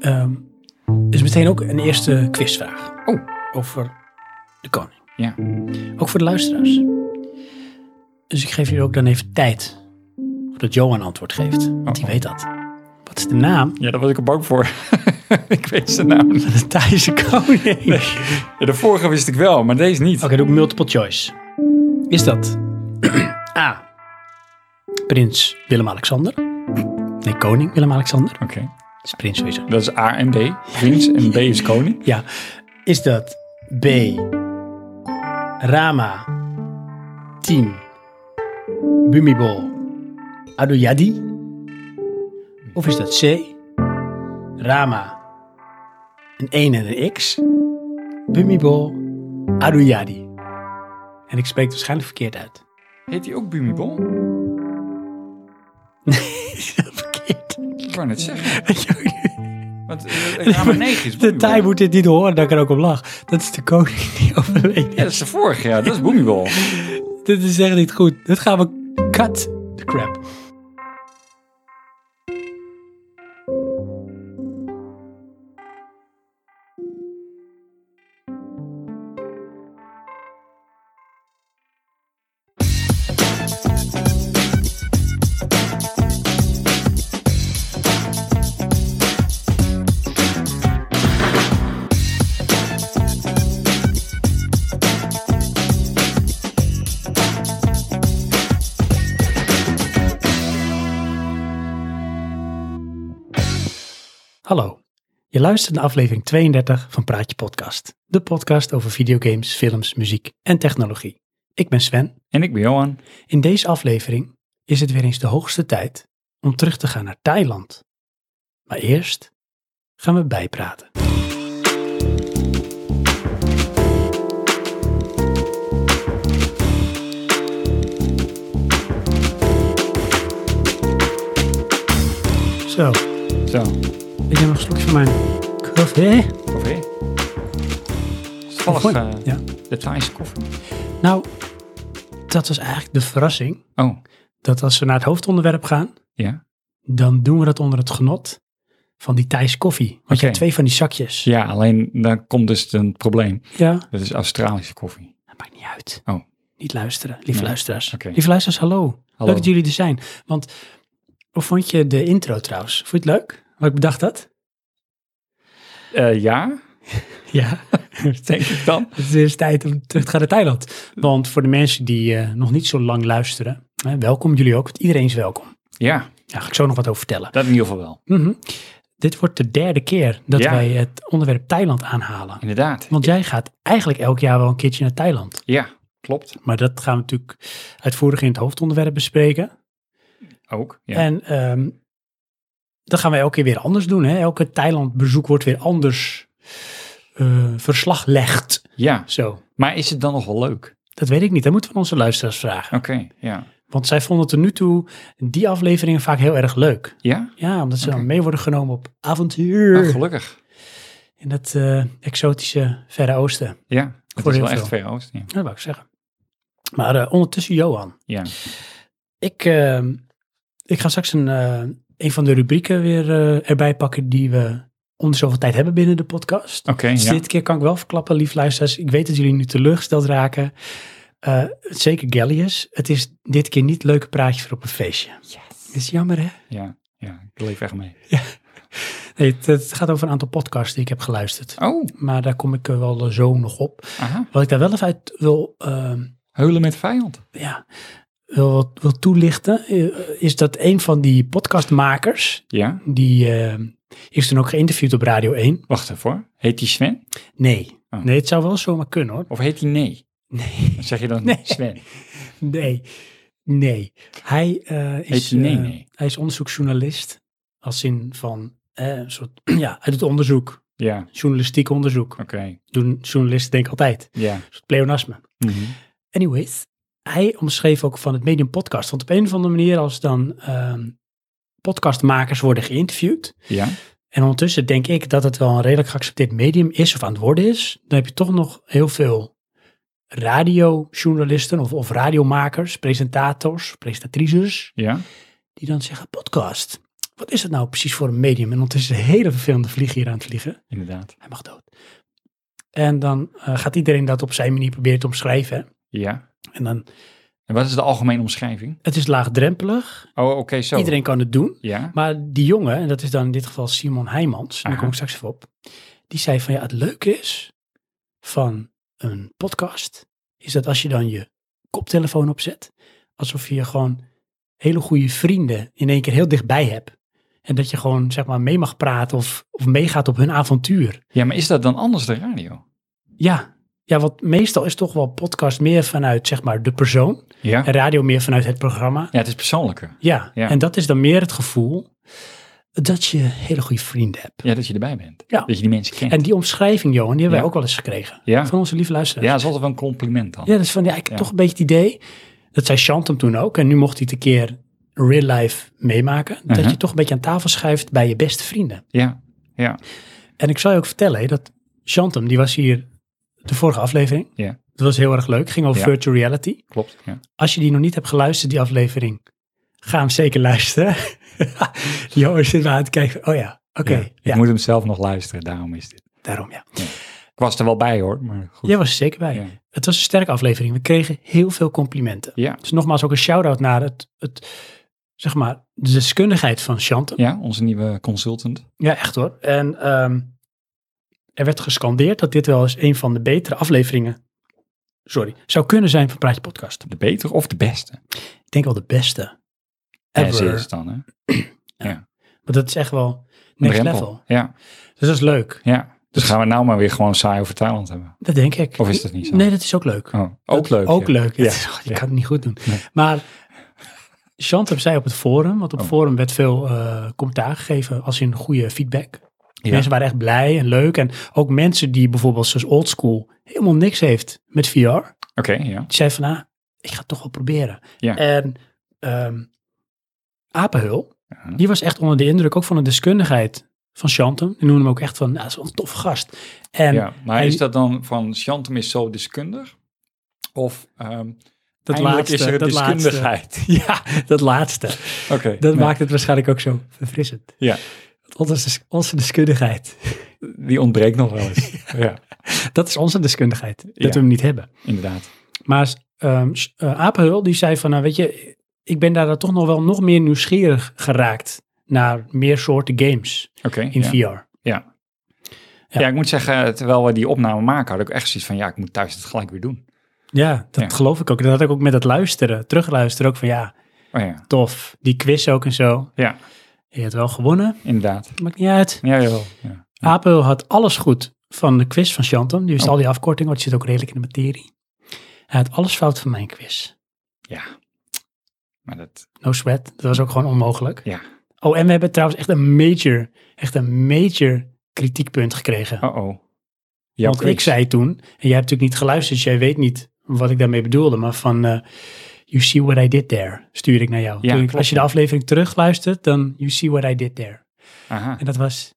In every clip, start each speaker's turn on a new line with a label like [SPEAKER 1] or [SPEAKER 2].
[SPEAKER 1] Ehm is meteen ook een eerste quizvraag.
[SPEAKER 2] Oh.
[SPEAKER 1] Over de koning.
[SPEAKER 2] Ja.
[SPEAKER 1] Ook voor de luisteraars. Dus ik geef jullie ook dan even tijd voordat Johan antwoord geeft. Want die
[SPEAKER 2] Oh.
[SPEAKER 1] weet dat. Wat is de naam
[SPEAKER 2] Ja, daar was ik er bang voor. ik weet zijn naam niet.
[SPEAKER 1] van de Thaise koning?
[SPEAKER 2] Ja, de vorige wist ik wel, maar deze niet.
[SPEAKER 1] Oké, doe ik multiple choice. Is dat A. Prins Willem-Alexander? Nee, koning Willem-Alexander.
[SPEAKER 2] Oké.
[SPEAKER 1] Dat is prins sowieso.
[SPEAKER 2] Dat is A en B. Prins en B is koning.
[SPEAKER 1] Ja. Is dat B. Rama 10 Bumibol Aduyadi? Of is dat C. Rama een 1 en een X Bumibol Aduyadi? En ik spreek het waarschijnlijk verkeerd uit.
[SPEAKER 2] Heet hij ook Bumibol?
[SPEAKER 1] verkeerd.
[SPEAKER 2] Ik wou net zeggen.
[SPEAKER 1] Weet je ook niet.
[SPEAKER 2] Want eh, Rama 9 is
[SPEAKER 1] De
[SPEAKER 2] Bumibol.
[SPEAKER 1] Thai moet dit niet horen, dat ik er ook op lach. Dat is de koning die overleden
[SPEAKER 2] Ja, dat is de vorige, ja. Dat is Bumibol.
[SPEAKER 1] Dit is echt niet goed. Dit gaan we cut the crap. Hallo. Je luistert naar aflevering 32 van Praatje Podcast. De podcast over videogames, films, muziek en technologie. Ik ben Sven.
[SPEAKER 2] En ik ben Johan.
[SPEAKER 1] In deze aflevering is het weer eens de hoogste tijd om terug te gaan naar Thailand. Maar eerst gaan we bijpraten. Zo,
[SPEAKER 2] Zo.
[SPEAKER 1] ik heb nog een slokje van mijn koffie. Eh, oh,
[SPEAKER 2] Koffie. Toevallig
[SPEAKER 1] Mooi.
[SPEAKER 2] eh,
[SPEAKER 1] Ja.
[SPEAKER 2] de Thaise koffie.
[SPEAKER 1] Nou, dat was eigenlijk de verrassing.
[SPEAKER 2] Oh,
[SPEAKER 1] Dat als we naar het hoofdonderwerp gaan,
[SPEAKER 2] ja.
[SPEAKER 1] dan doen we dat onder het genot van die Thais koffie. Want je
[SPEAKER 2] Oké.
[SPEAKER 1] hebt twee van die zakjes.
[SPEAKER 2] Dus Ja, alleen dan komt dus een probleem.
[SPEAKER 1] Ja,
[SPEAKER 2] Dat is Australische koffie.
[SPEAKER 1] dat maakt niet uit.
[SPEAKER 2] Oh.
[SPEAKER 1] Niet luisteren, lieve
[SPEAKER 2] Nee.
[SPEAKER 1] luisteraars.
[SPEAKER 2] Oké.
[SPEAKER 1] Lieve luisteraars, hallo.
[SPEAKER 2] Hallo.
[SPEAKER 1] Leuk dat jullie er zijn. Want, hoe vond je de intro trouwens? Vond je het leuk? Wat ik bedacht had?
[SPEAKER 2] Eh, ja,
[SPEAKER 1] Ja.
[SPEAKER 2] denk ik dan.
[SPEAKER 1] Het is dus tijd om terug te gaan naar Thailand. Want voor de mensen die eh, nog niet zo lang luisteren, hè, welkom jullie ook, want iedereen is welkom.
[SPEAKER 2] Ja,
[SPEAKER 1] Daar ga ik zo nog wat over vertellen.
[SPEAKER 2] dat in ieder geval wel.
[SPEAKER 1] Mhm. Dit wordt de derde keer dat
[SPEAKER 2] Ja.
[SPEAKER 1] wij het onderwerp Thailand aanhalen.
[SPEAKER 2] Inderdaad.
[SPEAKER 1] Want jij gaat eigenlijk elk jaar wel een keertje naar Thailand.
[SPEAKER 2] Ja, klopt.
[SPEAKER 1] Maar dat gaan we natuurlijk uitvoerig in het hoofdonderwerp bespreken.
[SPEAKER 2] Ook. Ja.
[SPEAKER 1] En ehm dat gaan we elke keer weer anders doen. Hè? Elke Thailand-bezoek wordt weer anders eh verslaglegd.
[SPEAKER 2] ja,
[SPEAKER 1] Zo,
[SPEAKER 2] maar is het dan nog wel leuk?
[SPEAKER 1] dat weet ik niet. Dat moeten we aan onze luisteraars vragen.
[SPEAKER 2] Oké, ja.
[SPEAKER 1] Want zij vonden tot nu toe die afleveringen vaak heel erg leuk.
[SPEAKER 2] Ja? Nou,
[SPEAKER 1] Ja, omdat ze
[SPEAKER 2] Oké.
[SPEAKER 1] dan mee worden genomen op avontuur.
[SPEAKER 2] Ah, gelukkig.
[SPEAKER 1] in dat eh, exotische Verre Oosten.
[SPEAKER 2] Ja, dat
[SPEAKER 1] Voor
[SPEAKER 2] is
[SPEAKER 1] heel
[SPEAKER 2] wel echt
[SPEAKER 1] veel.
[SPEAKER 2] ver oost. Ja.
[SPEAKER 1] Dat wou ik zeggen. Maar eh, ondertussen, Johan.
[SPEAKER 2] Ja.
[SPEAKER 1] Ik, eh, ik ga straks een, eh, een van de rubrieken weer eh, erbij pakken die we om de zoveel tijd hebben binnen de podcast.
[SPEAKER 2] Oké,
[SPEAKER 1] Dus
[SPEAKER 2] ja.
[SPEAKER 1] dit keer kan ik wel verklappen, lief luisteraars. Ik weet dat jullie nu teleurgesteld raken. Eh, zeker Gallius. Het is dit keer niet leuke praatjes voor op een feestje. Is jammer, hè?
[SPEAKER 2] ja. Ja, ik leef echt mee.
[SPEAKER 1] Nee, het, het gaat over een aantal podcasts die ik heb geluisterd.
[SPEAKER 2] Oh,
[SPEAKER 1] Maar daar kom ik eh, wel zo nog op.
[SPEAKER 2] aha.
[SPEAKER 1] Wat ik daar wel even uit wil... ehm,
[SPEAKER 2] Heulen met vijand.
[SPEAKER 1] ja, wil, wat- wil toelichten, eh, is dat een van die podcastmakers,
[SPEAKER 2] Ja,
[SPEAKER 1] die eh, is toen ook geïnterviewd op Radio 1.
[SPEAKER 2] wacht even hoor. Heet die Sven?
[SPEAKER 1] Nee,
[SPEAKER 2] Oh.
[SPEAKER 1] nee, het zou wel zomaar kunnen hoor.
[SPEAKER 2] Of heet die Nee?
[SPEAKER 1] Nee,
[SPEAKER 2] Dan zeg je dan
[SPEAKER 1] Nee.
[SPEAKER 2] Sven.
[SPEAKER 1] nee, nee. Hij, eh, is,
[SPEAKER 2] hij nee,
[SPEAKER 1] eh,
[SPEAKER 2] nee?
[SPEAKER 1] hij is onderzoeksjournalist, als zin van, eh, een soort, ja, hij doet onderzoek,
[SPEAKER 2] Ja, oké.
[SPEAKER 1] journalistiek
[SPEAKER 2] Oh.
[SPEAKER 1] onderzoek. Doen journalisten denk ik altijd,
[SPEAKER 2] Ja.
[SPEAKER 1] een soort pleonasme.
[SPEAKER 2] Mhm.
[SPEAKER 1] Anyways, hij omschreef ook van het medium podcast. Want op een of andere manier, als dan ehm, podcastmakers worden geïnterviewd.
[SPEAKER 2] Ja,
[SPEAKER 1] En ondertussen denk ik dat het wel een redelijk geaccepteerd medium is of aan het worden is. Dan heb je toch nog heel veel radiojournalisten of, of radiomakers, presentators, presentatrices.
[SPEAKER 2] ja.
[SPEAKER 1] Die dan zeggen podcast. Wat is het nou precies voor een medium? En ondertussen is een hele vervelende vlieg hier aan het vliegen.
[SPEAKER 2] inderdaad.
[SPEAKER 1] Hij mag dood. En dan eh, gaat iedereen dat op zijn manier proberen te omschrijven. hè.
[SPEAKER 2] Ja.
[SPEAKER 1] En dan,
[SPEAKER 2] En wat is de algemene omschrijving?
[SPEAKER 1] het is laagdrempelig.
[SPEAKER 2] Oh, oké, zo.
[SPEAKER 1] Iedereen kan het doen.
[SPEAKER 2] Ja.
[SPEAKER 1] Maar die jongen, en dat is dan in dit geval Simon Heijmans, daar
[SPEAKER 2] Aha.
[SPEAKER 1] kom ik straks even op. Die zei van ja, het leuke is van een podcast, is dat als je dan je koptelefoon opzet, alsof je gewoon hele goede vrienden in één keer heel dichtbij hebt. En dat je gewoon zeg maar mee mag praten of, of meegaat op hun avontuur.
[SPEAKER 2] Ja, maar is dat dan anders de radio?
[SPEAKER 1] Ja. ja, want meestal is toch wel podcast meer vanuit zeg maar de persoon
[SPEAKER 2] Ja.
[SPEAKER 1] en radio meer vanuit het programma.
[SPEAKER 2] Ja, het is persoonlijker.
[SPEAKER 1] Ja,
[SPEAKER 2] Ja.
[SPEAKER 1] en dat is dan meer het gevoel dat je hele goede vrienden hebt.
[SPEAKER 2] Ja, dat je erbij bent.
[SPEAKER 1] Ja.
[SPEAKER 2] Dat je die mensen kent.
[SPEAKER 1] En die omschrijving, Johan, die hebben wij
[SPEAKER 2] Ja.
[SPEAKER 1] ook wel eens gekregen.
[SPEAKER 2] ja.
[SPEAKER 1] Van onze lieve
[SPEAKER 2] ja,
[SPEAKER 1] luisteraars.
[SPEAKER 2] dat is altijd wel een compliment dan.
[SPEAKER 1] Ja, dus van, ja, ik heb
[SPEAKER 2] Ja.
[SPEAKER 1] toch een beetje het idee, dat zei Chant hem toen ook, en nu mocht hij het een keer real life meemaken, dat
[SPEAKER 2] Mhm.
[SPEAKER 1] je toch een beetje aan tafel schuift bij je beste vrienden.
[SPEAKER 2] Ja. ja.
[SPEAKER 1] En ik zal je ook vertellen, hè, dat Chantem, die was hier de vorige aflevering.
[SPEAKER 2] Ja.
[SPEAKER 1] Dat was heel erg leuk, ging over
[SPEAKER 2] Ja.
[SPEAKER 1] virtual reality.
[SPEAKER 2] Klopt. Ja.
[SPEAKER 1] Als je die nog niet hebt geluisterd, die aflevering, ga hem zeker luisteren. Johan zit maar aan het kijken, oh ja, oké,
[SPEAKER 2] Ja.
[SPEAKER 1] ja,
[SPEAKER 2] Ik moet hem zelf nog luisteren, daarom is dit.
[SPEAKER 1] daarom ja.
[SPEAKER 2] Ik was er wel bij hoor, maar goed.
[SPEAKER 1] Jij was er zeker bij.
[SPEAKER 2] Ja.
[SPEAKER 1] Het was een sterke aflevering. We kregen heel veel complimenten.
[SPEAKER 2] Ja.
[SPEAKER 1] Dus nogmaals ook een shout-out naar het, het, zeg maar, de deskundigheid van Chantem. Ja.
[SPEAKER 2] Ja, onze nieuwe consultant.
[SPEAKER 1] echt hoor. En ehm, er werd gescandeerd dat dit wel eens een van de betere afleveringen sorry, zou kunnen zijn van Praatje Podcast.
[SPEAKER 2] De betere of de beste?
[SPEAKER 1] Ik denk wel de beste
[SPEAKER 2] As
[SPEAKER 1] ever.
[SPEAKER 2] is dan, hè?
[SPEAKER 1] Maar dat is echt wel next
[SPEAKER 2] Drempel.
[SPEAKER 1] level.
[SPEAKER 2] Ja,
[SPEAKER 1] Dus dat is leuk.
[SPEAKER 2] ja. Dus gaan we nou maar weer gewoon saai over Thailand hebben?
[SPEAKER 1] Dat denk ik.
[SPEAKER 2] Of is dat niet zo?
[SPEAKER 1] Nee, dat is ook leuk.
[SPEAKER 2] Oh, ook
[SPEAKER 1] Dat-
[SPEAKER 2] leuk.
[SPEAKER 1] Ook
[SPEAKER 2] ja.
[SPEAKER 1] leuk.
[SPEAKER 2] Ja.
[SPEAKER 1] Het is- oh, je
[SPEAKER 2] Ja.
[SPEAKER 1] kan het niet goed doen.
[SPEAKER 2] Nee.
[SPEAKER 1] Maar Chantem zei op het forum, want op het
[SPEAKER 2] Oh.
[SPEAKER 1] forum werd veel eh, commentaar gegeven als in goede feedback.
[SPEAKER 2] Ja.
[SPEAKER 1] Mensen waren echt blij en leuk. En ook mensen die bijvoorbeeld zoals Oldschool helemaal niks heeft met VR. Die
[SPEAKER 2] Oké, ja.
[SPEAKER 1] zei van, ah, ik ga het toch wel proberen.
[SPEAKER 2] Ja.
[SPEAKER 1] En ehm Apenhul,
[SPEAKER 2] Ja.
[SPEAKER 1] die was echt onder de indruk ook van de deskundigheid van Chantem. Die noemde hem ook echt van, nou, dat is wel een tof gast. En
[SPEAKER 2] ja. Maar
[SPEAKER 1] hij-
[SPEAKER 2] is dat dan van Chantem is zo deskundig? Of ehm
[SPEAKER 1] dat
[SPEAKER 2] eindelijk
[SPEAKER 1] laatste,
[SPEAKER 2] is er
[SPEAKER 1] dat laatste.
[SPEAKER 2] deskundigheid?
[SPEAKER 1] Ja, dat laatste.
[SPEAKER 2] Oké.
[SPEAKER 1] Dat
[SPEAKER 2] nou,
[SPEAKER 1] maakt het waarschijnlijk ook zo verfrissend.
[SPEAKER 2] Ja.
[SPEAKER 1] Want Onze, des- onze deskundigheid.
[SPEAKER 2] Die ontbreekt nog wel eens. ja.
[SPEAKER 1] Dat is onze deskundigheid. Dat
[SPEAKER 2] Ja.
[SPEAKER 1] we hem niet hebben.
[SPEAKER 2] inderdaad.
[SPEAKER 1] Maar ehm S- eh, Apenhul die zei van, nou weet je, ik ben daar dan toch nog wel nog meer nieuwsgierig geraakt naar meer soorten games
[SPEAKER 2] Oké.
[SPEAKER 1] in
[SPEAKER 2] ja.
[SPEAKER 1] VR.
[SPEAKER 2] Ja.
[SPEAKER 1] Ja.
[SPEAKER 2] Ja. ik moet zeggen, terwijl we die opname maken, had ik echt zoiets van, ja, ik moet thuis het gelijk weer doen.
[SPEAKER 1] Ja, dat
[SPEAKER 2] Ja.
[SPEAKER 1] geloof ik ook. Dat had ik ook met het luisteren, terugluisteren ook van ja,
[SPEAKER 2] Oh ja,
[SPEAKER 1] tof. Die quiz ook en zo.
[SPEAKER 2] ja,
[SPEAKER 1] Je hebt wel gewonnen,
[SPEAKER 2] inderdaad.
[SPEAKER 1] maakt niet uit.
[SPEAKER 2] Ja, jawel. Ja.
[SPEAKER 1] Apel had alles goed van de quiz van Chantem. Die wist
[SPEAKER 2] Oh.
[SPEAKER 1] al die afkortingen, want die zit ook redelijk in de materie. Hij had alles fout van mijn quiz.
[SPEAKER 2] Maar dat,
[SPEAKER 1] No sweat. Dat was ook gewoon onmogelijk.
[SPEAKER 2] Ja.
[SPEAKER 1] Oh, en we hebben trouwens echt een major, echt een major kritiekpunt gekregen.
[SPEAKER 2] oh-oh. Jouw
[SPEAKER 1] want ik
[SPEAKER 2] quiz.
[SPEAKER 1] zei toen, en jij hebt natuurlijk niet geluisterd, dus jij weet niet wat ik daarmee bedoelde, maar van eh, You see what I did there, stuurde ik naar jou.
[SPEAKER 2] Ja,
[SPEAKER 1] Toen ik-
[SPEAKER 2] klopt,
[SPEAKER 1] als je de
[SPEAKER 2] ja.
[SPEAKER 1] aflevering terugluistert, dan You see what I did there.
[SPEAKER 2] Aha.
[SPEAKER 1] En dat was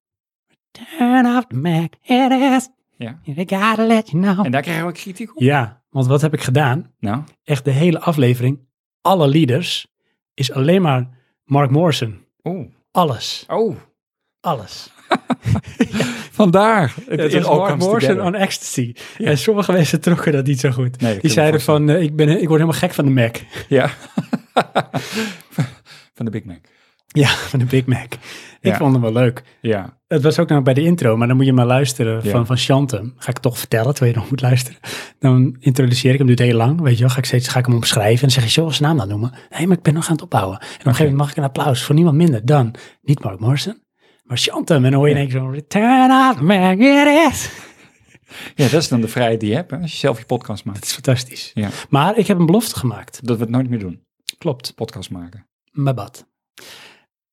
[SPEAKER 1] Turn off the Mac, it is,
[SPEAKER 2] Ja.
[SPEAKER 1] I gotta let you know.
[SPEAKER 2] En daar krijgen we kritiek op?
[SPEAKER 1] Ja, want wat heb ik gedaan?
[SPEAKER 2] Nou,
[SPEAKER 1] Echt de hele aflevering, alle leaders, is alleen maar Mark Morrison.
[SPEAKER 2] oeh.
[SPEAKER 1] Alles,
[SPEAKER 2] Oh,
[SPEAKER 1] alles.
[SPEAKER 2] vandaar.
[SPEAKER 1] Het, is
[SPEAKER 2] all
[SPEAKER 1] Mark
[SPEAKER 2] comes
[SPEAKER 1] Morrison
[SPEAKER 2] together.
[SPEAKER 1] on ecstasy. En sommige mensen trokken dat niet zo goed. Die
[SPEAKER 2] Nee, dat kan ik me
[SPEAKER 1] zeiden van, eh, ik, ben, ik word helemaal gek van de Mac.
[SPEAKER 2] Ja. Van de Big Mac.
[SPEAKER 1] Ja, van de Big Mac. Ik
[SPEAKER 2] Ja.
[SPEAKER 1] vond hem wel leuk.
[SPEAKER 2] Ja.
[SPEAKER 1] Het was ook nou bij de intro, maar dan moet je maar luisteren
[SPEAKER 2] Ja.
[SPEAKER 1] van, van Chantem. Ga ik toch vertellen, terwijl je nog moet luisteren. Dan introduceer ik hem, duurt heel lang, weet je wel. Ga ik, steeds, ga ik hem omschrijven en dan zeg je, zullen we zijn naam dan noemen? Nee, maar ik ben nog aan het opbouwen. En op een gegeven moment mag ik een applaus voor niemand minder dan, niet Mark Morrison, maar Chantem. En dan hoor je ineens zo'n return of man, it is.
[SPEAKER 2] ja, dat is dan de vrijheid die je hebt, hè, als je zelf je podcast maakt.
[SPEAKER 1] Dat is fantastisch.
[SPEAKER 2] Ja.
[SPEAKER 1] Maar ik heb een belofte gemaakt.
[SPEAKER 2] Dat we het nooit meer doen,
[SPEAKER 1] Klopt.
[SPEAKER 2] podcast maken.
[SPEAKER 1] Mijn bad.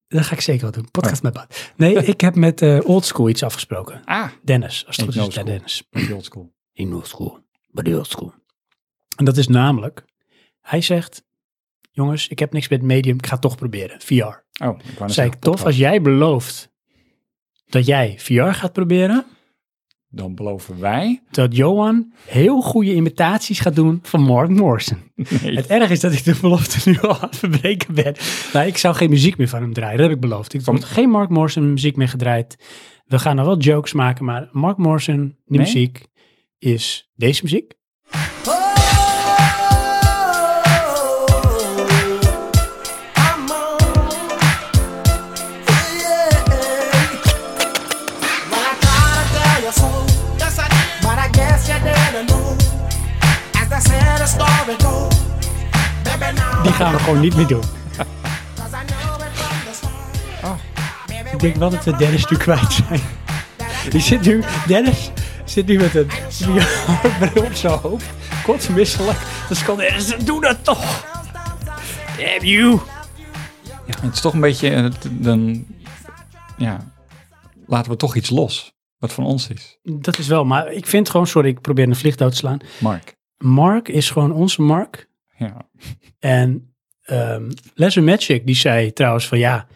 [SPEAKER 1] Dat ga ik zeker wel doen.
[SPEAKER 2] Oh.
[SPEAKER 1] Podcast met bad. Nee, ik heb met eh, Old Oldschool iets afgesproken.
[SPEAKER 2] Ah,
[SPEAKER 1] Dennis, als het
[SPEAKER 2] Eentje
[SPEAKER 1] goed is,
[SPEAKER 2] oldschool.
[SPEAKER 1] bij Dennis.
[SPEAKER 2] die old school.
[SPEAKER 1] In oldschool. Bij de oldschool. En dat is namelijk, hij zegt, jongens, ik heb niks met medium, ik ga het toch proberen. VR.
[SPEAKER 2] Oh, ik wou net
[SPEAKER 1] Zei
[SPEAKER 2] zeggen,
[SPEAKER 1] ik, tof, als jij belooft dat jij VR gaat proberen,
[SPEAKER 2] dan beloven wij...
[SPEAKER 1] Dat Johan heel goede imitaties gaat doen van Mark Morrison.
[SPEAKER 2] Nee,
[SPEAKER 1] Het erg is dat ik de belofte nu al aan het verbreken ben. Nou, ik zou geen muziek meer van hem draaien, dat heb ik beloofd. Ik heb
[SPEAKER 2] Van-
[SPEAKER 1] geen Mark Morrison muziek meer gedraaid. We gaan nog wel jokes maken, maar Mark Morrison, die
[SPEAKER 2] Nee?
[SPEAKER 1] muziek, is deze muziek. Die gaan we gewoon niet meer doen. Ik denk wel dat we Dennis nu kwijt zijn. Die zit nu, Dennis zit nu met een VR-bril op zijn hoofd. Kotsmisselijk. Dus kan Dennis, doe dat toch! Damn you!
[SPEAKER 2] het is toch een beetje... eh, t- Dan, ja, laten we toch iets los wat van ons is.
[SPEAKER 1] Dat is wel, maar ik vind gewoon, sorry, ik probeer een vlieg dood te slaan.
[SPEAKER 2] Mark.
[SPEAKER 1] Mark is gewoon onze Mark.
[SPEAKER 2] Ja,
[SPEAKER 1] En ehm Lesser Magic, die zei trouwens van ja,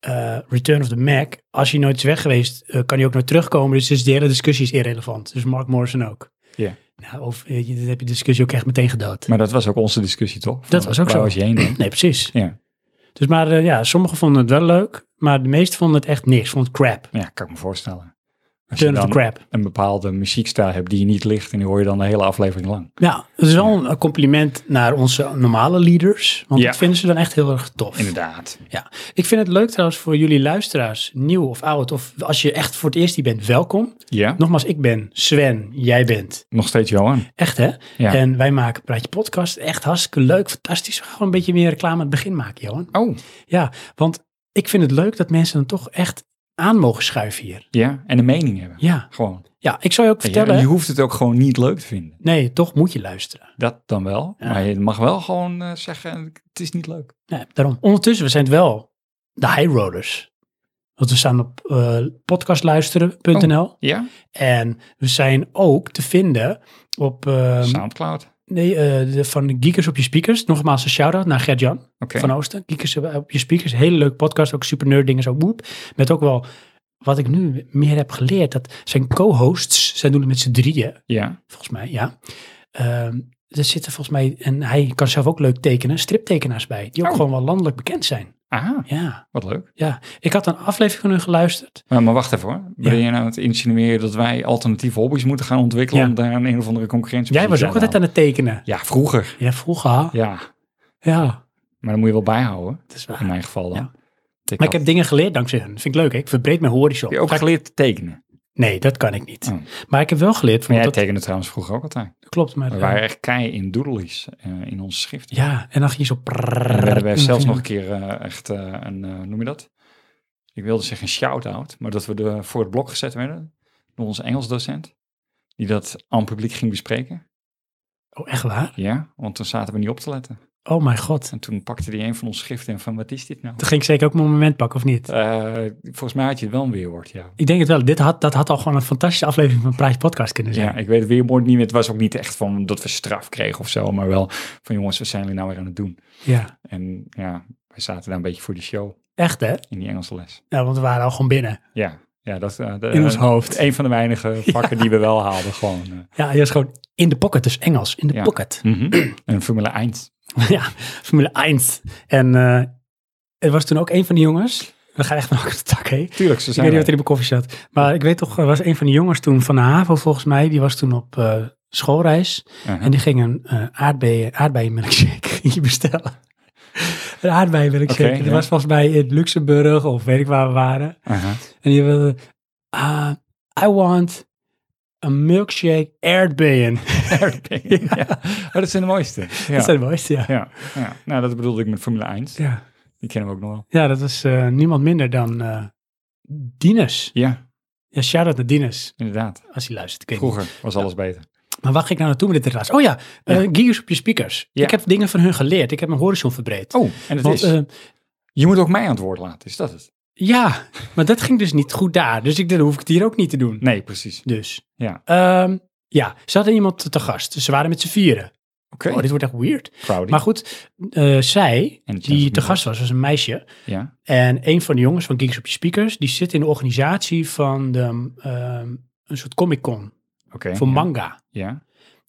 [SPEAKER 1] eh, Return of the Mac, als hij nooit is weg geweest, eh, kan hij ook nooit terugkomen. Dus, dus de hele discussie is irrelevant. Dus Mark Morrison ook.
[SPEAKER 2] Ja.
[SPEAKER 1] Nou, of eh, je- dat heb je de discussie ook echt meteen gedood.
[SPEAKER 2] maar dat was ook onze discussie, toch?
[SPEAKER 1] Dat was ook
[SPEAKER 2] Waar
[SPEAKER 1] zo.
[SPEAKER 2] was je heen dan?
[SPEAKER 1] Nee, precies.
[SPEAKER 2] Ja.
[SPEAKER 1] Dus maar eh, ja, sommigen vonden het wel leuk, maar de meesten vonden het echt niks. Vonden het crap.
[SPEAKER 2] Ja, kan ik me voorstellen. Als je
[SPEAKER 1] Return of the
[SPEAKER 2] dan
[SPEAKER 1] crap.
[SPEAKER 2] een bepaalde muziekstijl hebt die je niet ligt en die hoor je dan de hele aflevering lang.
[SPEAKER 1] Nou, dat is wel een compliment naar onze normale leaders, want
[SPEAKER 2] Ja.
[SPEAKER 1] dat vinden ze dan echt heel erg tof.
[SPEAKER 2] Inderdaad.
[SPEAKER 1] Ja, ik vind het leuk trouwens voor jullie luisteraars, nieuw of oud, of als je echt voor het eerst hier bent, welkom.
[SPEAKER 2] Ja,
[SPEAKER 1] Nogmaals, ik ben Sven, jij bent.
[SPEAKER 2] nog steeds Johan.
[SPEAKER 1] Echt hè?
[SPEAKER 2] Ja.
[SPEAKER 1] En wij maken Praatje Podcast. Echt hartstikke leuk, fantastisch. We gaan gewoon een beetje meer reclame aan het begin maken, Johan.
[SPEAKER 2] Oh,
[SPEAKER 1] Ja, want ik vind het leuk dat mensen dan toch echt aan mogen schuiven hier.
[SPEAKER 2] ja. En een mening hebben.
[SPEAKER 1] Ja,
[SPEAKER 2] Gewoon.
[SPEAKER 1] ja ik zou je ook
[SPEAKER 2] En Je,
[SPEAKER 1] vertellen.
[SPEAKER 2] je hoeft het ook gewoon niet leuk te vinden.
[SPEAKER 1] Nee, toch moet je luisteren.
[SPEAKER 2] Dat dan wel.
[SPEAKER 1] Ja.
[SPEAKER 2] Maar je mag wel gewoon eh, zeggen, het is niet leuk.
[SPEAKER 1] Nee, daarom. Ondertussen, we zijn het wel de high roaders. Want we staan op eh, podcastluisteren.nl.
[SPEAKER 2] Ja,
[SPEAKER 1] En we zijn ook te vinden op ehm,
[SPEAKER 2] Soundcloud. Oké.
[SPEAKER 1] nee, eh, de, van Geekers op je speakers. Nogmaals een shout-out naar Gert-Jan. van Oosten. Kiekers op je speakers. Hele leuk podcast. Ook super nerd dingen. Zo boep. Met ook wel wat ik nu meer heb geleerd. Dat zijn co-hosts. Zij doen het met z'n drieën.
[SPEAKER 2] Ja.
[SPEAKER 1] Volgens mij. Ja. Ehm, er zitten volgens mij. En hij kan zelf ook leuk tekenen. Striptekenaars bij. Die ook
[SPEAKER 2] Oh.
[SPEAKER 1] gewoon wel landelijk bekend zijn.
[SPEAKER 2] Aha,
[SPEAKER 1] Ja.
[SPEAKER 2] Ah, wat leuk.
[SPEAKER 1] Ja. Ik had een aflevering van hun geluisterd.
[SPEAKER 2] Maar, maar wacht even hoor. Ben je nou aan het insinueren dat wij alternatieve hobby's moeten gaan ontwikkelen
[SPEAKER 1] Ja.
[SPEAKER 2] om daar een, een of andere concurrentie
[SPEAKER 1] Jij was ook altijd aan het tekenen.
[SPEAKER 2] Ja, vroeger.
[SPEAKER 1] Ja, vroeger.
[SPEAKER 2] Ja,
[SPEAKER 1] Ja.
[SPEAKER 2] maar dan moet je wel bijhouden.
[SPEAKER 1] Dat is waar.
[SPEAKER 2] In mijn geval dan.
[SPEAKER 1] Ja. Maar
[SPEAKER 2] Ik had-
[SPEAKER 1] ik heb dingen geleerd dankzij hun. Vind ik leuk. Hè? Ik verbreed mijn horizon.
[SPEAKER 2] Heb je ook
[SPEAKER 1] Ga ik-
[SPEAKER 2] geleerd te tekenen?
[SPEAKER 1] Nee, dat kan ik niet.
[SPEAKER 2] Oh.
[SPEAKER 1] Maar ik heb wel geleerd.
[SPEAKER 2] Maar
[SPEAKER 1] Van,
[SPEAKER 2] jij
[SPEAKER 1] dat
[SPEAKER 2] tekende trouwens vroeger ook altijd.
[SPEAKER 1] klopt. Maar,
[SPEAKER 2] We
[SPEAKER 1] eh,
[SPEAKER 2] waren echt kei in doodelies eh, in ons schrift.
[SPEAKER 1] Ja, en dan ging je zo...
[SPEAKER 2] En dan werden
[SPEAKER 1] prrrr-
[SPEAKER 2] we zelfs nog een keer eh, echt eh, een, eh, hoe noem je dat? Ik wilde zeggen een shout-out, maar dat we de, voor het blok gezet werden door onze Engels docent. Die dat aan het publiek ging bespreken.
[SPEAKER 1] Oh, echt waar?
[SPEAKER 2] Ja, want toen zaten we niet op te letten.
[SPEAKER 1] Oh mijn god.
[SPEAKER 2] En toen pakte die een van ons schriften en van wat is dit nou?
[SPEAKER 1] Toen ging ik zeker ook mijn moment pakken, of niet?
[SPEAKER 2] Eh, volgens mij had je het wel een weerwoord, ja.
[SPEAKER 1] Ik denk het wel. Dit had, dat had al gewoon een fantastische aflevering van Praatje Podcast kunnen zijn.
[SPEAKER 2] Ja, ik weet het weerwoord niet meer. Het was ook niet echt van dat we straf kregen of zo, maar wel van jongens, wat zijn jullie nou weer aan het doen?
[SPEAKER 1] Ja.
[SPEAKER 2] En ja, wij zaten daar een beetje voor die show
[SPEAKER 1] Echt, hè?
[SPEAKER 2] in die Engelse les.
[SPEAKER 1] Nou, want we waren al gewoon binnen.
[SPEAKER 2] Ja, ja dat eh, de-
[SPEAKER 1] In ons
[SPEAKER 2] eh,
[SPEAKER 1] hoofd.
[SPEAKER 2] Een van de weinige vakken die we wel haalden, gewoon. eh.
[SPEAKER 1] Ja, je was gewoon in de pocket, dus Engels. In de
[SPEAKER 2] Ja.
[SPEAKER 1] pocket.
[SPEAKER 2] Een Formule 1.
[SPEAKER 1] ja, Formule 1. En eh er was toen ook een van die jongens... We gaan echt van elkaar de tak, hé.
[SPEAKER 2] Tuurlijk, ze
[SPEAKER 1] Ik weet
[SPEAKER 2] zijn
[SPEAKER 1] niet wat
[SPEAKER 2] er.
[SPEAKER 1] er in mijn koffie zat. Maar ik weet toch, er was een van die jongens toen van de HAVO volgens mij. Die was toen op eh, schoolreis.
[SPEAKER 2] Aha.
[SPEAKER 1] En die ging een eh aardbeien, aardbeienmilkshake hier bestellen. een aardbeienmilkshake.
[SPEAKER 2] Oké,
[SPEAKER 1] dat
[SPEAKER 2] ja.
[SPEAKER 1] was volgens mij in Luxemburg of weet ik waar we waren.
[SPEAKER 2] Aha.
[SPEAKER 1] En die wilde, ah, I want a milkshake aardbeien.
[SPEAKER 2] ja. Oh, dat zijn de mooiste.
[SPEAKER 1] Dat
[SPEAKER 2] Ja.
[SPEAKER 1] zijn de mooiste, ja.
[SPEAKER 2] Ja. ja, nou dat bedoelde ik met Formule 1.
[SPEAKER 1] Ja,
[SPEAKER 2] Die kennen we ook nog wel.
[SPEAKER 1] ja dat was eh, niemand minder dan eh Dinus.
[SPEAKER 2] Ja,
[SPEAKER 1] Ja, shout-out naar Dinus,
[SPEAKER 2] inderdaad.
[SPEAKER 1] als hij luistert. Ik weet niet.
[SPEAKER 2] Vroeger was alles beter.
[SPEAKER 1] Maar waar ging ik nou naartoe met dit raas? Oh ja, eh gears op je speakers.
[SPEAKER 2] Ja.
[SPEAKER 1] Ik heb dingen van hun geleerd. Ik heb mijn horizon verbreed.
[SPEAKER 2] Oh, en het
[SPEAKER 1] Want,
[SPEAKER 2] is.
[SPEAKER 1] eh,
[SPEAKER 2] je moet ook mij aan het woord laten, is dat het?
[SPEAKER 1] Ja, maar dat ging dus niet goed daar. Dus ik, dan hoef ik het hier ook niet te doen.
[SPEAKER 2] Nee, precies.
[SPEAKER 1] Dus.
[SPEAKER 2] Ja.
[SPEAKER 1] Ehm, ja, ze hadden iemand te gast. Dus ze waren met z'n vieren.
[SPEAKER 2] Oké,
[SPEAKER 1] Oh, dit wordt echt weird.
[SPEAKER 2] Crowdy.
[SPEAKER 1] Maar goed, eh, zij,
[SPEAKER 2] En het
[SPEAKER 1] die
[SPEAKER 2] zijn
[SPEAKER 1] te
[SPEAKER 2] ze
[SPEAKER 1] gast was, was een meisje.
[SPEAKER 2] Ja,
[SPEAKER 1] En een van de jongens van Geeks op je Speakers, die zit in de organisatie van de ehm, een soort Comic-Con
[SPEAKER 2] Oké.
[SPEAKER 1] voor
[SPEAKER 2] ja.
[SPEAKER 1] manga.
[SPEAKER 2] Ja.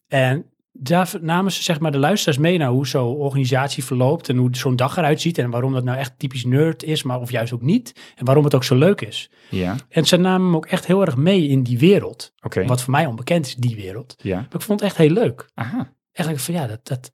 [SPEAKER 1] En daar namen ze zeg maar de luisteraars mee naar hoe zo'n organisatie verloopt en hoe zo'n dag eruit ziet en waarom dat nou echt typisch nerd is, maar of juist ook niet. En waarom het ook zo leuk is.
[SPEAKER 2] Ja.
[SPEAKER 1] En ze namen me ook echt heel erg mee in die wereld.
[SPEAKER 2] Oké.
[SPEAKER 1] Wat voor mij onbekend is, die wereld.
[SPEAKER 2] Ja.
[SPEAKER 1] Maar ik vond het echt heel leuk.
[SPEAKER 2] Aha.
[SPEAKER 1] Eigenlijk van ja, dat, dat,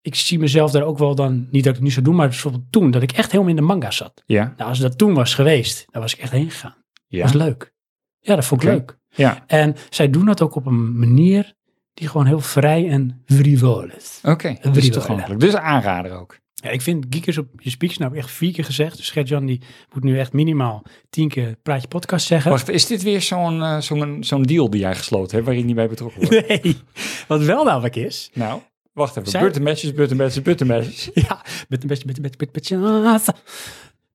[SPEAKER 1] ik zie mezelf daar ook wel dan, niet dat ik het nu zou doen, maar bijvoorbeeld toen, dat ik echt helemaal in de manga zat.
[SPEAKER 2] Ja.
[SPEAKER 1] Nou, als dat toen was geweest, dan was ik echt heen gegaan.
[SPEAKER 2] Ja.
[SPEAKER 1] Dat was leuk. Ja, dat vond ik
[SPEAKER 2] Oké.
[SPEAKER 1] leuk.
[SPEAKER 2] Ja.
[SPEAKER 1] En zij doen dat ook op een manier die gewoon heel vrij en frivol is.
[SPEAKER 2] Oké.
[SPEAKER 1] wil
[SPEAKER 2] Dus
[SPEAKER 1] je wel,
[SPEAKER 2] toegankelijk. Dus aanrader ook.
[SPEAKER 1] Ja, ik vind geekers op je speaks nou echt vier keer gezegd. Dus Gert-Jan die moet nu echt minimaal tien keer praatje podcast zeggen.
[SPEAKER 2] Wacht, is dit weer zo'n eh, zo'n zo'n deal die jij gesloten hebt, waar je niet bij betrokken wordt?
[SPEAKER 1] Nee, wat wel namelijk is.
[SPEAKER 2] Nou, wacht even.
[SPEAKER 1] Zijn-
[SPEAKER 2] Buttermatches, buttermatches, buttermatches.
[SPEAKER 1] Ja, met een beetje, met een beetje, met een beetje.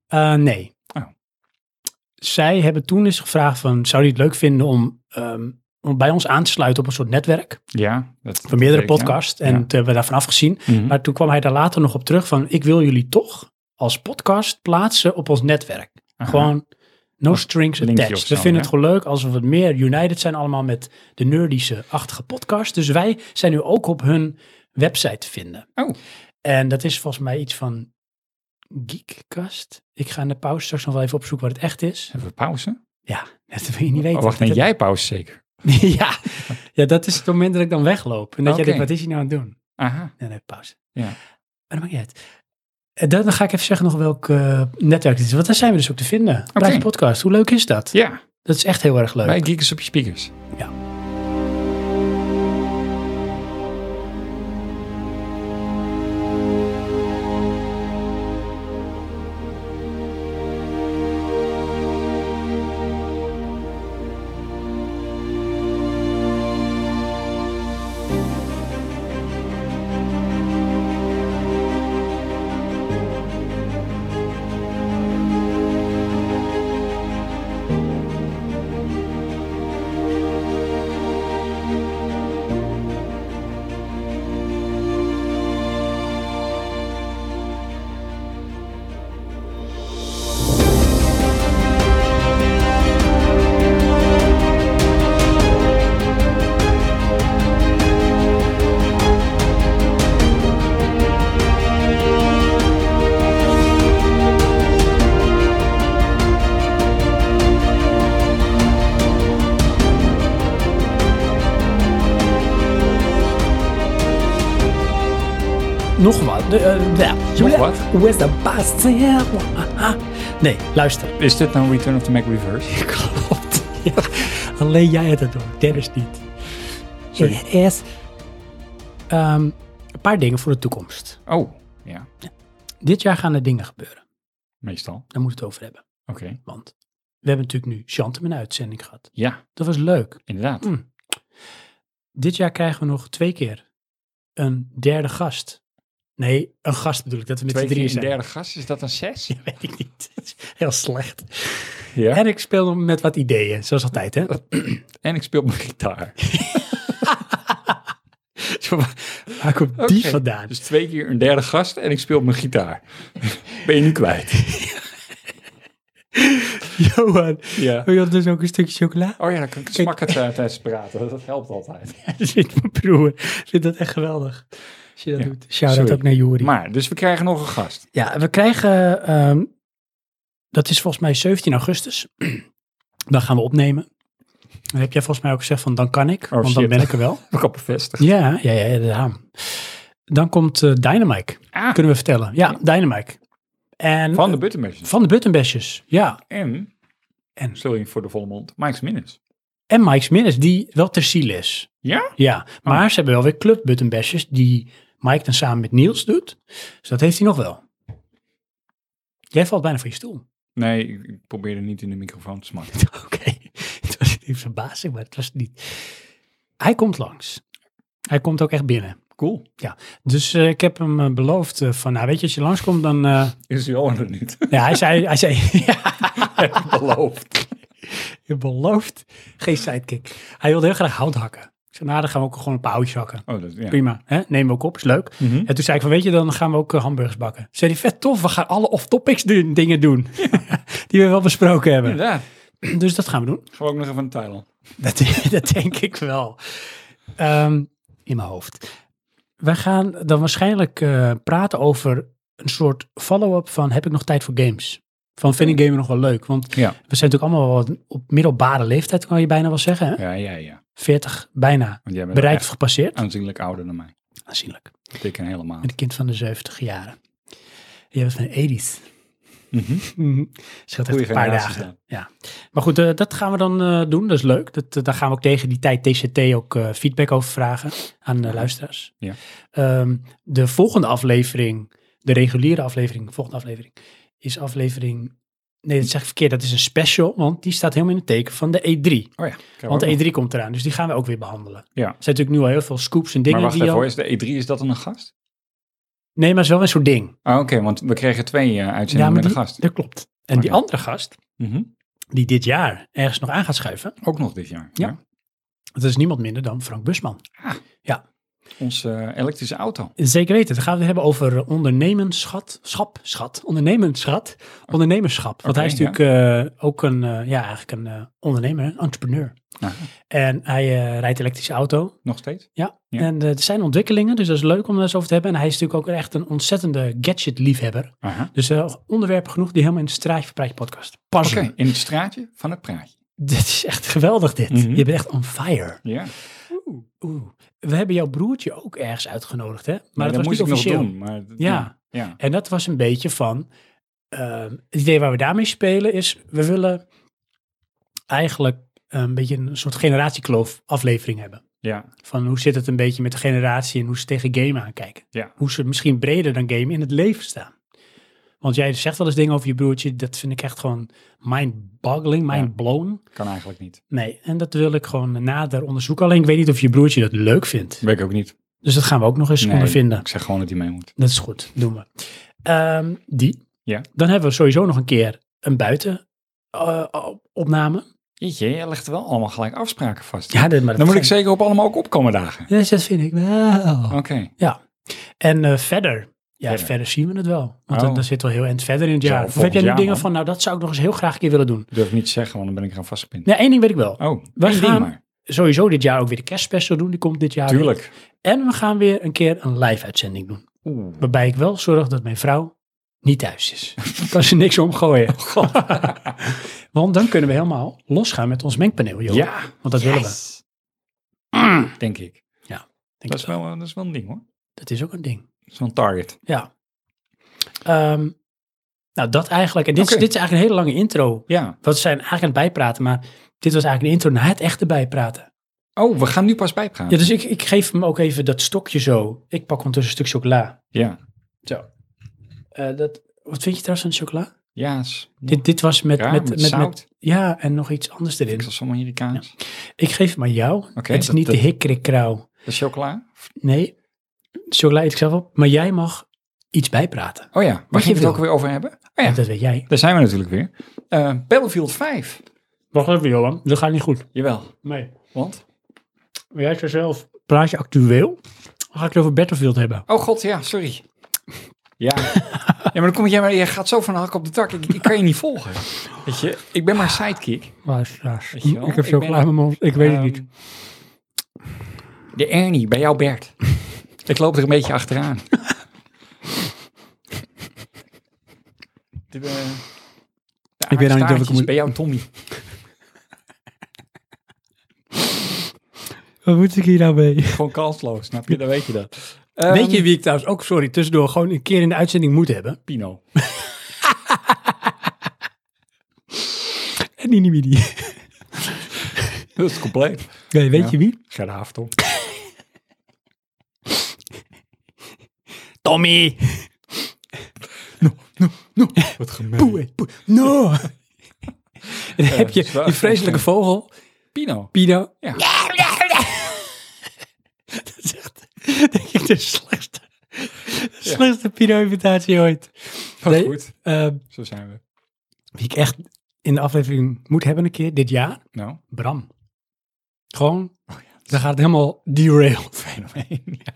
[SPEAKER 1] Eh, nee.
[SPEAKER 2] Oh.
[SPEAKER 1] Zij hebben toen eens gevraagd van, zou je het leuk vinden om, ehm, om bij ons aan te sluiten op een soort netwerk
[SPEAKER 2] Ja. Dat,
[SPEAKER 1] van meerdere
[SPEAKER 2] dat weet ik, ja.
[SPEAKER 1] podcasts? En
[SPEAKER 2] Ja.
[SPEAKER 1] toen hebben we daarvan afgezien.
[SPEAKER 2] Mhm.
[SPEAKER 1] Maar toen kwam hij daar later nog op terug van, ik wil jullie toch als podcast plaatsen op ons netwerk.
[SPEAKER 2] Aha.
[SPEAKER 1] Gewoon no strings
[SPEAKER 2] linkje
[SPEAKER 1] attached.
[SPEAKER 2] of
[SPEAKER 1] We
[SPEAKER 2] zo,
[SPEAKER 1] vinden
[SPEAKER 2] hè?
[SPEAKER 1] het gewoon leuk als we wat meer united zijn allemaal met de nerdische-achtige podcast. Dus wij zijn nu ook op hun website te vinden.
[SPEAKER 2] Oh.
[SPEAKER 1] En dat is volgens mij iets van Geekcast. Ik ga in de pauze straks nog wel even opzoeken wat het echt is.
[SPEAKER 2] Hebben we pauze?
[SPEAKER 1] Ja, dat wil je niet weten.
[SPEAKER 2] Oh, wacht, nee, jij pauze zeker.
[SPEAKER 1] ja, ja, dat is het moment dat ik dan wegloop. En dat jij
[SPEAKER 2] Oké.
[SPEAKER 1] denkt, wat is hij nou aan het doen?
[SPEAKER 2] Aha.
[SPEAKER 1] Nee, nee, pauze.
[SPEAKER 2] Ja.
[SPEAKER 1] Maar dat maakt niet uit. En dan ga ik even zeggen nog welk eh, netwerk het is. Want daar zijn we dus ook te vinden. Praatje Podcast, hoe leuk is dat?
[SPEAKER 2] Ja,
[SPEAKER 1] Dat is echt heel erg leuk.
[SPEAKER 2] bij Geekers op je speakers.
[SPEAKER 1] Nog wat. De, eh, ja.
[SPEAKER 2] Nog wat?
[SPEAKER 1] Hoe is dat best? Nee, luister.
[SPEAKER 2] Is dit nou Return of the Mac Reverse?
[SPEAKER 1] Klopt. Ja. Alleen jij hebt het door. Dennis niet.
[SPEAKER 2] Sorry.
[SPEAKER 1] Het is ehm, een paar dingen voor de toekomst.
[SPEAKER 2] Oh, ja.
[SPEAKER 1] Dit jaar gaan er dingen gebeuren.
[SPEAKER 2] Meestal.
[SPEAKER 1] Daar moeten we het over hebben.
[SPEAKER 2] Oké.
[SPEAKER 1] Want we hebben natuurlijk nu Chantem een uitzending gehad.
[SPEAKER 2] Ja,
[SPEAKER 1] Dat was leuk.
[SPEAKER 2] inderdaad.
[SPEAKER 1] Mm. Dit jaar krijgen we nog twee keer een derde gast. Nee, een gast bedoel ik. Dat we met
[SPEAKER 2] Twee
[SPEAKER 1] z'n drieën
[SPEAKER 2] keer een
[SPEAKER 1] zijn.
[SPEAKER 2] derde gast, is dat een zes?
[SPEAKER 1] Ja, weet ik niet. Het is Heel slecht.
[SPEAKER 2] Ja.
[SPEAKER 1] En ik speel met wat ideeën, zoals altijd, hè?
[SPEAKER 2] En ik speel mijn gitaar.
[SPEAKER 1] Zo, Waar komt die
[SPEAKER 2] Oké.
[SPEAKER 1] vandaan?
[SPEAKER 2] Dus twee keer een derde gast en ik speel mijn gitaar. Ben je nu kwijt?
[SPEAKER 1] Johan,
[SPEAKER 2] Ja.
[SPEAKER 1] wil je ons dus ook een stukje chocola?
[SPEAKER 2] Oh ja, dan kan ik smakken eh, tijdens het praten. Dat helpt altijd.
[SPEAKER 1] Dat vindt mijn broer. vindt dat echt geweldig. Als je dat
[SPEAKER 2] Ja.
[SPEAKER 1] doet. Shout-out
[SPEAKER 2] Sorry.
[SPEAKER 1] ook naar Jori.
[SPEAKER 2] Maar, dus we krijgen nog een gast.
[SPEAKER 1] Ja, we krijgen, ehm, dat is volgens mij 17 augustus. dan gaan we opnemen. Dan heb jij volgens mij ook gezegd van dan kan ik, want dan
[SPEAKER 2] Oh, shit.
[SPEAKER 1] ben ik er wel.
[SPEAKER 2] Heb ik al bevestigd.
[SPEAKER 1] Ja, ja, ja, ja. ja. Dan komt eh, Dynamite,
[SPEAKER 2] Ah,
[SPEAKER 1] kunnen we vertellen. Ja, Dynamite. En,
[SPEAKER 2] van de Buttermatches.
[SPEAKER 1] van de Buttonbashes, ja.
[SPEAKER 2] En,
[SPEAKER 1] En?
[SPEAKER 2] sorry voor de volle mond, Mike's Minutes.
[SPEAKER 1] En Mike Sminnes, die wel ter ziel is.
[SPEAKER 2] Ja?
[SPEAKER 1] Ja, maar ze hebben wel weer Club Buttonbashes, die Mike dan samen met Niels doet. Dus dat heeft hij nog wel. Jij valt bijna van je stoel.
[SPEAKER 2] Nee, ik- ik probeerde niet in de microfoon te smakken.
[SPEAKER 1] Oké, het was een verbazing, maar het was het niet. Hij komt langs. Hij komt ook echt binnen.
[SPEAKER 2] Cool.
[SPEAKER 1] Dus eh, ik heb hem eh, beloofd eh, van, nou weet je, als je langskomt dan... eh,
[SPEAKER 2] Is Johan er niet?
[SPEAKER 1] ja, hij zei, hij zei ja,
[SPEAKER 2] Beloofd.
[SPEAKER 1] je belooft geen sidekick. Hij wilde heel graag hout hakken. Ik zei, nou dan gaan we ook gewoon een paar houtjes hakken.
[SPEAKER 2] Oh, dat, ja.
[SPEAKER 1] Prima, hè? neem ook op, is leuk.
[SPEAKER 2] Mhm.
[SPEAKER 1] En toen zei ik van, weet je, dan gaan we ook eh, hamburgers bakken. Zei hij, vet tof, we gaan alle off-topics doen- dingen doen. die we wel besproken hebben.
[SPEAKER 2] Inderdaad.
[SPEAKER 1] Dus dat gaan we doen.
[SPEAKER 2] Gaan we ook nog even naar Thailand.
[SPEAKER 1] Dat, dat denk ik wel. Ehm, in mijn hoofd. Wij gaan dan waarschijnlijk eh, praten over een soort follow-up van heb ik nog tijd voor games? Van vind ik gamen nog wel leuk? Want
[SPEAKER 2] Ja.
[SPEAKER 1] we zijn natuurlijk allemaal wel wat op middelbare leeftijd, kan je bijna wel zeggen. Hè?
[SPEAKER 2] Ja, ja, ja.
[SPEAKER 1] 40 bijna
[SPEAKER 2] Want jij bent
[SPEAKER 1] bereikt of
[SPEAKER 2] echt
[SPEAKER 1] gepasseerd.
[SPEAKER 2] aanzienlijk ouder dan mij.
[SPEAKER 1] Aanzienlijk.
[SPEAKER 2] Ik en helemaal.
[SPEAKER 1] Een kind van de 70 jaren. Je bent van de 80s.
[SPEAKER 2] Mhm.
[SPEAKER 1] Scheelt echt
[SPEAKER 2] Goeie
[SPEAKER 1] een paar
[SPEAKER 2] generatie
[SPEAKER 1] dagen.
[SPEAKER 2] staan.
[SPEAKER 1] Ja. Maar goed, eh, dat gaan we dan eh, doen. Dat is leuk. Dat, eh, daar gaan we ook tegen die tijd TCT ook eh, feedback over vragen aan de
[SPEAKER 2] Ja.
[SPEAKER 1] luisteraars.
[SPEAKER 2] Ja.
[SPEAKER 1] Ehm, de volgende aflevering, de reguliere aflevering, de volgende aflevering, is aflevering... Nee, dat zeg ik verkeerd. Dat is een special, want die staat helemaal in het teken van de E3.
[SPEAKER 2] Oh ja. krijgen we
[SPEAKER 1] Want
[SPEAKER 2] ook nog.
[SPEAKER 1] de E3 komt eraan, dus die gaan we ook weer behandelen.
[SPEAKER 2] Ja.
[SPEAKER 1] Er zijn natuurlijk nu al heel veel scoops en dingen
[SPEAKER 2] Maar wacht
[SPEAKER 1] die
[SPEAKER 2] even,
[SPEAKER 1] al...
[SPEAKER 2] hoor, is de E3 is dat dan een gast?
[SPEAKER 1] Nee, maar het is wel een soort ding.
[SPEAKER 2] Ah, Oké, want we kregen twee eh, uitzendingen
[SPEAKER 1] maar
[SPEAKER 2] met
[SPEAKER 1] die,
[SPEAKER 2] een gast.
[SPEAKER 1] dat klopt. En die
[SPEAKER 2] Oké.
[SPEAKER 1] andere gast,
[SPEAKER 2] Mhm.
[SPEAKER 1] die dit jaar ergens nog aan gaat schuiven,
[SPEAKER 2] Ook nog dit jaar.
[SPEAKER 1] Ja. dat is niemand minder dan Frank Busman.
[SPEAKER 2] Onze eh, elektrische auto.
[SPEAKER 1] Zeker weten. Dan gaan we het hebben over ondernemerschap. Schap, schat. Ondernemerschat. Ondernemerschap. Want
[SPEAKER 2] Oké,
[SPEAKER 1] hij is
[SPEAKER 2] ja.
[SPEAKER 1] natuurlijk eh, ook een, eh, ja, eigenlijk een eh, ondernemer, een entrepreneur.
[SPEAKER 2] Aha.
[SPEAKER 1] En hij eh, rijdt elektrische auto.
[SPEAKER 2] Nog steeds? Ja.
[SPEAKER 1] En eh, er zijn ontwikkelingen, dus dat is leuk om daar eens over te hebben. En hij is natuurlijk ook echt een ontzettende gadget-liefhebber.
[SPEAKER 2] Aha.
[SPEAKER 1] Dus eh, onderwerpen genoeg die helemaal in het straatje verpraatje podcast
[SPEAKER 2] Oké,
[SPEAKER 1] passen.
[SPEAKER 2] in het straatje van het praatje.
[SPEAKER 1] Dit is echt geweldig dit.
[SPEAKER 2] Mhm.
[SPEAKER 1] Je bent echt on fire.
[SPEAKER 2] Ja.
[SPEAKER 1] Oeh. We hebben jouw broertje ook ergens uitgenodigd, hè? Maar
[SPEAKER 2] Maar
[SPEAKER 1] dat
[SPEAKER 2] dat
[SPEAKER 1] was
[SPEAKER 2] moest
[SPEAKER 1] niet
[SPEAKER 2] ik nog
[SPEAKER 1] officieel.
[SPEAKER 2] doen. Maar,
[SPEAKER 1] Ja.
[SPEAKER 2] ja.
[SPEAKER 1] En dat was een beetje van. ehm, het idee waar we daarmee spelen is. We willen eigenlijk een beetje een soort generatiekloof aflevering hebben.
[SPEAKER 2] Ja.
[SPEAKER 1] Van hoe zit het een beetje met de generatie en hoe ze tegen game aankijken.
[SPEAKER 2] Ja.
[SPEAKER 1] Hoe ze misschien breder dan game in het leven staan. Want jij zegt wel eens dingen over je broertje. Dat vind ik echt gewoon mind-boggling,
[SPEAKER 2] Ja.
[SPEAKER 1] mind-blown.
[SPEAKER 2] kan eigenlijk niet.
[SPEAKER 1] Nee, en dat wil ik gewoon nader onderzoeken. Alleen ik weet niet of je broertje dat leuk vindt.
[SPEAKER 2] Weet ik ook niet.
[SPEAKER 1] Dus dat gaan we ook nog eens
[SPEAKER 2] Nee.
[SPEAKER 1] ondervinden.
[SPEAKER 2] Ik zeg gewoon dat hij mee moet.
[SPEAKER 1] Dat is goed, doen we. Ehm, die.
[SPEAKER 2] Ja.
[SPEAKER 1] Dan hebben we sowieso nog een keer een buiten eh, op- opname.
[SPEAKER 2] Jeetje, jij legt wel allemaal gelijk afspraken vast.
[SPEAKER 1] Ja, dit, maar dat
[SPEAKER 2] Dan moet ik
[SPEAKER 1] gaan-
[SPEAKER 2] zeker op allemaal ook opkomen dagen.
[SPEAKER 1] Yes, dat vind ik wel.
[SPEAKER 2] Oké.
[SPEAKER 1] En eh, verder. Ja, verder.
[SPEAKER 2] Verder.
[SPEAKER 1] zien we het wel. Want
[SPEAKER 2] Oh.
[SPEAKER 1] dan, dan zitten we heel eind verder in het
[SPEAKER 2] Zo,
[SPEAKER 1] jaar. Of heb
[SPEAKER 2] volgend
[SPEAKER 1] jij nu
[SPEAKER 2] jaar,
[SPEAKER 1] dingen
[SPEAKER 2] man.
[SPEAKER 1] van, nou dat zou ik nog eens heel graag een keer willen doen.
[SPEAKER 2] Ik durf niet te zeggen, want dan ben ik eraan vastgepind.
[SPEAKER 1] Nee, één ding weet ik wel.
[SPEAKER 2] Oh,
[SPEAKER 1] Wij
[SPEAKER 2] één ding
[SPEAKER 1] gaan-
[SPEAKER 2] maar.
[SPEAKER 1] Sowieso dit jaar ook weer de kerstspecial doen. Die komt dit jaar weer.
[SPEAKER 2] Tuurlijk.
[SPEAKER 1] En we gaan weer een keer een live uitzending doen.
[SPEAKER 2] Oeh.
[SPEAKER 1] Waarbij ik wel zorg dat mijn vrouw niet thuis is. Dan kan ze niks omgooien.
[SPEAKER 2] Oh,
[SPEAKER 1] Want dan kunnen we helemaal losgaan met ons mengpaneel, joh.
[SPEAKER 2] Ja.
[SPEAKER 1] Want dat willen we.
[SPEAKER 2] Yes. Denk ik.
[SPEAKER 1] Denk
[SPEAKER 2] Dat
[SPEAKER 1] dat,
[SPEAKER 2] is, wel, eh, dat is wel een ding hoor.
[SPEAKER 1] dat is ook een ding.
[SPEAKER 2] Dat is wel een target.
[SPEAKER 1] Ja. Ehm, nou, dat eigenlijk. En dit, is,
[SPEAKER 2] Oké.
[SPEAKER 1] dit is eigenlijk een hele lange intro.
[SPEAKER 2] Ja.
[SPEAKER 1] Wat zijn eigenlijk aan het bijpraten, maar dit was eigenlijk een intro naar het echte bijpraten.
[SPEAKER 2] Oh, we gaan nu pas bijpraten.
[SPEAKER 1] Ja, dus ik, ik geef hem ook even dat stokje zo. Ik pak ondertussen een stuk chocola.
[SPEAKER 2] Ja.
[SPEAKER 1] Zo. Eh, dat, wat vind je trouwens van de chocola?
[SPEAKER 2] Ja. is-
[SPEAKER 1] Dit, dit was met,
[SPEAKER 2] Ja,
[SPEAKER 1] met,
[SPEAKER 2] met
[SPEAKER 1] met, met-
[SPEAKER 2] zout.
[SPEAKER 1] Ja, en nog iets anders
[SPEAKER 2] Ik
[SPEAKER 1] erin.
[SPEAKER 2] zal sommige Amerikaans.
[SPEAKER 1] Ik geef hem aan jou.
[SPEAKER 2] Oké,
[SPEAKER 1] het is
[SPEAKER 2] dat-
[SPEAKER 1] niet
[SPEAKER 2] dat-
[SPEAKER 1] de hikkerikkrauw.
[SPEAKER 2] De chocola?
[SPEAKER 1] Nee, chocola eet ik zelf op. Maar jij mag iets bijpraten.
[SPEAKER 2] Oh ja, waar
[SPEAKER 1] je
[SPEAKER 2] ging we het
[SPEAKER 1] wil.
[SPEAKER 2] ook weer over hebben? Oh ja,
[SPEAKER 1] Dat weet jij.
[SPEAKER 2] daar zijn we natuurlijk weer. Eh Battlefield 5.
[SPEAKER 1] Wacht even, Johan. Dat gaat niet goed.
[SPEAKER 2] Jawel.
[SPEAKER 1] Nee.
[SPEAKER 2] Want?
[SPEAKER 1] Maar jij zou zelf... Praat je actueel? Dan ga ik het over Battlefield hebben.
[SPEAKER 2] Oh god, ja, sorry. Ja. ja, maar dan kom jij maar, je gaat zo van de hak op de tak. Ik, ik kan je niet volgen. Weet je, ik ben maar sidekick.
[SPEAKER 1] Luisteraars.
[SPEAKER 2] Weet je wel,
[SPEAKER 1] Ik heb
[SPEAKER 2] ik
[SPEAKER 1] chocola
[SPEAKER 2] ben-
[SPEAKER 1] in mijn mond. Ik weet
[SPEAKER 2] Ehm,
[SPEAKER 1] het niet.
[SPEAKER 2] De Ernie, bij jou Bert. Ik loop er een beetje achteraan. De, eh, de
[SPEAKER 1] Ik weet nou niet of ik
[SPEAKER 2] aardstaartjes
[SPEAKER 1] moet-
[SPEAKER 2] bij jou Tommy.
[SPEAKER 1] Wat moet ik hier nou mee?
[SPEAKER 2] Gewoon kansloos, snap je? Dan weet je dat. Ehm,
[SPEAKER 1] weet je wie ik trouwens ook, sorry, tussendoor gewoon een keer in de uitzending moet hebben?
[SPEAKER 2] Pino.
[SPEAKER 1] En die niet die.
[SPEAKER 2] Dat is compleet.
[SPEAKER 1] Nee, weet
[SPEAKER 2] Ja.
[SPEAKER 1] je wie?
[SPEAKER 2] Gerda Haftel.
[SPEAKER 1] Tommy.
[SPEAKER 2] Wat gemeen.
[SPEAKER 1] Poe, poe. No. En dan heb je
[SPEAKER 2] dat is waar.
[SPEAKER 1] die vreselijke vogel,
[SPEAKER 2] Pino.
[SPEAKER 1] Pino.
[SPEAKER 2] Ja.
[SPEAKER 1] Dat is echt, denk ik, de slechtste, de slechtste Pino-invitatie ooit.
[SPEAKER 2] Maar
[SPEAKER 1] Nee.
[SPEAKER 2] goed,
[SPEAKER 1] Ehm,
[SPEAKER 2] zo zijn we.
[SPEAKER 1] Wie ik echt in de aflevering moet hebben een keer dit jaar,
[SPEAKER 2] Nou,
[SPEAKER 1] Bram. Gewoon, dan gaat het helemaal derailed.
[SPEAKER 2] Oh fenomeen. Ja.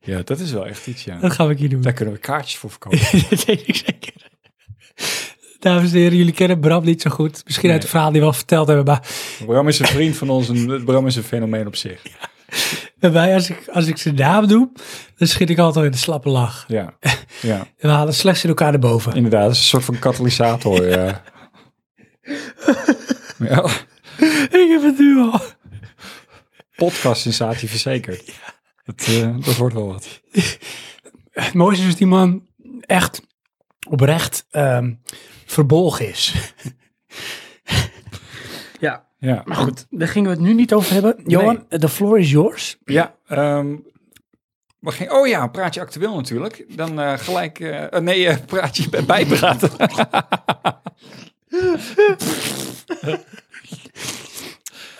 [SPEAKER 2] ja, dat is wel echt iets, ja.
[SPEAKER 1] Dat gaan we hier doen.
[SPEAKER 2] Daar kunnen we kaartjes voor verkopen.
[SPEAKER 1] dat weet ik zeker. Dames en heren, jullie kennen Bram niet zo goed. Misschien uit
[SPEAKER 2] Nee.
[SPEAKER 1] het verhaal die we al verteld hebben. Maar
[SPEAKER 2] Bram is een vriend van ons en Bram is een fenomeen op zich.
[SPEAKER 1] bij mij, als ik, als ik zijn naam doe, dan schiet ik altijd in de slappe lach.
[SPEAKER 2] Ja, ja.
[SPEAKER 1] En we halen slechts in elkaar naar boven.
[SPEAKER 2] inderdaad. Het is een soort van katalysator. Ja. ja.
[SPEAKER 1] Ik heb het nu al.
[SPEAKER 2] Podcast-sensatie verzekerd. Dat, eh, dat wordt wel wat.
[SPEAKER 1] Het mooiste is dat die man echt oprecht ehm, verbolgen is. ja,
[SPEAKER 2] Ja.
[SPEAKER 1] maar goed, daar gingen we het nu niet over hebben. Johan, de floor is yours.
[SPEAKER 2] Ja, ehm, we gingen, oh ja, praat je actueel natuurlijk. Dan eh, gelijk, eh, eh, nee, eh, praat je bij bijpraten.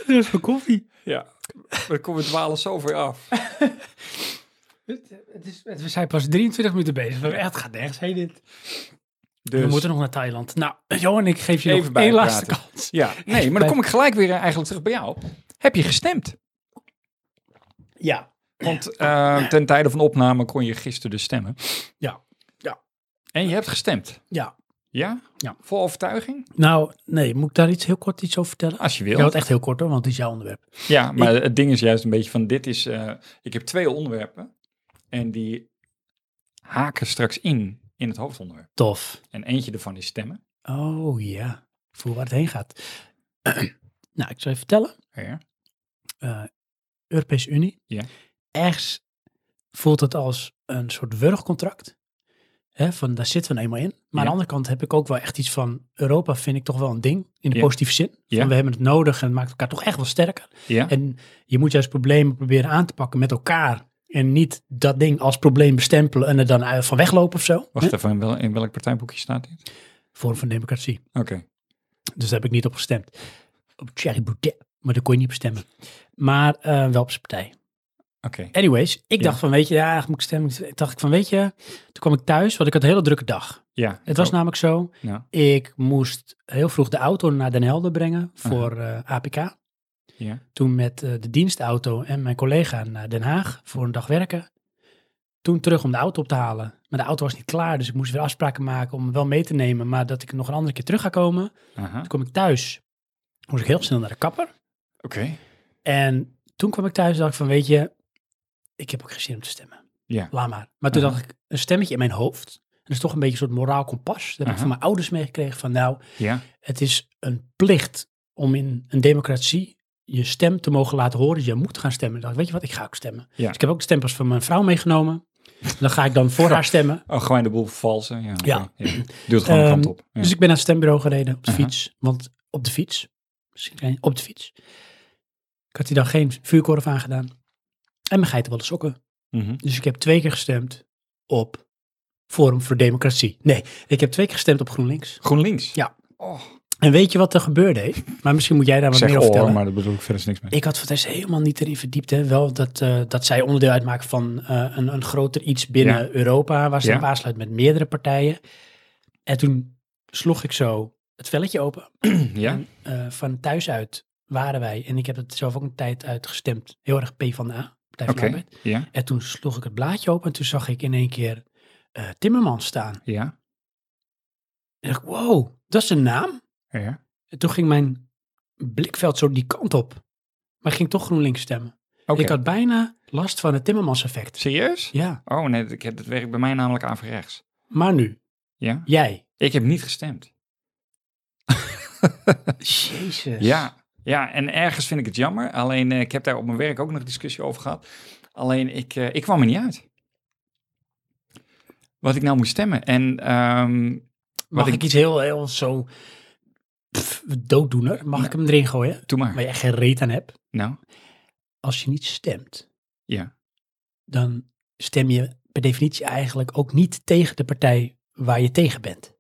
[SPEAKER 1] Er is koffie.
[SPEAKER 2] ja, maar dan komen we dwalen zo ver af.
[SPEAKER 1] Het is, het- we zijn pas 23 minuten bezig. We hebben echt gaat nergens heen dit.
[SPEAKER 2] Dus,
[SPEAKER 1] We moeten nog naar Thailand. Nou, Johan, ik geef je
[SPEAKER 2] Even
[SPEAKER 1] nog één
[SPEAKER 2] bijpraten.
[SPEAKER 1] laatste kans.
[SPEAKER 2] Ja, nee, maar dan kom ik gelijk weer eh, eigenlijk terug bij jou. Heb je gestemd?
[SPEAKER 1] Ja.
[SPEAKER 2] Want eh, ten tijde van de opname kon je gisteren dus stemmen.
[SPEAKER 1] Ja. Ja.
[SPEAKER 2] En je hebt gestemd.
[SPEAKER 1] Ja.
[SPEAKER 2] Ja?
[SPEAKER 1] Ja.
[SPEAKER 2] Vol overtuiging?
[SPEAKER 1] Nou, nee, moet ik daar iets heel kort iets over vertellen?
[SPEAKER 2] Als je
[SPEAKER 1] Ik
[SPEAKER 2] wil.
[SPEAKER 1] wil het echt heel kort hoor, want het is jouw onderwerp.
[SPEAKER 2] Ja, maar het ding is juist een beetje van dit is, eh, ik heb twee onderwerpen en die haken straks in in het hoofdonderwerp.
[SPEAKER 1] Tof.
[SPEAKER 2] En eentje daarvan is stemmen.
[SPEAKER 1] Oh ja, ik voel waar het heen gaat. nou, ik zal je vertellen.
[SPEAKER 2] Ja.
[SPEAKER 1] eh, Europese Unie.
[SPEAKER 2] Ja.
[SPEAKER 1] Ergens voelt het als een soort wurgcontract. Hè, van daar zitten we nou eenmaal in. Maar aan
[SPEAKER 2] Ja.
[SPEAKER 1] de andere kant heb ik ook wel echt iets van Europa vind ik toch wel een ding. In de
[SPEAKER 2] Ja.
[SPEAKER 1] positieve zin. Van,
[SPEAKER 2] Ja.
[SPEAKER 1] We hebben het nodig en het maakt elkaar toch echt wel sterker.
[SPEAKER 2] Ja.
[SPEAKER 1] En je moet juist problemen proberen aan te pakken met elkaar. En niet dat ding als probleem bestempelen en er dan uit- van weglopen of zo.
[SPEAKER 2] Wacht
[SPEAKER 1] Hè?
[SPEAKER 2] even, in, wel, in welk partijboekje staat dit?
[SPEAKER 1] Vorm van democratie.
[SPEAKER 2] Oké.
[SPEAKER 1] Dus daar heb ik niet op gestemd. Op Thierry Boudet. Maar daar kon je niet op stemmen. Maar eh, wel op zijn partij.
[SPEAKER 2] Oké.
[SPEAKER 1] Anyways, ik
[SPEAKER 2] Ja.
[SPEAKER 1] dacht van, weet je, ja, moet ik stemmen? Ik dacht ik van, weet je, toen kwam ik thuis, want ik had een hele drukke dag.
[SPEAKER 2] Ja.
[SPEAKER 1] Het was
[SPEAKER 2] Oh,
[SPEAKER 1] namelijk zo,
[SPEAKER 2] Ja.
[SPEAKER 1] ik moest heel vroeg de auto naar Den Helder brengen voor eh, APK.
[SPEAKER 2] Ja.
[SPEAKER 1] Toen met eh, de dienstauto en mijn collega naar Den Haag voor een dag werken. Toen terug om de auto op te halen. Maar de auto was niet klaar, dus ik moest weer afspraken maken om hem wel mee te nemen. Maar dat ik nog een andere keer terug ga komen.
[SPEAKER 2] Aha.
[SPEAKER 1] Toen kwam ik thuis, moest ik heel snel naar de kapper.
[SPEAKER 2] Oké.
[SPEAKER 1] En toen kwam ik thuis en dacht ik van, weet je, ik heb ook geen zin om te stemmen.
[SPEAKER 2] Ja.
[SPEAKER 1] Laat maar. Maar toen
[SPEAKER 2] Aha.
[SPEAKER 1] dacht ik, een stemmetje in mijn hoofd. Dat is toch een beetje een soort moraal kompas. Dat heb ik
[SPEAKER 2] Aha.
[SPEAKER 1] van mijn ouders meegekregen van, nou,
[SPEAKER 2] Ja.
[SPEAKER 1] het is een plicht om in een democratie je stem te mogen laten horen. Dus je moet gaan stemmen. Dan dacht ik, weet je wat, ik ga ook stemmen.
[SPEAKER 2] Ja.
[SPEAKER 1] Dus ik heb ook de stempas van mijn vrouw meegenomen. Dan ga ik dan voor haar stemmen.
[SPEAKER 2] Oh, gewoon de boel vervalsen. Ja. oké.
[SPEAKER 1] Ja.
[SPEAKER 2] Doe het gewoon de
[SPEAKER 1] Ehm,
[SPEAKER 2] kant op. Ja.
[SPEAKER 1] Dus ik ben naar het stembureau gereden op de
[SPEAKER 2] Aha.
[SPEAKER 1] fiets. Want op de fiets. Misschien klein- op de fiets. Ik had die dag geen vuurkorf aangedaan. En mijn geitenwolle sokken.
[SPEAKER 2] Mhm.
[SPEAKER 1] Dus ik heb twee keer gestemd op Forum voor Democratie. Nee, ik heb twee keer gestemd op GroenLinks.
[SPEAKER 2] GroenLinks.
[SPEAKER 1] Ja.
[SPEAKER 2] Oh,
[SPEAKER 1] En weet je wat er gebeurde? hè? Maar misschien moet jij daar
[SPEAKER 2] ik
[SPEAKER 1] wat
[SPEAKER 2] zeg
[SPEAKER 1] meer over
[SPEAKER 2] oh,
[SPEAKER 1] vertellen.
[SPEAKER 2] maar daar bedoel ik verder niks mee.
[SPEAKER 1] Ik had voor het eerst helemaal niet erin verdiept. Hè. Wel dat, eh, dat zij onderdeel uitmaken van eh, een, een groter iets binnen Europa. Waar ze
[SPEAKER 2] Ja.
[SPEAKER 1] op aansluit met meerdere partijen. En toen sloeg ik zo het velletje open.
[SPEAKER 2] ja.
[SPEAKER 1] En, eh, van thuis uit waren wij, en ik heb het zelf ook een tijd uitgestemd, heel erg P van de A, Partij van
[SPEAKER 2] Oké.
[SPEAKER 1] de Arbeid.
[SPEAKER 2] Ja.
[SPEAKER 1] En toen sloeg ik het blaadje open en toen zag ik in één keer eh Timmermans staan.
[SPEAKER 2] Ja.
[SPEAKER 1] En dacht ik, wow, dat is een naam?
[SPEAKER 2] Ja.
[SPEAKER 1] En toen ging mijn blikveld zo die kant op. Maar ik ging toch GroenLinks stemmen.
[SPEAKER 2] Oké.
[SPEAKER 1] Ik had bijna last van het Timmermans effect.
[SPEAKER 2] Serieus?
[SPEAKER 1] Ja,
[SPEAKER 2] Oh nee, dat, ik- dat werkt bij mij namelijk averechts.
[SPEAKER 1] maar nu,
[SPEAKER 2] Ja?
[SPEAKER 1] jij.
[SPEAKER 2] Ik heb niet gestemd.
[SPEAKER 1] Jezus.
[SPEAKER 2] Ja. Ja, en ergens vind ik het jammer. Alleen eh, ik heb daar op mijn werk ook nog discussie over gehad. Alleen ik, eh, ik kwam er niet uit. Wat ik nou moest stemmen. En ehm,
[SPEAKER 1] Mag
[SPEAKER 2] Wat
[SPEAKER 1] ik,
[SPEAKER 2] ik-
[SPEAKER 1] iets heel, heel zo pff, dooddoener, mag ik hem erin gooien?
[SPEAKER 2] doe maar.
[SPEAKER 1] Waar je echt geen reet aan hebt.
[SPEAKER 2] Nou,
[SPEAKER 1] als je niet stemt,
[SPEAKER 2] Ja.
[SPEAKER 1] dan stem je per definitie eigenlijk ook niet tegen de partij waar je tegen bent.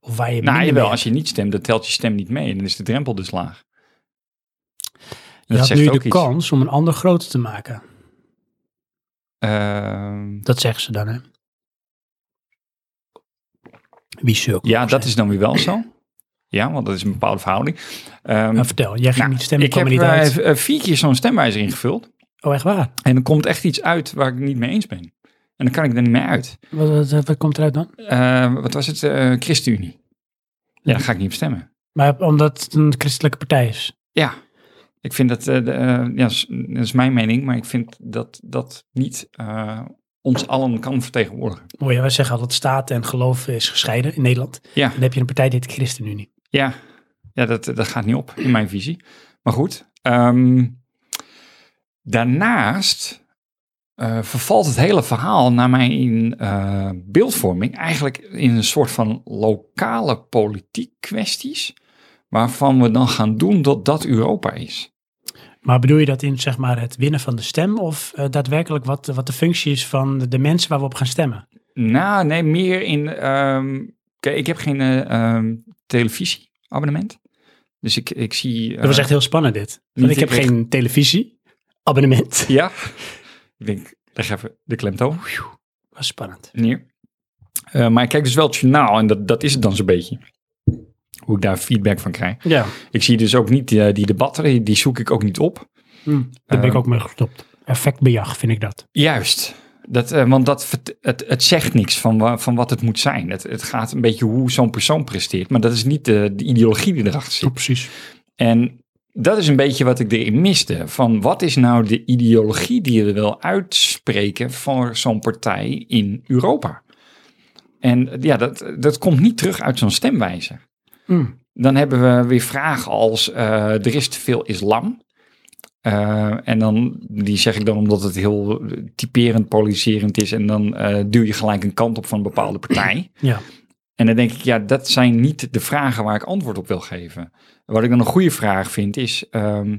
[SPEAKER 1] Of waar je
[SPEAKER 2] nou
[SPEAKER 1] minder
[SPEAKER 2] jawel,
[SPEAKER 1] mee
[SPEAKER 2] als je niet stemt, dan telt je stem niet mee. En dan is de drempel dus laag.
[SPEAKER 1] hebt. je
[SPEAKER 2] Dat
[SPEAKER 1] had
[SPEAKER 2] zegt
[SPEAKER 1] nu
[SPEAKER 2] ook
[SPEAKER 1] de
[SPEAKER 2] iets.
[SPEAKER 1] kans om een ander groter te maken.
[SPEAKER 2] Ehm,
[SPEAKER 1] Dat zeggen ze dan, hè? Wie zulke?
[SPEAKER 2] ja, dat is dan weer wel zo. Ja, want dat is een bepaalde verhouding. Ehm,
[SPEAKER 1] Maar vertel, jij ging
[SPEAKER 2] nou,
[SPEAKER 1] niet stemmen,
[SPEAKER 2] ik
[SPEAKER 1] kwam
[SPEAKER 2] heb
[SPEAKER 1] er niet uit.
[SPEAKER 2] eh, vier keer zo'n stemwijzer ingevuld.
[SPEAKER 1] Oh, echt waar?
[SPEAKER 2] En er komt echt iets uit waar ik het niet mee eens ben. En dan kan ik er niet mee uit.
[SPEAKER 1] Wat, wat, wat komt eruit dan?
[SPEAKER 2] Eh, wat was het? Eh, ChristenUnie. Ja, dan ga ik niet op stemmen.
[SPEAKER 1] Maar omdat het een christelijke partij is.
[SPEAKER 2] Ja, ik vind dat, eh, de, eh, ja, s- dat is mijn mening, maar ik vind dat dat niet eh, ons allen kan vertegenwoordigen.
[SPEAKER 1] Mooi, hè? wij zeggen altijd staat en geloof is gescheiden in Nederland.
[SPEAKER 2] Ja.
[SPEAKER 1] Dan heb je een partij die heet ChristenUnie.
[SPEAKER 2] Ja, ja dat, dat gaat niet op in mijn visie. Maar goed, ehm, daarnaast eh, vervalt het hele verhaal naar mijn eh, beeldvorming eigenlijk in een soort van lokale politiek kwesties, waarvan we dan gaan doen dat dat Europa is.
[SPEAKER 1] Maar bedoel je dat in zeg maar, het winnen van de stem of eh, daadwerkelijk wat, wat de functie is van de mensen waar we op gaan stemmen?
[SPEAKER 2] Nou, nee, meer in. ehm, kijk, ik heb geen eh, ehm, televisieabonnement. Dus ik, ik zie. eh,
[SPEAKER 1] Dat was echt heel spannend dit. Want
[SPEAKER 2] niet
[SPEAKER 1] ik heb
[SPEAKER 2] ik-
[SPEAKER 1] geen televisie, abonnement.
[SPEAKER 2] Ja. ik denk, leg even de klemtoon
[SPEAKER 1] was spannend.
[SPEAKER 2] neer. Eh, maar ik kijk dus wel het journaal en dat, dat is het dan zo'n beetje. Hoe ik daar feedback van krijg.
[SPEAKER 1] Ja,
[SPEAKER 2] Ik zie dus ook niet eh, die debatten, die- die zoek ik ook niet op.
[SPEAKER 1] hm, daar ben ik
[SPEAKER 2] Ehm.
[SPEAKER 1] ook mee gestopt. Effectbejag vind ik dat.
[SPEAKER 2] Juist. Dat, eh, want dat, vert- het, het zegt niks van, wa- van wat het moet zijn. Het, het gaat een beetje hoe zo'n persoon presteert. Maar dat is niet eh, de, de ideologie die erachter zit.
[SPEAKER 1] precies.
[SPEAKER 2] En dat is een beetje wat ik erin miste. Van wat is nou de ideologie die je wil uitspreken voor zo'n partij in Europa? En ja, dat, dat komt niet terug uit zo'n stemwijze.
[SPEAKER 1] Hmm.
[SPEAKER 2] Dan hebben we weer vragen als eh, er is te veel islam. Eh, en dan, die zeg ik dan omdat het heel typerend, polariserend is. En dan eh, duw je gelijk een kant op van een bepaalde partij.
[SPEAKER 1] Ja.
[SPEAKER 2] En dan denk ik, ja, dat zijn niet de vragen waar ik antwoord op wil geven. Wat ik dan een goede vraag vind is, ehm,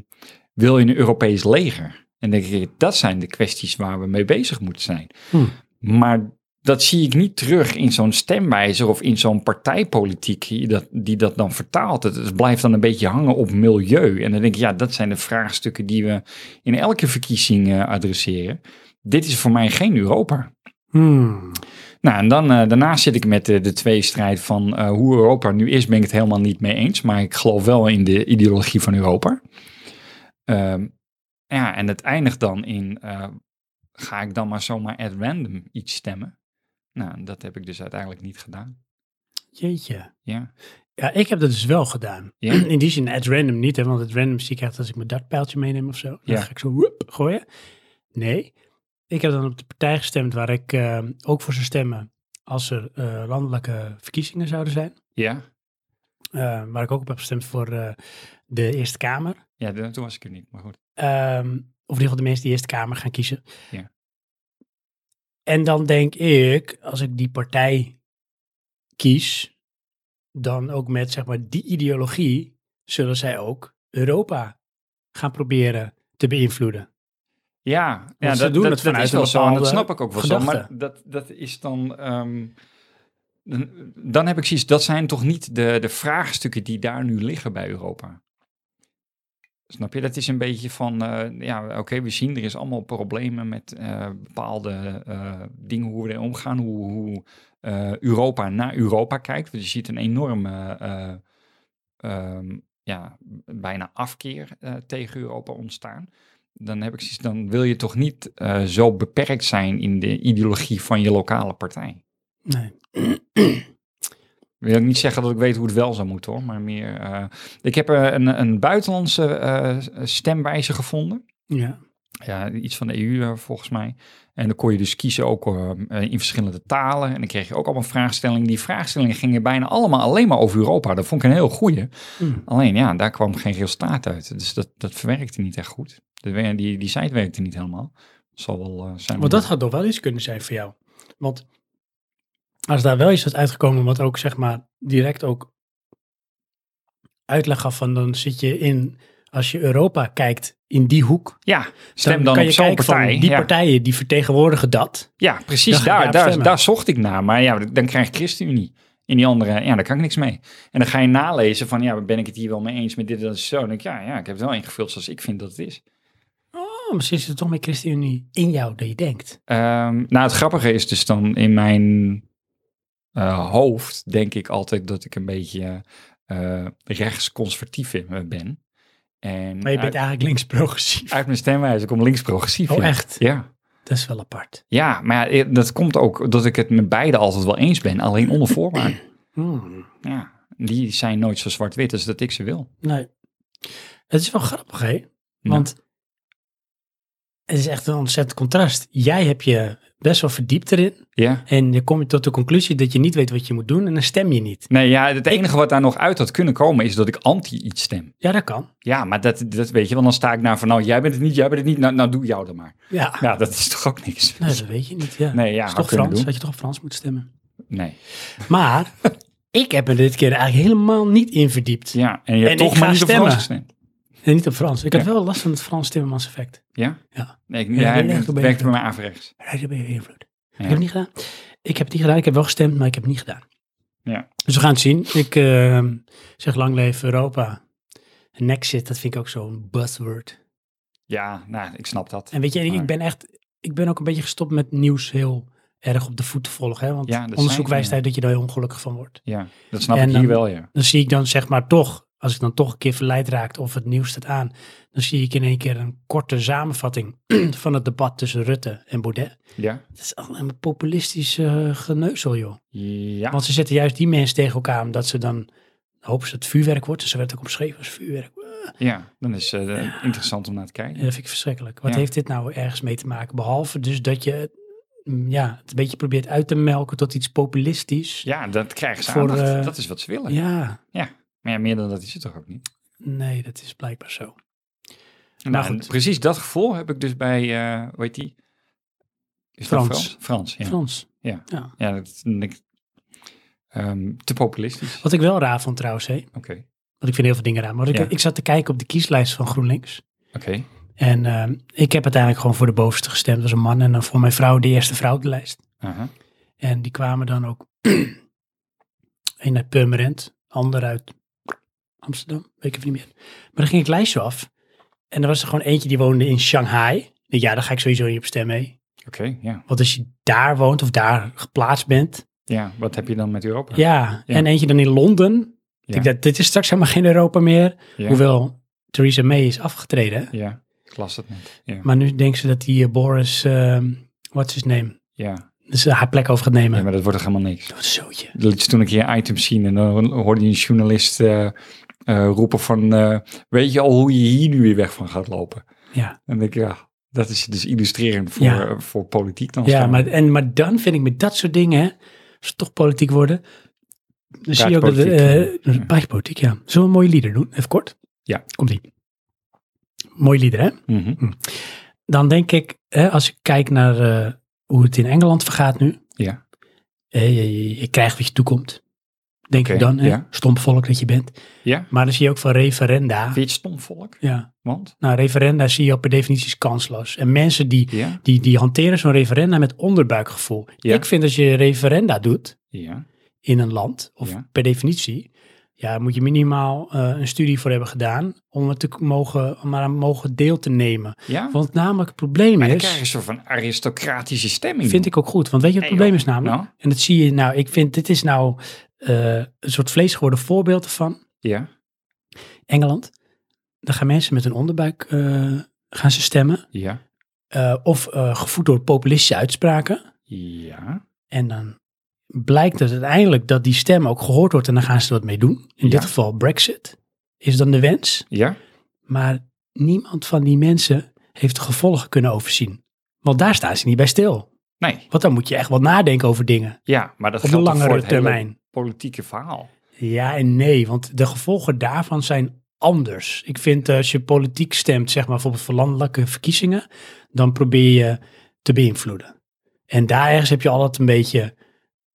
[SPEAKER 2] wil je een Europees leger? En dan denk ik, dat zijn de kwesties waar we mee bezig moeten zijn.
[SPEAKER 1] Hm.
[SPEAKER 2] Maar dat zie ik niet terug in zo'n stemwijzer of in zo'n partijpolitiek die dat, die dat dan vertaalt. Het, het blijft dan een beetje hangen op milieu. En dan denk ik, ja, dat zijn de vraagstukken die we in elke verkiezing eh, adresseren. Dit is voor mij geen Europa.
[SPEAKER 1] Hmm.
[SPEAKER 2] Nou, en dan, eh, daarnaast zit ik met de, de tweestrijd van eh, hoe Europa nu is, ben ik het helemaal niet mee eens. Maar ik geloof wel in de ideologie van Europa. Ehm, ja, en het eindigt dan in, eh, ga ik dan maar zomaar at random iets stemmen? Nou, en dat heb ik dus uiteindelijk niet gedaan.
[SPEAKER 1] Jeetje.
[SPEAKER 2] Ja,
[SPEAKER 1] Ja, ik heb dat dus wel gedaan.
[SPEAKER 2] Ja.
[SPEAKER 1] In die zin, at random niet, hè, want at random zie ik echt als ik mijn dartpijltje meeneem of zo. Dan
[SPEAKER 2] Ja.
[SPEAKER 1] ga ik zo woep, gooien. Nee, ik heb dan op de partij gestemd waar ik eh, ook voor zou stemmen als er eh, landelijke verkiezingen zouden zijn.
[SPEAKER 2] ja,
[SPEAKER 1] Eh, waar ik ook op heb gestemd voor eh, de Eerste Kamer.
[SPEAKER 2] ja de- toen was ik er niet, maar goed.
[SPEAKER 1] Ehm, of in ieder geval de mensen die Eerste Kamer gaan kiezen.
[SPEAKER 2] Ja.
[SPEAKER 1] En dan denk ik, als ik die partij kies, dan ook met zeg maar die ideologie zullen zij ook Europa gaan proberen te beïnvloeden.
[SPEAKER 2] Ja, ja
[SPEAKER 1] Want ze doen het vanuit
[SPEAKER 2] is wel
[SPEAKER 1] een
[SPEAKER 2] zo en dat
[SPEAKER 1] bepaalde
[SPEAKER 2] snap ik ook wel zo.
[SPEAKER 1] gedachte.
[SPEAKER 2] Maar dat, dat is dan... ehm, dan- dan heb ik zoiets, dat zijn toch niet de, de vraagstukken die daar nu liggen bij Europa. Snap je? Dat is een beetje van, eh, ja, oké, we zien er is allemaal problemen met eh, bepaalde eh, dingen hoe we er omgaan, hoe, hoe eh, Europa naar Europa kijkt. Dus je ziet een enorme, eh, ehm, ja, bijna afkeer eh, tegen Europa ontstaan. Dan heb ik zoiets, dan wil je toch niet eh, zo beperkt zijn in de ideologie van je lokale partij.
[SPEAKER 1] Nee.
[SPEAKER 2] Wil ik niet zeggen dat ik weet hoe het wel zou moeten hoor, maar meer. eh, ik heb eh, een, een buitenlandse eh, stemwijze gevonden.
[SPEAKER 1] Ja.
[SPEAKER 2] Ja, iets van de EU eh, volgens mij. En dan kon je dus kiezen ook eh, eh, in verschillende talen. En dan kreeg je ook allemaal vraagstellingen. Die vraagstellingen gingen bijna allemaal alleen maar over Europa. Dat vond ik een heel goeie.
[SPEAKER 1] Mm.
[SPEAKER 2] Alleen ja, daar kwam geen resultaat uit. Dus dat, dat verwerkte niet echt goed. De, wer- die, die site werkte niet helemaal. Zal wel eh, zijn.
[SPEAKER 1] Want dat had toch wel iets kunnen zijn voor jou. Want als daar wel iets was uitgekomen wat ook zeg maar direct ook uitleg gaf van dan zit je in, als je Europa kijkt, in die hoek
[SPEAKER 2] Ja, stem dan,
[SPEAKER 1] kan
[SPEAKER 2] op
[SPEAKER 1] je
[SPEAKER 2] zo'n
[SPEAKER 1] kijken van,
[SPEAKER 2] partij.
[SPEAKER 1] die
[SPEAKER 2] ja.
[SPEAKER 1] partijen die vertegenwoordigen dat.
[SPEAKER 2] Ja,
[SPEAKER 1] Dan
[SPEAKER 2] precies.
[SPEAKER 1] ga ik
[SPEAKER 2] Daar,
[SPEAKER 1] daarop
[SPEAKER 2] daar,
[SPEAKER 1] stemmen.
[SPEAKER 2] daar zocht ik naar. Maar ja, dan krijg ik ChristenUnie. En die andere, ja, daar kan ik niks mee. En dan ga je nalezen van, ja, ben ik het hier wel mee eens met dit en dat en zo. Dan denk ik, ja, ja, ik heb het wel ingevuld zoals ik vind dat het is.
[SPEAKER 1] Oh, misschien zit er toch meer ChristenUnie in jou dat je denkt.
[SPEAKER 2] Ehm, nou, het grappige is dus dan in mijn eh, hoofd denk ik altijd dat ik een beetje eh rechtsconservatief in me ben. En
[SPEAKER 1] Maar je
[SPEAKER 2] uit,
[SPEAKER 1] bent eigenlijk links-progressief.
[SPEAKER 2] uit mijn stemwijze kom links progressief.
[SPEAKER 1] Oh,
[SPEAKER 2] ja.
[SPEAKER 1] echt?
[SPEAKER 2] Ja.
[SPEAKER 1] Dat is wel apart.
[SPEAKER 2] ja, maar
[SPEAKER 1] Hmm.
[SPEAKER 2] ja, dat komt ook dat ik het met beide altijd wel eens ben, alleen onder voorwaarden. Ja, Die zijn nooit zo zwart-wit als dat ik ze wil.
[SPEAKER 1] Nee. Het is wel grappig, hè? Want het is echt een ontzettend contrast. Jij hebt je best wel verdiept erin.
[SPEAKER 2] Ja.
[SPEAKER 1] En dan kom je tot de conclusie dat je niet weet wat je moet doen en dan stem je niet.
[SPEAKER 2] Nee, ja, het enige wat daar nog uit had kunnen komen is dat ik anti iets stem.
[SPEAKER 1] Ja, dat kan.
[SPEAKER 2] Ja, maar dat, dat weet je, want dan sta ik naar van, nou, jij bent het niet, jij bent het niet, nou, nou doe jou dan maar.
[SPEAKER 1] Ja.
[SPEAKER 2] Ja, dat is toch ook niks.
[SPEAKER 1] Nee, dat weet je niet. Ja.
[SPEAKER 2] Nee, ja,
[SPEAKER 1] is
[SPEAKER 2] had
[SPEAKER 1] toch
[SPEAKER 2] kunnen
[SPEAKER 1] Frans?
[SPEAKER 2] doen.
[SPEAKER 1] Had je toch op Frans moeten stemmen?
[SPEAKER 2] Nee.
[SPEAKER 1] Maar ik heb er dit keer eigenlijk helemaal niet in verdiept.
[SPEAKER 2] Ja, en je hebt
[SPEAKER 1] En ik
[SPEAKER 2] toch maar
[SPEAKER 1] ga
[SPEAKER 2] niet op
[SPEAKER 1] stemmen.
[SPEAKER 2] Frans gestemd.
[SPEAKER 1] Nee, niet op Frans. Ik had
[SPEAKER 2] Ja.
[SPEAKER 1] wel last van het Frans Timmermans effect.
[SPEAKER 2] Ja?
[SPEAKER 1] Ja.
[SPEAKER 2] Nee, ik,
[SPEAKER 1] Ja,
[SPEAKER 2] ja,
[SPEAKER 1] ben je echt
[SPEAKER 2] het
[SPEAKER 1] op
[SPEAKER 2] werkt
[SPEAKER 1] beïnvloed.
[SPEAKER 2] bij mij aanverrechts.
[SPEAKER 1] Ja, daar ben je beïnvloed. Ik
[SPEAKER 2] Ja.
[SPEAKER 1] heb het niet gedaan. Ik heb het niet gedaan. Ik heb wel gestemd, maar ik heb het niet gedaan.
[SPEAKER 2] Ja.
[SPEAKER 1] Dus we gaan het zien. Ik ehm, zeg lang leven Europa. En Nexit, dat vind ik ook zo'n buzzword.
[SPEAKER 2] Ja, nou, ik snap dat.
[SPEAKER 1] En weet je, ik, ik ben echt, ik ben ook een beetje gestopt met nieuws heel erg op de voet te volgen. Hè? Want
[SPEAKER 2] Ja, dat zei
[SPEAKER 1] onderzoek
[SPEAKER 2] ik, ja.
[SPEAKER 1] wijst uit dat je daar heel ongelukkig van wordt.
[SPEAKER 2] Ja, dat snap
[SPEAKER 1] En
[SPEAKER 2] ik hier
[SPEAKER 1] dan-
[SPEAKER 2] wel, ja.
[SPEAKER 1] Dan zie ik dan zeg maar toch, als ik dan toch een keer verleid raakt of het nieuws staat aan, dan zie ik in één keer een korte samenvatting van het debat tussen Rutte en Baudet.
[SPEAKER 2] Ja?
[SPEAKER 1] Dat is allemaal een populistisch eh, geneuzel, joh.
[SPEAKER 2] Ja.
[SPEAKER 1] Want ze zetten juist die mensen tegen elkaar, omdat ze dan hopen ze dat het vuurwerk wordt. Dus ze werd ook omschreven als vuurwerk.
[SPEAKER 2] Ja, dan is het interessant om naar te kijken.
[SPEAKER 1] Ja, dat vind ik verschrikkelijk. Wat
[SPEAKER 2] Ja.
[SPEAKER 1] heeft dit nou ergens mee te maken? Behalve dus dat je mm, ja, het een beetje probeert uit te melken tot iets populistisch.
[SPEAKER 2] Ja, dat krijgen ze
[SPEAKER 1] Voor,
[SPEAKER 2] aandacht.
[SPEAKER 1] eh,
[SPEAKER 2] dat is wat ze willen.
[SPEAKER 1] Ja,
[SPEAKER 2] Maar ja, meer dan dat is het toch ook niet?
[SPEAKER 1] nee, dat is blijkbaar zo.
[SPEAKER 2] Nou,
[SPEAKER 1] goed.
[SPEAKER 2] precies dat gevoel heb ik dus bij, eh hoe heet die? Is
[SPEAKER 1] Frans.
[SPEAKER 2] Dat Frans, Frans ja.
[SPEAKER 1] Frans.
[SPEAKER 2] Ja, dat is niks- ehm, te populistisch.
[SPEAKER 1] Wat ik wel raar vond trouwens, hè?
[SPEAKER 2] Oké,
[SPEAKER 1] want ik vind heel veel dingen raar. Maar ik,
[SPEAKER 2] Ja.
[SPEAKER 1] ik zat te kijken op de kieslijst van GroenLinks.
[SPEAKER 2] oké.
[SPEAKER 1] En ehm, ik heb uiteindelijk gewoon voor de bovenste gestemd. Dat was een man en dan voor mijn vrouw de eerste vrouw op de lijst.
[SPEAKER 2] Aha.
[SPEAKER 1] En die kwamen dan ook. Eén uit Purmerend, ander uit Amsterdam, weet ik even niet meer. Maar dan ging ik het lijstje af. En er was er gewoon eentje die woonde in Shanghai. Ik dacht, Ja, daar ga ik sowieso niet op stemmen. hè.
[SPEAKER 2] Oké, ja.
[SPEAKER 1] Want als je daar woont of daar geplaatst bent.
[SPEAKER 2] Ja, wat heb je dan met Europa?
[SPEAKER 1] Ja,
[SPEAKER 2] Ja.
[SPEAKER 1] en eentje dan in Londen.
[SPEAKER 2] Ja.
[SPEAKER 1] Ik dacht, dit is straks helemaal geen Europa meer.
[SPEAKER 2] Ja.
[SPEAKER 1] Hoewel Theresa May is afgetreden. hè.
[SPEAKER 2] Ja, ik las het net. Ja,
[SPEAKER 1] Maar nu denken ze dat die eh, Boris, ehm what's his name,
[SPEAKER 2] ja.
[SPEAKER 1] dus eh, haar plek over gaat nemen.
[SPEAKER 2] ja maar dat wordt toch helemaal niks?
[SPEAKER 1] Wat een zootje.
[SPEAKER 2] Dat liet ze toen ik hier items zien en dan hoorde je een journalist eh, eh, roepen van... eh, weet je al hoe je hier nu weer weg van gaat lopen?
[SPEAKER 1] Ja.
[SPEAKER 2] En dan denk ik, ja, dat is dus illustrerend voor, eh,
[SPEAKER 1] Ja.
[SPEAKER 2] voor politiek dan.
[SPEAKER 1] Ja,
[SPEAKER 2] staan.
[SPEAKER 1] maar, en, maar dan vind ik met dat soort dingen, hè, als we toch politiek worden, dan zie je ook dat...
[SPEAKER 2] Praatpolitiek.
[SPEAKER 1] eh
[SPEAKER 2] Ja.
[SPEAKER 1] Praatpolitiek, ja. Zullen we een mooie lieder doen? Even kort.
[SPEAKER 2] Ja.
[SPEAKER 1] Komt-ie. Mooi lieder, hè?
[SPEAKER 2] Mhm.
[SPEAKER 1] Dan denk ik, hè, als ik kijk naar eh, hoe het in Engeland vergaat nu.
[SPEAKER 2] Ja.
[SPEAKER 1] Eh, je, je- je krijgt wat je toekomt. Denk ik
[SPEAKER 2] Oké,
[SPEAKER 1] dan, hè?
[SPEAKER 2] ja.
[SPEAKER 1] Stom volk dat je bent.
[SPEAKER 2] Ja.
[SPEAKER 1] Maar dan zie je ook van referenda.
[SPEAKER 2] Vind je het stom volk?
[SPEAKER 1] Ja.
[SPEAKER 2] Want?
[SPEAKER 1] Nou, referenda zie je al per definitie als kansloos. En mensen die,
[SPEAKER 2] Ja.
[SPEAKER 1] die, die hanteren zo'n referenda met onderbuikgevoel.
[SPEAKER 2] Ja.
[SPEAKER 1] Ik vind dat je referenda doet
[SPEAKER 2] Ja.
[SPEAKER 1] in een land, of
[SPEAKER 2] Ja.
[SPEAKER 1] per definitie, ja, moet je minimaal eh, een studie voor hebben gedaan om het te k- mogen, om aan mogen deel te nemen.
[SPEAKER 2] Ja.
[SPEAKER 1] Want namelijk het probleem
[SPEAKER 2] Ah. Maar dan
[SPEAKER 1] is,
[SPEAKER 2] krijg je een soort van aristocratische stemming.
[SPEAKER 1] vind ik ook goed, want weet je wat het
[SPEAKER 2] Hey,
[SPEAKER 1] probleem
[SPEAKER 2] joh.
[SPEAKER 1] is namelijk?
[SPEAKER 2] Nou,
[SPEAKER 1] En dat zie je nou, ik vind dit is nou eh, een soort vlees geworden voorbeeld van
[SPEAKER 2] ja.
[SPEAKER 1] Engeland. Dan gaan mensen met een onderbuik eh, gaan ze stemmen.
[SPEAKER 2] Ja.
[SPEAKER 1] eh, of eh, gevoed door populistische uitspraken.
[SPEAKER 2] Ja.
[SPEAKER 1] En dan blijkt het uiteindelijk dat die stem ook gehoord wordt en dan gaan ze er wat mee doen. In
[SPEAKER 2] Ja.
[SPEAKER 1] dit geval Brexit is dan de wens.
[SPEAKER 2] Ja.
[SPEAKER 1] Maar niemand van die mensen heeft de gevolgen kunnen overzien. Want daar staan ze niet bij stil.
[SPEAKER 2] Nee.
[SPEAKER 1] Want dan moet je echt wel nadenken over dingen
[SPEAKER 2] Ja, maar dat
[SPEAKER 1] op de
[SPEAKER 2] geldt toch voor
[SPEAKER 1] langere
[SPEAKER 2] het hele
[SPEAKER 1] termijn.
[SPEAKER 2] politieke verhaal.
[SPEAKER 1] Ja en nee, want de gevolgen daarvan zijn anders. Ik vind eh, als je politiek stemt, zeg maar bijvoorbeeld voor landelijke verkiezingen, dan probeer je te beïnvloeden. En daar ergens heb je altijd een beetje,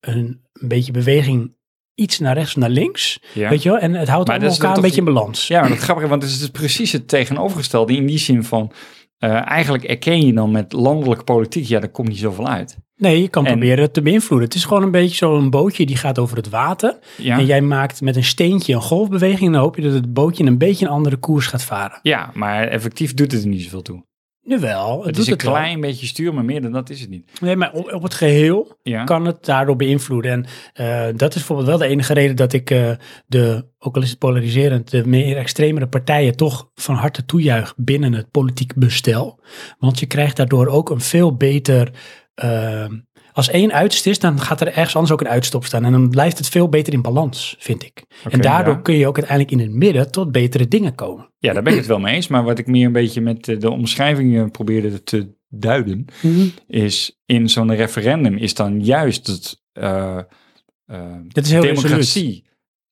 [SPEAKER 1] een, een beetje beweging iets naar rechts of naar links,
[SPEAKER 2] Ja.
[SPEAKER 1] weet je wel? En het houdt
[SPEAKER 2] Maar
[SPEAKER 1] allemaal
[SPEAKER 2] dat is dan
[SPEAKER 1] elkaar een
[SPEAKER 2] toch
[SPEAKER 1] beetje in balans.
[SPEAKER 2] Ja, maar dat grappige, want het is dus precies het tegenovergestelde in die zin van... eh, eigenlijk erken je dan met landelijke politiek, ja, daar komt niet zoveel uit.
[SPEAKER 1] Nee, je kan
[SPEAKER 2] En-
[SPEAKER 1] proberen het te beïnvloeden. Het is gewoon een beetje zo'n bootje die gaat over het water.
[SPEAKER 2] Ja,
[SPEAKER 1] En jij maakt met een steentje een golfbeweging en dan hoop je dat het bootje een beetje een andere koers gaat varen.
[SPEAKER 2] ja maar effectief doet het er niet zoveel toe.
[SPEAKER 1] Nu wel, het,
[SPEAKER 2] Het
[SPEAKER 1] doet
[SPEAKER 2] is een
[SPEAKER 1] het wel.
[SPEAKER 2] klein beetje stuur, maar meer dan dat is het niet.
[SPEAKER 1] Nee, maar op, op het geheel
[SPEAKER 2] Ja,
[SPEAKER 1] kan het daardoor beïnvloeden. En eh, dat is bijvoorbeeld wel de enige reden dat ik eh, de, ook al is het polariserend, de meer extremere partijen toch van harte toejuich binnen het politiek bestel. Want je krijgt daardoor ook een veel beter eh, als één uiterst is, dan gaat er ergens anders ook een uitstop staan. En dan blijft het veel beter in balans, vind ik. en daardoor
[SPEAKER 2] ja.
[SPEAKER 1] kun je ook uiteindelijk in het midden tot betere dingen komen.
[SPEAKER 2] Ja, daar ben ik het wel mee eens. Maar wat ik meer een beetje met eh, de omschrijvingen probeerde te duiden,
[SPEAKER 1] Mhm.
[SPEAKER 2] is in zo'n referendum is dan juist het eh, eh,
[SPEAKER 1] Dat is heel resoluut.
[SPEAKER 2] democratie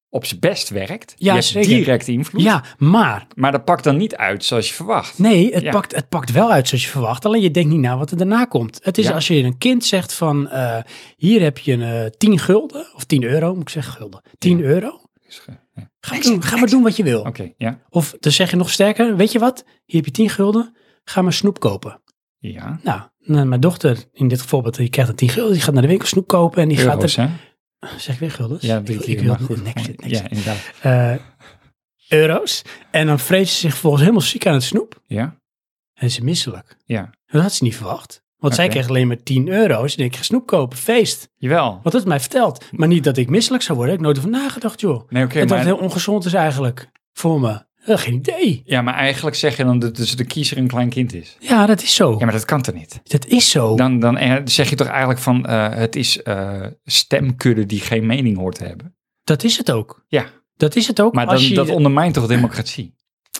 [SPEAKER 2] op zijn best werkt.
[SPEAKER 1] Ja,
[SPEAKER 2] je hebt
[SPEAKER 1] zeker.
[SPEAKER 2] direct invloed,
[SPEAKER 1] Ja, maar
[SPEAKER 2] maar dat pakt dan niet uit zoals je verwacht.
[SPEAKER 1] nee, het,
[SPEAKER 2] Ja.
[SPEAKER 1] pakt, het pakt wel uit zoals je verwacht. Alleen je denkt niet na wat er daarna komt. Het is
[SPEAKER 2] Ja.
[SPEAKER 1] als je een kind zegt van, eh, hier heb je een eh, 10 gulden, of 10 euro moet ik zeggen, gulden. 10
[SPEAKER 2] Ja.
[SPEAKER 1] euro.
[SPEAKER 2] Dus, eh, ja.
[SPEAKER 1] Ga maar, doen, ga maar doen wat je wil.
[SPEAKER 2] Oké, ja.
[SPEAKER 1] Of dan zeg je nog sterker, weet je wat? Hier heb je 10 gulden, ga maar snoep kopen.
[SPEAKER 2] Ja,
[SPEAKER 1] Nou, nou, mijn dochter in dit voorbeeld, die krijgt een 10 gulden, die gaat naar de winkel snoep kopen en die gaat
[SPEAKER 2] euro's,
[SPEAKER 1] er...
[SPEAKER 2] hè?
[SPEAKER 1] Zeg ik weer guldens?
[SPEAKER 2] Ja,
[SPEAKER 1] Ik
[SPEAKER 2] drie
[SPEAKER 1] wil-
[SPEAKER 2] keer,
[SPEAKER 1] ik wil
[SPEAKER 2] maar goed.
[SPEAKER 1] niks, niks.
[SPEAKER 2] Ja, inderdaad.
[SPEAKER 1] Eh, euro's. En dan vreest ze zich volgens helemaal ziek aan het snoep.
[SPEAKER 2] Ja,
[SPEAKER 1] En ze misselijk.
[SPEAKER 2] ja.
[SPEAKER 1] Dat had ze niet verwacht. Want zij
[SPEAKER 2] Oké.
[SPEAKER 1] kreeg alleen maar 10 euro's. En ik ga snoep kopen, feest.
[SPEAKER 2] Jawel.
[SPEAKER 1] Wat het mij vertelt. Maar niet dat ik misselijk zou worden. Ik heb nooit van nagedacht, joh.
[SPEAKER 2] Nee, oké,
[SPEAKER 1] en dat
[SPEAKER 2] maar...
[SPEAKER 1] het heel ongezond is eigenlijk voor me. Eh, geen idee.
[SPEAKER 2] Ja, maar eigenlijk zeg je dan dat dus de kiezer een klein kind is.
[SPEAKER 1] Ja, dat is zo.
[SPEAKER 2] Ja, maar dat kan toch niet?
[SPEAKER 1] Dat is zo.
[SPEAKER 2] Dan, dan eh, zeg je toch eigenlijk van eh, het is eh, stemkudde die geen mening hoort te hebben.
[SPEAKER 1] Dat is het ook.
[SPEAKER 2] Ja.
[SPEAKER 1] Dat is het ook.
[SPEAKER 2] Maar
[SPEAKER 1] als
[SPEAKER 2] dan,
[SPEAKER 1] je,
[SPEAKER 2] dat ondermijnt toch democratie?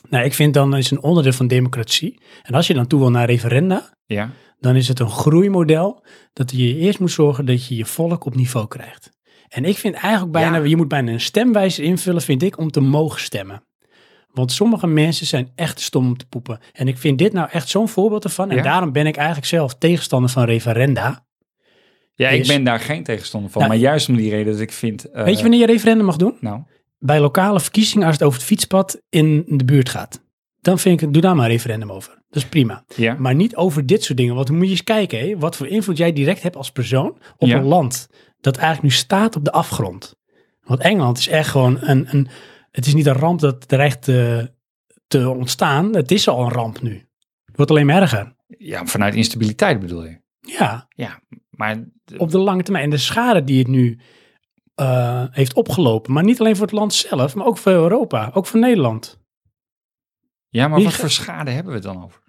[SPEAKER 1] nou, ik vind dan is een onderdeel van democratie. En als je dan toe wil naar referenda,
[SPEAKER 2] Ja,
[SPEAKER 1] dan is het een groeimodel dat je eerst moet zorgen dat je je volk op niveau krijgt. En ik vind eigenlijk bijna,
[SPEAKER 2] Ja.
[SPEAKER 1] je moet bijna een stemwijzer invullen, vind ik, om te mogen stemmen. Want sommige mensen zijn echt stom om te poepen. En ik vind dit nou echt zo'n voorbeeld ervan. En
[SPEAKER 2] Ja. Eh.
[SPEAKER 1] daarom ben ik eigenlijk zelf tegenstander van referenda.
[SPEAKER 2] ja
[SPEAKER 1] Is-
[SPEAKER 2] ik ben daar geen tegenstander van.
[SPEAKER 1] Nou,
[SPEAKER 2] maar juist om die reden dat ik vind... eh,
[SPEAKER 1] Weet je wanneer je referenda mag doen?
[SPEAKER 2] Nou,
[SPEAKER 1] Bij lokale verkiezingen als het over het fietspad in de buurt gaat. Dan vind ik, het- doe daar maar een referendum over. Dat is prima.
[SPEAKER 2] ja.
[SPEAKER 1] Maar niet over dit soort dingen. Want dan moet je eens kijken, hè, wat voor invloed jij direct hebt als persoon op
[SPEAKER 2] Ja.
[SPEAKER 1] een land dat eigenlijk nu staat op de afgrond. Want Engeland is echt gewoon een. een het is niet een ramp dat dreigt te, te ontstaan. Het is al een ramp nu. Het wordt alleen maar erger.
[SPEAKER 2] ja, vanuit instabiliteit bedoel je.
[SPEAKER 1] Ja,
[SPEAKER 2] Maar d-
[SPEAKER 1] op de lange termijn. En de schade die het nu eh, heeft opgelopen. Maar niet alleen voor het land zelf, maar ook voor Europa. Ook voor Nederland.
[SPEAKER 2] ja, maar
[SPEAKER 1] Wie
[SPEAKER 2] wat
[SPEAKER 1] ge-
[SPEAKER 2] voor schade hebben we het dan over?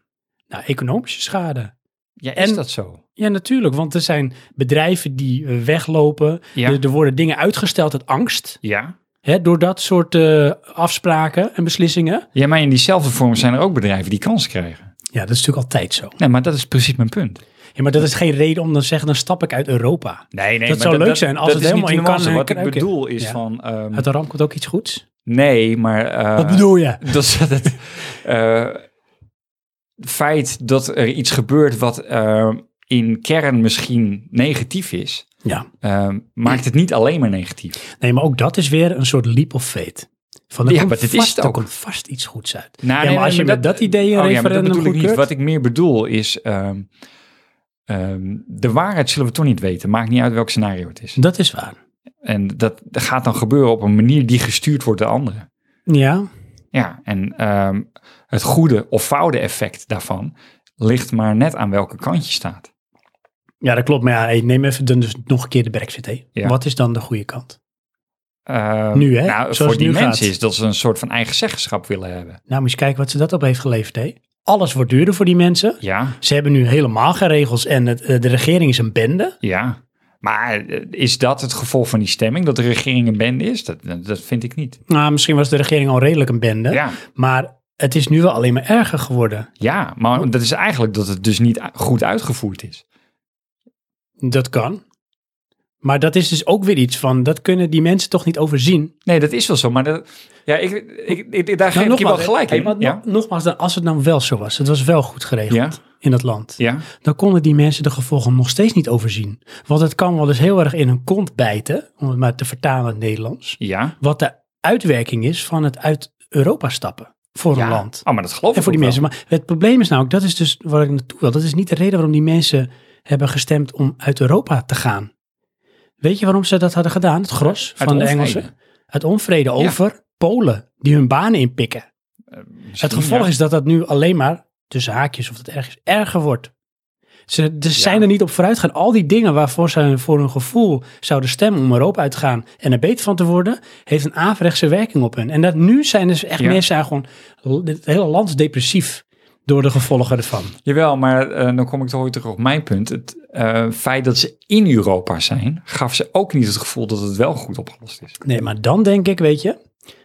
[SPEAKER 1] Nou, economische schade.
[SPEAKER 2] Ja, is
[SPEAKER 1] En-
[SPEAKER 2] dat zo?
[SPEAKER 1] Ja, natuurlijk. Want er zijn bedrijven die eh, weglopen.
[SPEAKER 2] Ja,
[SPEAKER 1] Er, er worden dingen uitgesteld uit angst.
[SPEAKER 2] ja.
[SPEAKER 1] Hè, door dat soort eh, afspraken en beslissingen.
[SPEAKER 2] ja, maar in diezelfde vorm zijn er ook bedrijven die kans krijgen.
[SPEAKER 1] Ja, dat is natuurlijk altijd zo.
[SPEAKER 2] Nee, maar dat is precies mijn punt.
[SPEAKER 1] Ja, maar dat is geen reden om dan te zeggen, dan stap ik uit Europa.
[SPEAKER 2] Nee, nee,
[SPEAKER 1] Dat zou leuk zijn als
[SPEAKER 2] dat
[SPEAKER 1] het
[SPEAKER 2] is
[SPEAKER 1] helemaal
[SPEAKER 2] niet de
[SPEAKER 1] in kan
[SPEAKER 2] nuance.
[SPEAKER 1] en
[SPEAKER 2] Wat ik
[SPEAKER 1] kruiken.
[SPEAKER 2] bedoel is
[SPEAKER 1] Ja.
[SPEAKER 2] van... ehm,
[SPEAKER 1] Uit de ramp komt ook iets goeds.
[SPEAKER 2] nee, maar... eh,
[SPEAKER 1] Wat bedoel je?
[SPEAKER 2] dat is het eh, feit dat er iets gebeurt wat eh, in kern misschien negatief is,
[SPEAKER 1] Ja.
[SPEAKER 2] eh, maakt het niet alleen maar negatief.
[SPEAKER 1] Nee, maar ook dat is weer een soort leap of fate. Van, er
[SPEAKER 2] Ja,
[SPEAKER 1] komt
[SPEAKER 2] maar dit is
[SPEAKER 1] vast,
[SPEAKER 2] het ook.
[SPEAKER 1] er komt vast iets goeds uit.
[SPEAKER 2] Nou,
[SPEAKER 1] ja, maar als je met dat, idee een
[SPEAKER 2] Oh ja, maar dat
[SPEAKER 1] referendum
[SPEAKER 2] bedoel ik niet.
[SPEAKER 1] goedkeurt-
[SPEAKER 2] Wat ik meer bedoel is, ehm, ehm, de waarheid zullen we toch niet weten. Maakt niet uit welk scenario het is.
[SPEAKER 1] Dat is waar.
[SPEAKER 2] En dat gaat dan gebeuren op een manier die gestuurd wordt door anderen.
[SPEAKER 1] Ja,
[SPEAKER 2] Ja, en ehm, het goede of foute effect daarvan ligt maar net aan welke kant je staat.
[SPEAKER 1] ja dat klopt. Maar ja, hey, neem even dan dus nog een keer de brexit. Hè.
[SPEAKER 2] Ja.
[SPEAKER 1] Wat is dan de goede kant?
[SPEAKER 2] Ehm,
[SPEAKER 1] Nu, hè?
[SPEAKER 2] Nou,
[SPEAKER 1] Zoals
[SPEAKER 2] voor
[SPEAKER 1] het
[SPEAKER 2] die
[SPEAKER 1] nu
[SPEAKER 2] mensen
[SPEAKER 1] gaat.
[SPEAKER 2] is dat ze een soort van eigen zeggenschap willen hebben.
[SPEAKER 1] Nou, moet je eens kijken wat ze dat op heeft geleverd. Hè. Alles wordt duurder voor die mensen.
[SPEAKER 2] Ja,
[SPEAKER 1] Ze hebben nu helemaal geen regels en het, eh, de regering is een bende.
[SPEAKER 2] ja. Maar eh, is dat het gevolg van die stemming, dat de regering een bende is? Dat, dat dat vind ik niet.
[SPEAKER 1] Nou, misschien was de regering al redelijk een bende.
[SPEAKER 2] Ja,
[SPEAKER 1] Maar het is nu wel alleen maar erger geworden.
[SPEAKER 2] ja maar dat is eigenlijk dat het dus niet u- goed uitgevoerd is.
[SPEAKER 1] Dat kan. Maar dat is dus ook weer iets van, dat kunnen die mensen toch niet overzien.
[SPEAKER 2] Nee, dat is wel zo, maar dat, ja, ik, ik, ik- daar geef ik je wel
[SPEAKER 1] Nou,
[SPEAKER 2] gelijk
[SPEAKER 1] hey,
[SPEAKER 2] in.
[SPEAKER 1] maar no-
[SPEAKER 2] ja?
[SPEAKER 1] nogmaals, dan, als het nou wel zo was, het was wel goed geregeld
[SPEAKER 2] Ja,
[SPEAKER 1] in dat land.
[SPEAKER 2] ja,
[SPEAKER 1] Dan konden die mensen de gevolgen nog steeds niet overzien. Want het kan wel eens heel erg in hun kont bijten, om het maar te vertalen in het Nederlands.
[SPEAKER 2] ja.
[SPEAKER 1] Wat de uitwerking is van het uit Europa stappen voor
[SPEAKER 2] ja.
[SPEAKER 1] een land.
[SPEAKER 2] Oh, maar dat geloof ik
[SPEAKER 1] En voor die
[SPEAKER 2] ook
[SPEAKER 1] mensen. Maar het probleem is nou ook, dat is dus waar ik naartoe wil. Dat is niet de reden waarom die mensen hebben gestemd om uit Europa te gaan. Weet je waarom ze dat hadden gedaan? Het gros
[SPEAKER 2] Uit
[SPEAKER 1] van de
[SPEAKER 2] onvrede.
[SPEAKER 1] Engelsen. Het onvrede
[SPEAKER 2] Ja.
[SPEAKER 1] over Polen, die hun banen inpikken.
[SPEAKER 2] wel.
[SPEAKER 1] Dus Het gevolg
[SPEAKER 2] Ja.
[SPEAKER 1] is dat dat nu alleen maar, tussen haakjes of dat ergens, erger wordt. Ze ze zijn
[SPEAKER 2] Ja.
[SPEAKER 1] er niet op vooruit gaan. Al die dingen waarvoor ze voor hun gevoel zouden stemmen om Europa uit te gaan en er beter van te worden, heeft een averechtse werking op hun. En dat nu zijn dus echt
[SPEAKER 2] Ja.
[SPEAKER 1] mensen zijn gewoon, het hele land is depressief. door de gevolgen ervan.
[SPEAKER 2] Jawel, maar eh, dan kom ik toch weer terug op mijn punt. Het eh, feit dat ze in Europa zijn, gaf ze ook niet het gevoel dat het wel goed opgelost is.
[SPEAKER 1] Nee, maar dan denk ik, weet je,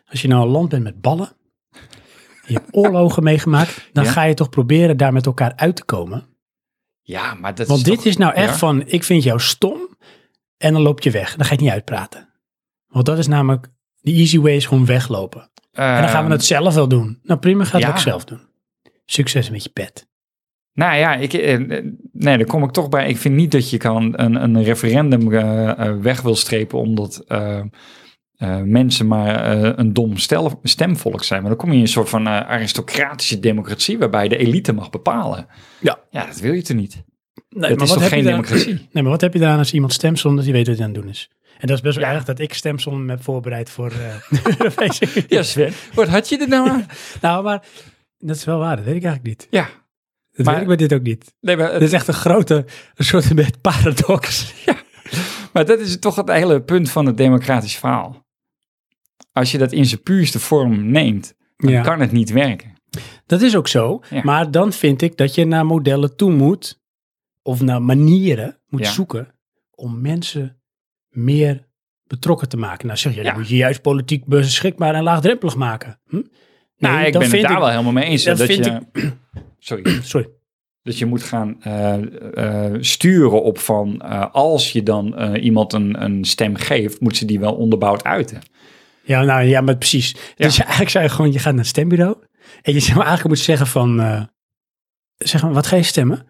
[SPEAKER 1] als je nou een land bent met ballen, en je hebt oorlogen meegemaakt, dan
[SPEAKER 2] Ja.
[SPEAKER 1] ga je toch proberen daar met elkaar uit te komen.
[SPEAKER 2] Ja, maar dat
[SPEAKER 1] Want
[SPEAKER 2] is
[SPEAKER 1] dit
[SPEAKER 2] toch-
[SPEAKER 1] is nou echt
[SPEAKER 2] ja.
[SPEAKER 1] van, ik vind jou stom en dan loop je weg. Dan ga je het niet uitpraten. Want dat is namelijk, de easy way is gewoon weglopen. en dan gaan we
[SPEAKER 2] Ehm,
[SPEAKER 1] het zelf wel doen. Nou prima, ga het
[SPEAKER 2] ja.
[SPEAKER 1] ook zelf doen. Succes met je pet.
[SPEAKER 2] Nou ja, ik, eh, eh, nee, daar kom ik toch bij. Ik vind niet dat je kan een, een referendum eh, eh, weg wil strepen omdat eh, eh, mensen maar eh, een dom stel, stemvolk zijn. Maar dan kom je in een soort van eh, aristocratische democratie waarbij de elite mag bepalen.
[SPEAKER 1] Ja. Eh,
[SPEAKER 2] Ja, dat wil je toch niet?
[SPEAKER 1] Nee,
[SPEAKER 2] dat is toch geen democratie?
[SPEAKER 1] Nee, maar wat heb je eraan als iemand stemt zonder dat hij weet wat hij aan het doen is? En dat is best wel
[SPEAKER 2] Ja.
[SPEAKER 1] erg dat ik stemsom heb voorbereid voor eh, de Europese Unie.
[SPEAKER 2] Ja, Sven, wat had je er nou aan?
[SPEAKER 1] Nou, maar dat is wel waar. Dat weet ik eigenlijk niet.
[SPEAKER 2] ja,
[SPEAKER 1] Dat
[SPEAKER 2] Maar-
[SPEAKER 1] weet ik bij dit ook niet.
[SPEAKER 2] nee, maar,
[SPEAKER 1] Dit is echt een grote, een soort met paradox.
[SPEAKER 2] maar dat is toch het hele punt van het democratisch verhaal. Als je dat in zijn puurste vorm neemt, dan
[SPEAKER 1] Ja.
[SPEAKER 2] kan het niet werken.
[SPEAKER 1] Dat is ook zo.
[SPEAKER 2] Ja.
[SPEAKER 1] Maar dan vind ik dat je naar modellen toe moet, of naar manieren moet
[SPEAKER 2] Ja.
[SPEAKER 1] zoeken om mensen meer betrokken te maken. Nou zeg je, dan
[SPEAKER 2] Ja.
[SPEAKER 1] moet je juist politiek beschikbaar en laagdrempelig maken. Hm? Nee,
[SPEAKER 2] nou, ik
[SPEAKER 1] dan
[SPEAKER 2] ben het
[SPEAKER 1] vind
[SPEAKER 2] daar wel helemaal mee eens.
[SPEAKER 1] dat
[SPEAKER 2] dat
[SPEAKER 1] vind
[SPEAKER 2] je, Sorry.
[SPEAKER 1] Sorry.
[SPEAKER 2] Dat je moet gaan eh, eh, sturen op van eh, als je dan eh, iemand een, een stem geeft, moet ze die wel onderbouwd uiten.
[SPEAKER 1] Ja, nou ja, maar precies. Dus je- eigenlijk zou je gewoon, je gaat naar het stembureau en je zou eigenlijk moeten zeggen van, eh, zeg maar, wat ga je stemmen?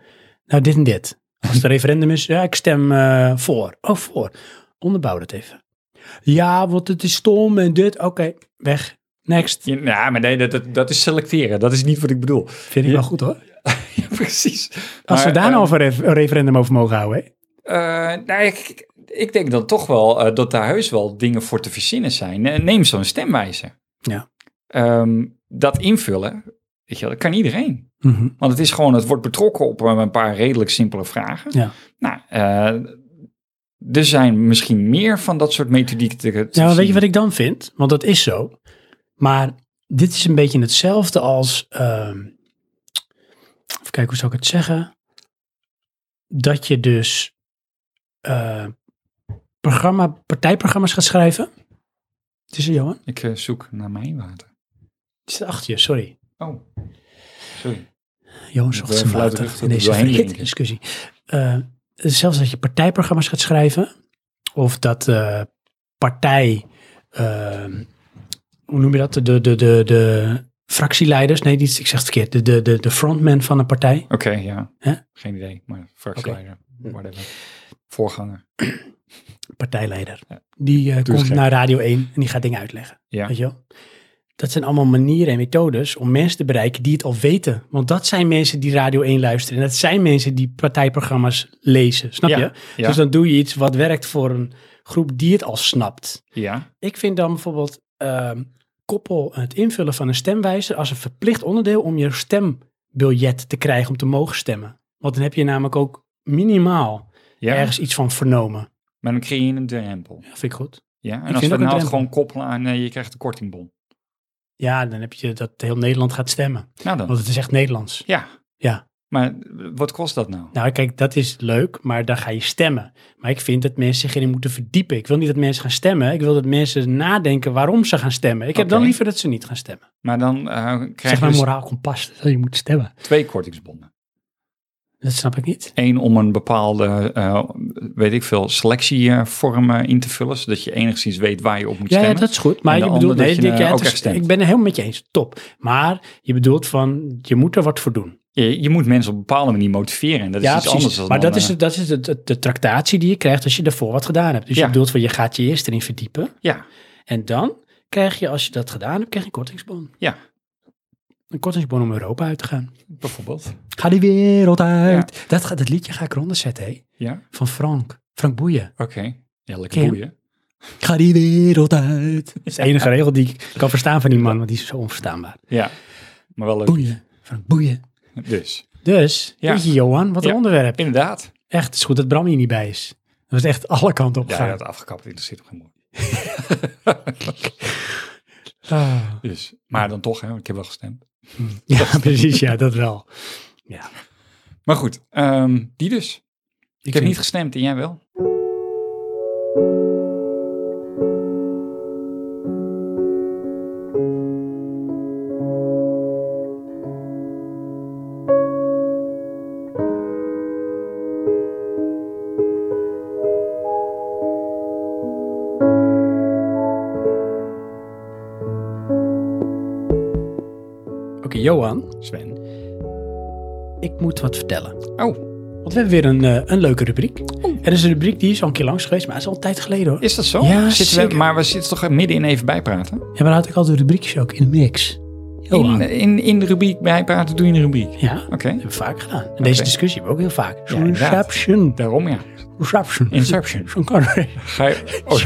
[SPEAKER 1] Nou, dit en dit. Als het een referendum is, ja, ik stem eh, voor. Oh, voor. Onderbouw dat even. Ja, want het is stom en dit. Oké, weg. Next.
[SPEAKER 2] Ja, nou, maar nee, dat, dat, dat is selecteren. Dat is niet wat ik bedoel.
[SPEAKER 1] Vind ik
[SPEAKER 2] Ja.
[SPEAKER 1] wel goed hoor.
[SPEAKER 2] Ja, precies.
[SPEAKER 1] Als we
[SPEAKER 2] Maar,
[SPEAKER 1] daar
[SPEAKER 2] eh,
[SPEAKER 1] nou over een ref- een referendum over mogen houden, hè?
[SPEAKER 2] eh, nou, ik, ik denk dan toch wel eh, dat daar heus wel dingen voor te verzinnen zijn. Eh, Neem zo'n stemwijzer.
[SPEAKER 1] Ja.
[SPEAKER 2] Ehm, dat invullen, weet je, wel, dat kan iedereen.
[SPEAKER 1] Mhm.
[SPEAKER 2] Want het is gewoon, het wordt betrokken op eh, een paar redelijk simpele vragen.
[SPEAKER 1] Ja.
[SPEAKER 2] Nou, eh, er zijn misschien meer van dat soort methodiek te, te
[SPEAKER 1] Ja, maar weet je
[SPEAKER 2] zien.
[SPEAKER 1] wat ik dan vind? Want dat is zo. Maar dit is een beetje hetzelfde als. ehm, even kijken, hoe zou ik het zeggen? Dat je dus eh, programma, partijprogramma's gaat schrijven. Het is er, Johan.
[SPEAKER 2] Ik eh, zoek naar mijn water.
[SPEAKER 1] Het is achter je, sorry.
[SPEAKER 2] Oh, sorry.
[SPEAKER 1] Johan
[SPEAKER 2] Ik
[SPEAKER 1] zocht
[SPEAKER 2] wil
[SPEAKER 1] zijn water
[SPEAKER 2] even luidruchtig
[SPEAKER 1] in
[SPEAKER 2] er
[SPEAKER 1] deze
[SPEAKER 2] doorheen
[SPEAKER 1] verhitte
[SPEAKER 2] drinken.
[SPEAKER 1] discussie. Eh, het is zelfs dat je partijprogramma's gaat schrijven. Of dat eh, partij... ehm, hoe noem je dat? De, de, de, de fractieleiders. Nee, niet, ik zeg het verkeerd. De, de, de, de frontman van een partij.
[SPEAKER 2] Oké, ja.
[SPEAKER 1] Hè?
[SPEAKER 2] Geen idee, maar fractieleider, whatever. Voorganger.
[SPEAKER 1] Partijleider.
[SPEAKER 2] Ja.
[SPEAKER 1] Die eh,
[SPEAKER 2] eens
[SPEAKER 1] komt
[SPEAKER 2] gek.
[SPEAKER 1] naar Radio 1 en die gaat dingen uitleggen.
[SPEAKER 2] Ja.
[SPEAKER 1] Weet je wel? Dat zijn allemaal manieren en methodes om mensen te bereiken die het al weten. Want dat zijn mensen die Radio 1 luisteren. En dat zijn mensen die partijprogramma's lezen. Snap
[SPEAKER 2] Ja,
[SPEAKER 1] je?
[SPEAKER 2] ja.
[SPEAKER 1] Dus dan doe je iets wat werkt voor een groep die het al snapt.
[SPEAKER 2] Ja,
[SPEAKER 1] Ik vind dan bijvoorbeeld ehm, koppel het invullen van een stemwijzer als een verplicht onderdeel om je stembiljet te krijgen om te mogen stemmen. Want dan heb je namelijk ook minimaal
[SPEAKER 2] ja.
[SPEAKER 1] ergens iets van vernomen.
[SPEAKER 2] maar dan creëer je een drempel.
[SPEAKER 1] Dat vind ik goed.
[SPEAKER 2] Ja, en
[SPEAKER 1] vind
[SPEAKER 2] als
[SPEAKER 1] ook
[SPEAKER 2] we
[SPEAKER 1] een
[SPEAKER 2] nou
[SPEAKER 1] drempel.
[SPEAKER 2] gewoon koppelen aan, eh, je krijgt een kortingbon.
[SPEAKER 1] Ja, dan heb je dat heel Nederland gaat stemmen.
[SPEAKER 2] Nou dan,
[SPEAKER 1] Want het is echt Nederlands.
[SPEAKER 2] ja.
[SPEAKER 1] Ja.
[SPEAKER 2] Maar eh, wat kost dat nou?
[SPEAKER 1] Nou, kijk, dat is leuk, maar dan ga je stemmen. Maar ik vind dat mensen zich erin moeten verdiepen. Ik wil niet dat mensen gaan stemmen. Ik wil dat mensen nadenken waarom ze gaan stemmen. Ik heb dan
[SPEAKER 2] Oké.
[SPEAKER 1] liever dat ze niet gaan stemmen.
[SPEAKER 2] Maar dan eh, krijg
[SPEAKER 1] Zeg
[SPEAKER 2] je
[SPEAKER 1] maar
[SPEAKER 2] dus
[SPEAKER 1] moraal kompas, dat je moet stemmen.
[SPEAKER 2] twee kortingsbonnen.
[SPEAKER 1] Dat snap ik niet.
[SPEAKER 2] Eén om een bepaalde, eh, weet ik veel, selectievorm eh, in te vullen, zodat je enigszins weet waar je op moet
[SPEAKER 1] Ja, ja,
[SPEAKER 2] stemmen.
[SPEAKER 1] dat is goed. Maar
[SPEAKER 2] En
[SPEAKER 1] je
[SPEAKER 2] de
[SPEAKER 1] bedoelt,
[SPEAKER 2] ander
[SPEAKER 1] nee,
[SPEAKER 2] dat je,
[SPEAKER 1] ik- ja,
[SPEAKER 2] eh,
[SPEAKER 1] het
[SPEAKER 2] ook
[SPEAKER 1] is-
[SPEAKER 2] echt stemt.
[SPEAKER 1] ik ben er helemaal met je eens. Top. Maar je bedoelt van, je moet er wat voor doen.
[SPEAKER 2] Je, je moet mensen op een bepaalde manier motiveren. En dat is
[SPEAKER 1] ja,
[SPEAKER 2] iets anders. dan
[SPEAKER 1] maar dat
[SPEAKER 2] dan,
[SPEAKER 1] is,
[SPEAKER 2] eh,
[SPEAKER 1] het- dat is het- het- de tractatie die je krijgt als je daarvoor wat gedaan hebt. Dus je
[SPEAKER 2] Ja.
[SPEAKER 1] bedoelt van, je gaat je eerst erin verdiepen.
[SPEAKER 2] Ja,
[SPEAKER 1] En dan krijg je, als je dat gedaan hebt, krijg je een kortingsbon.
[SPEAKER 2] ja,
[SPEAKER 1] Een kortingsbon om Europa uit te gaan.
[SPEAKER 2] bijvoorbeeld.
[SPEAKER 1] Ga die wereld uit. Dat, ga- dat liedje ga ik eronder zetten, hé.
[SPEAKER 2] Ja,
[SPEAKER 1] Van Frank. Frank Boeien.
[SPEAKER 2] oké. Ja, lekker
[SPEAKER 1] Ken je
[SPEAKER 2] boeien.
[SPEAKER 1] Ga die wereld uit. Dat is de enige regel die ik kan verstaan van die man, want die is zo onverstaanbaar.
[SPEAKER 2] Ja, maar wel leuk.
[SPEAKER 1] Boeien. Frank Boeien.
[SPEAKER 2] Dus,
[SPEAKER 1] Dus,
[SPEAKER 2] Ja.
[SPEAKER 1] jeetje Johan, wat een
[SPEAKER 2] Ja.
[SPEAKER 1] onderwerp.
[SPEAKER 2] inderdaad.
[SPEAKER 1] Echt, het is goed dat Bram hier niet bij is. Dat was echt alle kanten op
[SPEAKER 2] Ja,
[SPEAKER 1] gegaan.
[SPEAKER 2] dat afgekapt interesseert me geen moer.
[SPEAKER 1] Ah.
[SPEAKER 2] Dus, maar dan toch, hè, want ik heb wel gestemd.
[SPEAKER 1] Ja, precies. Ja, dat wel. Ja.
[SPEAKER 2] Maar goed, ehm, die dus. Ik,
[SPEAKER 1] Ik
[SPEAKER 2] heb
[SPEAKER 1] vind-
[SPEAKER 2] niet gestemd en jij wel.
[SPEAKER 1] Oké, Johan,
[SPEAKER 2] Sven.
[SPEAKER 1] ik moet wat vertellen.
[SPEAKER 2] Oh,
[SPEAKER 1] Want we hebben weer een, eh, een leuke rubriek. En dat is een rubriek die is al een keer langs geweest, maar het is al een tijd geleden hoor.
[SPEAKER 2] is dat zo?
[SPEAKER 1] Ja,
[SPEAKER 2] zitten we,
[SPEAKER 1] zeker.
[SPEAKER 2] maar we zitten toch midden in even bijpraten?
[SPEAKER 1] Ja, maar dan had ik al de rubriekjes ook in de mix. Johan.
[SPEAKER 2] In, in, in de rubriek bijpraten doe je een rubriek. Oké,
[SPEAKER 1] Ja, dat hebben we vaak gedaan. En deze discussie hebben we ook heel vaak. Zo'n
[SPEAKER 2] inderdaad.
[SPEAKER 1] inception.
[SPEAKER 2] daarom ja.
[SPEAKER 1] Inception.
[SPEAKER 2] Inception.
[SPEAKER 1] Sean Connery.
[SPEAKER 2] Ga je, oh,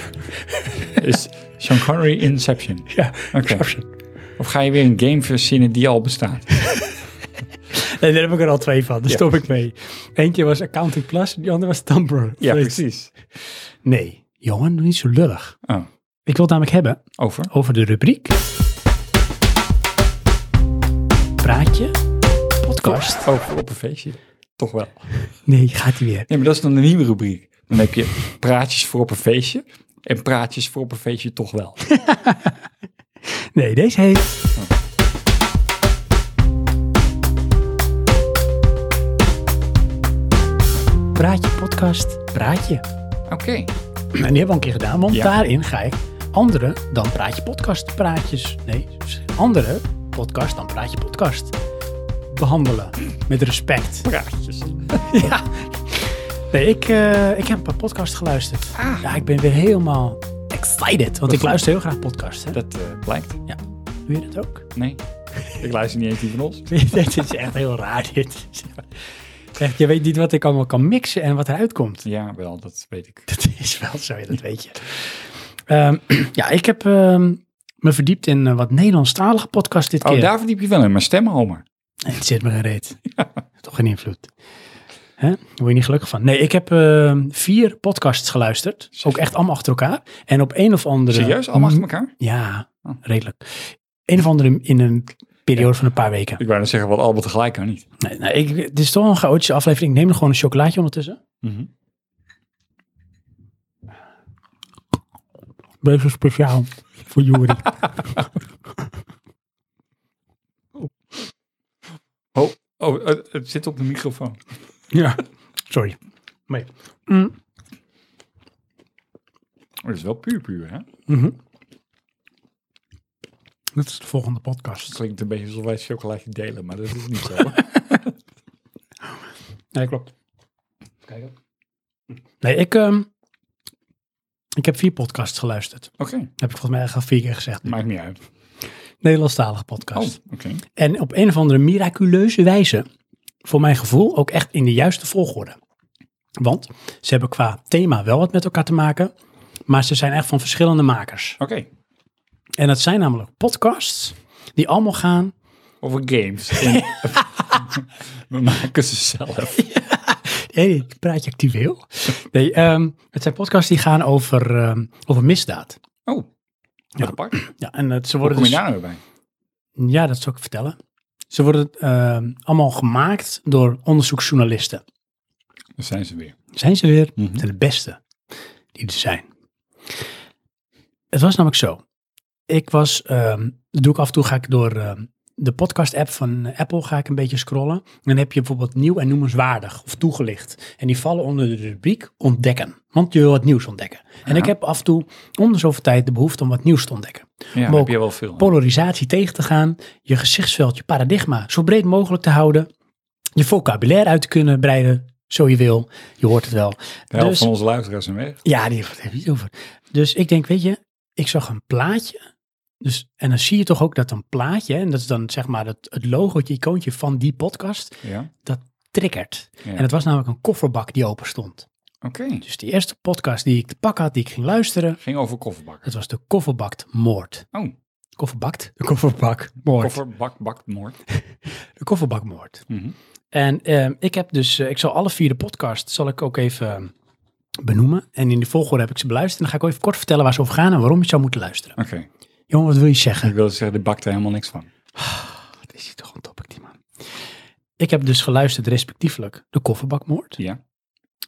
[SPEAKER 2] is Sean Connery Inception?
[SPEAKER 1] Ja,
[SPEAKER 2] Oké.
[SPEAKER 1] Inception.
[SPEAKER 2] Of ga je weer een game verzinnen die al bestaat?
[SPEAKER 1] Nee, daar heb ik er al twee van. Daar
[SPEAKER 2] Ja.
[SPEAKER 1] stop ik mee. Eentje was Accounting Plus, die andere was Tumblr.
[SPEAKER 2] precies.
[SPEAKER 1] Nee, Johan, doe niet zo lullig.
[SPEAKER 2] Oh,
[SPEAKER 1] Ik wil het namelijk hebben
[SPEAKER 2] over?
[SPEAKER 1] over de rubriek. Praatje. Podcast.
[SPEAKER 2] Over op een feestje. Toch wel.
[SPEAKER 1] Nee, gaat hij weer.
[SPEAKER 2] Nee, maar dat is dan een nieuwe rubriek. Dan heb je praatjes voor op een feestje en praatjes voor op een feestje toch wel.
[SPEAKER 1] Nee, deze heet... Praatje podcast, praatje.
[SPEAKER 2] Oké.
[SPEAKER 1] En die hebben we al een keer gedaan, want
[SPEAKER 2] Ja.
[SPEAKER 1] daarin ga ik andere dan praatje podcast praatjes. Nee, andere podcast dan praatje podcast behandelen. Met respect.
[SPEAKER 2] Praatjes.
[SPEAKER 1] Ja. Nee, ik, eh, ik heb een paar podcasts geluisterd.
[SPEAKER 2] Ah.
[SPEAKER 1] Ja, ik ben weer helemaal excited. Want ik
[SPEAKER 2] goed.
[SPEAKER 1] luister heel graag podcasts. Hè?
[SPEAKER 2] Dat eh, blijkt.
[SPEAKER 1] Doe je dat ook?
[SPEAKER 2] Nee. Ik luister niet eens die van ons.
[SPEAKER 1] dit is echt heel raar. Dit. Echt, je weet niet wat ik allemaal kan mixen en wat eruit komt.
[SPEAKER 2] Ja, wel, dat weet ik.
[SPEAKER 1] Dat is wel zo, ja, dat weet je. Ehm, ja, ik heb ehm, me verdiept in eh, wat Nederlandstalige podcast dit
[SPEAKER 2] Oh,
[SPEAKER 1] keer.
[SPEAKER 2] daar verdiep je wel in, maar stem Homer.
[SPEAKER 1] Nee, Het zit me geen reet. Toch geen invloed. Hè? Daar word je niet gelukkig van. Nee, ik heb ehm, vier podcasts geluisterd.
[SPEAKER 2] Zeg.
[SPEAKER 1] Ook echt allemaal achter elkaar. En op een of andere...
[SPEAKER 2] Serieus, allemaal achter elkaar?
[SPEAKER 1] Ja,
[SPEAKER 2] Oh.
[SPEAKER 1] redelijk. Een of andere in een periode van een paar weken.
[SPEAKER 2] Ik wou net zeggen, wat allemaal tegelijk kan niet.
[SPEAKER 1] Nee, nou, ik, dit is toch wel een chaotische aflevering. Ik neem er gewoon een chocolaatje ondertussen. Deze speciaal voor Juri.
[SPEAKER 2] Oh, oh het, het zit op de microfoon.
[SPEAKER 1] ja. Sorry. Maar, mm,
[SPEAKER 2] Oh, dat is wel puur puur, hè?
[SPEAKER 1] mhm. Dit is de volgende podcast.
[SPEAKER 2] klinkt een beetje alsof wij chocolaatje delen, maar dat is niet zo.
[SPEAKER 1] Nee, klopt. Nee, ik, ehm, ik heb vier podcasts geluisterd.
[SPEAKER 2] Oké,
[SPEAKER 1] Heb ik volgens mij eigenlijk al vier keer gezegd. nu.
[SPEAKER 2] maakt niet uit.
[SPEAKER 1] Nederlandstalige
[SPEAKER 2] Oh,
[SPEAKER 1] podcast.
[SPEAKER 2] oké.
[SPEAKER 1] En op een of andere miraculeuze wijze, voor mijn gevoel, ook echt in de juiste volgorde. Want ze hebben qua thema wel wat met elkaar te maken, maar ze zijn echt van verschillende makers.
[SPEAKER 2] Oké,
[SPEAKER 1] En dat zijn namelijk podcasts die allemaal gaan.
[SPEAKER 2] over games. En- We maken ze zelf.
[SPEAKER 1] Hé, ik praat je actueel. Nee, ehm, het zijn podcasts die gaan over, ehm, over misdaad.
[SPEAKER 2] Oh, wat apart. Hoe
[SPEAKER 1] Ja, en het ze worden
[SPEAKER 2] kom je
[SPEAKER 1] dus-
[SPEAKER 2] daar nou bij?
[SPEAKER 1] Ja, dat zal ik vertellen. Ze worden ehm, allemaal gemaakt door onderzoeksjournalisten.
[SPEAKER 2] Daar zijn ze weer.
[SPEAKER 1] zijn ze weer
[SPEAKER 2] Mhm.
[SPEAKER 1] de beste die er zijn. Het was namelijk zo. Ik was, ehm, dat doe ik af en toe, ga ik door ehm, de podcast-app van Apple ga ik een beetje scrollen. En dan heb je bijvoorbeeld nieuw en noemenswaardig of toegelicht. En die vallen onder de rubriek ontdekken. Want je wil wat nieuws ontdekken. En
[SPEAKER 2] Ja.
[SPEAKER 1] ik heb af en toe om de zoveel tijd de behoefte om wat nieuws te ontdekken.
[SPEAKER 2] Ja,
[SPEAKER 1] Maar
[SPEAKER 2] heb
[SPEAKER 1] ook
[SPEAKER 2] je wel veel. aan.
[SPEAKER 1] Polarisatie tegen te gaan, je gezichtsveld, je paradigma zo breed mogelijk te houden. Je vocabulaire uit te kunnen breiden, zo je wil. Je hoort het wel.
[SPEAKER 2] De helft
[SPEAKER 1] dus-
[SPEAKER 2] van onze luisteraars zijn weg.
[SPEAKER 1] Ja, die heeft het niet over. Dus ik denk, weet je, ik zag een plaatje. Dus, en dan zie je toch ook dat een plaatje, hè, en dat is dan zeg maar het, het logootje, icoontje van die podcast,
[SPEAKER 2] Ja,
[SPEAKER 1] triggert.
[SPEAKER 2] Ja.
[SPEAKER 1] En het was namelijk een kofferbak die open stond.
[SPEAKER 2] oké.
[SPEAKER 1] Dus die eerste podcast die ik te pakken had, die ik ging luisteren,
[SPEAKER 2] Ging over kofferbakken.
[SPEAKER 1] dat was de Kofferbakt Moord.
[SPEAKER 2] Oh,
[SPEAKER 1] Kofferbakt? De Kofferbak Moord.
[SPEAKER 2] kofferbak, bak, moord.
[SPEAKER 1] De Kofferbak Moord.
[SPEAKER 2] Mhm.
[SPEAKER 1] En ehm, ik heb dus, eh, ik zal alle vier de podcasts zal ik ook even ehm, benoemen. En in de volgorde heb ik ze beluisterd. En dan ga ik ook even kort vertellen waar ze over gaan en waarom je zou moeten luisteren.
[SPEAKER 2] Oké,
[SPEAKER 1] Jongen, wat wil je zeggen?
[SPEAKER 2] ik wilde zeggen, de bak er helemaal niks van.
[SPEAKER 1] is hij toch een topic, die man. Ik heb dus geluisterd respectievelijk de kofferbakmoord,
[SPEAKER 2] Ja,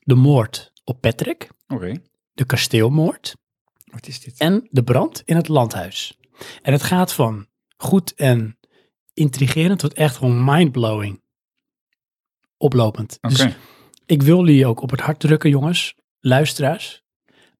[SPEAKER 1] de moord op Patrick,
[SPEAKER 2] oké.
[SPEAKER 1] de kasteelmoord
[SPEAKER 2] Wat is dit?
[SPEAKER 1] en de brand in het landhuis. En het gaat van goed en intrigerend tot echt gewoon mindblowing. Oplopend.
[SPEAKER 2] Oké,
[SPEAKER 1] Dus ik wil jullie ook op het hart drukken, jongens, luisteraars.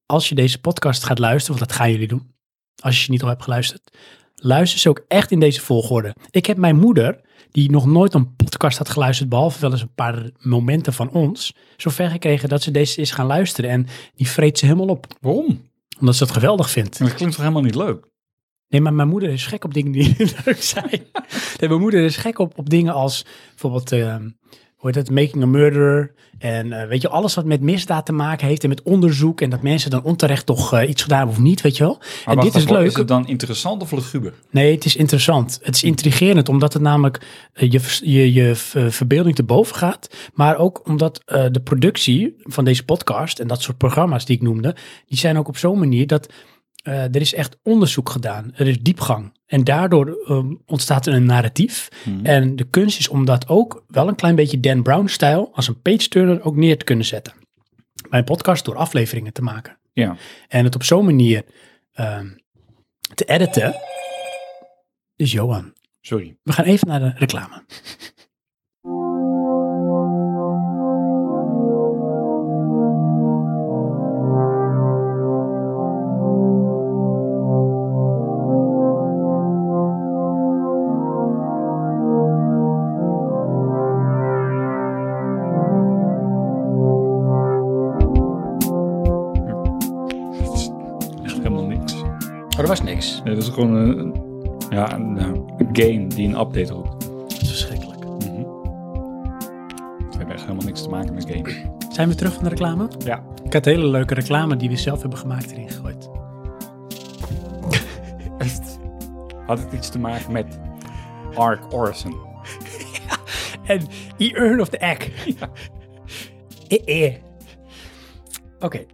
[SPEAKER 1] Als je deze podcast gaat luisteren, want dat gaan jullie doen, als je ze niet al hebt geluisterd, luister ze ook echt in deze volgorde. Ik heb mijn moeder, die nog nooit een podcast had geluisterd, behalve wel eens een paar momenten van ons, zover gekregen dat ze deze is gaan luisteren. En die vreet ze helemaal op,
[SPEAKER 2] waarom?
[SPEAKER 1] omdat ze dat geweldig vindt.
[SPEAKER 2] Dat klinkt toch helemaal niet leuk?
[SPEAKER 1] Nee, maar mijn moeder is gek op dingen die leuk zijn. Nee, mijn moeder is gek op, op dingen als bijvoorbeeld, ehm, hoe heet het, Making a Murderer. En eh, weet je, alles wat met misdaad te maken heeft en met onderzoek. En dat mensen dan onterecht toch eh, iets gedaan hebben of niet, weet je wel.
[SPEAKER 2] Maar
[SPEAKER 1] en
[SPEAKER 2] wacht
[SPEAKER 1] dit is
[SPEAKER 2] even,
[SPEAKER 1] leuk.
[SPEAKER 2] Is het dan interessant of luguber?
[SPEAKER 1] Nee, het is interessant. Het is intrigerend, omdat het namelijk eh, je, vers- je, je ver- verbeelding te boven gaat. Maar ook omdat eh, de productie van deze podcast en dat soort programma's die ik noemde, die zijn ook op zo'n manier dat eh, er is echt onderzoek gedaan. Er is diepgang. En daardoor eh, ontstaat er een narratief.
[SPEAKER 2] Mhm.
[SPEAKER 1] En de kunst is om dat ook wel een klein beetje Dan Brown-stijl als een page-turner ook neer te kunnen zetten. Mijn podcast door afleveringen te maken.
[SPEAKER 2] Ja.
[SPEAKER 1] En het op zo'n manier ehm, te editen. Dus Johan,
[SPEAKER 2] Sorry.
[SPEAKER 1] we gaan even naar de reclame.
[SPEAKER 2] Echt helemaal niks.
[SPEAKER 1] Oh, dat was niks.
[SPEAKER 2] Nee, dat is gewoon een, een- ja, een, eh, een game die een update roept.
[SPEAKER 1] Dat is verschrikkelijk.
[SPEAKER 2] Het heeft echt helemaal niks te maken met game.
[SPEAKER 1] Zijn we terug van de reclame?
[SPEAKER 2] Ja.
[SPEAKER 1] Ik had een hele leuke reclame die we zelf hebben gemaakt erin gegooid.
[SPEAKER 2] Had het iets te maken met Ark Orson?
[SPEAKER 1] En E-Earn of the Egg. Eh, eh. Oké.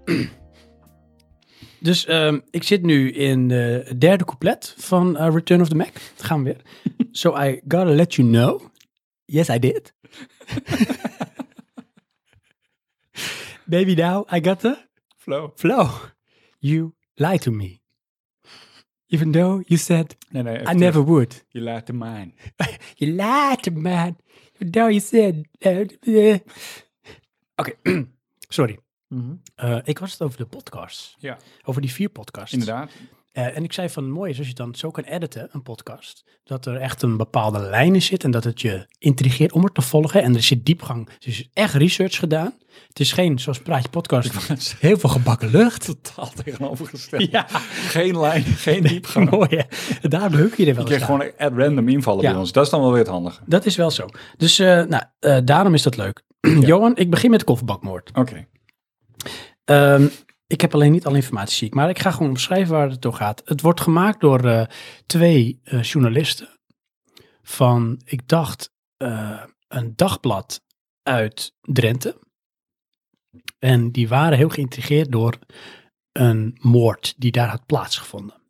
[SPEAKER 1] Dus ehm, ik zit nu in eh, het derde couplet van eh, Return of the Mac. Daar gaan we weer. so I gotta let you know. Yes, I did. Baby, now I got the
[SPEAKER 2] Flow.
[SPEAKER 1] flow. You lied to me. Even though you said
[SPEAKER 2] Nee, nee.
[SPEAKER 1] I never would.
[SPEAKER 2] Je laat hem aan.
[SPEAKER 1] Je laat man. Nou, je zin. Oké, sorry.
[SPEAKER 2] Mhm.
[SPEAKER 1] Eh, ik was het over de podcasts.
[SPEAKER 2] Ja,
[SPEAKER 1] Over die vier podcasts.
[SPEAKER 2] inderdaad.
[SPEAKER 1] Eh, en ik zei van, mooi is als je dan zo kan editen, een podcast, dat er echt een bepaalde lijn in zit en dat het je intrigeert om het te volgen. En er zit diepgang. Dus er is echt research gedaan. Het is geen, zoals Praatje Podcast, heel veel gebakken lucht.
[SPEAKER 2] Totaal tegenovergesteld.
[SPEAKER 1] Ja,
[SPEAKER 2] Geen lijn, geen diepgang.
[SPEAKER 1] mooi hè. Daarom huk je er wel
[SPEAKER 2] Je
[SPEAKER 1] eens
[SPEAKER 2] kreeg
[SPEAKER 1] aan.
[SPEAKER 2] gewoon at random invallen
[SPEAKER 1] Ja.
[SPEAKER 2] bij ons. Dat is dan wel weer het handige.
[SPEAKER 1] Dat is wel zo. Dus eh, nou, eh, daarom is dat leuk. Johan, ik begin met de kofferbakmoord.
[SPEAKER 2] Oké.
[SPEAKER 1] Ehm, ik heb alleen niet alle informatie, zie ik. Maar ik ga gewoon omschrijven waar het toe gaat. Het wordt gemaakt door eh, twee eh, journalisten. Van, ik dacht, eh, een dagblad uit Drenthe. En die waren heel geïntrigeerd door een moord die daar had plaatsgevonden.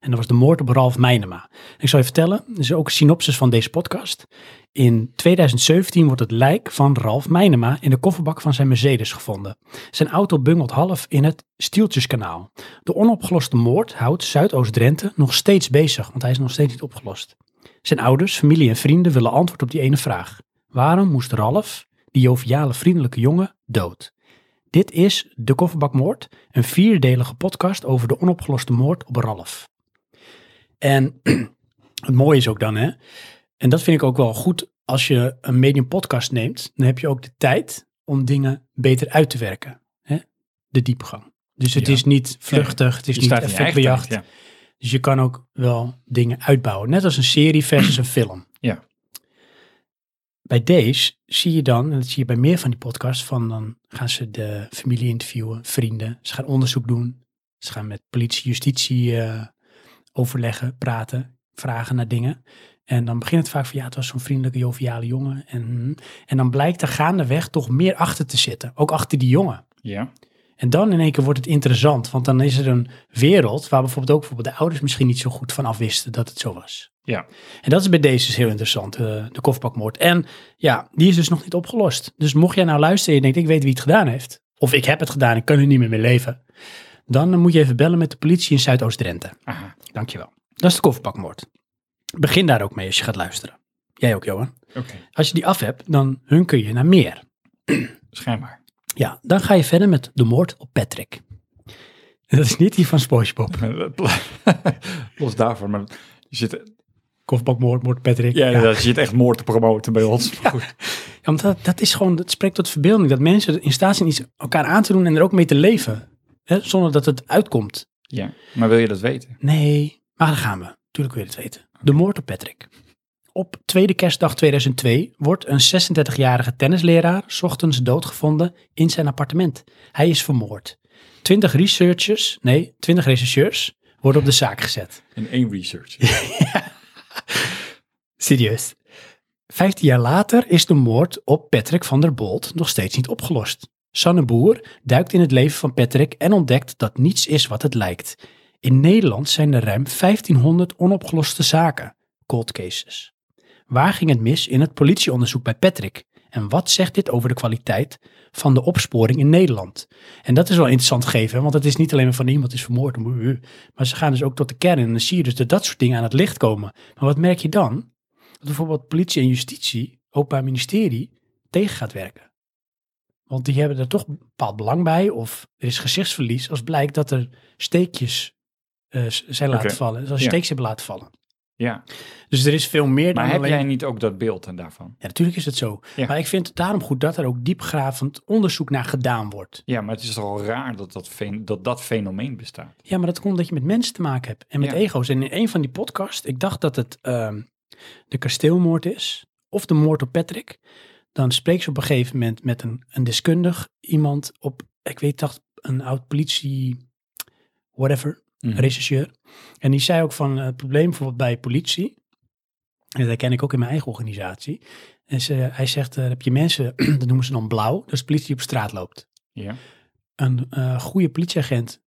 [SPEAKER 1] En dat was de moord op Ralf Meijnema. Ik zal je vertellen, er is ook een synopsis van deze podcast. In 2017 wordt het lijk van Ralf Meijnema in de kofferbak van zijn Mercedes gevonden. Zijn auto bungelt half in het Stieltjeskanaal. De onopgeloste moord houdt Zuidoost-Drenthe nog steeds bezig, want hij is nog steeds niet opgelost. Zijn ouders, familie en vrienden willen antwoord op die ene vraag. Waarom moest Ralf, die joviale vriendelijke jongen, dood? Dit is De Kofferbakmoord, een vierdelige podcast over de onopgeloste moord op Ralf. En het mooie is ook dan, hè, en dat vind ik ook wel goed als je een medium podcast neemt, dan heb je ook de tijd om dingen beter uit te werken. Hè? De diepgang. Dus het
[SPEAKER 2] Ja.
[SPEAKER 1] is niet vluchtig, het is
[SPEAKER 2] Je
[SPEAKER 1] Dus niet
[SPEAKER 2] staat in je eigen
[SPEAKER 1] effectbejacht.
[SPEAKER 2] tijd,
[SPEAKER 1] Dus je kan ook wel dingen uitbouwen. Net als een serie versus een film.
[SPEAKER 2] Ja.
[SPEAKER 1] Bij deze zie je dan, en dat zie je bij meer van die podcasts, van dan gaan ze de familie interviewen, vrienden. Ze gaan onderzoek doen. Ze gaan met politie, justitie eh, overleggen, praten, vragen naar dingen. En dan begint het vaak van, ja, het was zo'n vriendelijke, joviale hm. jongen. En, en dan blijkt er gaandeweg toch meer achter te zitten. Ook achter die jongen.
[SPEAKER 2] Ja. ja.
[SPEAKER 1] En dan in één keer wordt het interessant, want dan is er een wereld waar bijvoorbeeld ook bijvoorbeeld de ouders misschien niet zo goed van af wisten dat het zo was.
[SPEAKER 2] Ja.
[SPEAKER 1] En dat is bij deze dus heel interessant, eh, de kofbakmoord. En ja, die is dus nog niet opgelost. Dus mocht jij nou luisteren en je denkt, ik weet wie het gedaan heeft, of ik heb het gedaan, ik kan er niet meer mee leven, dan eh, moet je even bellen met de politie in Zuidoost-Drenthe.
[SPEAKER 2] Aha,
[SPEAKER 1] Dankjewel. Dat is de kofferbakmoord. Begin daar ook mee als je gaat luisteren. Jij ook, Johan.
[SPEAKER 2] oké.
[SPEAKER 1] Als je die af hebt, dan hunker je naar meer.
[SPEAKER 2] Schijnbaar.
[SPEAKER 1] Ja, dan ga je verder met de moord op Patrick. En Dat is niet die van SpongeBob.
[SPEAKER 2] eh, Los daarvan, maar je zit,
[SPEAKER 1] Kofferbakmoord, moord Patrick.
[SPEAKER 2] ja, inderdaad, je zit echt moord te promoten bij ons. Maar goed.
[SPEAKER 1] Ja, want dat, dat is gewoon, dat spreekt tot verbeelding. Dat mensen in staat zijn iets elkaar aan te doen en er ook mee te leven. Hè, zonder dat het uitkomt.
[SPEAKER 2] ja, maar wil je dat weten?
[SPEAKER 1] Nee, maar daar gaan we. Tuurlijk wil je het weten. De moord op Patrick. Op tweede kerstdag 2002 wordt een 36-jarige tennisleraar 's ochtends doodgevonden in zijn appartement. Hij is vermoord. 20 researchers, nee, 20 rechercheurs worden op de zaak gezet.
[SPEAKER 2] In één research.
[SPEAKER 1] Serieus. 15 jaar later is de moord op Patrick van der Bolt nog steeds niet opgelost. Sanne Boer duikt in het leven van Patrick en ontdekt dat niets is wat het lijkt. In Nederland zijn er ruim 1500 onopgeloste zaken, cold cases. Waar ging het mis in het politieonderzoek bij Patrick? En wat zegt dit over de kwaliteit van de opsporing in Nederland? En dat is wel interessant gegeven, want het is niet alleen maar van iemand is vermoord, maar ze gaan dus ook tot de kern en dan zie je dus dat dat soort dingen aan het licht komen. Maar wat merk je dan? dat bijvoorbeeld politie en justitie, openbaar ministerie, tegen gaat werken. Want die hebben er toch een bepaald belang bij, of er is gezichtsverlies als blijkt dat er steekjes eh, s- zijn laten
[SPEAKER 2] Oké,
[SPEAKER 1] vallen. Dus als
[SPEAKER 2] ja.
[SPEAKER 1] steekjes hebben laten vallen.
[SPEAKER 2] Ja,
[SPEAKER 1] Dus er is veel meer dan
[SPEAKER 2] maar heb
[SPEAKER 1] alleen...
[SPEAKER 2] jij niet ook dat beeld en daarvan?
[SPEAKER 1] Ja, natuurlijk is het zo.
[SPEAKER 2] Ja.
[SPEAKER 1] Maar ik vind het daarom goed dat er ook diepgravend onderzoek naar gedaan wordt.
[SPEAKER 2] Ja, maar het is toch al raar dat dat, fen- dat, dat fenomeen bestaat.
[SPEAKER 1] Ja, maar dat komt omdat je met mensen te maken hebt en met
[SPEAKER 2] Ja.
[SPEAKER 1] ego's. En in een van die podcasts, ik dacht dat het ehm, de kasteelmoord is of de moord op Patrick. Dan spreekt ze op een gegeven moment met een, een deskundig, iemand op, ik weet dacht een oud politie, whatever,
[SPEAKER 2] Mhm.
[SPEAKER 1] rechercheur. En die zei ook van eh, het probleem bijvoorbeeld bij politie. En dat herken ik ook in mijn eigen organisatie. En ze, hij zegt, eh, dan heb je mensen, dat noemen ze dan blauw, dus politie die op straat loopt.
[SPEAKER 2] Ja.
[SPEAKER 1] Een eh, goede politieagent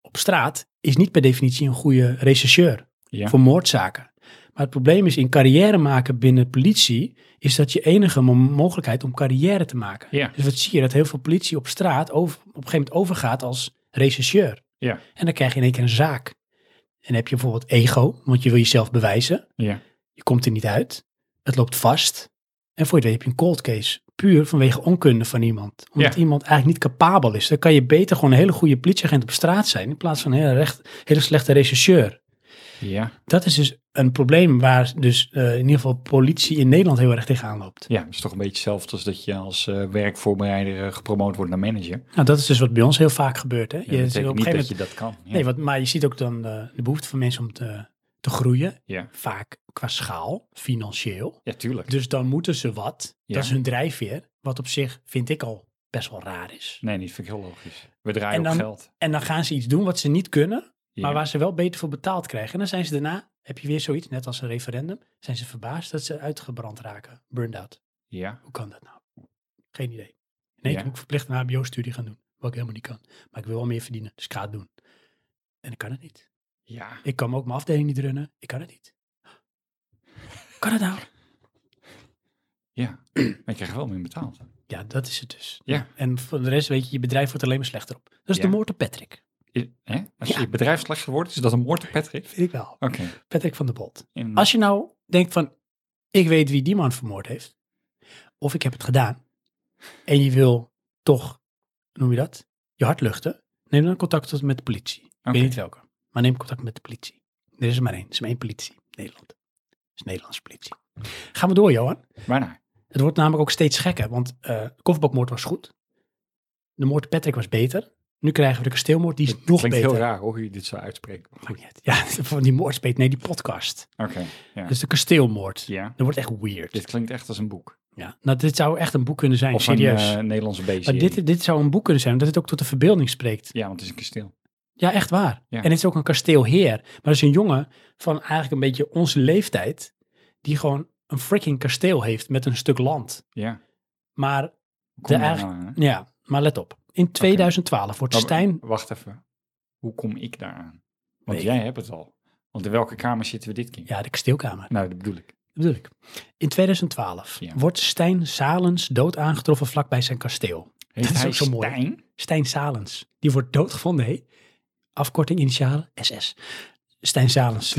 [SPEAKER 1] op straat is niet per definitie een goede rechercheur
[SPEAKER 2] Ja.
[SPEAKER 1] voor moordzaken. Maar het probleem is in carrière maken binnen politie, is dat je enige mo- mogelijkheid om carrière te maken.
[SPEAKER 2] Ja.
[SPEAKER 1] Dus wat zie je? Dat heel veel politie op straat over, op een gegeven moment overgaat als rechercheur.
[SPEAKER 2] Ja.
[SPEAKER 1] En dan krijg je in één keer een zaak. En dan heb je bijvoorbeeld ego, want je wil jezelf bewijzen.
[SPEAKER 2] Ja.
[SPEAKER 1] Je komt er niet uit. Het loopt vast. En voor je het weet heb je een cold case. Puur vanwege onkunde van iemand. Omdat
[SPEAKER 2] Ja.
[SPEAKER 1] iemand eigenlijk niet capabel is. Dan kan je beter gewoon een hele goede politieagent op straat zijn. In plaats van een hele, recht, hele slechte rechercheur.
[SPEAKER 2] Ja.
[SPEAKER 1] Dat is dus een probleem waar dus eh, in ieder geval politie in Nederland heel erg tegenaan loopt.
[SPEAKER 2] ja, het is toch een beetje hetzelfde als dat je als eh, werkvoorbereider eh, gepromoot wordt naar manager.
[SPEAKER 1] Nou, dat is dus wat bij ons heel vaak gebeurt. Hè?
[SPEAKER 2] Ja, dat betekent niet dat
[SPEAKER 1] moment...
[SPEAKER 2] je dat kan. Ja.
[SPEAKER 1] Nee, wat, maar je ziet ook dan eh, de behoefte van mensen om te, te groeien.
[SPEAKER 2] ja.
[SPEAKER 1] vaak qua schaal, financieel.
[SPEAKER 2] ja, tuurlijk.
[SPEAKER 1] Dus dan moeten ze wat.
[SPEAKER 2] Ja.
[SPEAKER 1] Dat is hun drijfveer. Wat op zich vind ik al best wel raar is.
[SPEAKER 2] Nee, niet vind ik heel logisch. We draaien
[SPEAKER 1] En
[SPEAKER 2] op
[SPEAKER 1] dan-
[SPEAKER 2] geld.
[SPEAKER 1] En dan gaan ze iets doen wat ze niet kunnen,
[SPEAKER 2] Ja.
[SPEAKER 1] maar waar ze wel beter voor betaald krijgen. En dan zijn ze daarna, heb je weer zoiets, net als een referendum, zijn ze verbaasd dat ze uitgebrand raken. Burned out.
[SPEAKER 2] Ja.
[SPEAKER 1] Hoe kan dat nou? Geen idee. In één
[SPEAKER 2] Ja.
[SPEAKER 1] keer moet ik verplicht een hbo-studie gaan doen, wat ik helemaal niet kan. Maar ik wil wel meer verdienen, dus ik ga het doen. En ik kan het niet.
[SPEAKER 2] Ja.
[SPEAKER 1] Ik kan ook mijn afdeling niet runnen. Ik kan het niet. Kan het nou?
[SPEAKER 2] Ja. maar je krijgt wel meer betaald.
[SPEAKER 1] Ja, dat is het dus.
[SPEAKER 2] Ja.
[SPEAKER 1] En voor de rest weet je, je bedrijf wordt er alleen maar slechter op. Dat is
[SPEAKER 2] Ja.
[SPEAKER 1] de moord op Patrick.
[SPEAKER 2] I- hè? Als
[SPEAKER 1] Ja.
[SPEAKER 2] je bedrijf slechter wordt, is dat een moord, Patrick?
[SPEAKER 1] Vind ik wel.
[SPEAKER 2] Oké.
[SPEAKER 1] Patrick van der Bolt.
[SPEAKER 2] En-
[SPEAKER 1] Als je nou denkt van, ik weet wie die man vermoord heeft. Of ik heb het gedaan. En je wil toch, hoe noem je dat, je hart luchten. Neem dan contact op met de politie. Ik
[SPEAKER 2] Oké.
[SPEAKER 1] weet niet welke. Maar neem contact met de politie. Er is er maar één. Er is maar één politie. Nederland. Dat is Nederlandse politie. Gaan we door, Johan.
[SPEAKER 2] Waarnaar?
[SPEAKER 1] Het wordt namelijk ook steeds gekker, want eh de kofferbakmoord was goed. De moord op Patrick was beter. Nu krijgen we de kasteelmoord, die is nog
[SPEAKER 2] Klinkt
[SPEAKER 1] beter.
[SPEAKER 2] heel raar hoor, hoe je dit zo uitspreekt. Oké.
[SPEAKER 1] Maakt niet uit. Ja, van die moord is beter. Nee, die podcast.
[SPEAKER 2] Ja.
[SPEAKER 1] Dus de kasteelmoord.
[SPEAKER 2] ja.
[SPEAKER 1] Dat wordt echt weird.
[SPEAKER 2] Dit klinkt echt als een boek.
[SPEAKER 1] ja. Nou, dit zou echt een boek kunnen zijn,
[SPEAKER 2] Of
[SPEAKER 1] serieus.
[SPEAKER 2] een eh, Nederlandse beest.
[SPEAKER 1] maar dit, dit zou een boek kunnen zijn, omdat het ook tot de verbeelding spreekt.
[SPEAKER 2] Ja, want het is een kasteel.
[SPEAKER 1] Ja, echt waar.
[SPEAKER 2] Ja.
[SPEAKER 1] En het is ook een kasteelheer. Maar dat is een jongen van eigenlijk een beetje onze leeftijd, die gewoon een freaking kasteel heeft met een stuk land.
[SPEAKER 2] Ja.
[SPEAKER 1] Maar
[SPEAKER 2] Kom
[SPEAKER 1] De
[SPEAKER 2] er
[SPEAKER 1] eigen-
[SPEAKER 2] nou aan, hè?
[SPEAKER 1] Ja, maar let op. in 2012 wordt
[SPEAKER 2] Maar-
[SPEAKER 1] Stijn
[SPEAKER 2] Wacht even. Hoe kom ik daaraan? Want
[SPEAKER 1] Weet
[SPEAKER 2] jij hebt het al. Want in welke kamer zitten we dit keer?
[SPEAKER 1] Ja, de kasteelkamer,
[SPEAKER 2] Nou, dat bedoel ik.
[SPEAKER 1] dat bedoel ik. In 2012
[SPEAKER 2] Ja.
[SPEAKER 1] wordt Stijn Salens dood aangetroffen vlakbij zijn kasteel.
[SPEAKER 2] Heet
[SPEAKER 1] is
[SPEAKER 2] hij
[SPEAKER 1] ook zo mooi.
[SPEAKER 2] Stijn?
[SPEAKER 1] Stijn Salens, die wordt doodgevonden, hé. Afkorting, initialen, SS. Stijn Salens,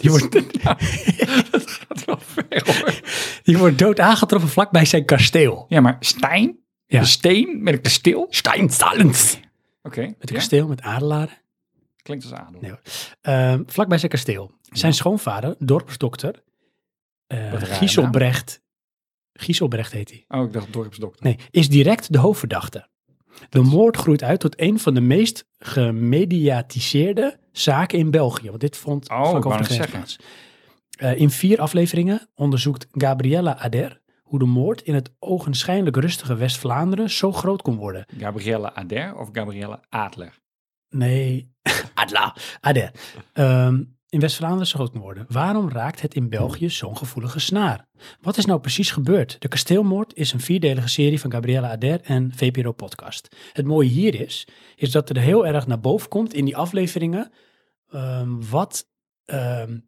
[SPEAKER 1] die wordt,
[SPEAKER 2] dat gaat wel ver hoor.
[SPEAKER 1] die wordt dood aangetroffen vlakbij zijn kasteel.
[SPEAKER 2] Ja, maar Stijn?
[SPEAKER 1] Ja.
[SPEAKER 2] Een steen met een kasteel? Oké.
[SPEAKER 1] Stijn Salens! Met een
[SPEAKER 2] Ja,
[SPEAKER 1] kasteel, met adelaren.
[SPEAKER 2] Klinkt als adel.
[SPEAKER 1] Nee, Ehm, vlakbij zijn kasteel. Zijn schoonvader, dorpsdokter, eh,
[SPEAKER 2] Wat een rare
[SPEAKER 1] Gieselbrecht, Gieselbrecht heet hij.
[SPEAKER 2] Oh, ik dacht dorpsdokter.
[SPEAKER 1] Nee, is direct de hoofdverdachte. De moord groeit uit tot een van de meest gemediatiseerde zaken in België. Want dit vond
[SPEAKER 2] Oh,
[SPEAKER 1] vlak
[SPEAKER 2] ik
[SPEAKER 1] over
[SPEAKER 2] wou
[SPEAKER 1] de
[SPEAKER 2] net
[SPEAKER 1] grens
[SPEAKER 2] zeggen.
[SPEAKER 1] plaats. Eh, in vier afleveringen onderzoekt Gabriella Ader hoe de moord in het ogenschijnlijk rustige West-Vlaanderen zo groot kon worden.
[SPEAKER 2] Gabrielle Ader of Gabrielle Adler?
[SPEAKER 1] Nee, Adla, Ader. Ehm, in West-Vlaanderen zo groot kon worden. Waarom raakt het in België zo'n gevoelige snaar? Wat is nou precies gebeurd? De Kasteelmoord is een vierdelige serie van Gabriella Ader en VPRO Podcast. Het mooie hier is, is dat er heel erg naar boven komt in die afleveringen ehm, wat ehm,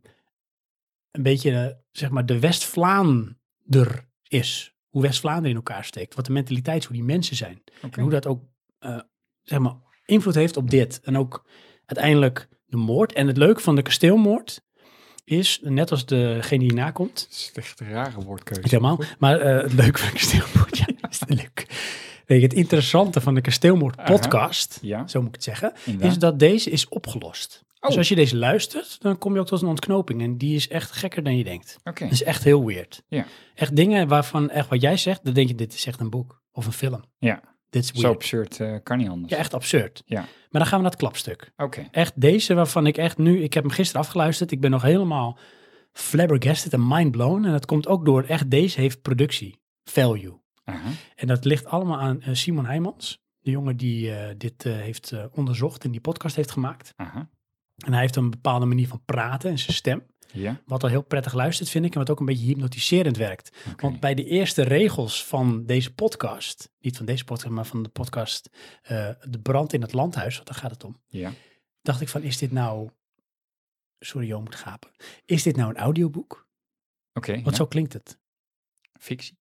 [SPEAKER 1] een beetje, eh, zeg maar, de West-Vlaander is. Hoe West-Vlaanderen in elkaar steekt. Wat de mentaliteit is, hoe die mensen zijn.
[SPEAKER 2] Oké.
[SPEAKER 1] En hoe dat ook eh, zeg maar, invloed heeft op dit. En ook uiteindelijk de moord. En het leuke van de kasteelmoord is, net als degene die hierna komt,
[SPEAKER 2] Dat is echt een rare woordkeuze.
[SPEAKER 1] niet helemaal, maar eh, het leuke van de kasteelmoord, ja, is leuk. Weet je, het interessante van de kasteelmoord podcast,
[SPEAKER 2] Ja,
[SPEAKER 1] zo moet ik het zeggen,
[SPEAKER 2] inderdaad.
[SPEAKER 1] is dat deze is opgelost.
[SPEAKER 2] Oh.
[SPEAKER 1] Dus als je deze luistert, dan kom je ook tot een ontknoping. En die is echt gekker dan je denkt.
[SPEAKER 2] Oké.
[SPEAKER 1] Dat is echt heel weird.
[SPEAKER 2] Ja.
[SPEAKER 1] Echt dingen waarvan, echt wat jij zegt, dan denk je, dit is echt een boek of een film.
[SPEAKER 2] Ja,
[SPEAKER 1] Dit is
[SPEAKER 2] zo
[SPEAKER 1] weird.
[SPEAKER 2] absurd eh, kan niet anders.
[SPEAKER 1] Ja, echt absurd.
[SPEAKER 2] Ja.
[SPEAKER 1] Maar dan gaan we naar het klapstuk.
[SPEAKER 2] Oké.
[SPEAKER 1] Echt deze waarvan ik echt nu, ik heb hem gisteren afgeluisterd, ik ben nog helemaal flabbergasted en mindblown. En dat komt ook door, echt deze heeft productie, value.
[SPEAKER 2] Aha.
[SPEAKER 1] En dat ligt allemaal aan eh, Simon Heijmans, de jongen die eh, dit eh, heeft eh, onderzocht en die podcast heeft gemaakt.
[SPEAKER 2] Aha.
[SPEAKER 1] En hij heeft een bepaalde manier van praten en zijn stem,
[SPEAKER 2] Ja.
[SPEAKER 1] wat al heel prettig luistert vind ik en wat ook een beetje hypnotiserend werkt.
[SPEAKER 2] oké.
[SPEAKER 1] Want bij de eerste regels van deze podcast, niet van deze podcast, maar van de podcast eh, De Brand in het Landhuis, want daar gaat het om
[SPEAKER 2] Ja.
[SPEAKER 1] dacht ik van, is dit nou... Sorry, Jo moet gapen. Is dit nou een audioboek?
[SPEAKER 2] Oké.
[SPEAKER 1] Want
[SPEAKER 2] ja.
[SPEAKER 1] zo klinkt het.
[SPEAKER 2] Fictie.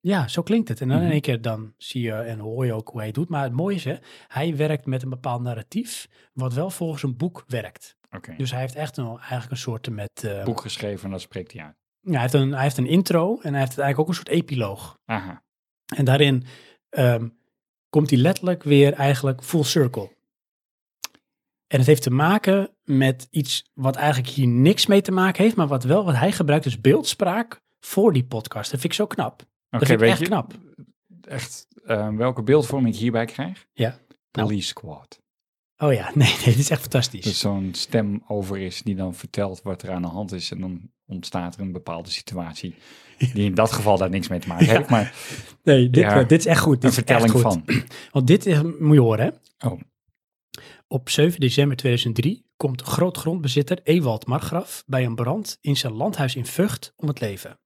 [SPEAKER 1] Ja, zo klinkt het. En dan
[SPEAKER 2] Mhm.
[SPEAKER 1] in één keer dan zie je en hoor je ook hoe hij het doet. Maar het mooie is, hè, hij werkt met een bepaald narratief, wat wel volgens een boek werkt.
[SPEAKER 2] Oké.
[SPEAKER 1] Dus hij heeft echt een, eigenlijk een soort met... eh,
[SPEAKER 2] boek geschreven en dat spreekt hij uit.
[SPEAKER 1] ja, hij, heeft een, hij heeft een intro en hij heeft eigenlijk ook een soort epiloog.
[SPEAKER 2] Aha.
[SPEAKER 1] En daarin ehm, komt hij letterlijk weer eigenlijk full circle. En het heeft te maken met iets wat eigenlijk hier niks mee te maken heeft, maar wat wel, wat hij gebruikt is beeldspraak voor die podcast. Dat vind ik zo knap.
[SPEAKER 2] Oké,
[SPEAKER 1] dat vind ik
[SPEAKER 2] weet
[SPEAKER 1] echt
[SPEAKER 2] je
[SPEAKER 1] knap.
[SPEAKER 2] echt eh, welke beeldvorm ik hierbij krijg?
[SPEAKER 1] Ja. Nou.
[SPEAKER 2] Police Squad.
[SPEAKER 1] Oh ja, nee, nee, dit is echt fantastisch.
[SPEAKER 2] Dus zo'n stem over is die dan vertelt wat er aan de hand is en dan ontstaat er een bepaalde situatie die in dat geval daar niks mee te maken
[SPEAKER 1] Ja.
[SPEAKER 2] heeft, maar
[SPEAKER 1] nee, dit,
[SPEAKER 2] ja,
[SPEAKER 1] dit is echt goed. Dit
[SPEAKER 2] een
[SPEAKER 1] is echt
[SPEAKER 2] vertelling
[SPEAKER 1] goed.
[SPEAKER 2] van.
[SPEAKER 1] Want dit is, moet je horen, hè?
[SPEAKER 2] Oh.
[SPEAKER 1] Op 7 december 2003 komt grootgrondbezitter Ewald Margraf bij een brand in zijn landhuis in Vught om het leven.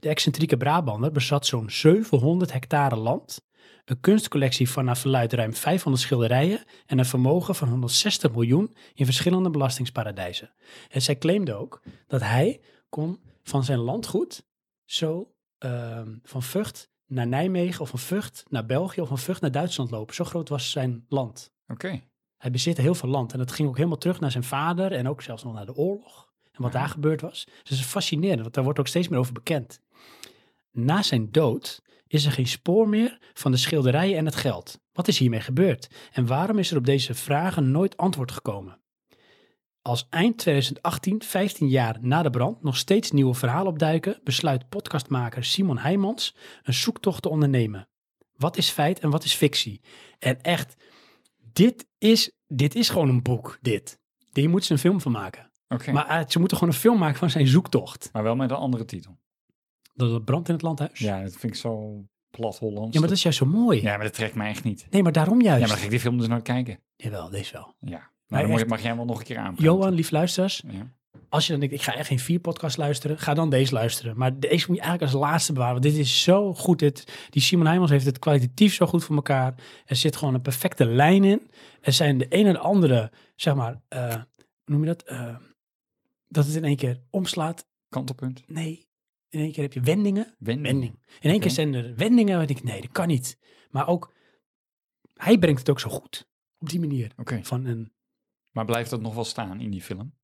[SPEAKER 1] De excentrieke Brabander bezat zo'n 700 hectare land, een kunstcollectie van naar verluid ruim 500 schilderijen en een vermogen van 160 miljoen in verschillende belastingsparadijzen. En zij claimde ook dat hij kon van zijn landgoed zo ehm, van Vught naar Nijmegen of van Vught naar België of van Vught naar Duitsland lopen. Zo groot was zijn land.
[SPEAKER 2] Oké.
[SPEAKER 1] Hij bezitte heel veel land en dat ging ook helemaal terug naar zijn vader en ook zelfs nog naar de oorlog en wat
[SPEAKER 2] Ja.
[SPEAKER 1] daar gebeurd was. Dus het is fascinerend, want daar wordt ook steeds meer over bekend. Na zijn dood is er geen spoor meer van de schilderijen en het geld. Wat is hiermee gebeurd? En waarom is er op deze vragen nooit antwoord gekomen? Als eind 2018, 15 jaar na de brand, nog steeds nieuwe verhalen opduiken, besluit podcastmaker Simon Heijmans een zoektocht te ondernemen. Wat is feit en wat is fictie? En echt, dit is, dit is gewoon een boek, dit. Hier moeten ze een film van maken.
[SPEAKER 2] Oké.
[SPEAKER 1] Maar eh, ze moeten gewoon een film maken van zijn zoektocht.
[SPEAKER 2] Maar wel met een andere titel.
[SPEAKER 1] Dat is brand in het landhuis.
[SPEAKER 2] Ja, dat vind ik zo plat Hollands.
[SPEAKER 1] Ja, maar dat is juist zo mooi.
[SPEAKER 2] Ja, maar dat trekt mij echt niet.
[SPEAKER 1] Nee, maar daarom
[SPEAKER 2] Ja,
[SPEAKER 1] juist.
[SPEAKER 2] maar dan ga ik die film dus nooit kijken.
[SPEAKER 1] Jawel, deze wel.
[SPEAKER 2] Ja. Nou,
[SPEAKER 1] Maar
[SPEAKER 2] dan mag-
[SPEAKER 1] echt-
[SPEAKER 2] mag jij wel nog een keer aan.
[SPEAKER 1] Johan, lief luisteraars,
[SPEAKER 2] Ja.
[SPEAKER 1] als je dan denkt, ik ga echt geen vier podcasts luisteren, ga dan deze luisteren. Maar deze moet je eigenlijk als laatste bewaren, want dit is zo goed. Dit, die Simon Heijmans heeft het kwalitatief zo goed voor elkaar. Er zit gewoon een perfecte lijn in. Er zijn de een en de andere, zeg maar, eh, hoe noem je dat? Eh, dat het in één keer omslaat.
[SPEAKER 2] Kantelpunt.
[SPEAKER 1] Nee, in één keer heb je wendingen.
[SPEAKER 2] Wending.
[SPEAKER 1] Wending. In één
[SPEAKER 2] Oké.
[SPEAKER 1] keer zijn er wendingen waar ik denk, nee, dat kan niet. Maar ook, hij brengt het ook zo goed. Op die manier.
[SPEAKER 2] Oké.
[SPEAKER 1] Van een,
[SPEAKER 2] Maar blijft dat nog wel staan in die film?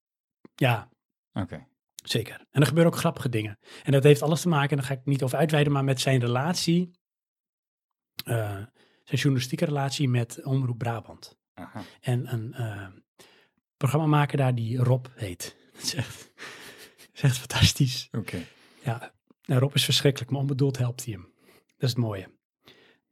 [SPEAKER 1] ja,
[SPEAKER 2] Oké.
[SPEAKER 1] zeker. En er gebeuren ook grappige dingen. En dat heeft alles te maken, en daar ga ik niet over uitweiden, maar met zijn relatie, eh, zijn journalistieke relatie met Omroep Brabant.
[SPEAKER 2] Aha.
[SPEAKER 1] En een eh, programmamaker daar die Rob heet. Dat is echt, dat is echt fantastisch.
[SPEAKER 2] Oké.
[SPEAKER 1] Ja, nou, Rob is verschrikkelijk, maar onbedoeld helpt hij hem. Dat is het mooie.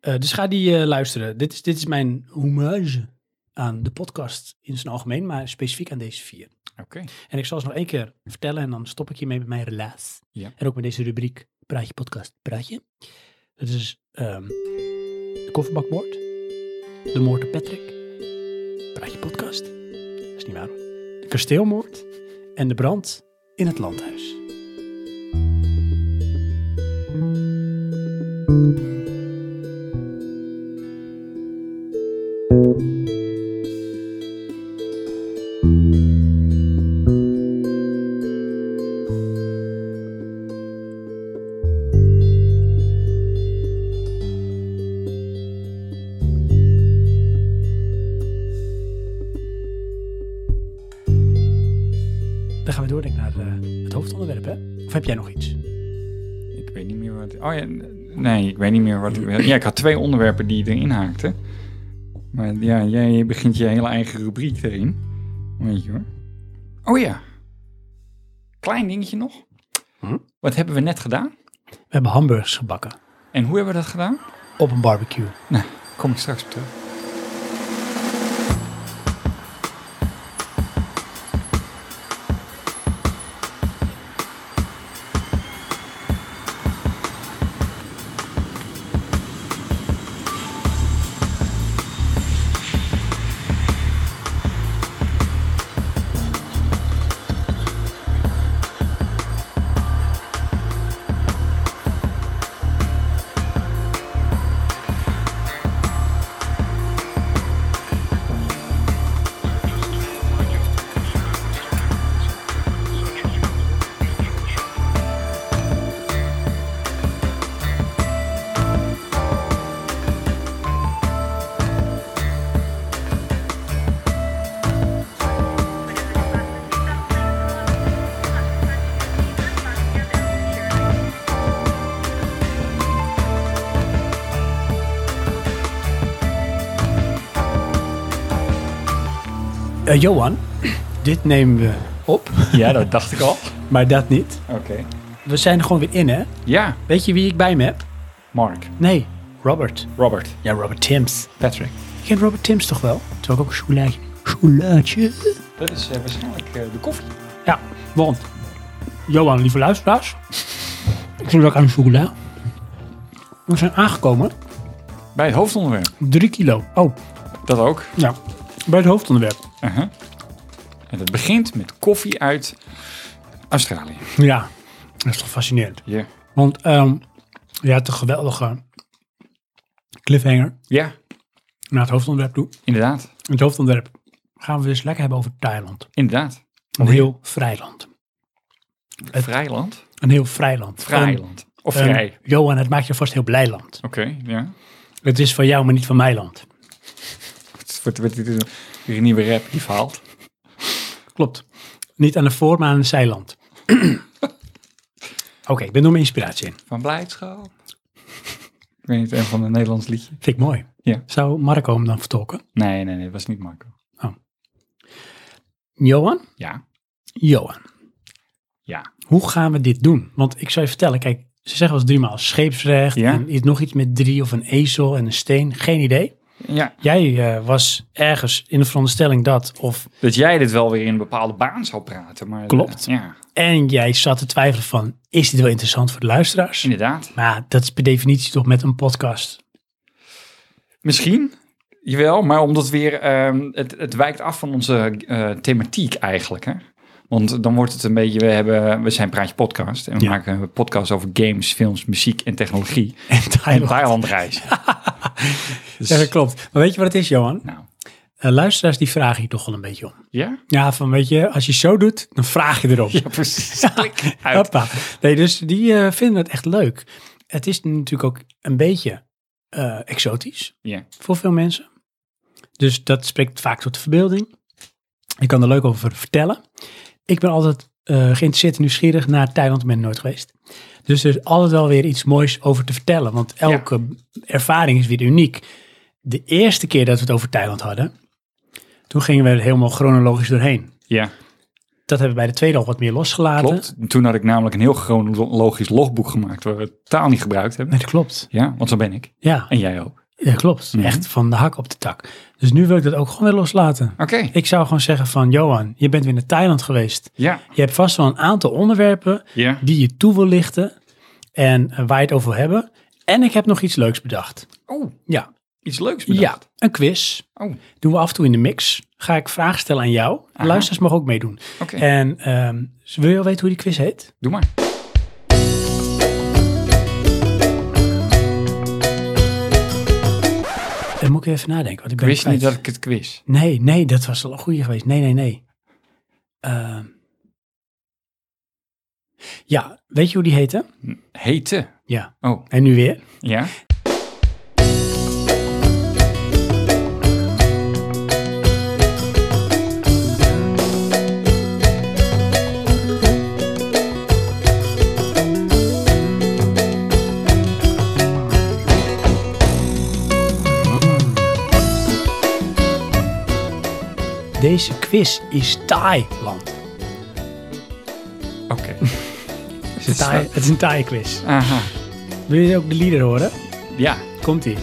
[SPEAKER 1] Eh, dus ga die eh, luisteren. Dit is, dit is mijn hommage aan de podcast in zijn algemeen, maar specifiek aan deze vier.
[SPEAKER 2] Oké.
[SPEAKER 1] En ik zal ze nog één keer vertellen en dan stop ik hiermee met mijn relaas.
[SPEAKER 2] Ja.
[SPEAKER 1] En ook met deze rubriek Praatje Podcast Praatje. Dat is ehm, de kofferbakmoord, de moord op Patrick, Praatje Podcast, dat is niet waar hoor, de kasteelmoord en de brand in het landhuis. Dan gaan we door denk ik, naar eh, het hoofdonderwerp, hè? Of heb jij nog iets?
[SPEAKER 2] Ik weet niet meer wat. Oh ja, nee, ik weet niet meer wat ik wil. Ja, ik had twee onderwerpen die erin haakten. Maar ja, jij begint je hele eigen rubriek erin. Weet je hoor. Oh ja. Klein dingetje nog.
[SPEAKER 1] Hm?
[SPEAKER 2] Wat hebben we net gedaan?
[SPEAKER 1] We hebben hamburgers gebakken
[SPEAKER 2] En hoe hebben we dat gedaan?
[SPEAKER 1] op een barbecue.
[SPEAKER 2] Nou, kom ik straks op terug.
[SPEAKER 1] Eh, Johan, dit nemen we op,
[SPEAKER 2] Ja, dat dacht ik al.
[SPEAKER 1] maar dat niet.
[SPEAKER 2] Oké.
[SPEAKER 1] We zijn er gewoon weer in, hè?
[SPEAKER 2] Ja,
[SPEAKER 1] Weet je wie ik bij me heb?
[SPEAKER 2] Mark,
[SPEAKER 1] Nee, Robert.
[SPEAKER 2] Robert,
[SPEAKER 1] Ja, Robert Timms.
[SPEAKER 2] Patrick.
[SPEAKER 1] Je kent Robert Timms toch wel? Toen ook een choulaatje. Choulaatje.
[SPEAKER 2] Dat is eh, waarschijnlijk eh, de koffie.
[SPEAKER 1] Ja, want Johan, lieve luisteraars. Ik doe ook aan de chocola. We zijn aangekomen.
[SPEAKER 2] Bij het hoofdonderwerp.
[SPEAKER 1] Drie kilo. Oh,
[SPEAKER 2] Dat ook.
[SPEAKER 1] ja. Bij het hoofdonderwerp.
[SPEAKER 2] Uh-huh. En dat begint met koffie uit Australië.
[SPEAKER 1] Ja, dat is toch fascinerend.
[SPEAKER 2] Ja.
[SPEAKER 1] Want ehm je had een geweldige cliffhanger
[SPEAKER 2] Ja,
[SPEAKER 1] naar het hoofdonderwerp toe.
[SPEAKER 2] inderdaad.
[SPEAKER 1] Het hoofdonderwerp gaan we dus lekker hebben over Thailand.
[SPEAKER 2] Inderdaad.
[SPEAKER 1] Een heel vrij land. Het-
[SPEAKER 2] Vrijland?
[SPEAKER 1] Een heel vrij land.
[SPEAKER 2] Vrijland. Ehm, Of
[SPEAKER 1] Een-
[SPEAKER 2] vrij.
[SPEAKER 1] een- Johan, het maakt je vast heel blij land.
[SPEAKER 2] Oké, ja.
[SPEAKER 1] Het is van jou, maar niet van mijn land.
[SPEAKER 2] Het wordt, wordt dit een- weer een nieuwe rap die verhaalt.
[SPEAKER 1] Klopt. Niet aan de voor, maar aan de zijland. Oké, ik ben door mijn inspiratie in.
[SPEAKER 2] Van blijdschap. Ik weet niet, een van een Nederlands liedje.
[SPEAKER 1] Vind ik mooi.
[SPEAKER 2] Ja.
[SPEAKER 1] Zou Marco hem dan vertolken?
[SPEAKER 2] Nee, nee, nee, dat was niet Marco.
[SPEAKER 1] Johan?
[SPEAKER 2] Ja,
[SPEAKER 1] Johan.
[SPEAKER 2] ja.
[SPEAKER 1] Hoe gaan we dit doen? Want ik zou je vertellen, kijk, ze zeggen als driemaal scheepsrecht
[SPEAKER 2] Ja.
[SPEAKER 1] en iets- nog iets met drie of een ezel en een steen. Geen idee.
[SPEAKER 2] Ja,
[SPEAKER 1] Jij eh, was ergens in de veronderstelling dat of...
[SPEAKER 2] dat jij dit wel weer in een bepaalde baan zou praten. Maar, eh,
[SPEAKER 1] Klopt.
[SPEAKER 2] ja,
[SPEAKER 1] En jij zat te twijfelen van, is dit wel interessant voor de luisteraars?
[SPEAKER 2] inderdaad.
[SPEAKER 1] Maar dat is per definitie toch met een podcast.
[SPEAKER 2] Misschien, jawel, maar omdat weer, ehm, het, het wijkt af van onze eh, thematiek eigenlijk. Hè? Want dan wordt het een beetje, we, hebben, we zijn Praatje Podcast. En we
[SPEAKER 1] Ja.
[SPEAKER 2] maken een podcast over games, films, muziek en technologie.
[SPEAKER 1] En
[SPEAKER 2] En
[SPEAKER 1] Thailand.
[SPEAKER 2] Thailandreis. dus,
[SPEAKER 1] Ja, dat klopt. Maar weet je wat het is, Johan?
[SPEAKER 2] nou,
[SPEAKER 1] Eh, luisteraars die vragen hier toch wel een beetje om.
[SPEAKER 2] ja?
[SPEAKER 1] Ja, van weet je, als je zo doet, dan vraag je erop.
[SPEAKER 2] Ja, precies. Klik uit.
[SPEAKER 1] Hoppa. Nee, dus die eh, vinden het echt leuk. Het is natuurlijk ook een beetje eh, exotisch
[SPEAKER 2] Ja.
[SPEAKER 1] voor veel mensen. Dus dat spreekt vaak tot de verbeelding. Ik kan er leuk over vertellen. Ik ben altijd eh, geïnteresseerd en nieuwsgierig naar Thailand. Ik ben er nooit geweest. Dus er is altijd wel weer iets moois over te vertellen. Want elke ervaring is weer uniek. De eerste keer dat we het over Thailand hadden, toen gingen we er helemaal chronologisch doorheen.
[SPEAKER 2] Ja,
[SPEAKER 1] Dat hebben we bij de tweede al wat meer losgelaten.
[SPEAKER 2] klopt. Toen had ik namelijk een heel chronologisch logboek gemaakt waar we taal niet gebruikt hebben.
[SPEAKER 1] Nee, dat klopt.
[SPEAKER 2] Ja, want zo ben ik.
[SPEAKER 1] Ja.
[SPEAKER 2] En jij ook.
[SPEAKER 1] Ja, klopt.
[SPEAKER 2] Mhm.
[SPEAKER 1] Echt van de hak op de tak. Dus nu wil ik dat ook gewoon weer loslaten.
[SPEAKER 2] Oké,
[SPEAKER 1] Ik zou gewoon zeggen van, Johan, je bent weer naar Thailand geweest.
[SPEAKER 2] ja.
[SPEAKER 1] Je hebt vast wel een aantal onderwerpen
[SPEAKER 2] Ja,
[SPEAKER 1] die je toe wil lichten en eh, waar je het over wil hebben. En ik heb nog iets leuks bedacht.
[SPEAKER 2] Oh,
[SPEAKER 1] Ja,
[SPEAKER 2] iets leuks
[SPEAKER 1] ja
[SPEAKER 2] bedacht.
[SPEAKER 1] een quiz.
[SPEAKER 2] Oh, oké.
[SPEAKER 1] Doen we af en toe in de mix. Ga ik vragen stellen aan jou.
[SPEAKER 2] Aha.
[SPEAKER 1] Luisteraars mogen ook meedoen. En ehm, wil je al weten hoe die quiz heet?
[SPEAKER 2] Doe maar.
[SPEAKER 1] Dan moet ik even nadenken. Want ik
[SPEAKER 2] Ik
[SPEAKER 1] ben
[SPEAKER 2] wist
[SPEAKER 1] kwijt.
[SPEAKER 2] niet dat ik het quiz.
[SPEAKER 1] Nee, nee, dat was wel een goede geweest. Nee, nee, nee. Ehm. ja, weet je hoe die heette?
[SPEAKER 2] Hete.
[SPEAKER 1] Ja.
[SPEAKER 2] Oh,
[SPEAKER 1] En nu weer?
[SPEAKER 2] ja.
[SPEAKER 1] Deze quiz is Thailand.
[SPEAKER 2] Oké. Is het
[SPEAKER 1] Thai,
[SPEAKER 2] zo?
[SPEAKER 1] het is een Thai quiz.
[SPEAKER 2] Aha.
[SPEAKER 1] Wil je ook de lieder horen?
[SPEAKER 2] Ja.
[SPEAKER 1] Komt ie.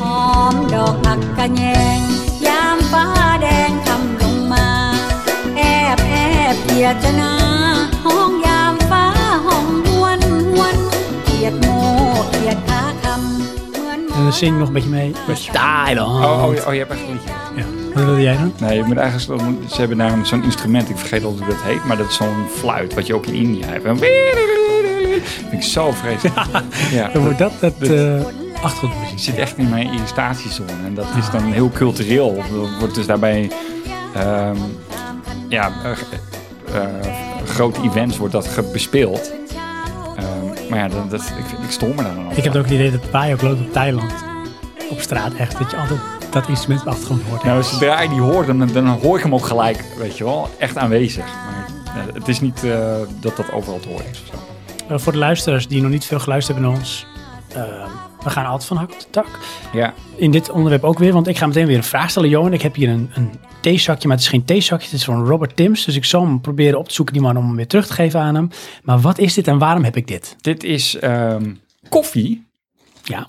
[SPEAKER 3] หอมดอกผักกะแยง ยามฟ้าแดงคำลงมา แอบแอบเกียดจะนาห้องยามฟ้าห้องหวนหวนเกียดโมเกียดขาคำเหมือนหมอ
[SPEAKER 1] En dan zing ik nog een beetje mee. Thailand.
[SPEAKER 2] Oh, oh, oh, je hebt echt een liedje.
[SPEAKER 1] Ja. Wat wilde jij dan?
[SPEAKER 2] Nee, je moet eigenlijk, dat moet- ze hebben namelijk zo'n instrument. Ik vergeet al hoe dat heet. Maar dat is zo'n fluit wat je ook in India hebt. En- Vind ik zo vreselijk. Ja.
[SPEAKER 1] Dan wordt dat het
[SPEAKER 2] Dit-
[SPEAKER 1] eh
[SPEAKER 2] Ik
[SPEAKER 1] achtergrondmuziek.
[SPEAKER 2] zit echt in mijn irritatiezone. En dat is dan heel cultureel. Dat wordt dus daarbij... ehm, ja, eh, eh, grote events wordt dat ge- bespeeld. Ehm, maar ja, dat, dat- ik, ik stoor me daar dan aan.
[SPEAKER 1] Ik heb ook het idee dat wij ook lopen op Thailand. Op straat echt. Dat je altijd dat instrument op de achtergrond hoort.
[SPEAKER 2] Nou, zodra je die hoort, dan, dan hoor ik hem ook gelijk, weet je wel, echt aanwezig. Maar eh, het is niet eh, dat dat overal te horen is of zo.
[SPEAKER 1] Eh, voor de luisteraars die nog niet veel geluisterd hebben naar ons. eh, we gaan altijd van hak op de tak.
[SPEAKER 2] Ja,
[SPEAKER 1] In dit onderwerp ook weer, want ik ga meteen weer een vraag stellen. Johan, ik heb hier een, een theezakje, maar het is geen theezakje. Het is van Robert Timms. Dus ik zal hem proberen op te zoeken, die man, om hem weer terug te geven aan hem. Maar wat is dit en waarom heb ik dit?
[SPEAKER 2] dit is ehm, koffie,
[SPEAKER 1] Ja,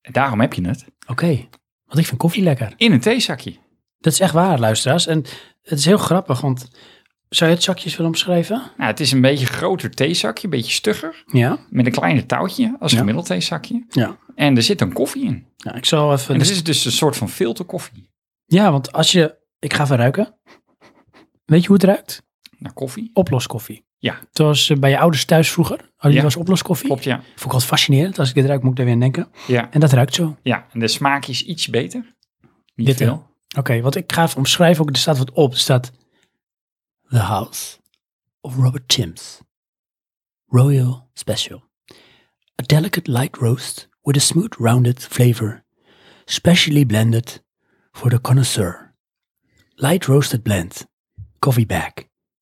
[SPEAKER 2] daarom heb je het,
[SPEAKER 1] oké. Want ik vind koffie lekker.
[SPEAKER 2] in een theezakje.
[SPEAKER 1] Dat is echt waar, luisteraars. En het is heel grappig, want zou je het zakje eens willen omschrijven?
[SPEAKER 2] Nou, het is een beetje groter theezakje, een beetje stugger,
[SPEAKER 1] Ja.
[SPEAKER 2] met een kleiner touwtje als een
[SPEAKER 1] Ja.
[SPEAKER 2] gemiddeld theezakje.
[SPEAKER 1] Ja.
[SPEAKER 2] En er zit een koffie in.
[SPEAKER 1] Nou, ik zal even...
[SPEAKER 2] En dit is dus een soort van filterkoffie.
[SPEAKER 1] Ja, want als je... Ik ga even ruiken. Weet je hoe het ruikt?
[SPEAKER 2] Nou, koffie.
[SPEAKER 1] Oploskoffie.
[SPEAKER 2] Ja.
[SPEAKER 1] Het was eh, bij je ouders thuis vroeger. Hadden
[SPEAKER 2] Ja.
[SPEAKER 1] was oploskoffie.
[SPEAKER 2] Klopt, ja.
[SPEAKER 1] Vond ik altijd fascinerend. Als ik dit ruik, moet ik daar weer aan denken.
[SPEAKER 2] Ja,
[SPEAKER 1] En dat ruikt zo.
[SPEAKER 2] ja. en de smaak is iets beter. Niet
[SPEAKER 1] Dit,
[SPEAKER 2] veel.
[SPEAKER 1] Oké, want ik ga even omschrijven. Ook, er staat wat op. Er staat The House of Robert Timms. Royal Special. A delicate light roast with a smooth rounded flavor. Specially blended for the connoisseur. Light roasted blend. Coffee bag.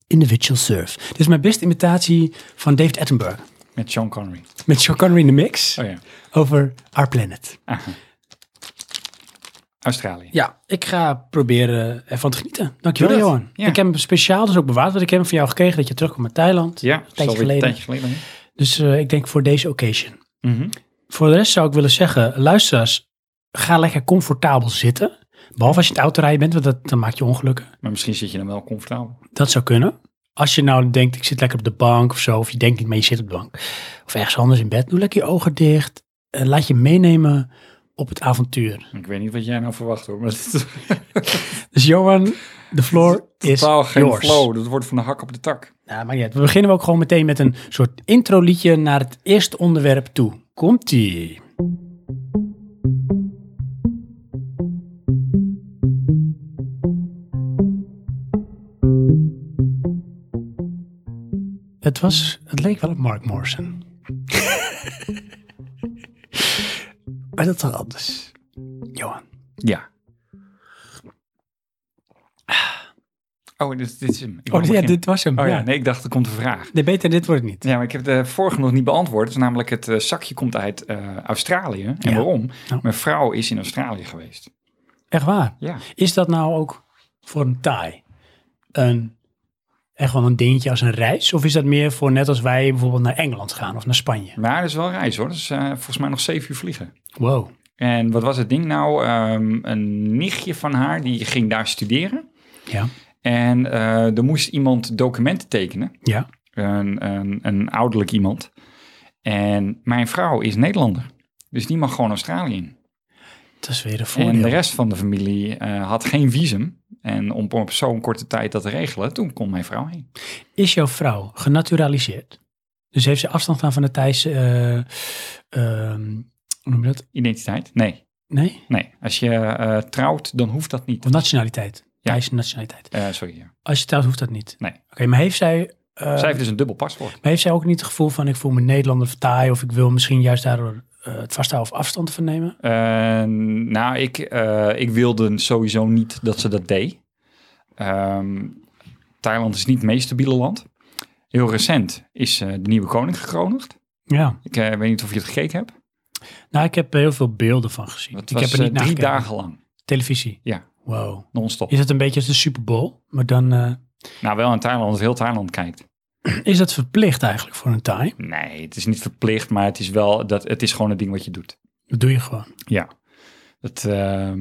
[SPEAKER 1] Individual serve. Dit is mijn beste imitatie van David Attenborough.
[SPEAKER 2] Met Sean Connery.
[SPEAKER 1] Met Sean Connery in de mix
[SPEAKER 2] Oh ja,
[SPEAKER 1] over Our Planet.
[SPEAKER 2] Aha. Australië.
[SPEAKER 1] Ja, ik ga proberen ervan te genieten. Dankjewel,
[SPEAKER 2] Doe dat.
[SPEAKER 1] Johan.
[SPEAKER 2] Ja.
[SPEAKER 1] Ik heb hem speciaal dus ook bewaard, want ik heb hem van jou gekregen dat je terugkomt uit Thailand.
[SPEAKER 2] Ja, dat is alweer
[SPEAKER 1] geleden.
[SPEAKER 2] een tijdje geleden. hè?
[SPEAKER 1] Dus eh, ik denk voor deze occasion.
[SPEAKER 2] Mhm.
[SPEAKER 1] Voor de rest zou ik willen zeggen, luisteraars, ga lekker comfortabel zitten. Behalve als je in het autorijden bent, want dat, dan maak je ongelukken.
[SPEAKER 2] Maar misschien zit je dan wel comfortabel.
[SPEAKER 1] Dat zou kunnen. Als je nou denkt, ik zit lekker op de bank of zo, of je denkt niet, maar je zit op de bank. Of ergens anders in bed, doe lekker je ogen dicht. en laat je meenemen op het avontuur.
[SPEAKER 2] Ik weet niet wat jij nou verwacht hoor. Maar dat-
[SPEAKER 1] Dus Johan, the floor is
[SPEAKER 2] Totaal geen
[SPEAKER 1] yours.
[SPEAKER 2] flow. Dat wordt van de hak op de tak.
[SPEAKER 1] Nou, maar ja, we beginnen ook gewoon meteen met een soort intro liedje naar het eerste onderwerp toe. Komt-ie. Het, was, het leek wel op Mark Morrison. maar dat is toch anders. Johan.
[SPEAKER 2] Ja. Oh, dit, dit is hem. Ik
[SPEAKER 1] Oh,
[SPEAKER 2] mag
[SPEAKER 1] ja,
[SPEAKER 2] beginnen.
[SPEAKER 1] dit was hem.
[SPEAKER 2] Oh ja,
[SPEAKER 1] ja.
[SPEAKER 2] nee, ik dacht er komt een vraag.
[SPEAKER 1] Nee, beter dit wordt het niet.
[SPEAKER 2] Ja, maar ik heb de vorige nog niet beantwoord. Dat is namelijk het eh, zakje komt uit eh, Australië. En
[SPEAKER 1] Ja.
[SPEAKER 2] waarom?
[SPEAKER 1] Nou.
[SPEAKER 2] Mijn vrouw is in Australië geweest.
[SPEAKER 1] Echt waar.
[SPEAKER 2] Ja.
[SPEAKER 1] Is dat nou ook voor een Thai een, echt wel een dingetje als een reis? Of is dat meer voor net als wij bijvoorbeeld naar Engeland gaan of naar Spanje?
[SPEAKER 2] Maar dat is wel een reis hoor. Dat is eh, volgens mij nog zeven uur vliegen.
[SPEAKER 1] Wow.
[SPEAKER 2] En wat was het ding nou? Ehm, een nichtje van haar, die ging daar studeren.
[SPEAKER 1] Ja.
[SPEAKER 2] En eh, er moest iemand documenten tekenen.
[SPEAKER 1] Ja.
[SPEAKER 2] Een, een, een ouderlijk iemand. En mijn vrouw is Nederlander. Dus die mag gewoon Australië in.
[SPEAKER 1] Dat is weer een
[SPEAKER 2] En
[SPEAKER 1] voordeel.
[SPEAKER 2] de rest van de familie eh, had geen visum. En om op zo'n korte tijd dat te regelen, toen kon mijn vrouw heen.
[SPEAKER 1] Is jouw vrouw genaturaliseerd? Dus heeft ze afstand gedaan van de Thaise, eh, ehm, hoe noem je dat?
[SPEAKER 2] Identiteit? Nee,
[SPEAKER 1] Nee?
[SPEAKER 2] nee. Als je eh, trouwt, dan hoeft dat niet.
[SPEAKER 1] Of nationaliteit?
[SPEAKER 2] Ja.
[SPEAKER 1] Thaise nationaliteit.
[SPEAKER 2] Eh, sorry. Ja.
[SPEAKER 1] Als je thuis hoeft dat niet.
[SPEAKER 2] Nee.
[SPEAKER 1] Oké, maar heeft zij... eh,
[SPEAKER 2] Zij heeft dus een dubbel paspoort.
[SPEAKER 1] Maar heeft zij ook niet het gevoel van ik voel me Nederlander of Thai of ik wil misschien juist daardoor eh, het vasthouden of afstand van nemen?
[SPEAKER 2] Eh, nou, ik, eh, ik wilde sowieso niet dat ze dat deed. Ehm, Thailand is niet het meest stabiele land. Heel recent is eh, de nieuwe koning gekroond.
[SPEAKER 1] Ja.
[SPEAKER 2] Ik eh, weet niet of je het gekeken hebt.
[SPEAKER 1] Nou, ik heb heel veel beelden van gezien.
[SPEAKER 2] Het
[SPEAKER 1] ik
[SPEAKER 2] was
[SPEAKER 1] heb er niet
[SPEAKER 2] eh,
[SPEAKER 1] naar
[SPEAKER 2] drie
[SPEAKER 1] gekeken.
[SPEAKER 2] dagen lang,
[SPEAKER 1] Televisie.
[SPEAKER 2] Ja.
[SPEAKER 1] Wow.
[SPEAKER 2] non-stop.
[SPEAKER 1] Is het een beetje als de Super Bowl? Maar dan eh,
[SPEAKER 2] Nou, wel in Thailand, als heel Thailand kijkt.
[SPEAKER 1] is dat verplicht eigenlijk voor een Thai.
[SPEAKER 2] Nee, het is niet verplicht, maar het is wel dat het is gewoon het ding wat je doet.
[SPEAKER 1] Dat doe je gewoon.
[SPEAKER 2] Ja. Het, ehm,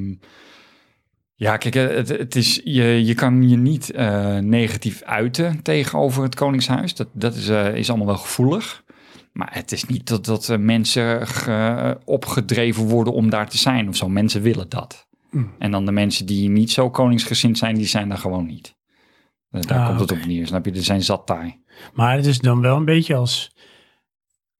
[SPEAKER 2] ja, kijk, eh, het, het is, je, je kan je niet eh, negatief uiten tegenover het Koningshuis. Dat, dat is, eh, is allemaal wel gevoelig. Maar het is niet dat, dat eh, mensen ge- eh, opgedreven worden om daar te zijn of zo. Mensen willen dat.
[SPEAKER 1] Mm.
[SPEAKER 2] En dan de mensen die niet zo koningsgezind zijn, die zijn daar gewoon niet. Eh, Daar
[SPEAKER 1] Ah,
[SPEAKER 2] komt het
[SPEAKER 1] oké.
[SPEAKER 2] op neer, snap je? Er zijn zat taai.
[SPEAKER 1] Maar het is dan wel een beetje als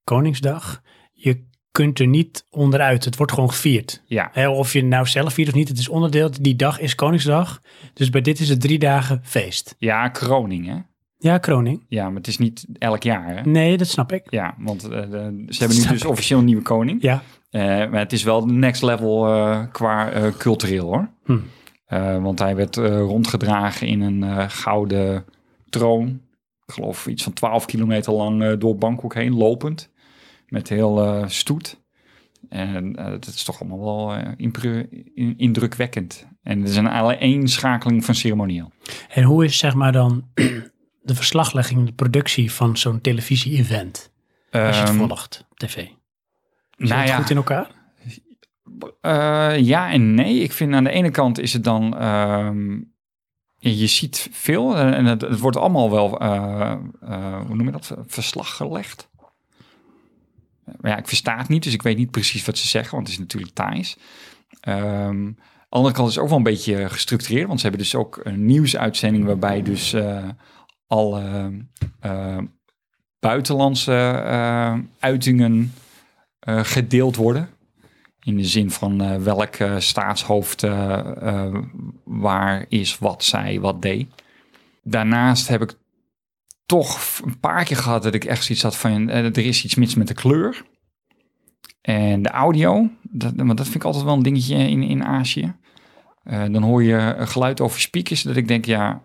[SPEAKER 1] Koningsdag. Je kunt er niet onderuit. Het wordt gewoon gevierd.
[SPEAKER 2] Ja,
[SPEAKER 1] Hè, of je nou zelf viert of niet, het is onderdeel. Die dag is Koningsdag. Dus bij dit is het drie dagen feest.
[SPEAKER 2] ja kroning, hè?
[SPEAKER 1] Ja, kroning.
[SPEAKER 2] Ja, maar het is niet elk jaar, hè?
[SPEAKER 1] Nee, dat snap ik.
[SPEAKER 2] Ja, want eh, de- ze hebben nu
[SPEAKER 1] Hm. Snap
[SPEAKER 2] dus
[SPEAKER 1] ik.
[SPEAKER 2] officieel een nieuwe koning.
[SPEAKER 1] Ja.
[SPEAKER 2] Eh, maar het is wel next level eh, qua eh, cultureel hoor.
[SPEAKER 1] Hm.
[SPEAKER 2] Eh, want hij werd eh, rondgedragen in een eh, gouden troon. Ik geloof iets van 12 kilometer lang eh, door Bangkok heen, lopend. Met heel eh, stoet. En eh, dat is toch allemaal wel eh, impre- in- indrukwekkend. En het is een alleen schakeling van ceremonieel.
[SPEAKER 1] En hoe is zeg maar dan de verslaglegging, de productie van zo'n televisie-event? Als je het
[SPEAKER 2] Ehm,
[SPEAKER 1] volgt, op tv. Zit
[SPEAKER 2] nou
[SPEAKER 1] het
[SPEAKER 2] ja,
[SPEAKER 1] goed in elkaar?
[SPEAKER 2] Eh, ja en nee. Ik vind aan de ene kant is het dan. ehm, je ziet veel eh, en het, het wordt allemaal wel. eh, eh, hoe noem je dat? Verslag gelegd. Maar ja, ik versta het niet, dus ik weet niet precies wat ze zeggen, want het is natuurlijk Thais. Ehm, aan de andere kant is het ook wel een beetje gestructureerd, want ze hebben dus ook een nieuwsuitzending waarbij dus eh, alle eh, buitenlandse eh, uitingen eh, gedeeld worden. In de zin van eh, welk eh, staatshoofd eh, eh, waar is, wat zij, wat deed. Daarnaast heb ik toch f- een paar keer gehad dat ik echt zoiets had van... eh, er is iets mis met de kleur. En de audio, dat, want dat vind ik altijd wel een dingetje in, in Azië. Eh, dan hoor je een geluid over speakers dat ik denk, ja...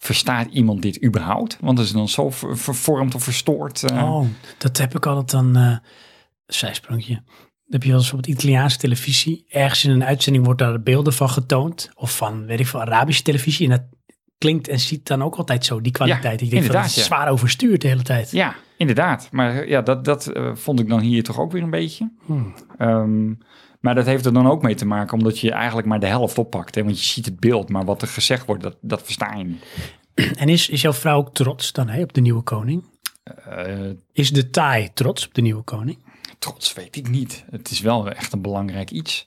[SPEAKER 2] Verstaat iemand dit überhaupt? Want het is dan zo ver- vervormd of verstoord. eh.
[SPEAKER 1] oh, dat heb ik altijd dan, eh zijsprongje. Dat heb je wel eens op het Italiaanse televisie. Ergens in een uitzending wordt daar beelden van getoond. Of van, weet ik veel, Arabische televisie. En dat klinkt en ziet dan ook altijd zo, die kwaliteit. ik denk van, dat
[SPEAKER 2] inderdaad,
[SPEAKER 1] is
[SPEAKER 2] ja.
[SPEAKER 1] zwaar overstuurd de hele tijd.
[SPEAKER 2] Ja, inderdaad. Maar eh, ja, dat, dat eh, vond ik dan hier toch ook weer een beetje.
[SPEAKER 1] Hmm.
[SPEAKER 2] Ehm, maar dat heeft er dan ook mee te maken, omdat je eigenlijk maar de helft oppakt. Hè? Want je ziet het beeld, maar wat er gezegd wordt, dat, dat versta je niet.
[SPEAKER 1] En is, is jouw vrouw ook trots dan hè, op de nieuwe koning?
[SPEAKER 2] Eh,
[SPEAKER 1] Is de Thai trots op de nieuwe koning?
[SPEAKER 2] trots weet ik niet. Het is wel echt een belangrijk iets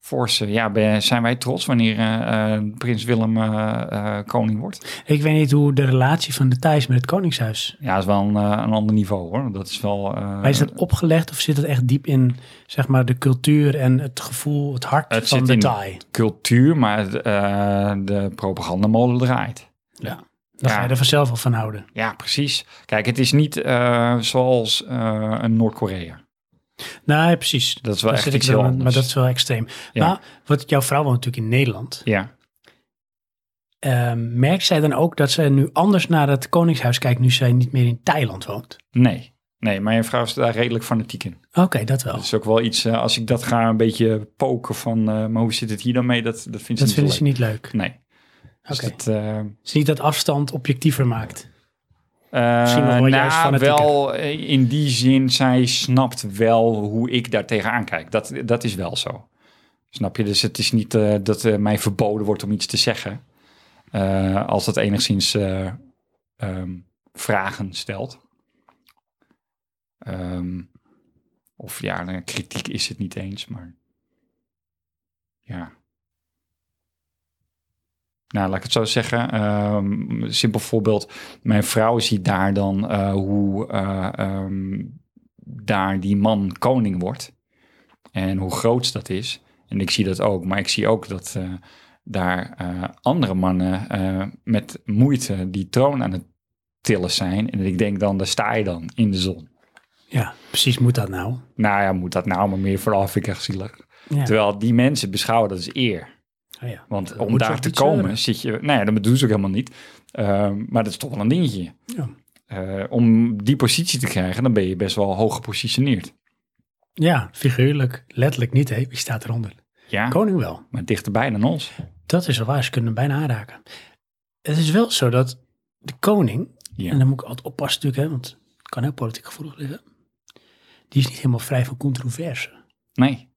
[SPEAKER 2] forse. Ja, ben- zijn wij trots wanneer eh, eh, prins Willem eh, eh, koning wordt?
[SPEAKER 1] Ik weet niet hoe de relatie van de Thijs met het Koningshuis.
[SPEAKER 2] Ja, dat is wel een, eh, een ander niveau hoor. Dat is wel. eh,
[SPEAKER 1] Maar is dat opgelegd of zit het echt diep in zeg maar, de cultuur en het gevoel, het hart
[SPEAKER 2] Het
[SPEAKER 1] van
[SPEAKER 2] zit
[SPEAKER 1] de
[SPEAKER 2] in-
[SPEAKER 1] Thai?
[SPEAKER 2] cultuur, maar eh, de propagandamolen draait.
[SPEAKER 1] Daar
[SPEAKER 2] Ja.
[SPEAKER 1] ga je er vanzelf wel van houden.
[SPEAKER 2] Ja, precies. Kijk, het is niet eh, zoals eh, een Noord-Korea.
[SPEAKER 1] Nee, precies.
[SPEAKER 2] Dat is wel
[SPEAKER 1] Daar
[SPEAKER 2] echt
[SPEAKER 1] zit ik
[SPEAKER 2] iets
[SPEAKER 1] wel
[SPEAKER 2] heel
[SPEAKER 1] aan,
[SPEAKER 2] anders.
[SPEAKER 1] maar dat is wel extreem.
[SPEAKER 2] Ja.
[SPEAKER 1] Maar wat jouw vrouw woont natuurlijk in Nederland.
[SPEAKER 2] Ja.
[SPEAKER 1] Eh, merkt zij dan ook dat zij nu anders naar het Koningshuis kijkt nu zij niet meer in Thailand woont?
[SPEAKER 2] Nee. Nee, mijn vrouw is daar redelijk fanatiek in.
[SPEAKER 1] Oké, dat wel.
[SPEAKER 2] Dat is ook wel iets, eh, als ik dat ga een beetje poken van, eh, maar hoe zit het hier dan mee? Dat, dat vindt ze
[SPEAKER 1] dat
[SPEAKER 2] niet
[SPEAKER 1] vinden
[SPEAKER 2] zo
[SPEAKER 1] ze niet leuk.
[SPEAKER 2] leuk. Nee. Dus
[SPEAKER 1] Oké.
[SPEAKER 2] dat, eh,
[SPEAKER 1] Het is niet dat afstand objectiever maakt.
[SPEAKER 2] Eh,
[SPEAKER 1] Misschien nog wel juist fanatieker.
[SPEAKER 2] wel eh, in die zin, zij snapt wel hoe ik daar tegenaan kijk. Dat, dat is wel zo. Snap je? Dus het is niet eh, dat eh, mij verboden wordt om iets te zeggen. eh, als dat enigszins eh, ehm, vragen stelt. Ehm, of ja, nou, kritiek is het niet eens, maar ja. Nou, laat ik het zo zeggen. Ehm, een simpel voorbeeld. Mijn vrouw ziet daar dan eh, hoe eh, ehm, daar die man koning wordt. En hoe groot dat is. En ik zie dat ook. Maar ik zie ook dat eh, daar eh, andere mannen eh, met moeite die troon aan het tillen zijn. En ik denk dan, daar sta je dan in de zon.
[SPEAKER 1] Ja, precies moet dat nou.
[SPEAKER 2] Nou ja, moet dat nou maar meer vooraf, vind ik echt zielig.
[SPEAKER 1] Ja.
[SPEAKER 2] Terwijl die mensen beschouwen dat als eer.
[SPEAKER 1] Oh ja.
[SPEAKER 2] Want
[SPEAKER 1] Dat
[SPEAKER 2] om
[SPEAKER 1] moet je
[SPEAKER 2] daar
[SPEAKER 1] ook
[SPEAKER 2] te
[SPEAKER 1] niet
[SPEAKER 2] komen
[SPEAKER 1] zeuren.
[SPEAKER 2] zit je... Nou ja, dat doen ze ook helemaal niet. Ehm, maar dat is toch wel een dingetje.
[SPEAKER 1] Ja.
[SPEAKER 2] Eh, om die positie te krijgen, dan ben je best wel hoog gepositioneerd.
[SPEAKER 1] Ja, figuurlijk. Letterlijk niet, hè. Wie staat eronder?
[SPEAKER 2] Ja,
[SPEAKER 1] Koning wel.
[SPEAKER 2] maar dichterbij dan ons.
[SPEAKER 1] Dat is wel waar, ze kunnen hem bijna aanraken. Het is wel zo dat de koning,
[SPEAKER 2] Ja.
[SPEAKER 1] en dan moet ik altijd oppassen natuurlijk, hè, want het kan heel politiek gevoelig liggen. Die is niet helemaal vrij van controverse.
[SPEAKER 2] Nee.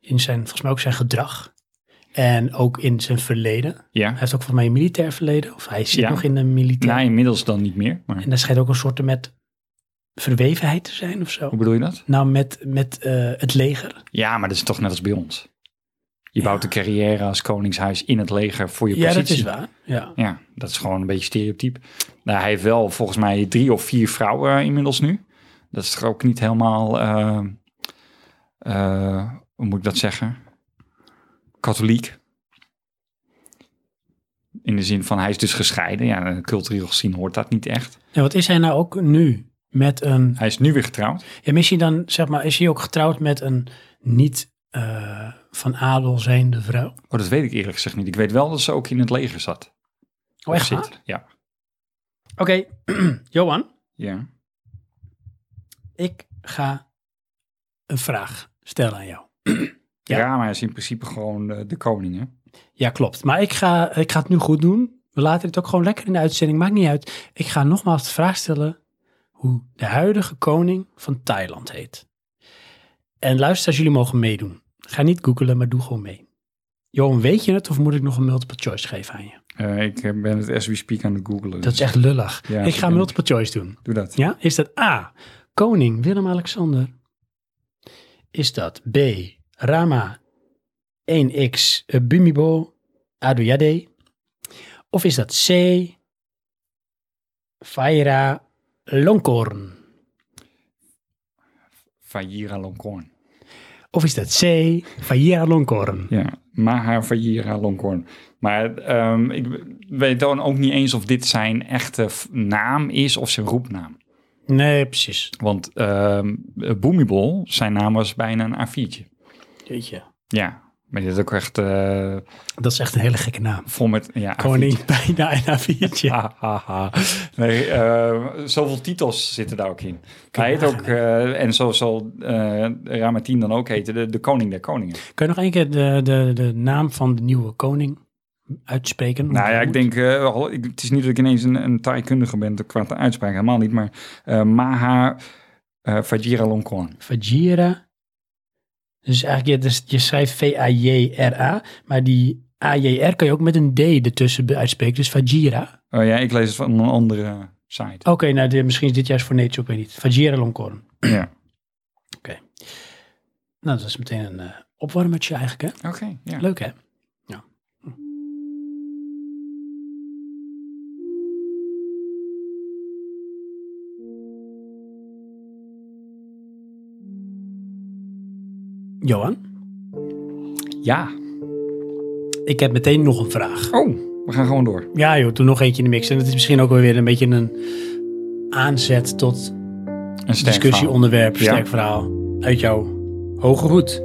[SPEAKER 1] In zijn, volgens mij ook zijn gedrag. En ook in zijn verleden. Hij
[SPEAKER 2] Ja.
[SPEAKER 1] heeft ook volgens mij een militair verleden. Of hij zit
[SPEAKER 2] Ja.
[SPEAKER 1] nog in een militair.
[SPEAKER 2] Nou, inmiddels dan niet meer. Maar
[SPEAKER 1] En daar schijnt ook een soort met verwevenheid te zijn of zo.
[SPEAKER 2] hoe bedoel je dat?
[SPEAKER 1] Nou, met, met eh, het leger.
[SPEAKER 2] Ja, maar dat is toch net als bij ons. Je bouwt een carrière als koningshuis in het leger voor je
[SPEAKER 1] Ja,
[SPEAKER 2] positie.
[SPEAKER 1] dat is waar. Ja.
[SPEAKER 2] Ja, dat is gewoon een beetje stereotyp. Nou, hij heeft wel volgens mij drie of vier vrouwen inmiddels nu. Dat is toch ook niet helemaal, eh, eh, hoe moet ik dat zeggen? Katholiek. In de zin van hij is dus gescheiden. Ja, cultureel gezien hoort dat niet echt.
[SPEAKER 1] En wat is hij nou ook nu met een
[SPEAKER 2] Hij is nu weer getrouwd.
[SPEAKER 1] Ja, maar is hij dan, zeg maar, is hij ook getrouwd met een niet eh, van adel zijnde vrouw?
[SPEAKER 2] Oh, dat weet ik eerlijk gezegd niet. Ik weet wel dat ze ook in het leger zat.
[SPEAKER 1] Oh, echt
[SPEAKER 2] Of
[SPEAKER 1] waar?
[SPEAKER 2] zit. Ja.
[SPEAKER 1] Oké, Johan,
[SPEAKER 2] ja.
[SPEAKER 1] ik ga een vraag stellen aan jou. Ja.
[SPEAKER 2] Rama is in principe gewoon eh, de koning, hè?
[SPEAKER 1] Ja, klopt. Maar ik ga, ik ga het nu goed doen. We laten het ook gewoon lekker in de uitzending, maakt niet uit. Ik ga nogmaals de vraag stellen hoe de huidige koning van Thailand heet. En luister, als jullie mogen meedoen. Ga niet googelen, maar doe gewoon mee. Johan, weet je het of moet ik nog een multiple choice geven aan je?
[SPEAKER 2] Eh, ik eh, ben het as we speak aan het googlen.
[SPEAKER 1] Dat
[SPEAKER 2] dus
[SPEAKER 1] is echt lullig.
[SPEAKER 2] Ja,
[SPEAKER 1] ik
[SPEAKER 2] ik
[SPEAKER 1] ga
[SPEAKER 2] ook.
[SPEAKER 1] multiple choice doen.
[SPEAKER 2] Doe dat.
[SPEAKER 1] Ja, is dat A, koning Willem-Alexander? Is dat B, Rama 1x eh, Bumibo Aduyade? Of is dat C, Vaira Longkorn?
[SPEAKER 2] Fajira Longhorn.
[SPEAKER 1] Of is dat C, Vaira Longkorn?
[SPEAKER 2] Ja, Maha Fajira Longhorn. Maar ehm, ik weet dan ook niet eens of dit zijn echte f- naam is of zijn roepnaam.
[SPEAKER 1] Nee, precies.
[SPEAKER 2] Want ehm Boemibol, zijn naam was bijna een A4'tje.
[SPEAKER 1] Weet je.
[SPEAKER 2] Ja, maar dit is ook echt eh,
[SPEAKER 1] Dat is echt een hele gekke naam.
[SPEAKER 2] vol met... Ja, A4'tje.
[SPEAKER 1] Koning bijna een A4'tje.
[SPEAKER 2] Ha, ha, ha. Nee, eh, zoveel titels zitten daar ook in.
[SPEAKER 1] Kun je
[SPEAKER 2] Hij heet ook, eh, en zo zal eh Ramatien dan ook heten, de, de koning der koningen.
[SPEAKER 1] Kun je nog één keer de, de, de naam van de nieuwe koning uitspreken?
[SPEAKER 2] Nou ja, ik denk, eh, al- ik, het is niet dat ik ineens een, een Thai-kundige ben qua de uitspraak, helemaal niet. Maar eh, Maha eh Fajira Longkorn.
[SPEAKER 1] Vajira. Dus eigenlijk, je, dus je schrijft V-A-J-R-A, maar die A-J-R kan je ook met een D ertussen be- uitspreken, dus Vajira.
[SPEAKER 2] Oh ja, ik lees het van een andere site.
[SPEAKER 1] Oké, nou, dit- misschien is dit juist voor Nature, ik weet niet. Vajira Longkorn.
[SPEAKER 2] Ja.
[SPEAKER 1] Nou, dat is meteen een eh, Opwarmertje eigenlijk, hè?
[SPEAKER 2] Oké, ja.
[SPEAKER 1] Leuk, hè? Johan,
[SPEAKER 2] Ja.
[SPEAKER 1] ik heb meteen nog een vraag.
[SPEAKER 2] Oh, we gaan gewoon door.
[SPEAKER 1] Ja joh, doe nog eentje in de mix. En het is misschien ook wel weer een beetje een aanzet tot
[SPEAKER 2] Een sterk verhaal.
[SPEAKER 1] discussieonderwerp,
[SPEAKER 2] Ja.
[SPEAKER 1] sterk verhaal uit jouw hoge hoed.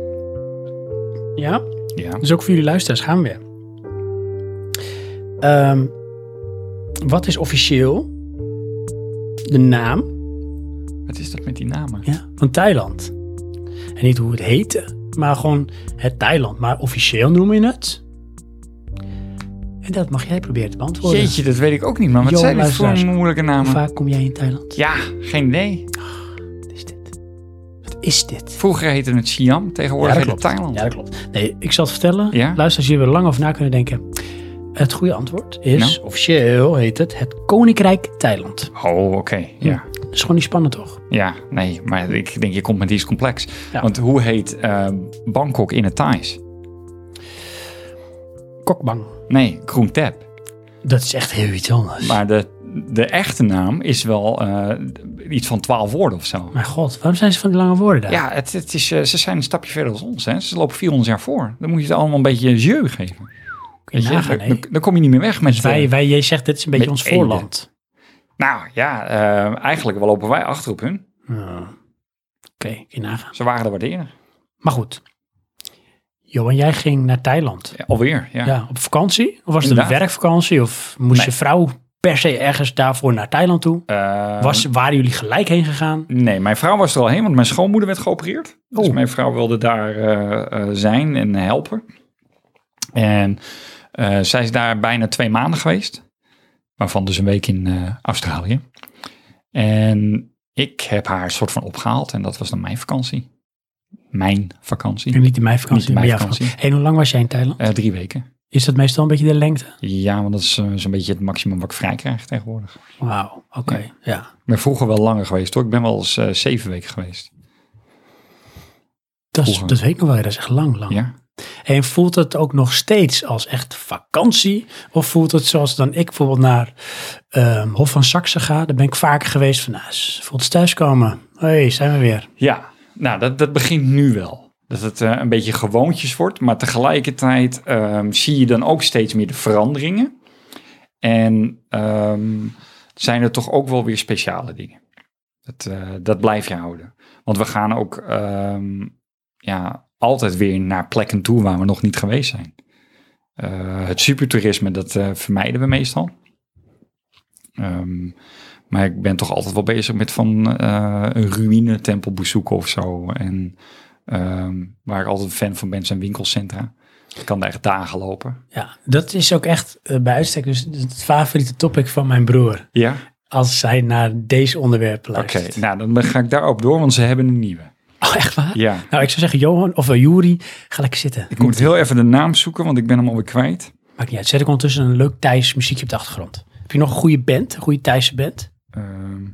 [SPEAKER 1] Ja,
[SPEAKER 2] Ja.
[SPEAKER 1] dus ook voor jullie luisteraars gaan we weer. Ehm, wat is officieel de naam
[SPEAKER 2] Wat is dat met die namen?
[SPEAKER 1] ja, van Thailand? En niet hoe het heette, maar gewoon het Thailand. Maar officieel noem je het. En dat mag jij proberen te beantwoorden.
[SPEAKER 2] Jeetje, dat weet ik ook niet, man. Wat
[SPEAKER 1] Johan,
[SPEAKER 2] zijn dit voor
[SPEAKER 1] luisteraars.
[SPEAKER 2] moeilijke
[SPEAKER 1] Hoe
[SPEAKER 2] namen?
[SPEAKER 1] vaak kom jij in Thailand?
[SPEAKER 2] Ja, geen idee.
[SPEAKER 1] Wat is dit? Wat is dit?
[SPEAKER 2] Vroeger heette het Siam, tegenwoordig heet het Thailand.
[SPEAKER 1] Ja, dat klopt. Nee, ik zal het vertellen.
[SPEAKER 2] Ja?
[SPEAKER 1] Luisteraars hier weer lang over na kunnen denken. Het goede antwoord is,
[SPEAKER 2] Nou?
[SPEAKER 1] officieel heet het, het Koninkrijk Thailand.
[SPEAKER 2] Oh, oké. Ja.
[SPEAKER 1] Dat is gewoon niet spannend, toch?
[SPEAKER 2] ja, nee, maar ik denk, je komt met iets complex.
[SPEAKER 1] Ja.
[SPEAKER 2] Want hoe heet eh, Bangkok in het Thais?
[SPEAKER 1] Kokbang.
[SPEAKER 2] Nee, Kroen Tap.
[SPEAKER 1] Dat is echt heel iets anders.
[SPEAKER 2] Maar de, de echte naam is wel eh, iets van twaalf woorden of zo.
[SPEAKER 1] Mijn god, waarom zijn ze van die lange woorden daar?
[SPEAKER 2] Ja, het, het is, eh, ze zijn een stapje verder dan ons. Hè. Ze lopen 400 jaar voor. Dan moet je het allemaal een beetje jeu geven.
[SPEAKER 1] Kun je
[SPEAKER 2] Weet je,
[SPEAKER 1] nagaan,
[SPEAKER 2] dan,
[SPEAKER 1] hè?
[SPEAKER 2] dan- dan kom je niet meer weg met
[SPEAKER 1] Dus wij,
[SPEAKER 2] de-
[SPEAKER 1] wij, jij zegt, dit is een beetje
[SPEAKER 2] Met
[SPEAKER 1] ons voorland.
[SPEAKER 2] Nou ja, eh, eigenlijk wel lopen wij achter op hun.
[SPEAKER 1] Ja. Oké, kun je nagaan.
[SPEAKER 2] Ze waren er wat eerder.
[SPEAKER 1] Maar goed. Johan, jij ging naar Thailand.
[SPEAKER 2] Ja, alweer, ja.
[SPEAKER 1] Ja, op vakantie? Of was het een
[SPEAKER 2] Inderdaad.
[SPEAKER 1] werkvakantie? Of moest
[SPEAKER 2] Nee.
[SPEAKER 1] je vrouw per se ergens daarvoor naar Thailand toe?
[SPEAKER 2] Eh,
[SPEAKER 1] Was, waren jullie gelijk heen gegaan?
[SPEAKER 2] Nee, mijn vrouw was er al heen, want mijn schoonmoeder werd geopereerd. Dus
[SPEAKER 1] Oh.
[SPEAKER 2] mijn vrouw wilde daar eh, eh, zijn en helpen. En eh, zij is daar bijna twee maanden geweest. Waarvan dus een week in eh, Australië. En ik heb haar soort van opgehaald. En dat was dan mijn vakantie. Mijn vakantie.
[SPEAKER 1] En niet in mijn vakantie,
[SPEAKER 2] Niet in mijn
[SPEAKER 1] maar jouw
[SPEAKER 2] vakantie.
[SPEAKER 1] vakantie. En hoe lang was jij in Thailand?
[SPEAKER 2] Eh, drie weken.
[SPEAKER 1] Is dat meestal een beetje de lengte?
[SPEAKER 2] Ja, want dat is eh, zo'n beetje het maximum wat ik vrij krijg tegenwoordig.
[SPEAKER 1] Wauw, oké. Ja.
[SPEAKER 2] Ik ben vroeger wel langer geweest hoor. Ik ben wel eens eh, zeven weken geweest.
[SPEAKER 1] Dat, is-
[SPEAKER 2] Vroeger.
[SPEAKER 1] dat weet ik nog wel, dat is echt lang, lang.
[SPEAKER 2] Ja.
[SPEAKER 1] En voelt het ook nog steeds als echt vakantie? Of voelt het zoals dan ik bijvoorbeeld naar ehm, Hof van Saxe ga? Daar ben ik vaker geweest van, nou, is- voelt het thuiskomen. Hé, hey, zijn we weer.
[SPEAKER 2] Ja, nou, dat, dat begint nu wel. Dat het eh, een beetje gewoontjes wordt, maar tegelijkertijd ehm, zie je dan ook steeds meer de veranderingen. En ehm, zijn er toch ook wel weer speciale dingen. Dat, eh, dat blijf je houden. Want we gaan ook ehm, ja, altijd weer naar plekken toe waar we nog niet geweest zijn. Eh, het supertoerisme, dat eh, vermijden we meestal. Ehm, maar ik ben toch altijd wel bezig met van eh, een ruïne tempel bezoeken of zo. En ehm, waar ik altijd een fan van ben zijn winkelcentra. Ik kan daar echt dagen lopen.
[SPEAKER 1] Ja, dat is ook echt eh, bij uitstek dus het favoriete topic van mijn broer.
[SPEAKER 2] Ja?
[SPEAKER 1] Als zij naar deze onderwerpen
[SPEAKER 2] Oké,
[SPEAKER 1] luistert.
[SPEAKER 2] nou dan ga ik daar ook door, want ze hebben een nieuwe.
[SPEAKER 1] Oh, echt waar?
[SPEAKER 2] Ja.
[SPEAKER 1] Nou, ik zou zeggen, Johan of eh, Juri, ga lekker zitten.
[SPEAKER 2] Ik moet heel even de naam zoeken, want ik ben hem alweer kwijt.
[SPEAKER 1] Maakt niet uit. Zet ik ondertussen een leuk Thijs muziekje op de achtergrond. Heb je nog een goede band? Een goede Thaise band?
[SPEAKER 2] Ehm,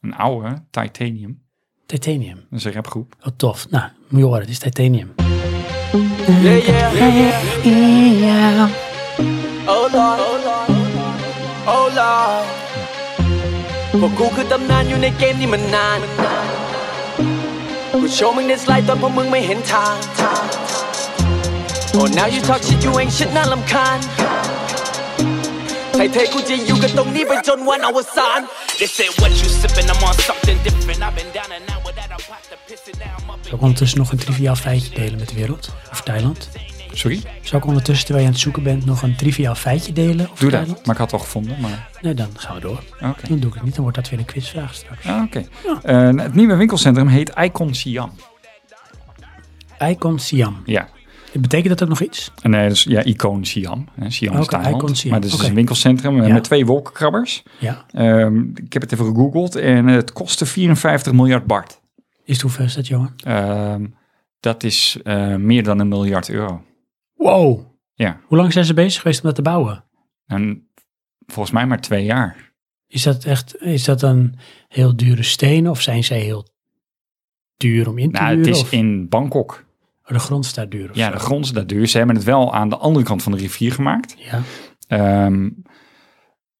[SPEAKER 2] een oude, Titanium.
[SPEAKER 1] Titanium.
[SPEAKER 2] Dat is een rapgroep.
[SPEAKER 1] Oh, tof. Nou, moet je horen. Het is Titanium.
[SPEAKER 4] Oh Lord Oh Lord พวกกูคือตำนานอยู่ในเกมนี้มันนาน กูโชว์มึงในสไลด์ตอนพวกมึงไม่เห็นทาง Oh now you talk shit you ain't shit น่าลำคาญไทยเทกูจะอยู่กันตรงนี้ไปจนวันอวสาน
[SPEAKER 5] They said what you sippin', I'm on something different. I've been down and out without a pot to piss it now. I'm up
[SPEAKER 1] Zou ik ondertussen nog een triviaal feitje delen met de wereld? Of Thailand?
[SPEAKER 2] Sorry?
[SPEAKER 1] Zou ik ondertussen, terwijl je aan het zoeken bent, nog een triviaal feitje delen? Of
[SPEAKER 2] Doe dat.
[SPEAKER 1] Thailand?
[SPEAKER 2] Maar ik had het al gevonden. Maar...
[SPEAKER 1] Nee, dan gaan we door.
[SPEAKER 2] Oké.
[SPEAKER 1] Dan doe ik het niet. Dan wordt dat weer een quizvraag straks.
[SPEAKER 2] Ah, Oké. Eh, het nieuwe winkelcentrum heet Icon Siam.
[SPEAKER 1] Icon Siam.
[SPEAKER 2] Ja.
[SPEAKER 1] Betekent dat ook nog iets?
[SPEAKER 2] En nee, dus, ja, Icoon Siam. Hè. Siam is
[SPEAKER 1] Oké,
[SPEAKER 2] Thailand.
[SPEAKER 1] Icoon Siam.
[SPEAKER 2] Maar het is dus
[SPEAKER 1] Oké.
[SPEAKER 2] een winkelcentrum eh,
[SPEAKER 1] Ja.
[SPEAKER 2] met twee wolkenkrabbers.
[SPEAKER 1] Ja.
[SPEAKER 2] Ehm, ik heb het even gegoogeld en het kostte 54 miljard baht.
[SPEAKER 1] Is het hoeveel is dat, Johan?
[SPEAKER 2] Ehm, dat is eh, meer dan een miljard euro.
[SPEAKER 1] Wow.
[SPEAKER 2] Ja.
[SPEAKER 1] Hoe lang zijn ze bezig geweest om dat te bouwen?
[SPEAKER 2] En volgens mij maar twee jaar.
[SPEAKER 1] Is dat echt, is dat een heel dure steen of zijn zij heel duur om in te
[SPEAKER 2] Nou, het
[SPEAKER 1] huren?
[SPEAKER 2] is
[SPEAKER 1] of-
[SPEAKER 2] in Bangkok.
[SPEAKER 1] Oké, de grond staat duur of
[SPEAKER 2] Ja,
[SPEAKER 1] zo.
[SPEAKER 2] de grond is daar duur. Ze hebben het wel aan de andere kant van de rivier gemaakt.
[SPEAKER 1] Ja,
[SPEAKER 2] Ehm,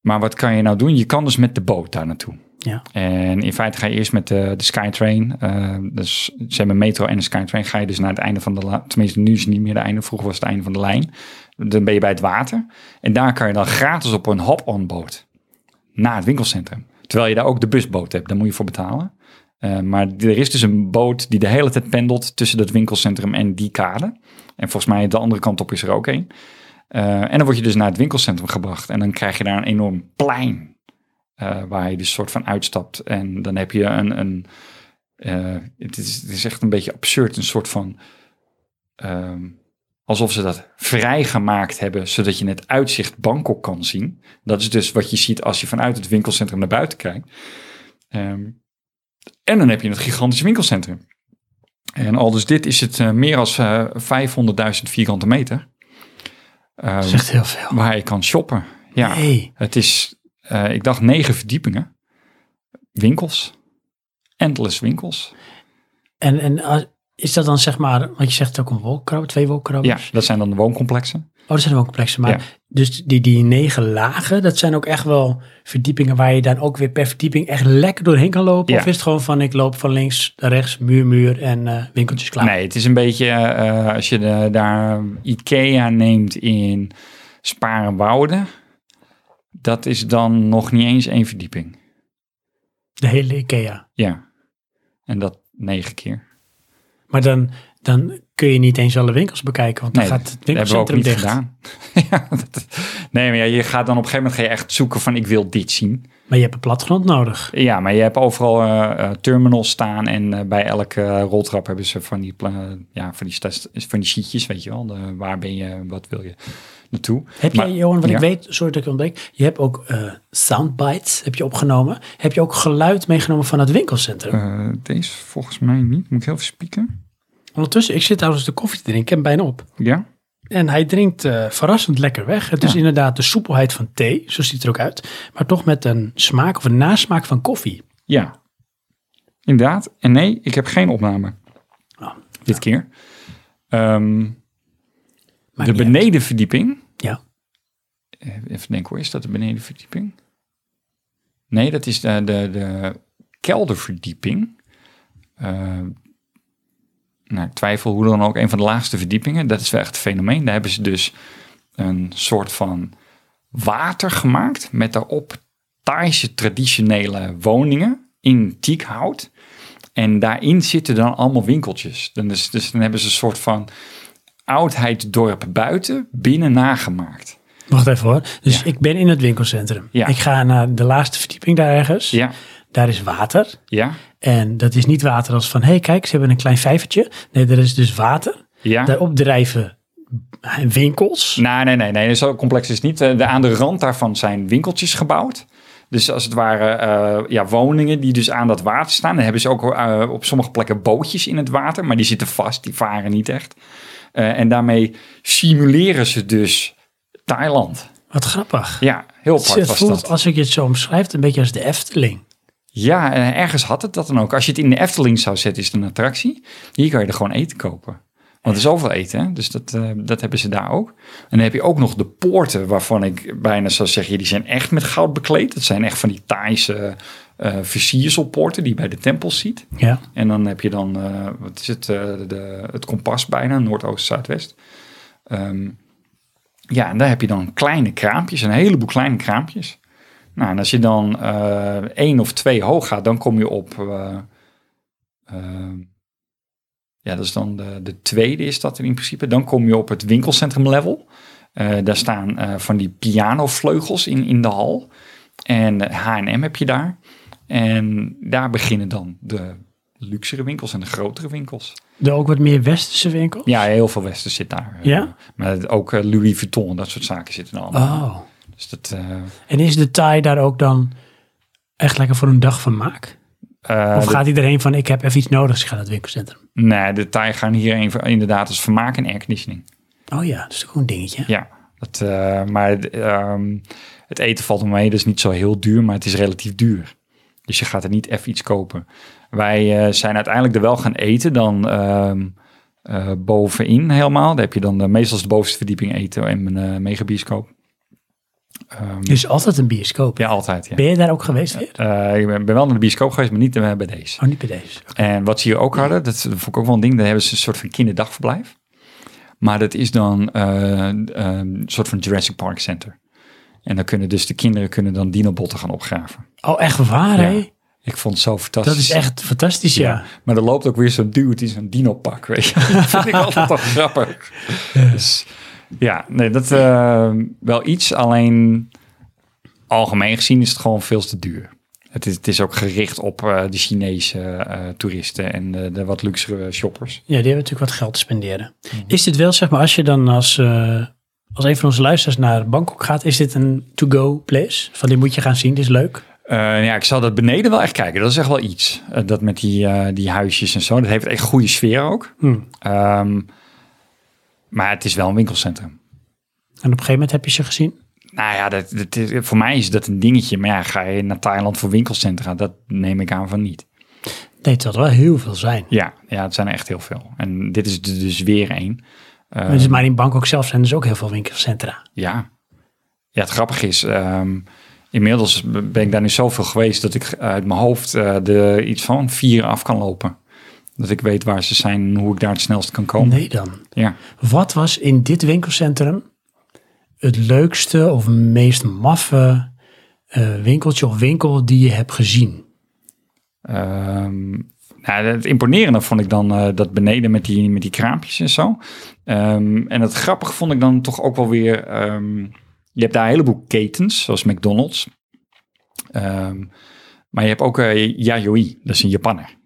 [SPEAKER 2] maar wat kan je nou doen? Je kan dus met de boot daar naartoe.
[SPEAKER 1] ja.
[SPEAKER 2] En in feite ga je eerst met de, de Skytrain. eh, dus ze hebben metro en de Skytrain. Ga je dus naar het einde van de lijn. Tenminste, nu is het niet meer de einde. Vroeger was het einde van de lijn. Dan ben je bij het water. En daar kan je dan gratis op een hop-on boot. Naar het winkelcentrum. Terwijl je daar ook de busboot hebt. Daar moet je voor betalen. Eh, maar er is dus een boot die de hele tijd pendelt tussen dat winkelcentrum en die kade. En volgens mij de andere kant op is er ook één. Eh, en dan word je dus naar het winkelcentrum gebracht. En dan krijg je daar een enorm plein. Eh, waar je dus soort van uitstapt. En dan heb je een. een eh, het, is, het is echt een beetje absurd. Een soort van. ehm, alsof ze dat vrijgemaakt hebben. zodat je het uitzicht Bangkok kan zien. Dat is dus wat je ziet als je vanuit het winkelcentrum naar buiten kijkt. Ehm, en dan heb je het gigantische winkelcentrum. En al dus dit is het eh, meer dan 500.000 vierkante meter. Ehm,
[SPEAKER 1] Dat is echt heel veel.
[SPEAKER 2] waar je kan shoppen. Ja.
[SPEAKER 1] Hey,
[SPEAKER 2] Het is, eh, ik dacht, negen verdiepingen. Winkels. Endless winkels.
[SPEAKER 1] en, en als- is dat dan zeg maar, want je zegt ook een wolkrabber, twee
[SPEAKER 2] Ja,
[SPEAKER 1] wolkrabbers.
[SPEAKER 2] dat zijn dan de wooncomplexen.
[SPEAKER 1] Oh, dat zijn wel complexen. Maar dus die, die negen lagen, dat zijn ook echt wel verdiepingen waar je dan ook weer per verdieping echt lekker doorheen kan lopen.
[SPEAKER 2] Ja.
[SPEAKER 1] Of is het gewoon van ik loop van links naar rechts, muur, muur en eh, winkeltjes klaar?
[SPEAKER 2] Nee, het is een beetje, eh, als je de, daar Ikea neemt in Sparenwoude, dat is dan nog niet eens één verdieping.
[SPEAKER 1] De hele IKEA.
[SPEAKER 2] Ja, en dat negen keer.
[SPEAKER 1] Maar dan, dan kun je niet eens alle winkels bekijken, want dan
[SPEAKER 2] Nee,
[SPEAKER 1] gaat het
[SPEAKER 2] Dat hebben we ook
[SPEAKER 1] winkelcentrum
[SPEAKER 2] niet
[SPEAKER 1] dicht.
[SPEAKER 2] gedaan. ja, dat- nee, maar ja, je gaat dan op een gegeven moment ga je echt zoeken van ik wil dit zien.
[SPEAKER 1] Maar je hebt een platgrond nodig.
[SPEAKER 2] Ja, maar je hebt overal eh, eh, terminals staan en eh, bij elke eh, roltrap hebben ze van die, pla- ja, van die, stas- van die sheetjes, weet je wel. De- waar ben je, wat wil je naartoe?
[SPEAKER 1] Heb
[SPEAKER 2] Maar-
[SPEAKER 1] jij, Johan, wat
[SPEAKER 2] ja.
[SPEAKER 1] ik weet, sorry dat ik je ontbreek, je hebt ook eh, soundbites heb je opgenomen. Heb je ook geluid meegenomen van het winkelcentrum?
[SPEAKER 2] Eh, deze volgens mij niet. Moet ik heel even spieken?
[SPEAKER 1] Ondertussen, ik zit trouwens de koffie te drinken en bijna op.
[SPEAKER 2] Ja?
[SPEAKER 1] En hij drinkt eh, verrassend lekker weg. Het is inderdaad de soepelheid van thee, zo ziet het er ook uit. Maar toch met een smaak of een nasmaak van koffie.
[SPEAKER 2] Ja. Inderdaad. En nee, ik heb geen opname.
[SPEAKER 1] Oh,
[SPEAKER 2] Dit keer.
[SPEAKER 1] Ah,
[SPEAKER 2] Ehm,
[SPEAKER 1] Maar
[SPEAKER 2] de benedenverdieping.
[SPEAKER 1] Ja.
[SPEAKER 2] Eh, Even denken hoor, is dat de benedenverdieping? Nee, dat is de, de, de kelderverdieping. Eh, nou, ik twijfel hoe dan ook, een van de laagste verdiepingen. Dat is wel echt een fenomeen. Daar hebben ze dus een soort van water gemaakt met daarop Thaise traditionele woningen in teakhout. En daarin zitten dan allemaal winkeltjes. Dan is, dus dan hebben ze een soort van oudheidsdorp buiten, binnen nagemaakt.
[SPEAKER 1] Wacht even hoor. Dus
[SPEAKER 2] Ja.
[SPEAKER 1] ik ben in het winkelcentrum.
[SPEAKER 2] Ja.
[SPEAKER 1] Ik ga naar de laatste verdieping daar ergens.
[SPEAKER 2] Ja,
[SPEAKER 1] Daar is water.
[SPEAKER 2] ja,
[SPEAKER 1] En dat is niet water als van, hé hey, kijk, ze hebben een klein vijvertje. Nee, er is dus water.
[SPEAKER 2] ja. Nou,
[SPEAKER 1] Daarop drijven winkels.
[SPEAKER 2] Nee, nee, nee, nee, zo complex is het niet. Eh, de- aan de rand daarvan zijn winkeltjes gebouwd. Dus als het ware eh, ja, woningen die dus aan dat water staan. Dan hebben ze ook eh, op sommige plekken bootjes in het water. Maar die zitten vast, die varen niet echt. Eh, en daarmee simuleren ze dus Thailand.
[SPEAKER 1] Wat grappig.
[SPEAKER 2] Ja, heel apart
[SPEAKER 1] het
[SPEAKER 2] was
[SPEAKER 1] voelt,
[SPEAKER 2] dat.
[SPEAKER 1] als ik je het zo omschrijft, een beetje als de Efteling.
[SPEAKER 2] Ja, en ergens had het dat dan ook. Als je het in de Efteling zou zetten, is het een attractie. Hier kan je er gewoon eten kopen. Want er is overal eten, hè? dus dat, eh, dat hebben ze daar ook. En dan heb je ook nog de poorten, waarvan ik bijna zou zeggen, die zijn echt met goud bekleed. Dat zijn echt van die Thaise eh versierselpoorten die je bij de tempels ziet.
[SPEAKER 1] Ja.
[SPEAKER 2] En dan heb je dan, eh, wat is het, eh, de, het kompas bijna, Noordoost, Zuidwest. Ehm, ja, en daar heb je dan kleine kraampjes, een heleboel kleine kraampjes. Nou, en als je dan eh, één of twee hoog gaat, dan kom je op, eh, ehm, ja, dat is dan de, de tweede is dat in principe. Dan kom je op het winkelcentrum level. Eh, daar staan eh, van die pianovleugels in, in de hal. En H&M heb je daar. En daar beginnen dan de luxere winkels en de grotere winkels.
[SPEAKER 1] Er ook wat meer westerse winkels.
[SPEAKER 2] Ja, heel veel Westen zit daar. eh,
[SPEAKER 1] Ja?
[SPEAKER 2] Maar ook eh, Louis Vuitton en dat soort zaken zitten er allemaal.
[SPEAKER 1] Oh.
[SPEAKER 2] Dus dat, eh,
[SPEAKER 1] En is de Thai daar ook dan echt lekker voor een dag van maak?
[SPEAKER 2] eh,
[SPEAKER 1] Of
[SPEAKER 2] de-
[SPEAKER 1] gaat iedereen van, ik heb even iets nodig, dus ik ga naar het winkelcentrum?
[SPEAKER 2] nee, de Thai gaan hier een- inderdaad als vermaak en airconditioning.
[SPEAKER 1] Oh ja, dat is toch gewoon een dingetje.
[SPEAKER 2] Ja, dat, eh, maar ehm, het eten valt om mee. Dat is niet zo heel duur, maar het is relatief duur. Dus je gaat er niet even iets kopen. Wij eh, zijn uiteindelijk er wel gaan eten. Dan ehm, eh, bovenin helemaal. Daar heb je dan de, meestal is de bovenste verdieping eten en een eh, megabioscoop. Ehm,
[SPEAKER 1] Er is altijd een bioscoop.
[SPEAKER 2] Ja, altijd. Ja.
[SPEAKER 1] Ben je daar ook geweest weer?
[SPEAKER 2] Eh, ik ben ben wel naar de bioscoop geweest, maar niet eh, bij deze.
[SPEAKER 1] Oh, niet bij deze.
[SPEAKER 2] En wat ze hier ook hadden, dat vond ik ook wel een ding, daar hebben ze een soort van kinderdagverblijf. Maar dat is dan eh, een soort van Jurassic Park Center. En dan kunnen dus de kinderen kunnen dan dinobotten gaan opgraven.
[SPEAKER 1] Oh, echt waar,
[SPEAKER 2] Ja.
[SPEAKER 1] hè?
[SPEAKER 2] Ik vond het zo fantastisch.
[SPEAKER 1] Dat is echt fantastisch, ja.
[SPEAKER 2] Maar er loopt ook weer zo'n dude in zo'n dinopak, weet je. Dat vind ik altijd toch grappig. Dus ja, nee, dat eh, wel iets. Alleen algemeen gezien is het gewoon veel te duur. Het is, het is ook gericht op eh, de Chinese eh, toeristen en eh, de wat luxere shoppers.
[SPEAKER 1] Ja, die hebben natuurlijk wat geld te spenderen.
[SPEAKER 2] Mhm.
[SPEAKER 1] Is dit wel, zeg maar, als je dan als, eh, als een van onze luisteraars naar Bangkok gaat, is dit een to-go place? Van dit moet je gaan zien, dit is leuk.
[SPEAKER 2] Eh, ja, ik zal dat beneden wel echt kijken. Dat is echt wel iets. Eh, dat met die, eh, die huisjes en zo. Dat heeft echt goede sfeer ook.
[SPEAKER 1] Hm.
[SPEAKER 2] Ehm, maar het is wel een winkelcentrum.
[SPEAKER 1] En op een gegeven moment heb je ze gezien.
[SPEAKER 2] Nou ja, dat, dat is, voor mij is dat een dingetje. Maar ja, ga je naar Thailand voor winkelcentra? Dat neem ik aan van niet.
[SPEAKER 1] Nee, het zal er wel heel veel zijn.
[SPEAKER 2] Ja, ja het zijn er echt heel veel. En dit is er dus weer één.
[SPEAKER 1] Maar dus- maar in Bangkok zelf zijn dus ook heel veel winkelcentra.
[SPEAKER 2] Ja. Ja, het grappige is, ehm, inmiddels ben ik daar nu zoveel geweest dat ik uit mijn hoofd eh, de, iets van vier af kan lopen. Dat ik weet waar ze zijn en hoe ik daar het snelst kan komen.
[SPEAKER 1] Nee dan.
[SPEAKER 2] Ja.
[SPEAKER 1] Wat was in dit winkelcentrum het leukste of meest maffe eh, winkeltje of winkel die je hebt gezien?
[SPEAKER 2] Ehm, nou, het imponerende vond ik dan eh, dat beneden met die, met die kraampjes en zo. Ehm, en het grappige vond ik dan toch ook wel weer... ehm, je hebt daar een heleboel ketens, zoals McDonald's. Ehm, maar je hebt ook eh Yayoi, dat is een Japanner.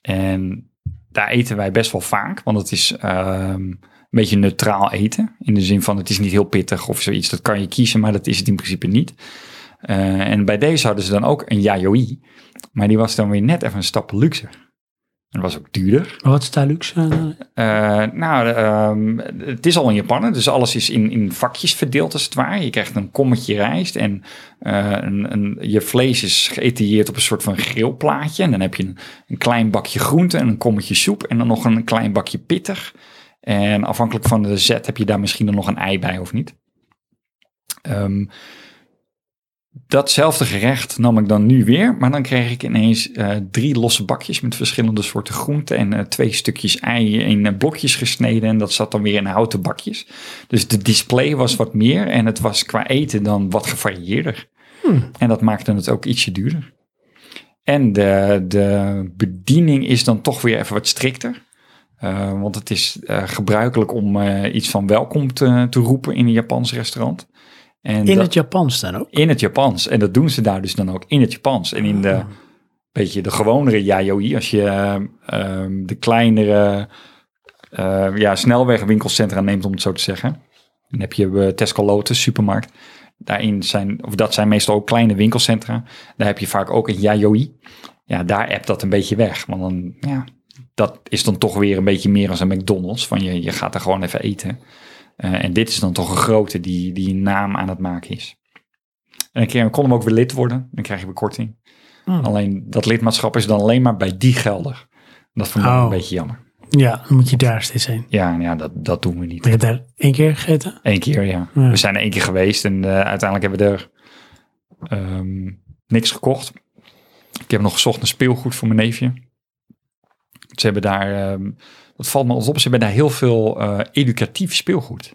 [SPEAKER 2] En daar eten wij best wel vaak, want het is ehm, een beetje neutraal eten. In de zin van het is niet heel pittig of zoiets. Dat kan je kiezen, maar dat is het in principe niet. Eh, en bij deze hadden ze dan ook een Yayoi. Maar die was dan weer net even een stap luxer. En was ook duurder.
[SPEAKER 1] Maar wat is daar luxe? aan?
[SPEAKER 2] Eh, nou, ehm, het is al in Japan, dus alles is in, in vakjes verdeeld als het ware. Je krijgt een kommetje rijst en eh, een, een, je vlees is geëtieerd op een soort van grillplaatje. En dan heb je een, een klein bakje groente en een kommetje soep en dan nog een klein bakje pittig. En afhankelijk van de zet heb je daar misschien dan nog een ei bij of niet. Ehm, datzelfde gerecht nam ik dan nu weer, maar dan kreeg ik ineens eh, drie losse bakjes met verschillende soorten groenten en eh, twee stukjes ei in eh, blokjes gesneden en dat zat dan weer in houten bakjes. Dus de display was wat meer en het was qua eten dan wat gevarieerder.
[SPEAKER 1] Hmm.
[SPEAKER 2] En dat maakte het ook ietsje duurder. En de, de bediening is dan toch weer even wat strikter. Eh, want het is eh, gebruikelijk om eh, iets van welkom te, te roepen in een Japans restaurant. En
[SPEAKER 1] In
[SPEAKER 2] dat-
[SPEAKER 1] het Japans dan ook?
[SPEAKER 2] in het Japans. En dat doen ze daar dus dan ook in het Japans. En in de, beetje de gewonere yayoi, als je ehm, ehm, de kleinere eh, ja, snelwegwinkelcentra neemt, om het zo te zeggen. Dan heb je eh, Tesco Lotus, supermarkt. Daarin zijn, of dat zijn meestal ook kleine winkelcentra. Daar heb je vaak ook een yayoi. Ja, daar appt dat een beetje weg. Want dan, ja, dat is dan toch weer een beetje meer als een McDonald's. Van je, je gaat er gewoon even eten. Eh, en dit is dan toch een grote die, die een naam aan het maken is. En een keer kon hem ook weer lid worden. Dan krijg je weer korting. Alleen dat lidmaatschap is dan alleen maar bij die geldig. Dat vond ik
[SPEAKER 1] Oh.
[SPEAKER 2] een beetje jammer.
[SPEAKER 1] Ja, dan moet je daar steeds heen.
[SPEAKER 2] Ja, en ja dat, dat doen we niet.
[SPEAKER 1] Ben je daar één keer gegeten?
[SPEAKER 2] Eén keer, ja.
[SPEAKER 1] Ja.
[SPEAKER 2] We zijn er één keer geweest en eh, uiteindelijk hebben we er ehm, niks gekocht. Ik heb nog gezocht naar speelgoed voor mijn neefje. Ze hebben daar, ehm, dat valt me altijd op, ze hebben daar heel veel eh, educatief speelgoed.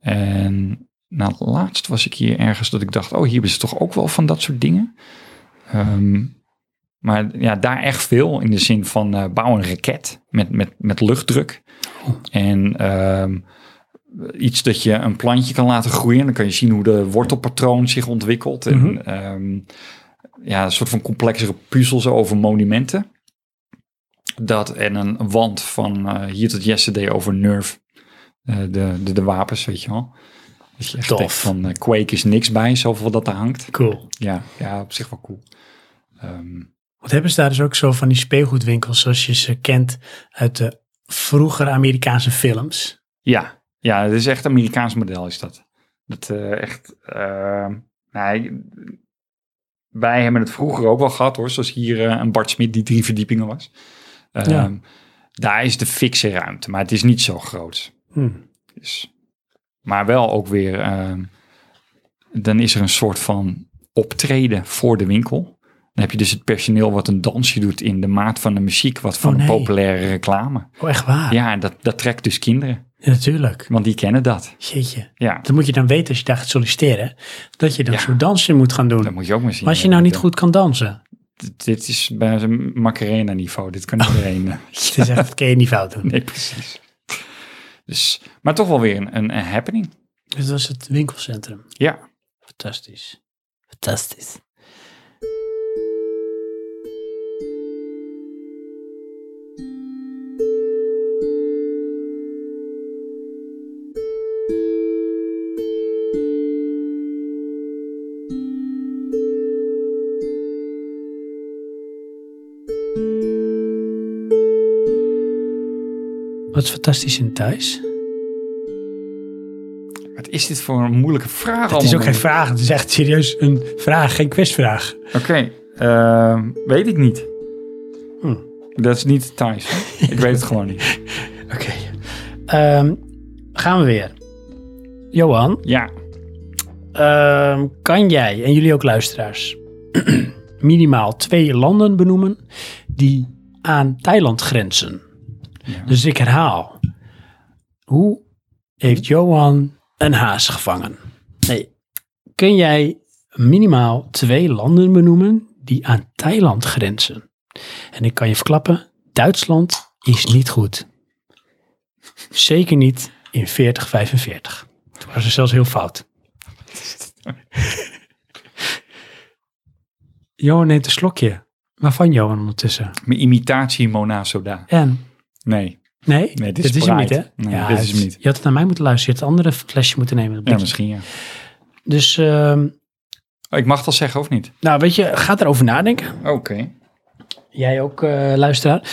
[SPEAKER 2] En nou, laatst was ik hier ergens dat ik dacht, oh, hier is het toch ook wel van dat soort dingen. Ehm, maar ja, daar echt veel in de zin van eh bouw een raket met, met, met luchtdruk. En ehm, iets dat je een plantje kan laten groeien. Dan kan je zien hoe de wortelpatroon zich ontwikkelt. En
[SPEAKER 1] Mhm.
[SPEAKER 2] ehm, ja, een soort van complexere puzzels over monumenten. Dat en een wand van eh, hier tot yesterday over Nerf. Eh, de, de, de wapens, weet je wel. Dat je echt
[SPEAKER 1] Tof.
[SPEAKER 2] denkt van eh, Quake is niks bij, zoveel dat er hangt.
[SPEAKER 1] Cool.
[SPEAKER 2] Ja, ja op zich wel cool. Ehm,
[SPEAKER 1] Wat hebben ze daar dus ook zo van die speelgoedwinkels zoals je ze kent uit de vroegere Amerikaanse films?
[SPEAKER 2] Ja, ja, het is echt Amerikaans model is dat. Dat eh, echt, eh, nee, wij hebben het vroeger ook wel gehad hoor, zoals hier eh, een Bart Smit die drie verdiepingen was. Ehm,
[SPEAKER 1] Ja.
[SPEAKER 2] Daar is de fikse ruimte, maar het is niet zo groot.
[SPEAKER 1] Hm.
[SPEAKER 2] Dus, maar wel ook weer, ehm, dan is er een soort van optreden voor de winkel. Dan heb je dus het personeel wat een dansje doet in de maat van de muziek, wat van
[SPEAKER 1] Oh, nee.
[SPEAKER 2] een populaire reclame.
[SPEAKER 1] Oh, echt waar?
[SPEAKER 2] Ja, en dat, dat trekt dus kinderen,
[SPEAKER 1] Ja, natuurlijk.
[SPEAKER 2] want die kennen dat.
[SPEAKER 1] Jeetje.
[SPEAKER 2] Ja,
[SPEAKER 1] Dat moet je dan weten als je daar gaat solliciteren. Dat je dan
[SPEAKER 2] Ja.
[SPEAKER 1] zo'n dansje moet gaan doen.
[SPEAKER 2] dat moet je ook maar zien.
[SPEAKER 1] maar als je nou niet goed kan dansen.
[SPEAKER 2] D- Dit is bij een Macarena niveau, dit kan iedereen. eh,
[SPEAKER 1] Het is echt, dat kun je niet fout doen.
[SPEAKER 2] nee, precies. Dus, maar toch wel weer een, een, een happening.
[SPEAKER 1] Dit was het winkelcentrum.
[SPEAKER 2] Ja,
[SPEAKER 1] Fantastisch. Fantastisch. Wat is fantastisch in Thijs?
[SPEAKER 2] wat is dit voor een moeilijke vraag
[SPEAKER 1] Het is ook geen
[SPEAKER 2] allemaal?
[SPEAKER 1] vraag, het is echt serieus een vraag, geen quizvraag.
[SPEAKER 2] Oké, ehm, weet ik niet.
[SPEAKER 1] Hm.
[SPEAKER 2] Dat is niet Thijs. ik weet het gewoon niet.
[SPEAKER 1] Oké. Ehm, gaan we weer. Johan,
[SPEAKER 2] Ja,
[SPEAKER 1] ehm, kan jij en jullie ook luisteraars minimaal twee landen benoemen die aan Thailand grenzen?
[SPEAKER 2] Ja.
[SPEAKER 1] Dus ik herhaal. Hoe heeft Johan een haas gevangen? Nee. Kun jij minimaal twee landen benoemen die aan Thailand grenzen? En ik kan je verklappen, Duitsland is niet goed. Zeker niet in 4045. Toen was ze zelfs heel fout. Johan neemt een slokje. Waarvan Johan ondertussen?
[SPEAKER 2] mijn imitatie Mona Soda.
[SPEAKER 1] En?
[SPEAKER 2] Nee,
[SPEAKER 1] Nee,
[SPEAKER 2] Nee, dit
[SPEAKER 1] dit
[SPEAKER 2] is
[SPEAKER 1] is, hem niet,
[SPEAKER 2] Pride.
[SPEAKER 1] hè?
[SPEAKER 2] Nee, dit is hem
[SPEAKER 1] het-
[SPEAKER 2] niet.
[SPEAKER 1] Je had het naar mij moeten luisteren. Je had het andere flesje moeten nemen.
[SPEAKER 2] ja, misschien ja.
[SPEAKER 1] Dus, ehm,
[SPEAKER 2] Oh, ik mag dat zeggen of niet?
[SPEAKER 1] nou weet je, ga erover nadenken.
[SPEAKER 2] Oké.
[SPEAKER 1] Jij ook, eh, luisteraar.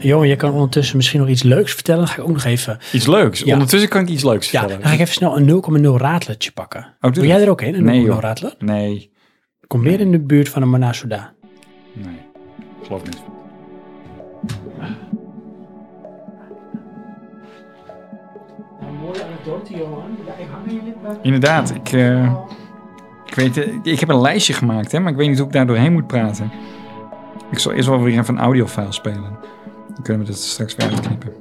[SPEAKER 1] Johan, je kan ondertussen misschien nog iets leuks vertellen. Dan ga ik ook nog even...
[SPEAKER 2] Iets leuks.
[SPEAKER 1] Ja.
[SPEAKER 2] Ondertussen kan ik iets leuks
[SPEAKER 1] Ja, dan
[SPEAKER 2] vertellen.
[SPEAKER 1] ga ik even snel een 0,0 raadletje pakken.
[SPEAKER 2] Oh, doe
[SPEAKER 1] Wil
[SPEAKER 2] dat.
[SPEAKER 1] jij er ook in, een
[SPEAKER 2] Nee,
[SPEAKER 1] 0,0
[SPEAKER 2] joh.
[SPEAKER 1] raadler?
[SPEAKER 2] Nee,
[SPEAKER 1] Kom meer in de buurt van een Manasoda.
[SPEAKER 2] nee. Ik geloof niet.
[SPEAKER 1] Een mooie anekdote, Johan. Ja, ik hang in je
[SPEAKER 2] Inderdaad, ik, eh, ik, weet, eh, ik heb een lijstje gemaakt, hè, maar ik weet niet hoe ik daar doorheen moet praten. Ik zal eerst wel weer even een audiofile spelen. Dan kunnen we dat straks weer uitknippen.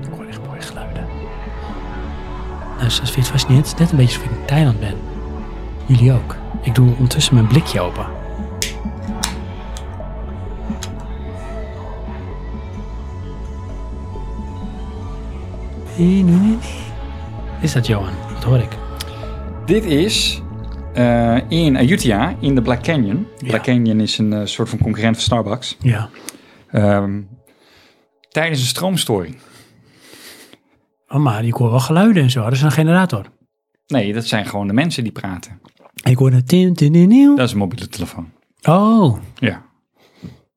[SPEAKER 1] Ik hoor echt mooie geluiden. Nou, zoals vind je het fascinerend? Het is net een beetje alsof ik in Thailand ben. Jullie ook. Ik doe ondertussen mijn blikje open. Is dat Johan? Wat hoor ik?
[SPEAKER 2] Dit is eh, in Ayutthaya, in de Black Canyon. Black Canyon is een eh, soort van concurrent van Starbucks.
[SPEAKER 1] Ja.
[SPEAKER 2] Ehm, tijdens een stroomstoring.
[SPEAKER 1] Oh, maar ik hoor wel geluiden en zo. Dat is een generator.
[SPEAKER 2] Nee, dat zijn gewoon de mensen die praten.
[SPEAKER 1] Ik hoor een tin, tin, tin, tin.
[SPEAKER 2] Dat is een mobiele telefoon.
[SPEAKER 1] Oh.
[SPEAKER 2] Ja.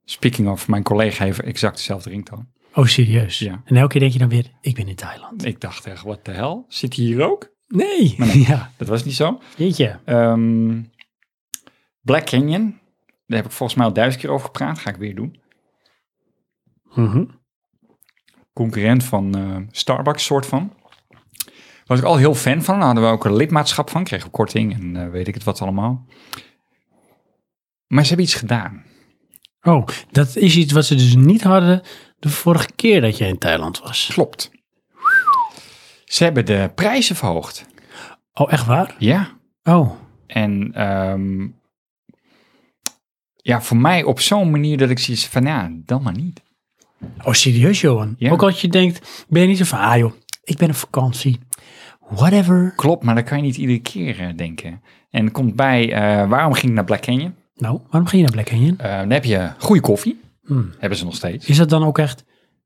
[SPEAKER 2] Speaking of, mijn collega heeft exact dezelfde ringtoon.
[SPEAKER 1] Oh, serieus?
[SPEAKER 2] Ja.
[SPEAKER 1] En elke keer denk je dan weer, ik ben in Thailand.
[SPEAKER 2] Ik dacht echt, wat de hel? Zit hij hier ook?
[SPEAKER 1] Nee. Ja.
[SPEAKER 2] Dat was niet zo.
[SPEAKER 1] Jeetje.
[SPEAKER 2] Ehm, Black Canyon. Daar heb ik volgens mij al duizend keer over gepraat. Ga ik weer doen.
[SPEAKER 1] Mhm.
[SPEAKER 2] concurrent van eh, Starbucks, soort van. Was ik al heel fan van. Daar hadden we ook een lidmaatschap van. Kregen we korting en eh, weet ik het wat allemaal. Maar ze hebben iets gedaan.
[SPEAKER 1] Oh, dat is iets wat ze dus niet hadden de vorige keer dat jij in Thailand was.
[SPEAKER 2] Klopt. Ze hebben de prijzen verhoogd.
[SPEAKER 1] Oh, echt waar?
[SPEAKER 2] Ja.
[SPEAKER 1] Oh,
[SPEAKER 2] En ehm, ja, voor mij op zo'n manier dat ik zoiets van, ja, dan maar niet.
[SPEAKER 1] Oh, serieus, Johan?
[SPEAKER 2] Ja.
[SPEAKER 1] Ook als je denkt, ben je niet zo van, ah joh, ik ben op vakantie. Whatever.
[SPEAKER 2] Klopt, maar dat kan je niet iedere keer eh, denken. En het komt bij, eh, waarom ging ik naar Black Canyon?
[SPEAKER 1] Nou, waarom ging je naar Black Canyon?
[SPEAKER 2] Eh, dan heb je goede koffie.
[SPEAKER 1] Hmm.
[SPEAKER 2] Hebben ze nog steeds.
[SPEAKER 1] Is dat dan ook echt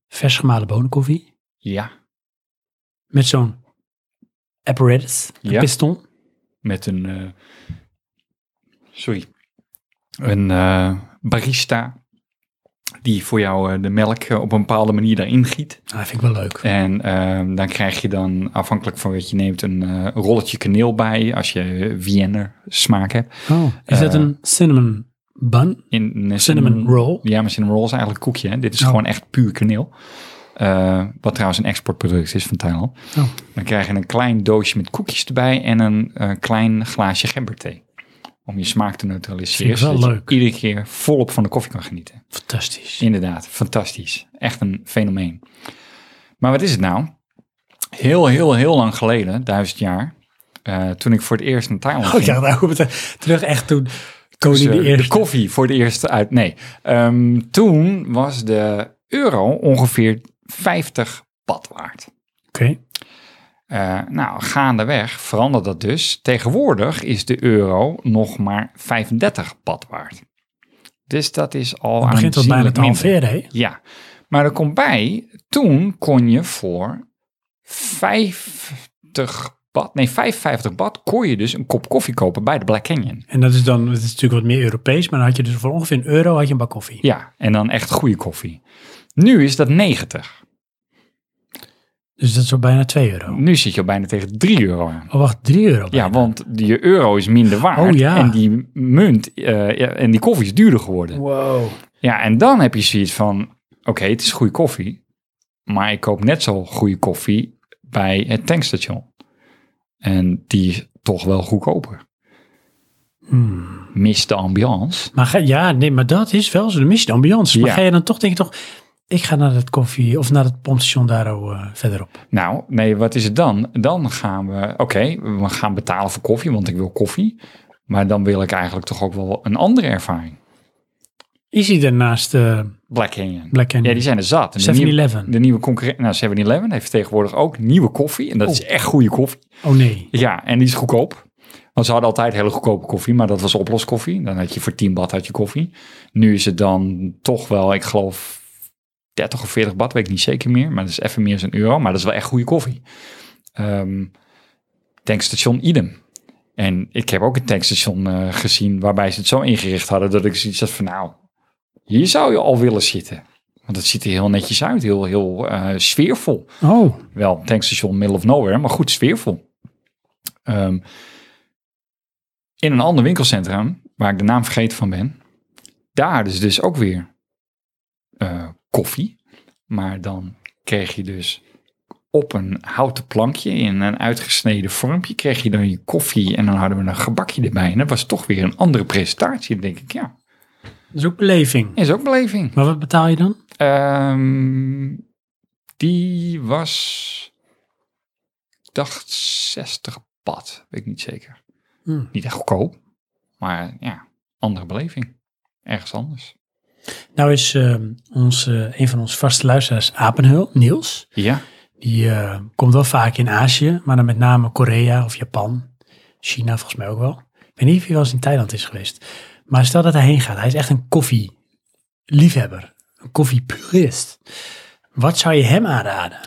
[SPEAKER 1] vers gemalen bonenkoffie?
[SPEAKER 2] Ja,
[SPEAKER 1] Met zo'n apparatus, een
[SPEAKER 2] Ja.
[SPEAKER 1] piston?
[SPEAKER 2] met een... eh, sorry. Een eh, barista die voor jou eh, de melk eh, op een bepaalde manier daarin giet.
[SPEAKER 1] Nou, dat vind ik wel leuk.
[SPEAKER 2] En ehm, dan krijg je dan, afhankelijk van wat je neemt, een eh, rolletje kaneel bij. Als je eh, Vienna smaak hebt.
[SPEAKER 1] Oh, is dat
[SPEAKER 2] Eh,
[SPEAKER 1] een cinnamon bun?
[SPEAKER 2] In, in een
[SPEAKER 1] Cinnamon roll?
[SPEAKER 2] Ja, maar cinnamon roll is eigenlijk een koekje. Hè? Dit is
[SPEAKER 1] Oh.
[SPEAKER 2] gewoon echt puur kaneel. Eh, wat trouwens een exportproduct is van Thailand.
[SPEAKER 1] Oh.
[SPEAKER 2] Dan krijg je een klein doosje met koekjes erbij en een eh, klein glaasje gemberthee. Om je smaak te
[SPEAKER 1] Vind
[SPEAKER 2] neutraliseren.
[SPEAKER 1] ik wel
[SPEAKER 2] zodat je
[SPEAKER 1] leuk.
[SPEAKER 2] iedere keer volop van de koffie kan genieten.
[SPEAKER 1] Fantastisch.
[SPEAKER 2] Inderdaad, fantastisch. Echt een fenomeen. Maar wat is het nou? Heel, heel, heel lang geleden, duizend jaar, eh, toen ik voor het eerst naar Thailand
[SPEAKER 1] Oh,
[SPEAKER 2] ging.
[SPEAKER 1] ik dacht, nou, we moeten terug echt toen koning
[SPEAKER 2] Dus,
[SPEAKER 1] de
[SPEAKER 2] eh,
[SPEAKER 1] eerste.
[SPEAKER 2] koffie voor de eerste uit. Nee, Ehm, toen was de euro ongeveer 50 pad waard.
[SPEAKER 1] Oké,
[SPEAKER 2] Eh, nou, gaandeweg verandert dat dus. Tegenwoordig is de euro nog maar 35 pad waard. Dus dat is al
[SPEAKER 1] dan begint dat bijna
[SPEAKER 2] aanzienlijk
[SPEAKER 1] te
[SPEAKER 2] minder.
[SPEAKER 1] halveren, hè?
[SPEAKER 2] Ja, maar er komt bij, toen kon je voor 50 bad, nee 55 bad, kon je dus een kop koffie kopen bij de Black Canyon.
[SPEAKER 1] En dat is dan, het is natuurlijk wat meer Europees, maar dan had je dus voor ongeveer een euro had je een bak koffie.
[SPEAKER 2] Ja, en dan echt goede koffie. Nu is dat 90.
[SPEAKER 1] Dus dat is wel bijna 2 euro.
[SPEAKER 2] Nu zit je al bijna tegen 3 euro aan.
[SPEAKER 1] Oh, wacht, 3 euro.
[SPEAKER 2] Ja,
[SPEAKER 1] bijna.
[SPEAKER 2] want je euro is minder waard
[SPEAKER 1] Oh, ja.
[SPEAKER 2] en die munt eh, ja, en die koffie is duurder geworden.
[SPEAKER 1] Wow.
[SPEAKER 2] Ja, en dan heb je zoiets van, oké, het is goede koffie, maar ik koop net zo goede koffie bij het tankstation. En die is toch wel goedkoper.
[SPEAKER 1] Hmm.
[SPEAKER 2] Mis de ambiance.
[SPEAKER 1] Maar ga, ja, nee, maar dat is wel zo. Dan mis je de ambiance. Maar
[SPEAKER 2] Ja.
[SPEAKER 1] ga je dan toch, denk je toch, ik ga naar dat koffie of naar het pompstation daar eh, verderop.
[SPEAKER 2] Nou, nee, wat is het dan? Dan gaan we, oké, we gaan betalen voor koffie, want ik wil koffie. Maar dan wil ik eigenlijk toch ook wel een andere ervaring.
[SPEAKER 1] Is hij daarnaast eh
[SPEAKER 2] Black Canyon.
[SPEAKER 1] Black Canyon?
[SPEAKER 2] Ja, die zijn er zat. En de
[SPEAKER 1] 7-Eleven.
[SPEAKER 2] nieuwe- De nieuwe concurrent, nou 7-Eleven heeft tegenwoordig ook nieuwe koffie. En dat is echt goede koffie.
[SPEAKER 1] Oh nee.
[SPEAKER 2] Ja, en die is goedkoop. Want ze hadden altijd hele goedkope koffie, maar dat was oploskoffie. Dan had je voor 10 bad had je koffie. Nu is het dan toch wel, ik geloof 30 of 40 bad, weet ik niet zeker meer. Maar dat is even meer dan een euro, maar dat is wel echt goede koffie. Ehm tankstation idem. En ik heb ook een tankstation eh, gezien waarbij ze het zo ingericht hadden dat ik zoiets had van nou, hier zou je al willen zitten. Want het ziet er heel netjes uit, heel, heel eh, sfeervol.
[SPEAKER 1] Oh,
[SPEAKER 2] Wel, tankstation middle of nowhere, maar goed sfeervol. Ehm, in een ander winkelcentrum, waar ik de naam vergeten van ben, daar is dus ook weer eh, koffie. Maar dan kreeg je dus op een houten plankje in een uitgesneden vormpje, kreeg je dan je koffie en dan hadden we een gebakje erbij. En dat was toch weer een andere presentatie, Dan denk ik. Ja,
[SPEAKER 1] dat is ook beleving.
[SPEAKER 2] is ook beleving.
[SPEAKER 1] Maar wat betaal je dan?
[SPEAKER 2] Ehm, die was, ik dacht 60 pad, weet ik niet zeker.
[SPEAKER 1] Hmm.
[SPEAKER 2] Niet echt goedkoop, maar ja, andere beleving. Ergens anders.
[SPEAKER 1] Nou is ehm, ons, eh, een van onze vaste luisteraars, Apenheul, Niels.
[SPEAKER 2] Ja,
[SPEAKER 1] Die eh, komt wel vaak in Azië, maar dan met name Korea of Japan. China volgens mij ook wel. Ik weet niet of hij wel eens in Thailand is geweest. Maar stel dat hij heen gaat, hij is echt een koffieliefhebber. Een koffiepurist. Wat zou je hem aanraden?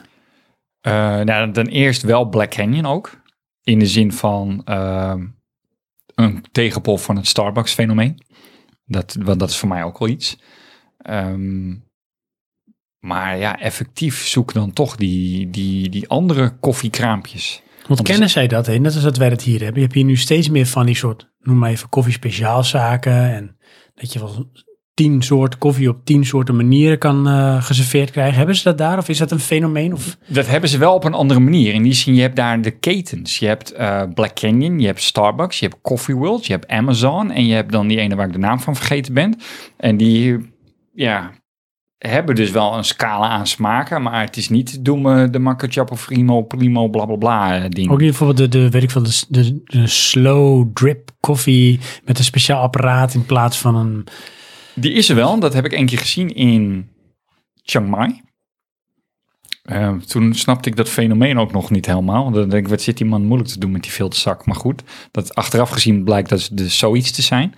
[SPEAKER 2] Eh, nou, dan eerst wel Black Canyon ook. In de zin van ehm, een tegenpol van het Starbucks-fenomeen. Dat, want dat is voor mij ook wel iets. Ehm, maar ja, effectief zoek dan toch die, die, die andere koffiekraampjes.
[SPEAKER 1] Want
[SPEAKER 2] is-
[SPEAKER 1] kennen zij dat, hè? net als dat wij dat hier hebben. Je hebt hier nu steeds meer van die soort, noem maar even koffiespeciaalzaken. En dat je wel tien soorten koffie op tien soorten manieren kan eh, geserveerd krijgen. Hebben ze dat daar of is dat een fenomeen? Of,
[SPEAKER 2] Dat hebben ze wel op een andere manier. In die zin, je hebt daar de ketens. Je hebt eh, Black Canyon, je hebt Starbucks, je hebt Coffee World, je hebt Amazon. En je hebt dan die ene waar ik de naam van vergeten ben. En die, ja, hebben dus wel een scala aan smaken. Maar het is niet domme de Macchiato Primo, Primo, bla bla bla eh, ding.
[SPEAKER 1] ook hier bijvoorbeeld de, de, weet ik veel, de, de, de slow drip koffie met een speciaal apparaat in plaats van een...
[SPEAKER 2] Die is er wel. Dat heb ik één keer gezien in Chiang Mai. Eh, toen snapte ik dat fenomeen ook nog niet helemaal. Want dan denk ik, wat zit die man moeilijk te doen met die filterzak? Maar goed, dat achteraf gezien blijkt dat het dus zoiets te zijn.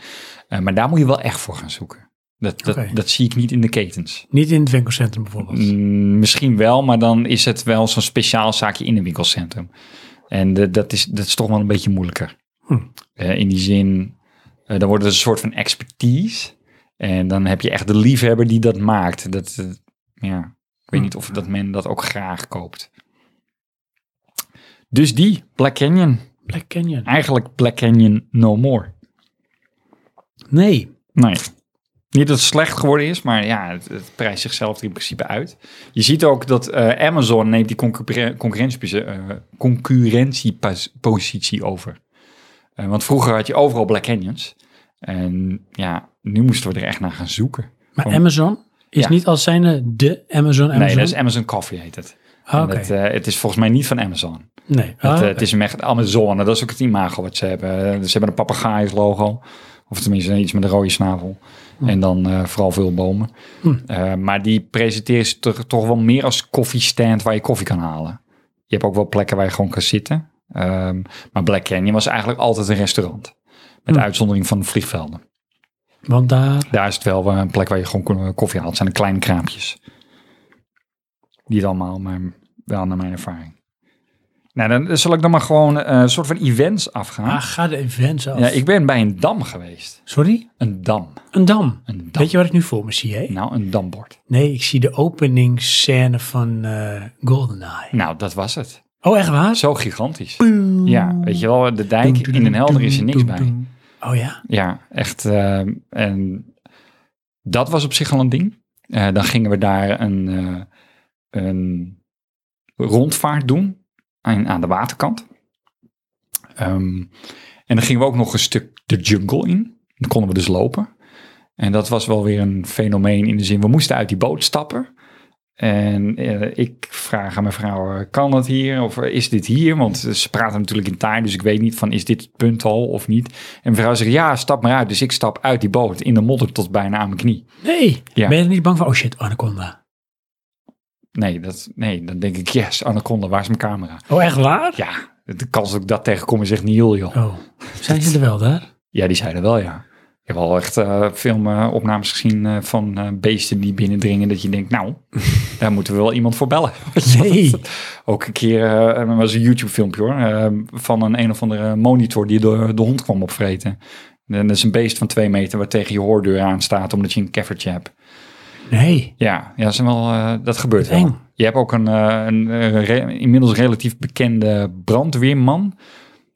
[SPEAKER 2] Eh, maar daar moet je wel echt voor gaan zoeken. Dat, dat,
[SPEAKER 1] Oké.
[SPEAKER 2] dat zie ik niet in de ketens.
[SPEAKER 1] Niet in het winkelcentrum bijvoorbeeld.
[SPEAKER 2] Mm, misschien wel, maar dan is het wel zo'n speciaal zaakje in een winkelcentrum. En de- dat, is, dat is toch wel een beetje moeilijker.
[SPEAKER 1] Hm.
[SPEAKER 2] Eh, in die zin, eh, dan wordt het een soort van expertise. En dan heb je echt de liefhebber die dat maakt. Dat, eh, ja, ik
[SPEAKER 1] Hm.
[SPEAKER 2] weet niet of dat men dat ook graag koopt. Dus die, Black Canyon.
[SPEAKER 1] Black Canyon.
[SPEAKER 2] Eigenlijk Black Canyon no more.
[SPEAKER 1] Nee.
[SPEAKER 2] Nee. Niet dat het slecht geworden is, maar ja, het, het prijst zichzelf er in principe uit. Je ziet ook dat eh, Amazon neemt die concurre- concurrentieposi- eh, concurrentiepositie over. Eh, want vroeger had je overal Black Canyons. En ja, nu moesten we er echt naar gaan zoeken.
[SPEAKER 1] Maar
[SPEAKER 2] Van-
[SPEAKER 1] Amazon is
[SPEAKER 2] Ja.
[SPEAKER 1] niet als zijnde de Amazon Amazon?
[SPEAKER 2] Nee, dat is Amazon Coffee heet het.
[SPEAKER 1] Ah,
[SPEAKER 2] En
[SPEAKER 1] Oké.
[SPEAKER 2] het, eh, het is volgens mij niet van Amazon.
[SPEAKER 1] nee.
[SPEAKER 2] Het,
[SPEAKER 1] Ah,
[SPEAKER 2] eh,
[SPEAKER 1] oké.
[SPEAKER 2] het is hem echt Amazone. Dat is ook het imago wat ze hebben. Eh, Ze hebben een papegaaienslogo. Of tenminste iets met een rode snavel.
[SPEAKER 1] Hm.
[SPEAKER 2] En dan eh, vooral veel bomen. Eh, maar die presenteren ze toch, toch wel meer als koffiestand waar je koffie kan halen. Je hebt ook wel plekken waar je gewoon kan zitten. Ehm, maar Black Canyon was eigenlijk altijd een restaurant. Met
[SPEAKER 1] Hmm.
[SPEAKER 2] uitzondering van de vliegvelden.
[SPEAKER 1] Want daar...
[SPEAKER 2] Daar is het wel eh, een plek waar je gewoon kon- koffie haalt. Het zijn de kleine kraampjes. Niet allemaal, maar wel naar mijn ervaring. Nou, dan zal ik dan maar gewoon eh, een soort van events afgaan.
[SPEAKER 1] Ah, ga de events af.
[SPEAKER 2] ja, ik ben bij een dam geweest.
[SPEAKER 1] Sorry?
[SPEAKER 2] Een dam.
[SPEAKER 1] Een dam.
[SPEAKER 2] Een dam.
[SPEAKER 1] Weet je wat ik nu voor me zie, hè?
[SPEAKER 2] Nou, een dambord.
[SPEAKER 1] Nee, ik zie de openingsscène van eh, GoldenEye.
[SPEAKER 2] Nou, dat was het.
[SPEAKER 1] Oh, echt waar?
[SPEAKER 2] Zo gigantisch. Ja, weet je wel, de dijk in Den Helder is er niks bij.
[SPEAKER 1] Oh ja?
[SPEAKER 2] Ja, echt. eh, en dat was op zich al een ding. Eh, dan gingen we daar een, eh, een rondvaart doen aan, aan de waterkant. Ehm, en dan gingen we ook nog een stuk de jungle in. Dan konden we dus lopen. En dat was wel weer een fenomeen in de zin, we moesten uit die boot stappen. En eh, ik vraag aan mijn vrouw, eh, kan dat hier of eh, is dit hier? Want ze praten natuurlijk in taai, dus ik weet niet van is dit het punt al of niet. En mijn vrouw zegt, ja, stap maar uit. Dus ik stap uit die boot in de modder tot bijna aan mijn knie.
[SPEAKER 1] Nee.
[SPEAKER 2] Ja.
[SPEAKER 1] Ben je er niet bang voor? Oh shit, Anaconda.
[SPEAKER 2] Nee, dat, nee, dan denk ik, yes, Anaconda, waar is mijn camera?
[SPEAKER 1] Oh, echt waar?
[SPEAKER 2] Ja, de kans dat ik dat tegenkom is echt niet heel, joh.
[SPEAKER 1] Oh, zijn ze er wel daar?
[SPEAKER 2] Ja, die zeiden wel, ja. Ik heb al echt eh, filmopnames gezien eh, van eh, beesten die binnendringen. Dat je denkt, nou, daar moeten we wel iemand voor bellen. Weet je wel,
[SPEAKER 1] Nee.
[SPEAKER 2] dat- Ook een keer, eh, er was een YouTube filmpje hoor, eh, van een een of andere monitor die door de hond kwam opvreten. En dat is een beest van twee meter waar tegen je hoordeur aan staat omdat je een keffertje hebt.
[SPEAKER 1] Nee.
[SPEAKER 2] Ja, ja dat, zijn wel, eh, dat gebeurt wel.
[SPEAKER 1] Eng.
[SPEAKER 2] Je hebt ook een, eh, een eh, re- inmiddels relatief bekende brandweerman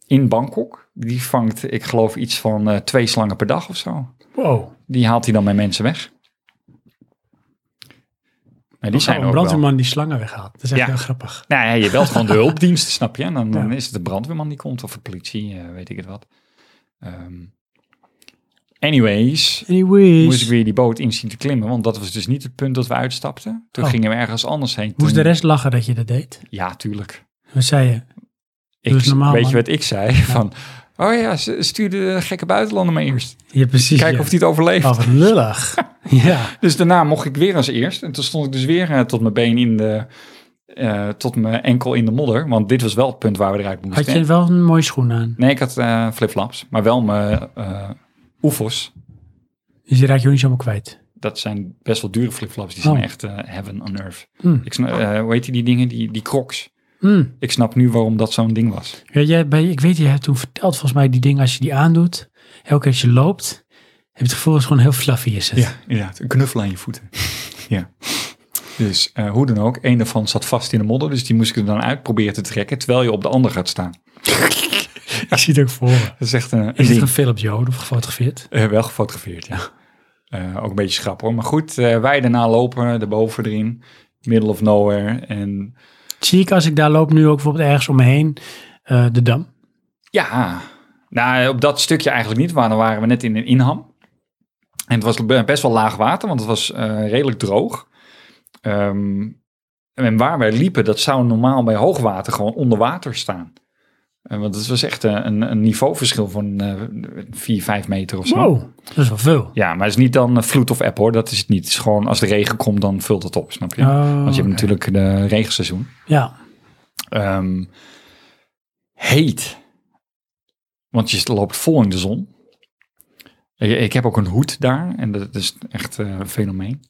[SPEAKER 2] in Bangkok. Die vangt, ik geloof, iets van eh, twee slangen per dag of zo.
[SPEAKER 1] Wow.
[SPEAKER 2] Die haalt hij dan met mensen weg. Maar die zijn
[SPEAKER 1] Oh, een
[SPEAKER 2] ook wel.
[SPEAKER 1] brandweerman die slangen weghaalt. Dat is echt
[SPEAKER 2] Ja.
[SPEAKER 1] heel grappig.
[SPEAKER 2] Nou ja, je belt gewoon de hulpdienst, snap je? En dan, dan
[SPEAKER 1] Ja.
[SPEAKER 2] is het de brandweerman die komt of de politie, eh, weet ik het wat. Ehm, anyways, moest ik
[SPEAKER 1] Anyways.
[SPEAKER 2] weer die boot in zien te klimmen, want dat was dus niet het punt dat we uitstapten. Toen
[SPEAKER 1] Oh.
[SPEAKER 2] gingen we ergens anders heen.
[SPEAKER 1] Moest de
[SPEAKER 2] Toen-
[SPEAKER 1] rest lachen dat je dat deed?
[SPEAKER 2] Ja, tuurlijk.
[SPEAKER 1] Wat zei je?
[SPEAKER 2] Ik,
[SPEAKER 1] is Dus normaal,
[SPEAKER 2] weet
[SPEAKER 1] man.
[SPEAKER 2] je wat ik zei? Van, oh ja, ze- stuur de gekke buitenlander maar eerst.
[SPEAKER 1] Je precies.
[SPEAKER 2] Kijken
[SPEAKER 1] ja.
[SPEAKER 2] of die het overleeft.
[SPEAKER 1] Oh, wat lullig. ja.
[SPEAKER 2] Dus daarna mocht ik weer als eerst. En toen stond ik dus weer eh, tot mijn been in de... eh, tot mijn enkel in de modder. Want dit was wel het punt waar we eruit moesten.
[SPEAKER 1] Had je wel een mooie schoen aan?
[SPEAKER 2] Nee, ik had eh, flipflaps. Maar wel mijn eh oefos.
[SPEAKER 1] Dus die raak je ook niet helemaal kwijt.
[SPEAKER 2] Dat zijn best wel dure flipflaps. Die zijn
[SPEAKER 1] Oh.
[SPEAKER 2] echt eh, heaven on earth.
[SPEAKER 1] Hmm.
[SPEAKER 2] Ik snap, eh, hoe heet die, die dingen? Die, die crocs.
[SPEAKER 1] Hmm.
[SPEAKER 2] Ik snap nu waarom dat zo'n ding was.
[SPEAKER 1] Ja, jij, bij, ik weet, je hebt toen verteld volgens mij die dingen als je die aandoet. Elke keer als je loopt, heb je het gevoel dat het gewoon heel fluffy is. Het.
[SPEAKER 2] inderdaad. Een knuffel aan je voeten. ja. Dus eh, hoe dan ook, één daarvan zat vast in de modder. Dus die moest ik er dan uit proberen te trekken. Terwijl je op de ander gaat staan.
[SPEAKER 1] Ik zie het ook voor me.
[SPEAKER 2] Dat is echt een, een
[SPEAKER 1] Is het
[SPEAKER 2] ding.
[SPEAKER 1] een filmpje hoor, of gefotografeerd?
[SPEAKER 2] Eh, wel gefotografeerd, ja. Eh, ook een beetje schrap hoor. Maar goed, eh, wij daarna lopen, daarboven erin. Middle of nowhere. En
[SPEAKER 1] Zie ik als ik daar loop nu ook bijvoorbeeld ergens om me heen eh, de dam?
[SPEAKER 2] ja, nou op dat stukje eigenlijk niet. Maar dan waren we net in een inham. En het was be- best wel laag water, want het was eh, redelijk droog. Ehm, en waar wij liepen, dat zou normaal bij hoogwater gewoon onder water staan. Eh, Want het was echt eh, een, een niveauverschil van eh 4, 5 meter of zo.
[SPEAKER 1] Wow, dat is wel veel.
[SPEAKER 2] Ja, maar het is niet dan eh, vloed of app hoor. Dat is het niet. Het is gewoon als de regen komt, dan vult het op, snap je?
[SPEAKER 1] Oh,
[SPEAKER 2] Want je
[SPEAKER 1] oké.
[SPEAKER 2] hebt natuurlijk de regenseizoen.
[SPEAKER 1] Ja,
[SPEAKER 2] Ehm, heet. Want je loopt vol in de zon. Ik, ik heb ook een hoed daar. En dat is echt eh, een fenomeen.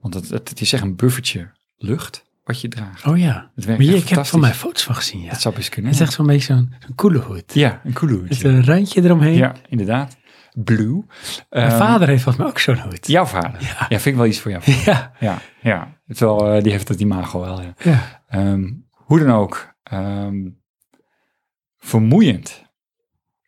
[SPEAKER 2] Want het, het, het is echt een buffertje lucht wat je draagt.
[SPEAKER 1] oh ja.
[SPEAKER 2] Het werkt
[SPEAKER 1] Maar hier,
[SPEAKER 2] echt
[SPEAKER 1] ik heb van
[SPEAKER 2] fantastisch.
[SPEAKER 1] mij foto's van gezien, ja.
[SPEAKER 2] Dat zou best kunnen.
[SPEAKER 1] Het is echt zo'n beetje zo'n zo'n coole hoed.
[SPEAKER 2] Ja, een coole
[SPEAKER 1] Met
[SPEAKER 2] hoedje.
[SPEAKER 1] een randje eromheen.
[SPEAKER 2] Ja, inderdaad. Blue.
[SPEAKER 1] Mijn
[SPEAKER 2] Ehm,
[SPEAKER 1] vader heeft volgens mij ook zo'n hoed.
[SPEAKER 2] Jouw vader. Ja. vind ik wel iets voor jou.
[SPEAKER 1] Ja,
[SPEAKER 2] Ja, ja. Terwijl eh, die heeft dat imago wel. Ja.
[SPEAKER 1] ja.
[SPEAKER 2] Ehm, hoe dan ook, ehm, vermoeiend.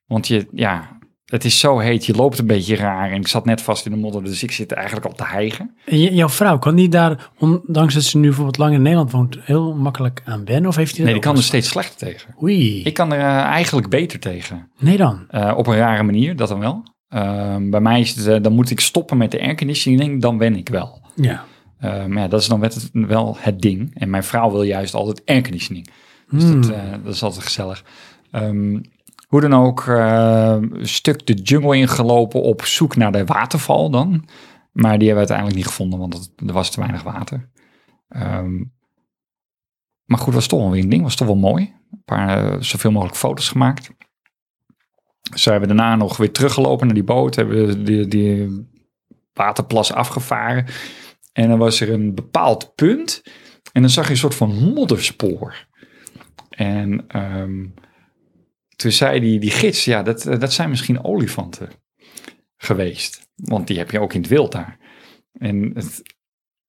[SPEAKER 2] Want je, ja, het is zo heet, je loopt een beetje raar. En ik zat net vast in de modder, dus ik zit eigenlijk al te hijgen.
[SPEAKER 1] En j- jouw vrouw, kan die daar, ondanks dat ze nu bijvoorbeeld lang in Nederland woont, heel makkelijk aan wennen? Of heeft die
[SPEAKER 2] Nee,
[SPEAKER 1] dat
[SPEAKER 2] ik
[SPEAKER 1] ook
[SPEAKER 2] kan er
[SPEAKER 1] wel
[SPEAKER 2] steeds slechter tegen.
[SPEAKER 1] eens? Oei,
[SPEAKER 2] Ik kan er eh, eigenlijk beter tegen.
[SPEAKER 1] nee dan.
[SPEAKER 2] Eh, op een rare manier, dat dan wel. Ehm, bij mij is het, eh, dan moet ik stoppen met de airconditioning, dan ben ik wel.
[SPEAKER 1] Ja.
[SPEAKER 2] Eh, maar ja, dat is dan wet- wel het ding. En mijn vrouw wil juist altijd airconditioning. Dus dat, eh, dat is altijd gezellig. Ehm, hoe dan ook, eh, een stuk de jungle ingelopen op zoek naar de waterval dan. Maar die hebben we uiteindelijk niet gevonden, want het- er was te weinig water. Ehm, maar goed, was toch wel weer een ding. Was toch wel mooi. Een paar eh, zoveel mogelijk foto's gemaakt. Zo hebben we daarna nog weer teruggelopen naar die boot. Hebben we die, die waterplas afgevaren. En dan was er een bepaald punt. En dan zag je een soort van modderspoor. En ehm, toen zei die, die gids, ja, dat, eh, dat zijn misschien olifanten geweest. Want die heb je ook in het wild daar. En het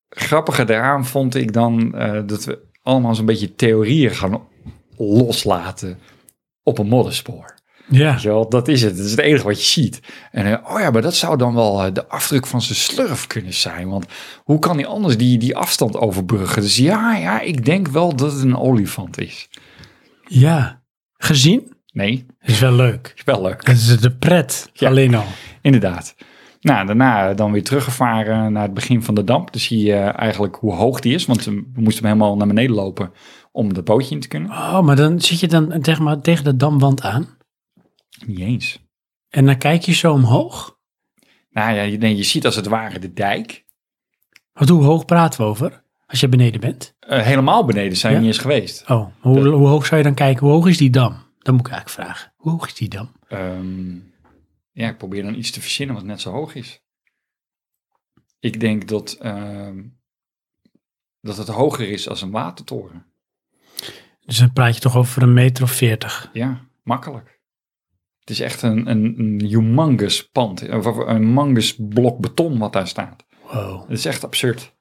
[SPEAKER 2] grappige daaraan vond ik dan eh, dat we allemaal zo'n beetje theorieën gaan loslaten op een modderspoor.
[SPEAKER 1] Ja.
[SPEAKER 2] Weet je wel, dat is het. Dat is het enige wat je ziet. En eh, oh ja, maar dat zou dan wel eh, de afdruk van zijn slurf kunnen zijn. Want hoe kan hij anders die, die afstand overbruggen? Dus ja, ja, ik denk wel dat het een olifant is.
[SPEAKER 1] Ja. Gezien?
[SPEAKER 2] Nee,
[SPEAKER 1] Is wel leuk.
[SPEAKER 2] is wel leuk.
[SPEAKER 1] Dat is de pret
[SPEAKER 2] Ja.
[SPEAKER 1] alleen al.
[SPEAKER 2] Inderdaad. Nou, daarna dan weer teruggevaren naar het begin van de damp. Dus zie je eh, eigenlijk hoe hoog die is. Want eh, we moesten hem helemaal naar beneden lopen om dat bootje in te kunnen.
[SPEAKER 1] Oh, maar dan zit je dan zeg maar, tegen de damwand aan.
[SPEAKER 2] Niet eens.
[SPEAKER 1] En dan kijk je zo omhoog.
[SPEAKER 2] Nou ja, je, nee, je ziet als het ware de dijk.
[SPEAKER 1] Wat, hoe hoog praten we over? Als je beneden bent.
[SPEAKER 2] Eh, helemaal beneden zijn we
[SPEAKER 1] Ja?
[SPEAKER 2] niet eens geweest.
[SPEAKER 1] Oh, hoe,
[SPEAKER 2] De-
[SPEAKER 1] hoe hoog zou je dan kijken? Hoe hoog is die dam? Dat moet ik eigenlijk vragen. Hoe hoog is die dam?
[SPEAKER 2] Ehm, ja, ik probeer dan iets te verzinnen wat net zo hoog is. Ik denk dat, ehm, dat het hoger is als een watertoren.
[SPEAKER 1] Dus dan praat je toch over een meter of veertig.
[SPEAKER 2] Ja, makkelijk. Het is echt een, een, een humongous pand, of een humongous blok beton wat daar staat.
[SPEAKER 1] Wow.
[SPEAKER 2] Het is echt absurd.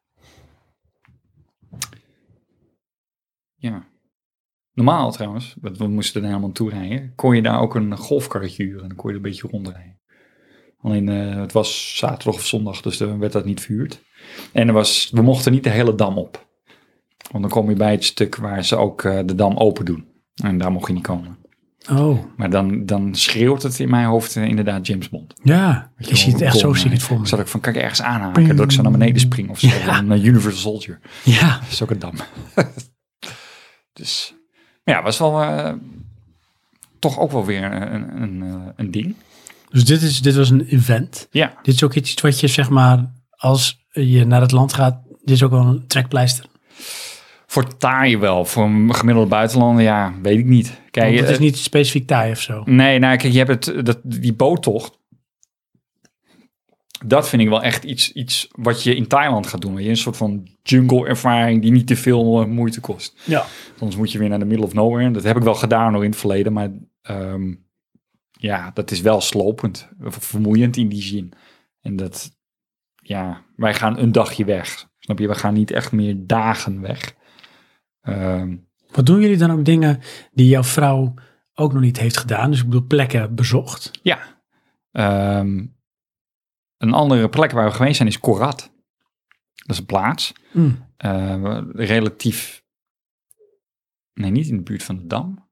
[SPEAKER 2] Ja. Normaal trouwens, want we moesten er helemaal naartoe rijden, kon je daar ook een golfkarretje huren en dan kon je er een beetje rondrijden. Alleen eh, het was zaterdag of zondag, dus dan werd dat niet verhuurd. En er was, we mochten niet de hele dam op. Want dan kom je bij het stuk waar ze ook eh, de dam open doen. En daar mocht je niet komen.
[SPEAKER 1] Oh,
[SPEAKER 2] Maar dan, dan schreeuwt het in mijn hoofd eh, inderdaad James Bond.
[SPEAKER 1] ja. Je ziet het echt zo,
[SPEAKER 2] Kom,
[SPEAKER 1] zie ik het voor
[SPEAKER 2] Zat
[SPEAKER 1] me.
[SPEAKER 2] ik van, kan ik ergens aanhaken dat ik zo naar beneden spring of zo.
[SPEAKER 1] Ja.
[SPEAKER 2] Een eh, Universal Soldier.
[SPEAKER 1] Ja.
[SPEAKER 2] Dat is ook een dam. dus maar ja, was wel eh, toch ook wel weer een, een, een, eh, een ding.
[SPEAKER 1] Dus dit, is, dit was een event.
[SPEAKER 2] Ja,
[SPEAKER 1] Dit is ook iets wat je, zeg maar, als je naar het land gaat, dit is ook wel een trekpleister.
[SPEAKER 2] voor taai wel. Voor een gemiddelde buitenlander, ja, weet ik niet. Kijk,
[SPEAKER 1] Want het is
[SPEAKER 2] eh,
[SPEAKER 1] niet specifiek taai of zo.
[SPEAKER 2] Nee, nou kijk, je hebt het, dat, die boottocht. Dat vind ik wel echt iets, iets wat je in Thailand gaat doen. Weet je? Een soort van jungle ervaring die niet te veel eh, moeite kost.
[SPEAKER 1] Ja.
[SPEAKER 2] Anders moet je weer naar de middle of nowhere. Dat heb ik wel gedaan nog in het verleden, maar ehm, ja, dat is wel slopend. Of Vermoeiend in die zin. En dat, ja, wij gaan een dagje weg. Snap je? We gaan niet echt meer dagen weg. Ehm,
[SPEAKER 1] Wat doen jullie dan ook dingen die jouw vrouw ook nog niet heeft gedaan? Dus ik bedoel, plekken bezocht.
[SPEAKER 2] ja. Ehm, een andere plek waar we geweest zijn is Korat. Dat is een plaats.
[SPEAKER 1] Hmm.
[SPEAKER 2] eh, relatief. Nee, niet in de buurt van de dam.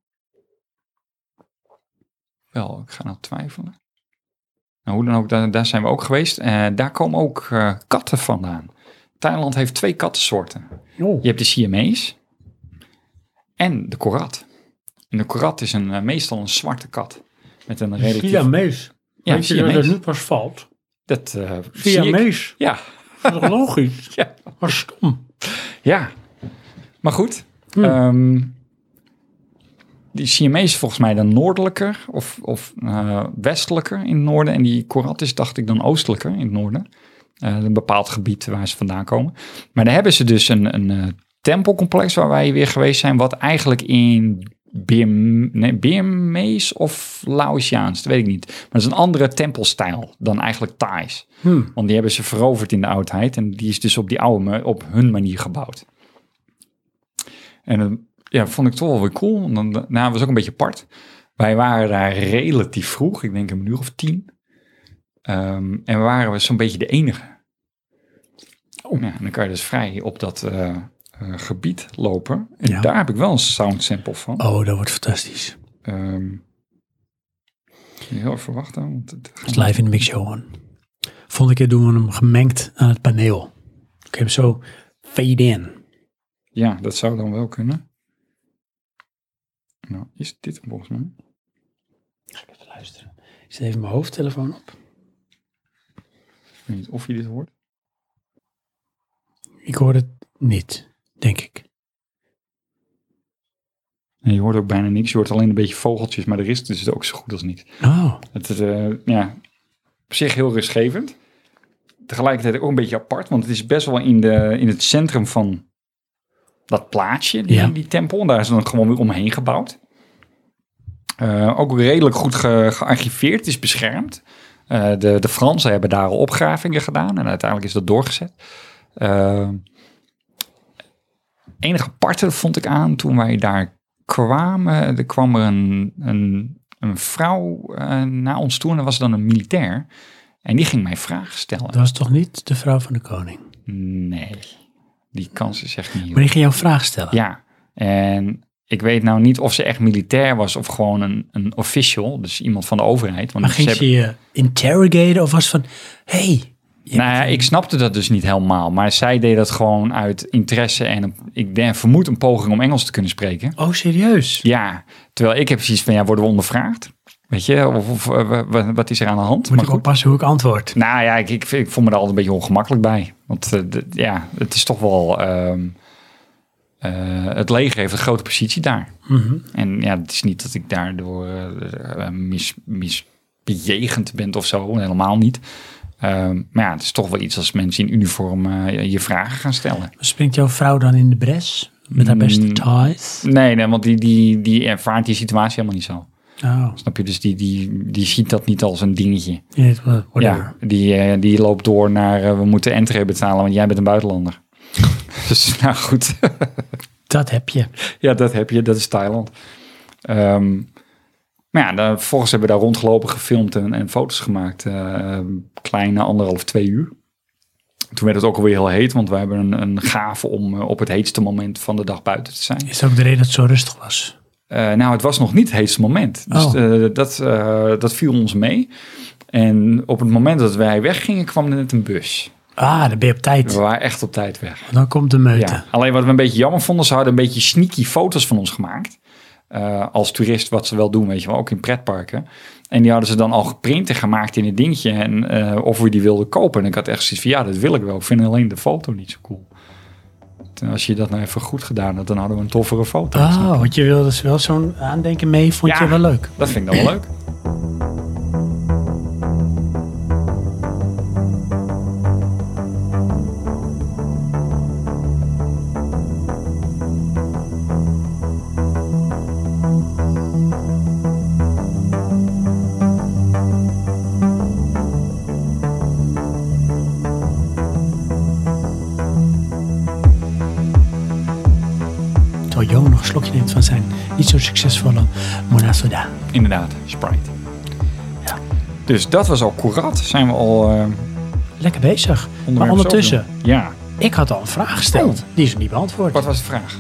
[SPEAKER 2] Wel, ik ga nou twijfelen. Nou, hoe dan ook, daar, daar zijn we ook geweest. Eh, daar komen ook eh, katten vandaan. Thailand heeft twee kattensoorten.
[SPEAKER 1] Oh.
[SPEAKER 2] Je hebt de Siamese en de korat. Een korat is een, eh, meestal een zwarte kat. Met een relatief...
[SPEAKER 1] Via Mees.
[SPEAKER 2] Ja,
[SPEAKER 1] Weet je dat
[SPEAKER 2] Siamees.
[SPEAKER 1] het nu pas valt?
[SPEAKER 2] Dat eh,
[SPEAKER 1] Via
[SPEAKER 2] zie ik.
[SPEAKER 1] Mees.
[SPEAKER 2] Ja,
[SPEAKER 1] Dat is toch logisch?
[SPEAKER 2] Ja.
[SPEAKER 1] Maar stom.
[SPEAKER 2] ja. Maar goed. ehm, die Siamese is volgens mij dan noordelijker of, of eh, westelijker in het noorden. En die Korat is, dacht ik, dan oostelijker in het noorden. Eh, een bepaald gebied waar ze vandaan komen. Maar daar hebben ze dus een, een eh, tempelcomplex waar wij weer geweest zijn. Wat eigenlijk in Birm, nee, Birmees of Laotiaans, dat weet ik niet. Maar dat is een andere tempelstijl dan eigenlijk Thais. Want die hebben ze veroverd in de oudheid. En die is dus op die oude, ma- op hun manier gebouwd. En dat ja, vond ik toch wel weer cool. En dan, nou, was ook een beetje apart. Wij waren daar relatief vroeg, ik denk een uur of tien. Ehm, en we waren we zo'n beetje de enige.
[SPEAKER 1] Oh.
[SPEAKER 2] Ja, en dan kan je dus vrij op dat eh, eh, gebied lopen. En
[SPEAKER 1] Ja.
[SPEAKER 2] daar heb ik wel een sound sample van.
[SPEAKER 1] Oh, dat wordt fantastisch.
[SPEAKER 2] Ehm, heel even verwachten. Want het
[SPEAKER 1] Dat is live in de mix, Johan. Volgende keer doen we hem gemengd aan het paneel. Ik heb zo fade in.
[SPEAKER 2] Ja, dat zou dan wel kunnen. Nou, is dit hem volgens mij?
[SPEAKER 1] Ga ik even luisteren. Ik zet even mijn hoofdtelefoon op.
[SPEAKER 2] Ik weet niet of je dit hoort.
[SPEAKER 1] Ik hoor het niet, denk ik.
[SPEAKER 2] Nee, je hoort ook bijna niks. Je hoort alleen een beetje vogeltjes, maar de rest is het ook zo goed als niks.
[SPEAKER 1] Oh,
[SPEAKER 2] Het is eh, ja, op zich heel rustgevend. Tegelijkertijd ook een beetje apart, want het is best wel in, de, in het centrum van dat plaatsje, die,
[SPEAKER 1] Ja.
[SPEAKER 2] die tempel. En daar is dan gewoon weer omheen gebouwd. Eh, ook redelijk goed ge- gearchiveerd, het is beschermd. Eh, de, de Fransen hebben daar al opgravingen gedaan en uiteindelijk is dat doorgezet. Eh, enige aparte vond ik aan toen wij daar kwamen. Er kwam er een, een, een vrouw eh, naar ons toe en dat was dan een militair. En die ging mij vragen stellen.
[SPEAKER 1] dat was toch niet de vrouw van de koning?
[SPEAKER 2] Nee, die kans is echt niet heel
[SPEAKER 1] Maar die ging jou vraag stellen.
[SPEAKER 2] ja, en ik weet nou niet of ze echt militair was of gewoon een, een official, dus iemand van de overheid. Want
[SPEAKER 1] maar ging
[SPEAKER 2] ze
[SPEAKER 1] ze
[SPEAKER 2] hebben-
[SPEAKER 1] je interrogaten of was van... hey, je
[SPEAKER 2] nou ja, ik snapte dat dus niet helemaal, maar zij deed dat gewoon uit interesse en een- ik denk, vermoed een poging om Engels te kunnen spreken.
[SPEAKER 1] oh serieus?
[SPEAKER 2] Ja, terwijl ik heb precies van, ja, worden we ondervraagd? Weet je, of, of eh, wa- wa- wat is er aan de hand?
[SPEAKER 1] Moet
[SPEAKER 2] maar
[SPEAKER 1] ik oppassen hoe ik antwoord?
[SPEAKER 2] Nou ja, ik, ik, ik voel me daar altijd een beetje ongemakkelijk bij. Want eh, d- ja, het is toch wel. ehm, eh, het leger heeft een grote positie daar. En ja, het is niet dat ik daardoor eh, eh, mis, misbejegend ben of zo. Helemaal niet. Ehm, maar ja, het is toch wel iets als mensen in uniform eh, je vragen gaan stellen.
[SPEAKER 1] Springt jouw vrouw dan in de bres? Met haar beste
[SPEAKER 2] Mm.
[SPEAKER 1] ties?
[SPEAKER 2] Nee, nee want die, die, die ervaart die situatie helemaal niet zo.
[SPEAKER 1] Oh,
[SPEAKER 2] Snap je? Dus die, die, die ziet dat niet als een dingetje.
[SPEAKER 1] yeah, whatever.
[SPEAKER 2] Ja, die, eh, die loopt door naar eh, we moeten entree betalen, want jij bent een buitenlander. dus nou goed,
[SPEAKER 1] Dat heb je.
[SPEAKER 2] ja, dat heb je, dat is Thailand. Ehm, maar ja, daar, vervolgens hebben we daar rondgelopen, gefilmd en, en foto's gemaakt. eh, kleine anderhalf, twee uur. Toen werd het ook alweer heel heet, want we hebben een, een gave om eh, op het heetste moment van de dag buiten te zijn.
[SPEAKER 1] Is dat ook de reden dat het zo rustig was?
[SPEAKER 2] Eh, nou, het was nog niet het heetste moment. Dus
[SPEAKER 1] Oh.
[SPEAKER 2] eh, dat, eh, dat viel ons mee. En op het moment dat wij weggingen, kwam er net een bus.
[SPEAKER 1] Ah, dan ben je op tijd.
[SPEAKER 2] We waren echt op tijd weg.
[SPEAKER 1] Dan komt de meute.
[SPEAKER 2] Ja. Alleen wat we een beetje jammer vonden, ze hadden een beetje sneaky foto's van ons gemaakt. Eh, als toerist, wat ze wel doen, weet je wel, ook in pretparken. En die hadden ze dan al geprint en gemaakt in een dingetje. En eh, of we die wilden kopen. En ik had echt zoiets van, ja, dat wil ik wel. Ik vind alleen de foto niet zo cool. En als je dat nou even goed gedaan had, dan hadden we een toffere foto.
[SPEAKER 1] Oh, want je wilde dus wel zo'n aandenken mee, vond je
[SPEAKER 2] Ja.
[SPEAKER 1] wel leuk.
[SPEAKER 2] Dat vind ik dan wel leuk.
[SPEAKER 1] Terwijl Johan nog een slokje neemt van zijn niet zo succesvolle Monasoda.
[SPEAKER 2] Inderdaad, Sprite.
[SPEAKER 1] Ja.
[SPEAKER 2] Dus dat was al Korat. Zijn we al eh
[SPEAKER 1] Lekker bezig. Maar
[SPEAKER 2] onderwerp
[SPEAKER 1] ondertussen,
[SPEAKER 2] zoveel? Ja.
[SPEAKER 1] ik had al een vraag gesteld. Die is niet beantwoord.
[SPEAKER 2] Oh. Wat was de vraag?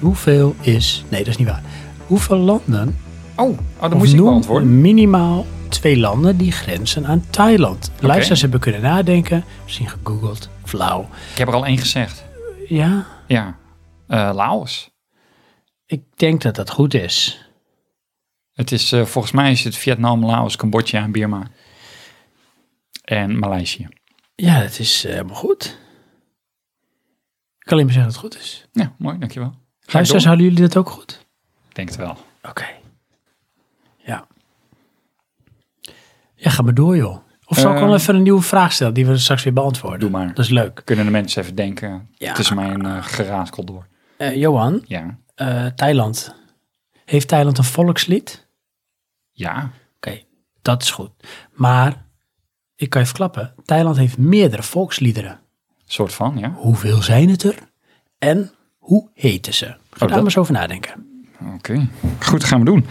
[SPEAKER 1] Hoeveel is... Nee, dat is niet waar. Hoeveel landen...
[SPEAKER 2] Oh, oh dat
[SPEAKER 1] of
[SPEAKER 2] moest ik
[SPEAKER 1] noem
[SPEAKER 2] beantwoorden.
[SPEAKER 1] minimaal twee landen die grenzen aan Thailand. Luisteraars hebben kunnen nadenken. Misschien gegoogeld. Flauw.
[SPEAKER 2] Ik heb er al één gezegd.
[SPEAKER 1] Ja,
[SPEAKER 2] Ja, Eh, Laos.
[SPEAKER 1] Ik denk dat dat goed is.
[SPEAKER 2] Het is, eh, volgens mij is het Vietnam, Laos, Cambodja en Birma. En Maleisië.
[SPEAKER 1] Ja, dat is eh, helemaal goed. Ik kan alleen maar zeggen dat het goed is.
[SPEAKER 2] Ja, mooi, dankjewel. Ga je
[SPEAKER 1] Luisteraars,
[SPEAKER 2] door?
[SPEAKER 1] houden jullie dat ook goed?
[SPEAKER 2] Ik Denk het wel.
[SPEAKER 1] Oké. Ja. Ja, ga maar door, joh. Of zal ik
[SPEAKER 2] Eh,
[SPEAKER 1] wel even een nieuwe vraag stellen die we straks weer beantwoorden?
[SPEAKER 2] Doe maar.
[SPEAKER 1] Dat is leuk.
[SPEAKER 2] Kunnen de mensen even denken
[SPEAKER 1] Ja.
[SPEAKER 2] tussen mijn eh, geraskel door.
[SPEAKER 1] Eh, Johan,
[SPEAKER 2] Ja.
[SPEAKER 1] eh, Thailand. Heeft Thailand een volkslied?
[SPEAKER 2] Ja.
[SPEAKER 1] Oké, dat is goed. Maar, ik kan je verklappen, Thailand heeft meerdere volksliederen.
[SPEAKER 2] Soort van, ja.
[SPEAKER 1] Hoeveel zijn het er? En hoe heten ze? Ga daar
[SPEAKER 2] Oh, dat-
[SPEAKER 1] maar eens over nadenken.
[SPEAKER 2] Oké. Goed, gaan we doen.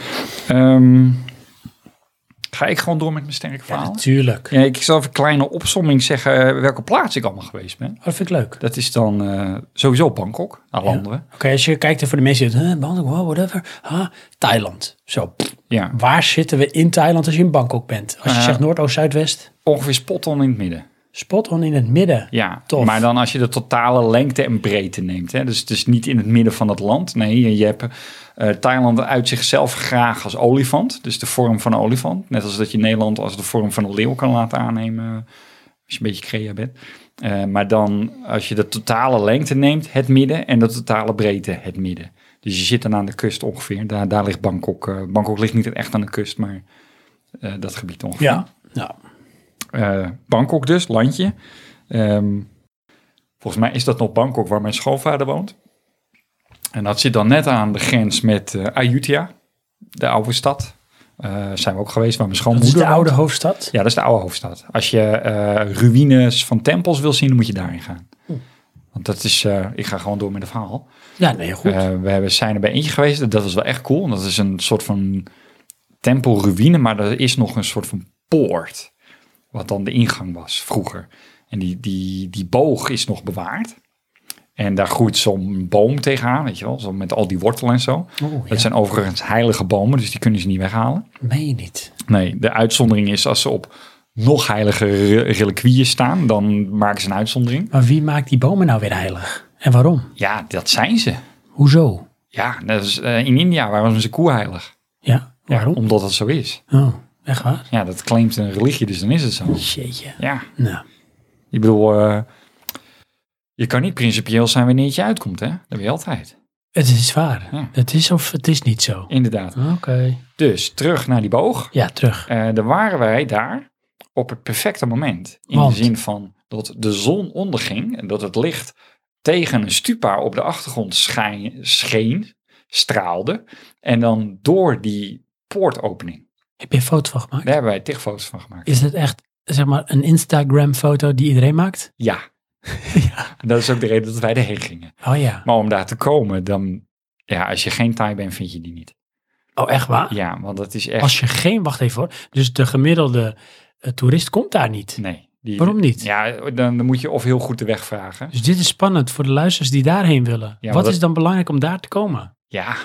[SPEAKER 2] Ehm, ga ik gewoon door met mijn sterke verhaal?
[SPEAKER 1] Natuurlijk.
[SPEAKER 2] Ja, ik zal even een kleine opsomming zeggen eh, welke plaats ik allemaal geweest ben.
[SPEAKER 1] Oh, Dat vind ik leuk.
[SPEAKER 2] Dat is dan eh, sowieso Bangkok. Daar landen we.
[SPEAKER 1] Oké, als je kijkt en voor de mensen die het, Bangkok, wow, whatever. Ah, Thailand. Zo, pff,
[SPEAKER 2] Ja.
[SPEAKER 1] waar zitten we in Thailand als je in Bangkok bent? Als je
[SPEAKER 2] Eh.
[SPEAKER 1] zegt Noordoost, Zuidwest,
[SPEAKER 2] Ongeveer spot on in het midden.
[SPEAKER 1] spot on in het midden.
[SPEAKER 2] Ja,
[SPEAKER 1] Tof.
[SPEAKER 2] maar dan als je de totale lengte en breedte neemt. Hè? Dus het is niet in het midden van het land. Nee, je- je hebt eh, Thailand uit zichzelf graag als olifant. Dus de vorm van een olifant. Net als dat je Nederland als de vorm van een leeuw kan laten aannemen. eh, Als je een beetje crea bent. Eh, maar dan als je de totale lengte neemt, het midden. En de totale breedte, het midden. Dus je zit dan aan de kust ongeveer. Daar, daar ligt Bangkok. eh, Bangkok ligt niet echt aan de kust, maar eh, dat gebied ongeveer
[SPEAKER 1] Ja, nou,
[SPEAKER 2] eh, Bangkok dus, landje. Ehm, volgens mij is dat nog Bangkok waar mijn schoonvader woont. En dat zit dan net aan de grens met eh, Ayutthaya, de oude stad. Eh, zijn we ook geweest waar mijn
[SPEAKER 1] dat is
[SPEAKER 2] schoonmoeder
[SPEAKER 1] de
[SPEAKER 2] woont.
[SPEAKER 1] oude hoofdstad.
[SPEAKER 2] Ja, dat is de oude hoofdstad. Als je eh, ruïnes van tempels wil zien, dan moet je daarin gaan. Want dat is, eh, ik ga gewoon door met het verhaal.
[SPEAKER 1] Ja, nee, goed.
[SPEAKER 2] Eh, we hebben- zijn er bij eentje geweest. Dat was wel echt cool. Dat is een soort van tempelruïne, maar er is nog een soort van poort. Wat dan de ingang was vroeger. En die, die, die boog is nog bewaard. En daar groeit zo'n boom tegenaan, weet je wel. Zo met al die wortel en zo.
[SPEAKER 1] Oh, ja.
[SPEAKER 2] Dat zijn overigens heilige bomen, dus die kunnen ze niet weghalen.
[SPEAKER 1] Meen je niet?
[SPEAKER 2] Nee, de uitzondering is als ze op nog heilige re- reliquieën staan, dan maken ze een uitzondering.
[SPEAKER 1] Maar wie maakt die bomen nou weer heilig? En waarom?
[SPEAKER 2] Ja, dat zijn ze.
[SPEAKER 1] Hoezo?
[SPEAKER 2] Ja, dat is, eh, in India waren ze koeheilig.
[SPEAKER 1] Ja, waarom?
[SPEAKER 2] Omdat dat zo is.
[SPEAKER 1] Oh, echt waar?
[SPEAKER 2] Ja, dat claimt een religie, dus dan is het zo.
[SPEAKER 1] Jeetje.
[SPEAKER 2] Ja,
[SPEAKER 1] Nou,
[SPEAKER 2] ik bedoel, eh, je kan niet principieel zijn wanneer het je uitkomt, hè? Dat weet je altijd.
[SPEAKER 1] het is waar.
[SPEAKER 2] Ja.
[SPEAKER 1] Het is of het is niet zo.
[SPEAKER 2] Inderdaad.
[SPEAKER 1] Oké.
[SPEAKER 2] Dus terug naar die boog.
[SPEAKER 1] Ja, terug.
[SPEAKER 2] Eh daar waren wij daar op het perfecte moment. In
[SPEAKER 1] Want?
[SPEAKER 2] de zin van dat de zon onderging en dat het licht tegen een stupa op de achtergrond schijn, scheen, straalde. En dan door die poortopening.
[SPEAKER 1] Heb je een foto van gemaakt?
[SPEAKER 2] Daar hebben wij tig foto's van gemaakt.
[SPEAKER 1] Is het echt, zeg maar, een Instagram-foto die iedereen maakt?
[SPEAKER 2] Ja. En Dat is ook de reden dat wij erheen gingen.
[SPEAKER 1] Oh ja.
[SPEAKER 2] Maar om daar te komen, dan... Ja, als je geen Thai bent, vind je die niet.
[SPEAKER 1] Oh, echt waar?
[SPEAKER 2] Ja, want dat is echt...
[SPEAKER 1] Als je geen, wacht even hoor. Dus de gemiddelde eh, toerist komt daar niet.
[SPEAKER 2] Nee. die-
[SPEAKER 1] Waarom niet?
[SPEAKER 2] Ja, dan moet je of heel goed de weg vragen.
[SPEAKER 1] Dus dit is spannend voor de luisteraars die daarheen willen.
[SPEAKER 2] maar
[SPEAKER 1] Wat
[SPEAKER 2] dat-
[SPEAKER 1] is dan belangrijk om daar te komen?
[SPEAKER 2] Ja,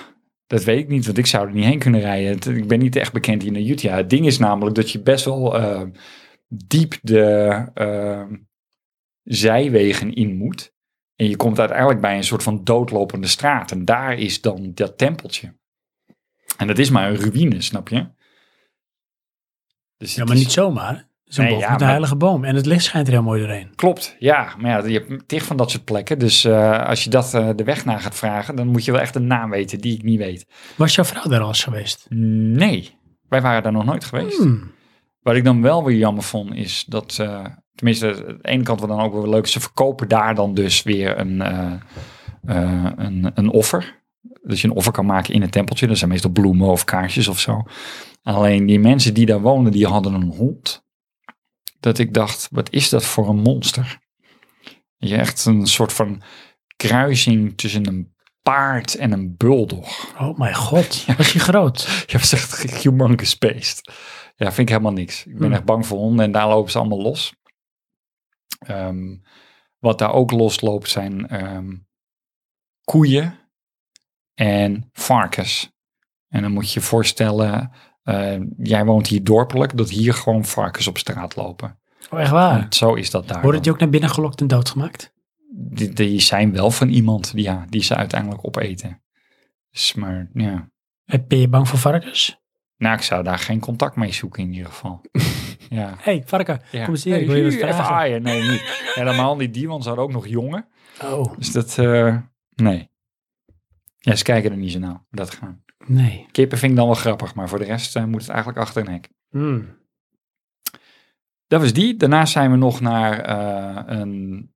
[SPEAKER 2] dat weet ik niet, want ik zou er niet heen kunnen rijden. Het- Ik ben niet echt bekend hier in Utah. Het ding is namelijk dat je best wel eh, diep de eh, zijwegen in moet. En je komt uiteindelijk bij een soort van doodlopende straat. En daar is dan dat tempeltje. En dat is maar een ruïne, snap je? Dus
[SPEAKER 1] Ja,
[SPEAKER 2] het
[SPEAKER 1] maar
[SPEAKER 2] is-
[SPEAKER 1] niet zomaar. Zo'n
[SPEAKER 2] Nee,
[SPEAKER 1] boom
[SPEAKER 2] ja,
[SPEAKER 1] met een
[SPEAKER 2] maar-
[SPEAKER 1] heilige boom. En het licht schijnt er heel mooi doorheen.
[SPEAKER 2] Klopt, ja. Maar ja, je hebt tig van dat soort plekken. Dus eh, als je dat eh, de weg naar gaat vragen, dan moet je wel echt een naam weten die ik niet weet.
[SPEAKER 1] Was jouw vrouw daar al eens geweest?
[SPEAKER 2] Nee, wij waren daar nog nooit geweest.
[SPEAKER 1] Hmm.
[SPEAKER 2] Wat ik dan wel weer jammer vond, is dat, eh, tenminste, aan de ene kant wat dan ook wel leuk, ze verkopen daar dan dus weer een, eh, eh, een, een offer. Dus je een offer kan maken in het tempeltje. Dat zijn meestal bloemen of kaarsjes of zo. Alleen die mensen die daar woonden, die hadden een hond. Dat ik dacht, wat is dat voor een monster? Je echt een soort van kruising tussen een paard en een buldog.
[SPEAKER 1] Oh mijn god, was hij groot?
[SPEAKER 2] Je hebt echt humongous beest. Ja, vind ik helemaal niks. Ik ben
[SPEAKER 1] Hmm.
[SPEAKER 2] echt bang voor honden en daar lopen ze allemaal los. Ehm, wat daar ook losloopt zijn ehm, koeien en varkens. En dan moet je je voorstellen, eh, jij woont hier dorpelijk, dat hier gewoon varkens op straat lopen.
[SPEAKER 1] Oh, echt waar?
[SPEAKER 2] Want Zo is dat daar.
[SPEAKER 1] Worden die
[SPEAKER 2] dan.
[SPEAKER 1] ook naar binnen gelokt en doodgemaakt?
[SPEAKER 2] Die, die zijn wel van iemand, ja, die ze uiteindelijk opeten. Dus maar, ja.
[SPEAKER 1] Eh, Ben je bang voor varkens?
[SPEAKER 2] Nou, ik zou daar geen contact mee zoeken in ieder geval. ja.
[SPEAKER 1] Hé, hey, varken,
[SPEAKER 2] ja.
[SPEAKER 1] kom eens hier, ik wil
[SPEAKER 2] Hey,
[SPEAKER 1] je wat
[SPEAKER 2] hu, even
[SPEAKER 1] vragen.
[SPEAKER 2] aaien. Nee, niet. Helemaal niet. Die, want ze hadden ook nog jongen.
[SPEAKER 1] Oh,
[SPEAKER 2] Dus dat, eh, nee. Ja, ze kijken er niet zo nauw. Dat gaan.
[SPEAKER 1] nee.
[SPEAKER 2] Kippen vind ik dan wel grappig, maar voor de rest eh, moet het eigenlijk achter een hek.
[SPEAKER 1] Hmm.
[SPEAKER 2] Dat was die. Daarna zijn we nog naar eh, een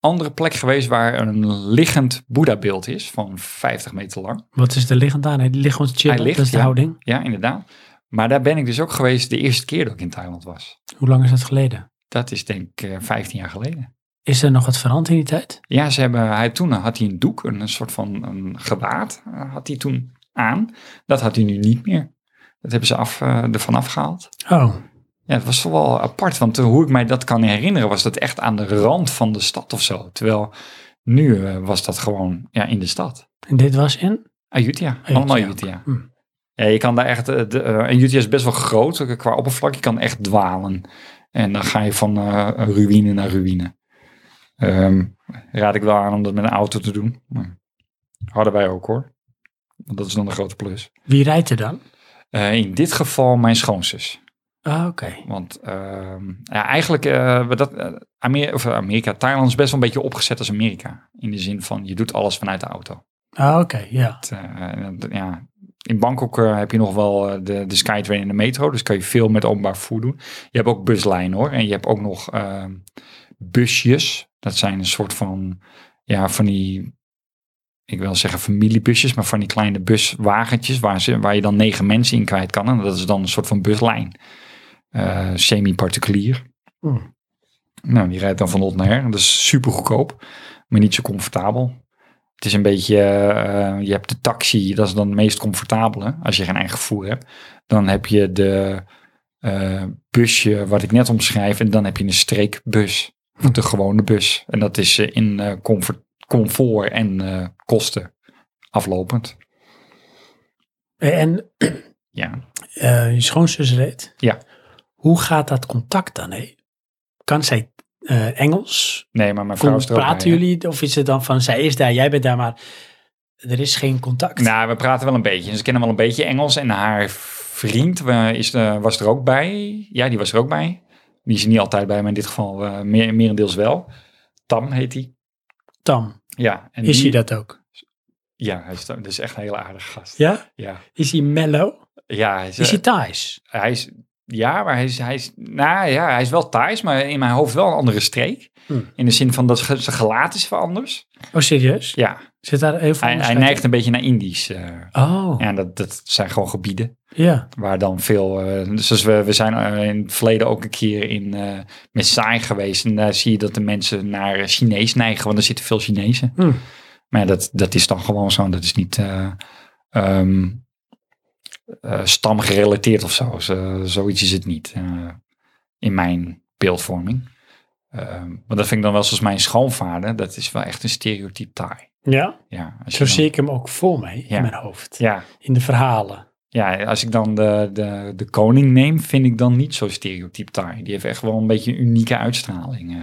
[SPEAKER 2] andere plek geweest waar een liggend Boeddha-beeld is van 50 meter lang.
[SPEAKER 1] Wat is de liggend aan? Hij ligt gewoon chill,
[SPEAKER 2] Hij ligt,
[SPEAKER 1] dat is de
[SPEAKER 2] ja.
[SPEAKER 1] houding.
[SPEAKER 2] Ja, inderdaad. Maar daar ben ik dus ook geweest de eerste keer dat ik in Thailand was.
[SPEAKER 1] Hoe lang is dat geleden?
[SPEAKER 2] Dat is denk ik eh, 15 jaar geleden.
[SPEAKER 1] Is er nog wat veranderd in die tijd?
[SPEAKER 2] Ja, ze hebben, hij, toen had hij een doek, een, een soort van een gewaad eh, had hij toen aan. Dat had hij nu niet meer. Dat hebben ze af, eh, ervan afgehaald.
[SPEAKER 1] Oh,
[SPEAKER 2] Ja, het was toch wel apart, want eh, hoe ik mij dat kan herinneren, was dat echt aan de rand van de stad of zo. Terwijl nu eh, was dat gewoon ja, in de stad.
[SPEAKER 1] en dit was in?
[SPEAKER 2] Ayutthaya, allemaal
[SPEAKER 1] ja.
[SPEAKER 2] Ayutthaya.
[SPEAKER 1] Hmm.
[SPEAKER 2] Ja, je kan daar echt, eh, de, eh, Ayutthaya is best wel groot eh, qua oppervlak, je kan echt dwalen. En dan ga je van eh, ruïne naar ruïne. Ehm, raad ik wel aan om dat met een auto te doen. Maar hadden wij ook hoor. Want dat is dan de grote plus.
[SPEAKER 1] Wie rijdt er dan?
[SPEAKER 2] Eh, in dit geval mijn schoonzus.
[SPEAKER 1] Ah, oké.
[SPEAKER 2] Want ehm, ja, eigenlijk, eh, we dat, eh, Amer- of eh, Amerika, Thailand is best wel een beetje opgezet als Amerika. In de zin van, je doet alles vanuit de auto.
[SPEAKER 1] Ah, oké, ja.
[SPEAKER 2] Het, eh, dat- ja, in Bangkok eh, heb je nog wel eh, de, de Skytrain en de metro. Dus kan je veel met openbaar vervoer doen. Je hebt ook buslijnen hoor. En je hebt ook nog ehm, busjes. Dat zijn een soort van, ja, van die... Ik wil zeggen familiebusjes, maar van die kleine buswagentjes waar, ze, waar je dan negen mensen in kwijt kan. En dat is dan een soort van buslijn. Eh, Semi-particulier.
[SPEAKER 1] Hmm.
[SPEAKER 2] Nou, die rijdt dan van hot naar her. Dat is super goedkoop, maar niet zo comfortabel. Het is een beetje, eh, je hebt de taxi, dat is dan het meest comfortabele als je geen eigen vervoer hebt. Dan heb je de eh, busje wat ik net omschrijf en dan heb je een streekbus, of de gewone bus. En dat is eh, in eh, comfort, comfort en eh, kosten aflopend.
[SPEAKER 1] En
[SPEAKER 2] Ja,
[SPEAKER 1] eh, je schoonzus reed?
[SPEAKER 2] Ja.
[SPEAKER 1] Hoe gaat dat contact dan? Hé? Kan zij eh, Engels?
[SPEAKER 2] nee, maar mijn vrouw
[SPEAKER 1] Kom,
[SPEAKER 2] is er ook bij,
[SPEAKER 1] praten
[SPEAKER 2] hè?
[SPEAKER 1] jullie? Of is het dan van, zij is daar, jij bent daar, maar er is geen contact?
[SPEAKER 2] Nou, we praten wel een beetje. Ze kennen wel een beetje Engels. En haar vriend eh, is, eh, was er ook bij. Ja, die was er ook bij. Die is er niet altijd bij, maar in dit geval eh, meer, merendeels wel. Tam heet hij.
[SPEAKER 1] Tam,
[SPEAKER 2] Ja, en
[SPEAKER 1] is
[SPEAKER 2] die-
[SPEAKER 1] hij dat ook?
[SPEAKER 2] Ja, hij is, dat is echt een hele aardige gast. Ja,
[SPEAKER 1] Ja?
[SPEAKER 2] ja.
[SPEAKER 1] Is hij mellow?
[SPEAKER 2] hij, is,
[SPEAKER 1] Is
[SPEAKER 2] eh,
[SPEAKER 1] hij Thais?
[SPEAKER 2] hij is... Ja, maar hij is, hij is... Nou ja, hij is wel Thais, maar in mijn hoofd wel een andere streek.
[SPEAKER 1] Hmm.
[SPEAKER 2] In de zin van dat ge- zijn gelaat is wel anders.
[SPEAKER 1] Oh, serieus?
[SPEAKER 2] Ja,
[SPEAKER 1] Zit daar heel veel
[SPEAKER 2] hij, hij
[SPEAKER 1] onderscheid
[SPEAKER 2] neigt een beetje naar Indisch. eh.
[SPEAKER 1] in? Oh, ja.
[SPEAKER 2] Ja, dat, dat zijn gewoon gebieden. Waar dan veel. eh, dus als we, we zijn eh, in het verleden ook een keer in eh Messai geweest. En daar zie je dat de mensen naar eh, Chinees neigen, want er zitten veel Chinezen.
[SPEAKER 1] Hm.
[SPEAKER 2] Maar ja, dat, dat is dan gewoon zo. Dat is niet eh, ehm, eh, stamgerelateerd of zo. Zo- zoiets is het niet. eh, in mijn beeldvorming. Ehm, maar dat vind ik dan wel zoals mijn schoonvader. Dat is wel echt een stereotype Thai.
[SPEAKER 1] Ja,
[SPEAKER 2] Ja, als je
[SPEAKER 1] zo
[SPEAKER 2] dan-
[SPEAKER 1] zie ik hem ook voor mij
[SPEAKER 2] Ja.
[SPEAKER 1] in mijn hoofd.
[SPEAKER 2] Ja,
[SPEAKER 1] In de verhalen.
[SPEAKER 2] Ja, als ik dan de, de, de koning neem, vind ik dan niet zo stereotyp Thai. Die heeft echt wel een beetje een unieke uitstraling. eh.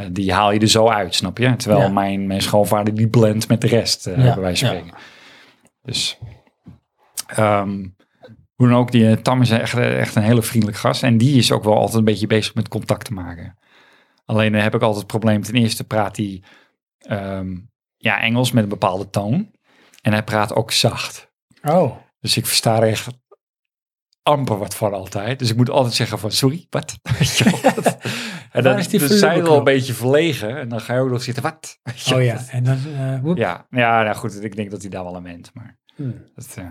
[SPEAKER 2] Eh, die haal je er zo uit, snap je? Terwijl
[SPEAKER 1] Ja.
[SPEAKER 2] mijn, mijn schoonvader die blendt met de rest, eh
[SPEAKER 1] Ja,
[SPEAKER 2] bij wijze van spreken. Dus, ehm, hoe dan ook, die eh, Tam is echt, echt een hele vriendelijk gast. En die is ook wel altijd een beetje bezig met contact te maken. Alleen eh, heb ik altijd het probleem. Ten eerste praat hij ehm, ja, Engels met een bepaalde toon. En hij praat ook zacht.
[SPEAKER 1] Oh.
[SPEAKER 2] Dus ik versta er echt amper wat van altijd. Dus ik moet altijd zeggen van, sorry, wat? Weet je wel, dat- en
[SPEAKER 1] Waar
[SPEAKER 2] dan
[SPEAKER 1] is die
[SPEAKER 2] dus zijn al
[SPEAKER 1] volumenknop?
[SPEAKER 2] een beetje verlegen. En dan ga je ook nog zitten, wat? Weet je
[SPEAKER 1] Oh
[SPEAKER 2] wel,
[SPEAKER 1] ja,
[SPEAKER 2] dat-
[SPEAKER 1] en dan... eh, woep.
[SPEAKER 2] Ja, ja nou goed, ik denk dat hij daar wel aan ment. Maar
[SPEAKER 1] Hm.
[SPEAKER 2] dat, eh,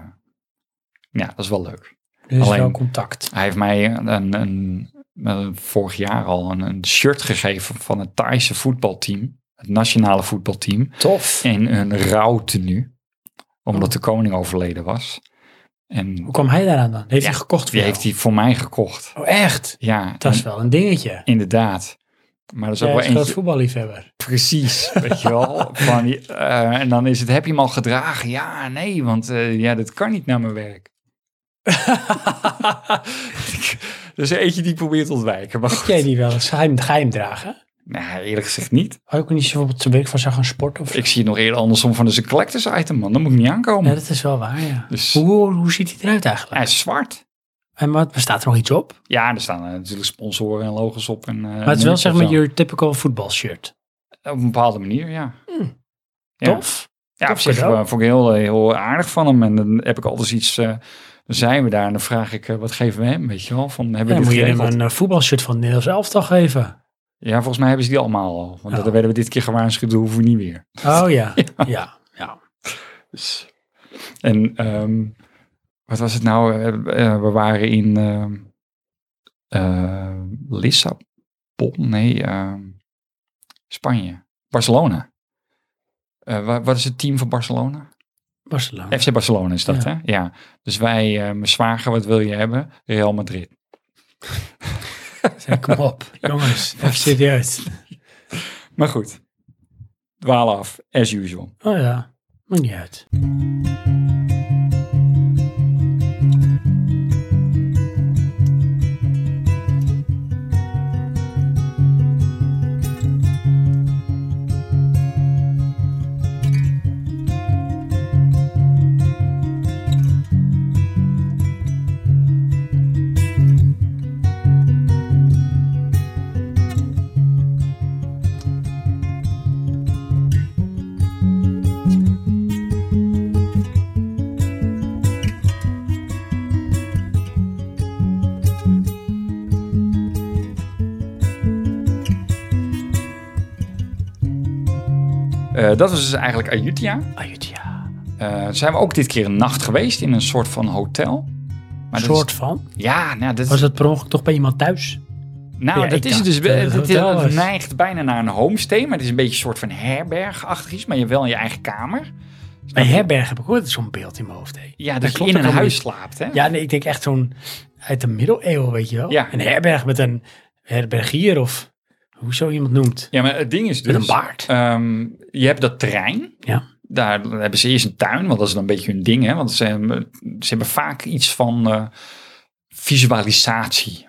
[SPEAKER 2] ja, dat is wel leuk.
[SPEAKER 1] Er is
[SPEAKER 2] Alleen-
[SPEAKER 1] wel contact.
[SPEAKER 2] Hij heeft mij een, een, een- vorig jaar al een, een shirt gegeven van het Thaise voetbalteam. Het nationale voetbalteam.
[SPEAKER 1] Tof.
[SPEAKER 2] En een rouwtenu. Omdat
[SPEAKER 1] Oh.
[SPEAKER 2] de koning overleden was. En
[SPEAKER 1] Hoe kwam hij daaraan dan? Heeft hij gekocht voor
[SPEAKER 2] Die
[SPEAKER 1] jou?
[SPEAKER 2] heeft hij voor mij gekocht.
[SPEAKER 1] Oh, echt?
[SPEAKER 2] Ja,
[SPEAKER 1] Dat is
[SPEAKER 2] en-
[SPEAKER 1] wel een dingetje.
[SPEAKER 2] inderdaad. Maar dat is
[SPEAKER 1] Jij is
[SPEAKER 2] ook wel
[SPEAKER 1] een groot
[SPEAKER 2] eentje.
[SPEAKER 1] voetballiefhebber.
[SPEAKER 2] Precies, weet je wel. Van, die, eh, en dan is het, heb je hem al gedragen? Ja, nee, want eh, ja, dat kan niet naar mijn werk. dus eentje die probeert te ontwijken. Maar
[SPEAKER 1] Heb jij
[SPEAKER 2] goed.
[SPEAKER 1] die wel eens geheim, geheim dragen?
[SPEAKER 2] Nou, eerlijk gezegd niet.
[SPEAKER 1] Had je ook niet zo bijvoorbeeld te week van zou gaan sporten? Of zo?
[SPEAKER 2] Ik zie het nog eerder andersom van, dus een collectors item, man. Dan moet ik niet aankomen.
[SPEAKER 1] Ja, dat is wel waar, ja.
[SPEAKER 2] Dus-
[SPEAKER 1] Hoe, hoe ziet hij eruit
[SPEAKER 2] Hij
[SPEAKER 1] eigenlijk?
[SPEAKER 2] is zwart.
[SPEAKER 1] En wat, maar staat er nog iets op?
[SPEAKER 2] Ja, er staan eh, natuurlijk sponsoren en logos op. En, eh,
[SPEAKER 1] maar het is wel
[SPEAKER 2] nummers
[SPEAKER 1] zeg
[SPEAKER 2] en
[SPEAKER 1] maar
[SPEAKER 2] zo.
[SPEAKER 1] je typical voetbalshirt.
[SPEAKER 2] Op een bepaalde manier, ja.
[SPEAKER 1] Hmm.
[SPEAKER 2] Ja.
[SPEAKER 1] Tof.
[SPEAKER 2] Ja,
[SPEAKER 1] Tof
[SPEAKER 2] op zich
[SPEAKER 1] cadeau.
[SPEAKER 2] eh, vond ik heel, heel aardig van hem. En dan heb ik altijd iets, eh, dan zijn we daar en dan vraag ik, eh, wat geven we hem, weet je wel? Van, hebben
[SPEAKER 1] Ja,
[SPEAKER 2] we
[SPEAKER 1] dan
[SPEAKER 2] dit
[SPEAKER 1] moet je hem
[SPEAKER 2] geregeld?
[SPEAKER 1] een eh, voetbalshirt van het Nederlands elftal geven.
[SPEAKER 2] Ja, volgens mij hebben ze die allemaal al. Want
[SPEAKER 1] Oh.
[SPEAKER 2] dat werden we dit keer gewaarschuwd, dat hoeven we niet weer.
[SPEAKER 1] Oh ja, ja. ja. Dus.
[SPEAKER 2] En ehm, wat was het nou? Eh, eh, we waren in ehm eh, Lissabon, nee, ehm, Spanje, Barcelona. Eh, wa- wat is het team van Barcelona?
[SPEAKER 1] Barcelona.
[SPEAKER 2] FC Barcelona is dat,
[SPEAKER 1] Ja.
[SPEAKER 2] hè? Ja. Dus wij, eh, mijn zwager, wat wil je hebben? Real Madrid.
[SPEAKER 1] Zeg, kom op. Jongens, even serieus.
[SPEAKER 2] Maar goed, dwaal af, as usual.
[SPEAKER 1] Oh ja, maakt niet uit.
[SPEAKER 2] Eh, dat was dus eigenlijk Ayutthaya.
[SPEAKER 1] Ayutthaya.
[SPEAKER 2] Eh, zijn we ook dit keer een nacht geweest in een soort van hotel.
[SPEAKER 1] Een
[SPEAKER 2] Maar dat is-
[SPEAKER 1] soort van.
[SPEAKER 2] ja, nou, dat,
[SPEAKER 1] Was dat per ongeluk toch bij iemand thuis?
[SPEAKER 2] nou,
[SPEAKER 1] Ja,
[SPEAKER 2] dat
[SPEAKER 1] ik
[SPEAKER 2] is het dus.
[SPEAKER 1] dacht
[SPEAKER 2] wel-
[SPEAKER 1] dat het
[SPEAKER 2] Het, het,
[SPEAKER 1] hotel was.
[SPEAKER 2] neigt bijna naar een homestay, maar het is een beetje een soort van herbergachtig iets. Maar je hebt wel je eigen kamer.
[SPEAKER 1] Bij herberg heb ik ook altijd zo'n beeld in mijn hoofd. Hè.
[SPEAKER 2] Ja,
[SPEAKER 1] Dat
[SPEAKER 2] dat,
[SPEAKER 1] klopt
[SPEAKER 2] je in
[SPEAKER 1] ook
[SPEAKER 2] een
[SPEAKER 1] wel
[SPEAKER 2] huis
[SPEAKER 1] niet.
[SPEAKER 2] slaapt, hè?
[SPEAKER 1] Ja, nee, ik denk echt zo'n uit de middeleeuwen, weet je wel.
[SPEAKER 2] Ja.
[SPEAKER 1] Een herberg met een herbergier of hoe zo iemand noemt.
[SPEAKER 2] Ja, maar het ding is dus...
[SPEAKER 1] een baard.
[SPEAKER 2] ehm, je hebt dat terrein.
[SPEAKER 1] Ja.
[SPEAKER 2] Daar hebben ze eerst een tuin, want dat is dan een beetje hun ding. Hè? Want ze, hebben- ze hebben vaak iets van eh, visualisatie.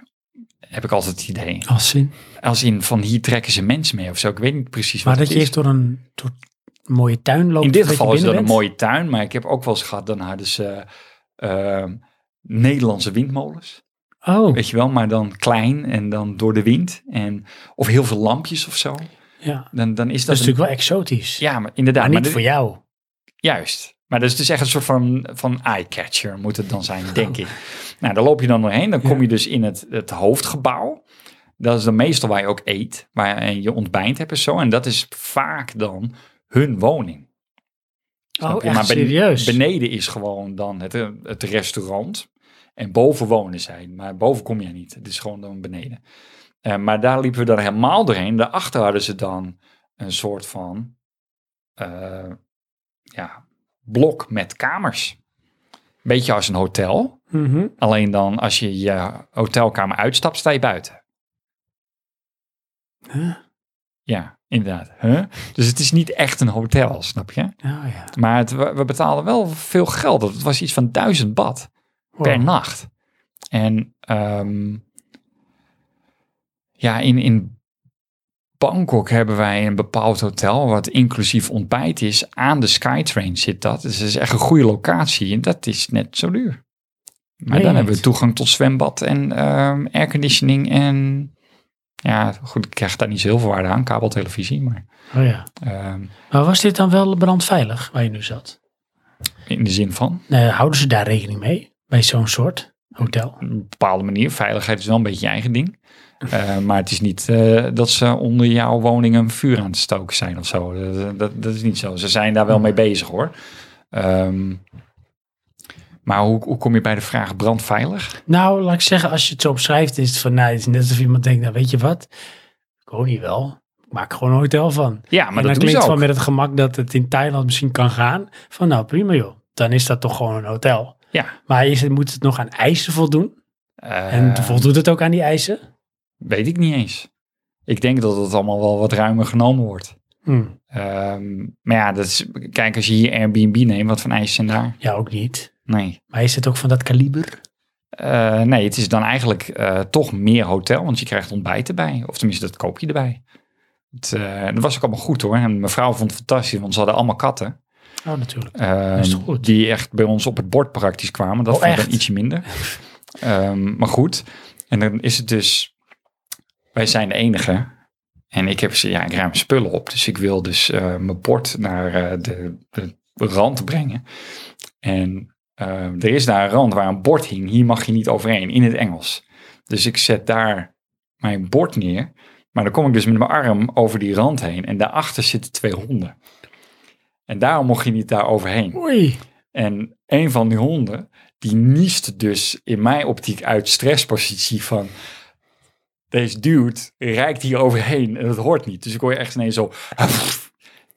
[SPEAKER 2] Heb ik altijd het idee.
[SPEAKER 1] Als in.
[SPEAKER 2] Als in van hier trekken ze mensen mee of zo. Ik weet niet precies
[SPEAKER 1] Maar
[SPEAKER 2] wat
[SPEAKER 1] dat
[SPEAKER 2] het
[SPEAKER 1] je
[SPEAKER 2] is.
[SPEAKER 1] eerst door een, door een mooie tuin loopt.
[SPEAKER 2] In dit
[SPEAKER 1] dat je
[SPEAKER 2] geval is dat
[SPEAKER 1] binnen
[SPEAKER 2] een
[SPEAKER 1] bent.
[SPEAKER 2] mooie tuin. Maar ik heb ook wel eens gehad, dan hadden ze eh, eh, Nederlandse windmolens.
[SPEAKER 1] Oh,
[SPEAKER 2] Weet je wel, maar dan klein en dan door de wind. En, of heel veel lampjes of zo.
[SPEAKER 1] ja. Dat,
[SPEAKER 2] Dan, dan is
[SPEAKER 1] is
[SPEAKER 2] dat... een-
[SPEAKER 1] natuurlijk wel exotisch.
[SPEAKER 2] ja, maar inderdaad.
[SPEAKER 1] maar niet
[SPEAKER 2] maar
[SPEAKER 1] voor
[SPEAKER 2] dit-
[SPEAKER 1] jou.
[SPEAKER 2] Juist. Maar dat is dus echt een soort van, van eye-catcher moet het dan zijn, denk ik. Nou, daar loop je dan doorheen. Dan kom je dus in het, het hoofdgebouw. Dat is dan meestal waar je ook eet. Waar en je ontbijt hebt en zo. En dat is vaak dan hun woning. Snap
[SPEAKER 1] Oh,
[SPEAKER 2] je?
[SPEAKER 1] echt
[SPEAKER 2] maar ben-
[SPEAKER 1] serieus?
[SPEAKER 2] beneden is gewoon dan het, eh, het restaurant. En boven wonen zij. Maar boven kom je niet. Het is gewoon dan beneden. Eh, maar daar liepen we dan helemaal doorheen. Daarachter hadden ze dan een soort van eh, ja, blok met kamers. Beetje als een hotel.
[SPEAKER 1] Mhm.
[SPEAKER 2] Alleen dan als je je hotelkamer uitstapt, sta je buiten.
[SPEAKER 1] Huh?
[SPEAKER 2] Ja, inderdaad. Huh? Dus het is niet echt een hotel, snap je?
[SPEAKER 1] Oh, ja.
[SPEAKER 2] Maar het, we we betaalden wel veel geld. Het was iets van duizend bad
[SPEAKER 1] Wow.
[SPEAKER 2] per nacht. En ehm, ja, in, in Bangkok hebben wij een bepaald hotel wat inclusief ontbijt is. Aan de Skytrain zit dat. Dus het is echt een goede locatie en dat is net zo duur. Maar
[SPEAKER 1] Meen
[SPEAKER 2] dan
[SPEAKER 1] je
[SPEAKER 2] hebben we
[SPEAKER 1] niet?
[SPEAKER 2] toegang tot zwembad en ehm, airconditioning en... Ja, goed, ik krijg daar niet zo heel veel waarde aan, kabeltelevisie, maar
[SPEAKER 1] Oh, ja.
[SPEAKER 2] ehm,
[SPEAKER 1] Maar was dit dan wel brandveilig waar je nu zat?
[SPEAKER 2] in de zin van...
[SPEAKER 1] Nee, houden ze daar rekening mee? Bij zo'n soort hotel?
[SPEAKER 2] een bepaalde manier. Veiligheid is wel een beetje je eigen ding. Eh, maar het is niet eh, dat ze onder jouw woning een vuur aan het stoken zijn of zo. Dat, dat, dat is niet zo. Ze zijn daar wel mee bezig hoor. Ehm, maar hoe, hoe kom je bij de vraag brandveilig?
[SPEAKER 1] Nou, laat ik zeggen, als je het zo opschrijft, is het van, nou, het is net alsof iemand denkt, nou, weet je wat? Ik woon hier wel. Ik maak er gewoon een hotel van.
[SPEAKER 2] Ja, maar
[SPEAKER 1] en dan
[SPEAKER 2] dat doen ze
[SPEAKER 1] klinkt
[SPEAKER 2] ook.
[SPEAKER 1] van met het gemak dat het in Thailand misschien kan gaan. Van, nou, prima joh. Dan is dat toch gewoon een hotel.
[SPEAKER 2] Ja.
[SPEAKER 1] Maar is het, moet het nog aan eisen voldoen?
[SPEAKER 2] Eh,
[SPEAKER 1] En voldoet het ook aan die eisen?
[SPEAKER 2] Weet ik niet eens. Ik denk dat het allemaal wel wat ruimer genomen wordt.
[SPEAKER 1] Hm,
[SPEAKER 2] Ehm, maar ja, dat is, kijk, als je hier Airbnb neemt, wat van eisen zijn daar?
[SPEAKER 1] Ja, ook niet.
[SPEAKER 2] Nee.
[SPEAKER 1] Maar is het ook van dat kaliber?
[SPEAKER 2] Eh, nee, het is dan eigenlijk eh, toch meer hotel, want je krijgt ontbijt erbij. Of tenminste, dat koop je erbij. Het, eh, dat was ook allemaal goed hoor. En mijn vrouw vond het fantastisch, want ze hadden allemaal katten.
[SPEAKER 1] Oh, natuurlijk.
[SPEAKER 2] Ehm,
[SPEAKER 1] is toch goed?
[SPEAKER 2] Die echt bij ons op het bord praktisch kwamen. Dat
[SPEAKER 1] Oh,
[SPEAKER 2] vond ik dan
[SPEAKER 1] echt?
[SPEAKER 2] ietsje minder. Ehm, maar goed. En dan is het dus... Wij zijn de enige. En ik heb ze... Ja, ik ruim spullen op. Dus ik wil dus eh, mijn bord naar eh, de, de rand brengen. En eh, er is daar een rand waar een bord hing. Hier mag je niet overheen. In het Engels. Dus ik zet daar mijn bord neer. Maar dan kom ik dus met mijn arm over die rand heen. En daarachter zitten twee honden. En daarom mocht je niet daar overheen.
[SPEAKER 1] Oei.
[SPEAKER 2] En een van die honden, die niest dus in mijn optiek uit stresspositie van... Deze dude reikt hier overheen en dat hoort niet. Dus ik hoor echt ineens zo...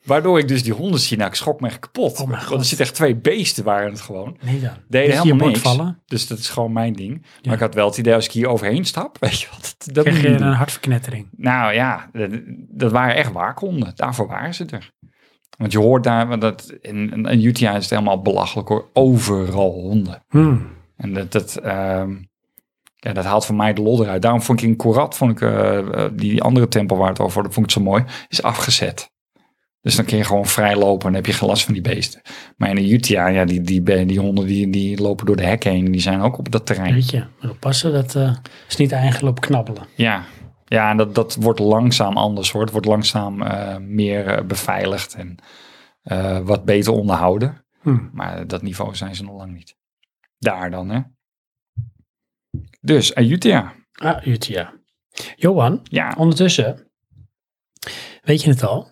[SPEAKER 2] Waardoor ik dus die honden zie. Nou, ik schrok me echt kapot.
[SPEAKER 1] Oh mijn God.
[SPEAKER 2] Want er zitten echt twee beesten waren het gewoon.
[SPEAKER 1] Nee dan.
[SPEAKER 2] Deden
[SPEAKER 1] Is je
[SPEAKER 2] helemaal
[SPEAKER 1] bord
[SPEAKER 2] niks.
[SPEAKER 1] vallen?
[SPEAKER 2] Dus dat is gewoon mijn ding. Maar
[SPEAKER 1] Ja.
[SPEAKER 2] ik had wel het idee, als ik hier overheen stap, weet je wat, dat- dat moet
[SPEAKER 1] Krijg
[SPEAKER 2] je
[SPEAKER 1] je
[SPEAKER 2] niet
[SPEAKER 1] een
[SPEAKER 2] doen.
[SPEAKER 1] hartverknettering.
[SPEAKER 2] Nou ja, dat, dat waren echt waakhonden. Daarvoor waren ze er. Want je hoort daar, want dat, in, in, in Utah is het helemaal belachelijk hoor. Overal honden.
[SPEAKER 1] Hmm.
[SPEAKER 2] En dat, dat, ehm, ja, dat haalt voor mij de lol eruit. Daarom vond ik in Korat, vond ik, eh, eh, die, die andere tempel waar het over had, vond ik het zo mooi, is afgezet. Dus dan kun je gewoon vrij lopen en heb je geen last van die beesten. Maar in de Utah, ja, die, die, be- die honden die, die lopen door de hekken heen. Die zijn ook op dat terrein.
[SPEAKER 1] Weet je, moet oppassen. Dat eh, is niet eigenlijk op knabbelen.
[SPEAKER 2] Ja, ja en dat, dat wordt langzaam anders hoor. Het wordt langzaam eh, meer eh, beveiligd en eh, wat beter onderhouden.
[SPEAKER 1] Hmm.
[SPEAKER 2] Maar dat niveau zijn ze nog lang niet. Daar dan, hè. Dus, Ayutthaya.
[SPEAKER 1] Ah, Utja. Johan,
[SPEAKER 2] Ja,
[SPEAKER 1] ondertussen. Weet je het al?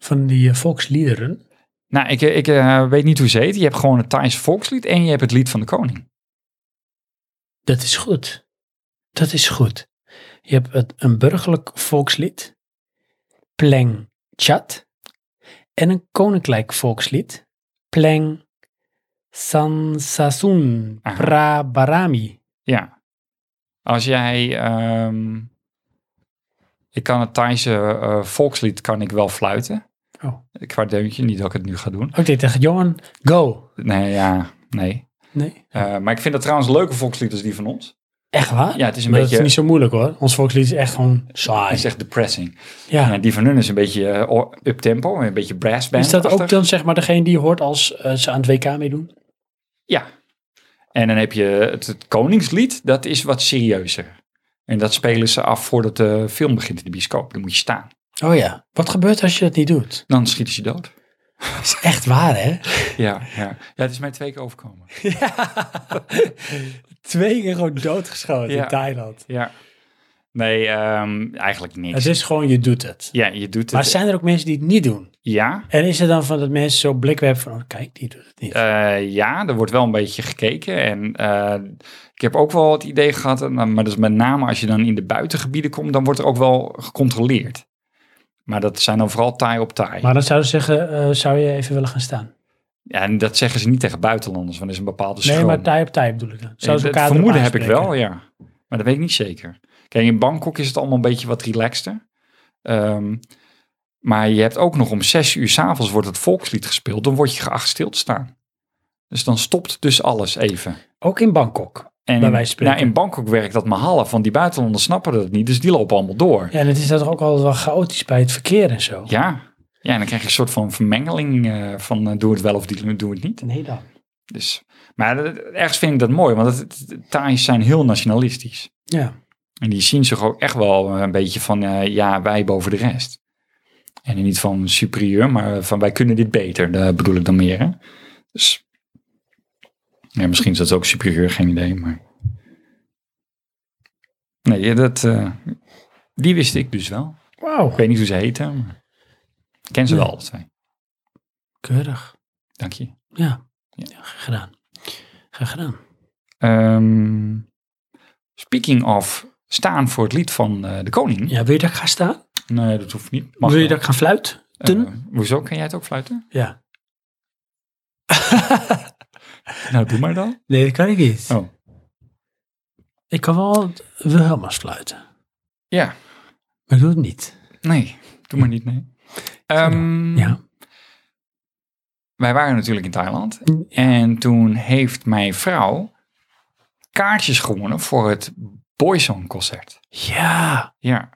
[SPEAKER 1] Van die eh, volksliederen.
[SPEAKER 2] nou, ik, ik eh, weet niet hoe ze heet. Je hebt gewoon het Thais volkslied en je hebt het lied van de koning.
[SPEAKER 1] Dat is goed. Dat is goed. Je hebt het, een burgerlijk volkslied, Pleng Chat, en een koninklijk volkslied, Pleng Sansasun
[SPEAKER 2] Aha.
[SPEAKER 1] Prabarami.
[SPEAKER 2] Ja. Als jij... ehm, ik kan het Thaise eh, volkslied kan ik wel fluiten.
[SPEAKER 1] Oh.
[SPEAKER 2] Qua deuntje, niet dat ik het nu ga doen.
[SPEAKER 1] Oké, tegen Johan, go.
[SPEAKER 2] Nee, ja, nee.
[SPEAKER 1] Nee.
[SPEAKER 2] Eh, maar ik vind dat trouwens leuke volkslied als die van ons.
[SPEAKER 1] Echt waar?
[SPEAKER 2] Ja, het is een
[SPEAKER 1] Maar
[SPEAKER 2] beetje-
[SPEAKER 1] Dat is niet zo moeilijk hoor. Ons volkslied is echt gewoon
[SPEAKER 2] Hij
[SPEAKER 1] saai.
[SPEAKER 2] is echt depressing.
[SPEAKER 1] Ja.
[SPEAKER 2] En die van hun is een beetje eh, o- up-tempo, een beetje brass band.
[SPEAKER 1] Is dat ook dan zeg maar degene die je hoort als eh, ze aan het WK meedoen?
[SPEAKER 2] Ja. En dan heb je het, het koningslied, dat is wat serieuzer. En dat spelen ze af voordat de film begint in de bioscoop. Dan moet je staan.
[SPEAKER 1] Oh ja. Wat gebeurt als je dat niet doet?
[SPEAKER 2] Dan schieten ze je dood.
[SPEAKER 1] Dat is echt waar hè?
[SPEAKER 2] Ja, ja. ja het is mij twee keer overkomen.
[SPEAKER 1] Twee keer gewoon doodgeschoten
[SPEAKER 2] Ja.
[SPEAKER 1] in Thailand.
[SPEAKER 2] Ja. Nee, ehm, eigenlijk niks.
[SPEAKER 1] Het is gewoon, je doet het.
[SPEAKER 2] Ja, je doet het.
[SPEAKER 1] Maar zijn er ook mensen die het niet doen?
[SPEAKER 2] Ja,
[SPEAKER 1] En is er dan van dat mensen zo blik hebben van, oh, kijk, die doet het niet.
[SPEAKER 2] Eh, ja, er wordt wel een beetje gekeken. En eh, ik heb ook wel het idee gehad, en dan- maar dat is met name als je dan in de buitengebieden komt, dan wordt er ook wel gecontroleerd. Maar dat zijn dan vooral taai op taai.
[SPEAKER 1] maar dan zouden ze zeggen, eh, zou je even willen gaan staan?
[SPEAKER 2] Ja, en dat zeggen ze niet tegen buitenlanders, want er is een bepaalde schroom.
[SPEAKER 1] Nee, maar taai op taai bedoel ik dan. Zouden ze
[SPEAKER 2] het
[SPEAKER 1] elkaar erop
[SPEAKER 2] vermoeden heb ik
[SPEAKER 1] aanspreken?
[SPEAKER 2] wel, ja. Maar dat weet ik niet zeker. Kijk, in Bangkok is het allemaal een beetje wat relaxter. Ehm, maar je hebt ook nog om zes uur s'avonds wordt het volkslied gespeeld. Dan word je geacht stil te staan. Dus dan stopt dus alles even.
[SPEAKER 1] Ook in Bangkok.
[SPEAKER 2] En
[SPEAKER 1] Bij wijze van spreken.
[SPEAKER 2] nou, in Bangkok werkt dat maar half, want die buitenlanders snappen dat niet, dus die lopen allemaal door. Ja,
[SPEAKER 1] Ja, en het is dat ook altijd wel chaotisch bij het verkeer en zo.
[SPEAKER 2] ja. en dan krijg je een soort van vermengeling eh, van eh, doe het wel of die- doe het niet.
[SPEAKER 1] Nee dan.
[SPEAKER 2] Dus, maar dat- ergens vind ik dat mooi, want het, het- Thais zijn heel nationalistisch.
[SPEAKER 1] Ja.
[SPEAKER 2] En die zien zich ook echt wel een beetje van, eh, ja, wij boven de rest. En niet van superieur, maar van wij kunnen dit beter, daar bedoel ik dan meer. Hè? Dus, ja, misschien is dat ook superieur, geen idee, maar... Nee, ja, dat, eh, die wist ik dus wel.
[SPEAKER 1] Wauw.
[SPEAKER 2] Ik weet niet hoe ze heten, maar ik ken ze
[SPEAKER 1] Nee.
[SPEAKER 2] wel alle twee.
[SPEAKER 1] Keurig.
[SPEAKER 2] Dank je.
[SPEAKER 1] Ja.
[SPEAKER 2] Ja.
[SPEAKER 1] ja. Graag gedaan. Graag gedaan.
[SPEAKER 2] Ehm, speaking of staan voor het lied van eh, de koning.
[SPEAKER 1] Ja, wil je dat ik ga staan?
[SPEAKER 2] Nee, dat hoeft niet. Mag
[SPEAKER 1] wil je
[SPEAKER 2] wel.
[SPEAKER 1] dat ik gaan fluiten?
[SPEAKER 2] Eh, hoezo? Kan jij het ook fluiten?
[SPEAKER 1] ja.
[SPEAKER 2] Nou, doe maar dan.
[SPEAKER 1] Nee, dat kan ik niet.
[SPEAKER 2] Oh.
[SPEAKER 1] Ik kan wel Wilhelmus fluiten.
[SPEAKER 2] Ja,
[SPEAKER 1] Maar ik doe het niet.
[SPEAKER 2] nee. Doe maar niet, nee. Ehm,
[SPEAKER 1] Ja.
[SPEAKER 2] Wij waren natuurlijk in Thailand. En toen heeft mijn vrouw kaartjes gewonnen voor het Boyzone concert.
[SPEAKER 1] Ja.
[SPEAKER 2] Ja,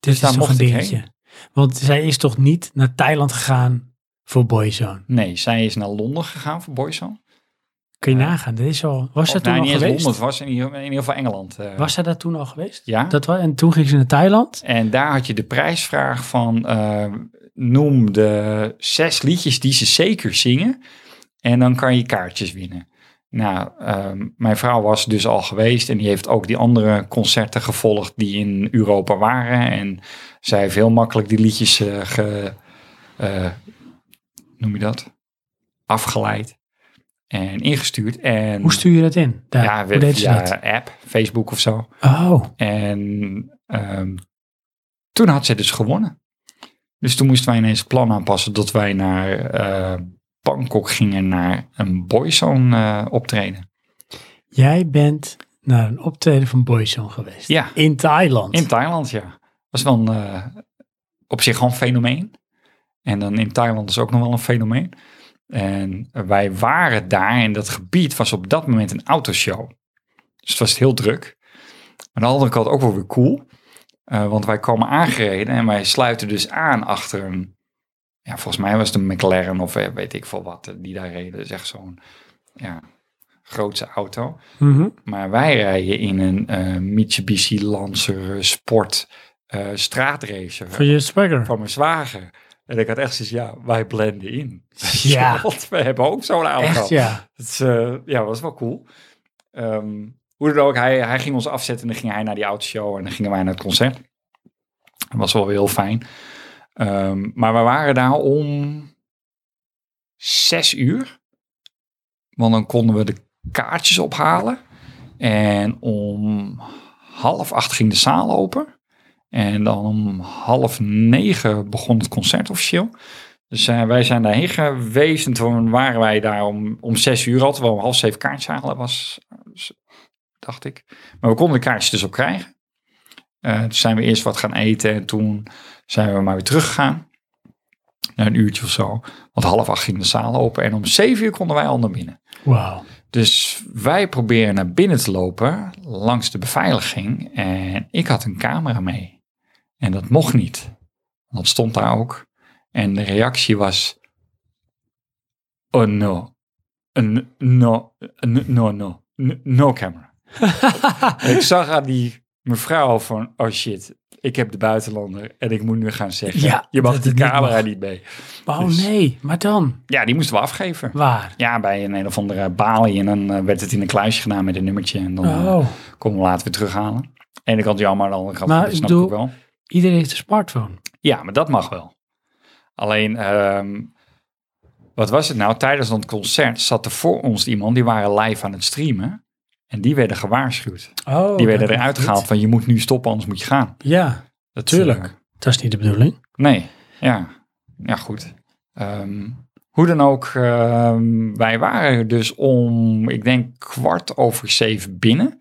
[SPEAKER 1] Dit
[SPEAKER 2] daar
[SPEAKER 1] is toch een
[SPEAKER 2] Dus mocht ik heen.
[SPEAKER 1] dingetje. Want zij is toch niet naar Thailand gegaan voor Boyzone?
[SPEAKER 2] Nee, zij is naar Londen gegaan voor Boyzone.
[SPEAKER 1] Kun je
[SPEAKER 2] Ja.
[SPEAKER 1] nagaan, dit is al, was
[SPEAKER 2] Of
[SPEAKER 1] dat toen
[SPEAKER 2] nee,
[SPEAKER 1] al
[SPEAKER 2] niet eens
[SPEAKER 1] geweest?
[SPEAKER 2] Londen, het was in ieder, in ieder geval Engeland. eh.
[SPEAKER 1] Was zij daar toen al geweest?
[SPEAKER 2] Ja.
[SPEAKER 1] Dat was, en toen ging ze naar Thailand.
[SPEAKER 2] En daar had je de prijsvraag van eh, noem de zes liedjes die ze zeker zingen. En dan kan je kaartjes winnen. Nou, ehm, mijn vrouw was dus al geweest en die heeft ook die andere concerten gevolgd die in Europa waren. En zij heeft heel makkelijk die liedjes eh, ge, eh, noem je dat? Afgeleid en ingestuurd. En
[SPEAKER 1] Hoe stuur je dat in? Daar,
[SPEAKER 2] Mm. ja,
[SPEAKER 1] hoe deed ze
[SPEAKER 2] via
[SPEAKER 1] dat?
[SPEAKER 2] app, Facebook of zo.
[SPEAKER 1] Oh,
[SPEAKER 2] En ehm, toen had zij dus gewonnen. Dus toen moesten wij ineens het plan aanpassen dat wij naar eh, Bangkok gingen naar een boyzone eh, optreden.
[SPEAKER 1] jij bent naar een optreden van Boyzone geweest.
[SPEAKER 2] Ja,
[SPEAKER 1] In Thailand.
[SPEAKER 2] in Thailand, ja. Was wel een, eh, op zich gewoon een fenomeen. En dan in Thailand is ook nog wel een fenomeen. En wij waren daar en dat gebied was op dat moment een autoshow. Dus het was heel druk. Aan de andere kant ook wel weer cool. Eh, want wij komen aangereden en wij sluiten dus aan achter een... Ja, volgens mij was het een McLaren of eh, weet ik veel wat eh, die daar reden. Dus echt zo'n ja, grootse auto.
[SPEAKER 1] Mhm.
[SPEAKER 2] Maar wij rijden in een eh, Mitsubishi Lancer eh, Sport eh, straatracer
[SPEAKER 1] Voor je swagger.
[SPEAKER 2] van mijn zwager. En ik had echt zoiets, ja, wij blenden in.
[SPEAKER 1] Ja.
[SPEAKER 2] Want we hebben ook zo'n auto.
[SPEAKER 1] Echt, ja.
[SPEAKER 2] Het is, eh, ja, was wel cool. Ehm, hoe dan ook, hij, hij ging ons afzetten en dan ging hij naar die autoshow en dan gingen wij naar het concert. Dat was wel weer heel fijn. Ehm, maar we waren daar om zes uur. Want dan konden we de kaartjes ophalen. En om half acht ging de zaal open. En dan om half negen begon het concert officieel. Dus eh, wij zijn daarheen geweest en toen waren wij daar om, om zes uur al, terwijl om half zeven kaartjes halen was, dus, dacht ik. Maar we konden de kaartjes dus ook krijgen. Eh, toen zijn we eerst wat gaan eten en toen zijn we maar weer teruggegaan. Na een uurtje of zo, want half acht ging de zaal open en om zeven uur konden wij al naar binnen.
[SPEAKER 1] Wauw.
[SPEAKER 2] Dus wij proberen naar binnen te lopen langs de beveiliging. En ik had een camera mee. En dat mocht niet. Want Dat stond daar ook. En de reactie was: Oh no. Een- No, no, no, no, no camera. ik zag aan die mevrouw van: Oh shit, ik heb de buitenlander en ik moet nu gaan zeggen:
[SPEAKER 1] Ja,
[SPEAKER 2] Je mag
[SPEAKER 1] dat
[SPEAKER 2] die
[SPEAKER 1] het niet
[SPEAKER 2] camera
[SPEAKER 1] mag.
[SPEAKER 2] niet mee.
[SPEAKER 1] Oh
[SPEAKER 2] Dus-
[SPEAKER 1] nee, maar dan?
[SPEAKER 2] Ja, die moesten we afgeven.
[SPEAKER 1] Waar?
[SPEAKER 2] Ja, bij een een of andere balie. En dan eh, werd het in een kluisje gedaan met een nummertje. En dan eh,
[SPEAKER 1] Oh,
[SPEAKER 2] konden we later weer terughalen. Aan de ene kant jammer, aan de andere kant
[SPEAKER 1] Maar
[SPEAKER 2] dat
[SPEAKER 1] ik
[SPEAKER 2] snap
[SPEAKER 1] bedoel-
[SPEAKER 2] ik wel.
[SPEAKER 1] iedereen heeft een smartphone.
[SPEAKER 2] Ja, maar dat mag wel. Alleen, ehm, wat was het nou? Tijdens dat concert zat er voor ons iemand, die waren live aan het streamen. En die werden gewaarschuwd.
[SPEAKER 1] Oh,
[SPEAKER 2] die werden
[SPEAKER 1] dat
[SPEAKER 2] eruit
[SPEAKER 1] is
[SPEAKER 2] gehaald
[SPEAKER 1] goed.
[SPEAKER 2] van je moet nu stoppen, anders moet je gaan.
[SPEAKER 1] Ja,
[SPEAKER 2] Dat,
[SPEAKER 1] Tuurlijk.
[SPEAKER 2] eh,
[SPEAKER 1] dat is niet de bedoeling.
[SPEAKER 2] Nee, ja. Ja, goed. Ehm, hoe dan ook, ehm, wij waren dus om, ik denk, kwart over zeven binnen.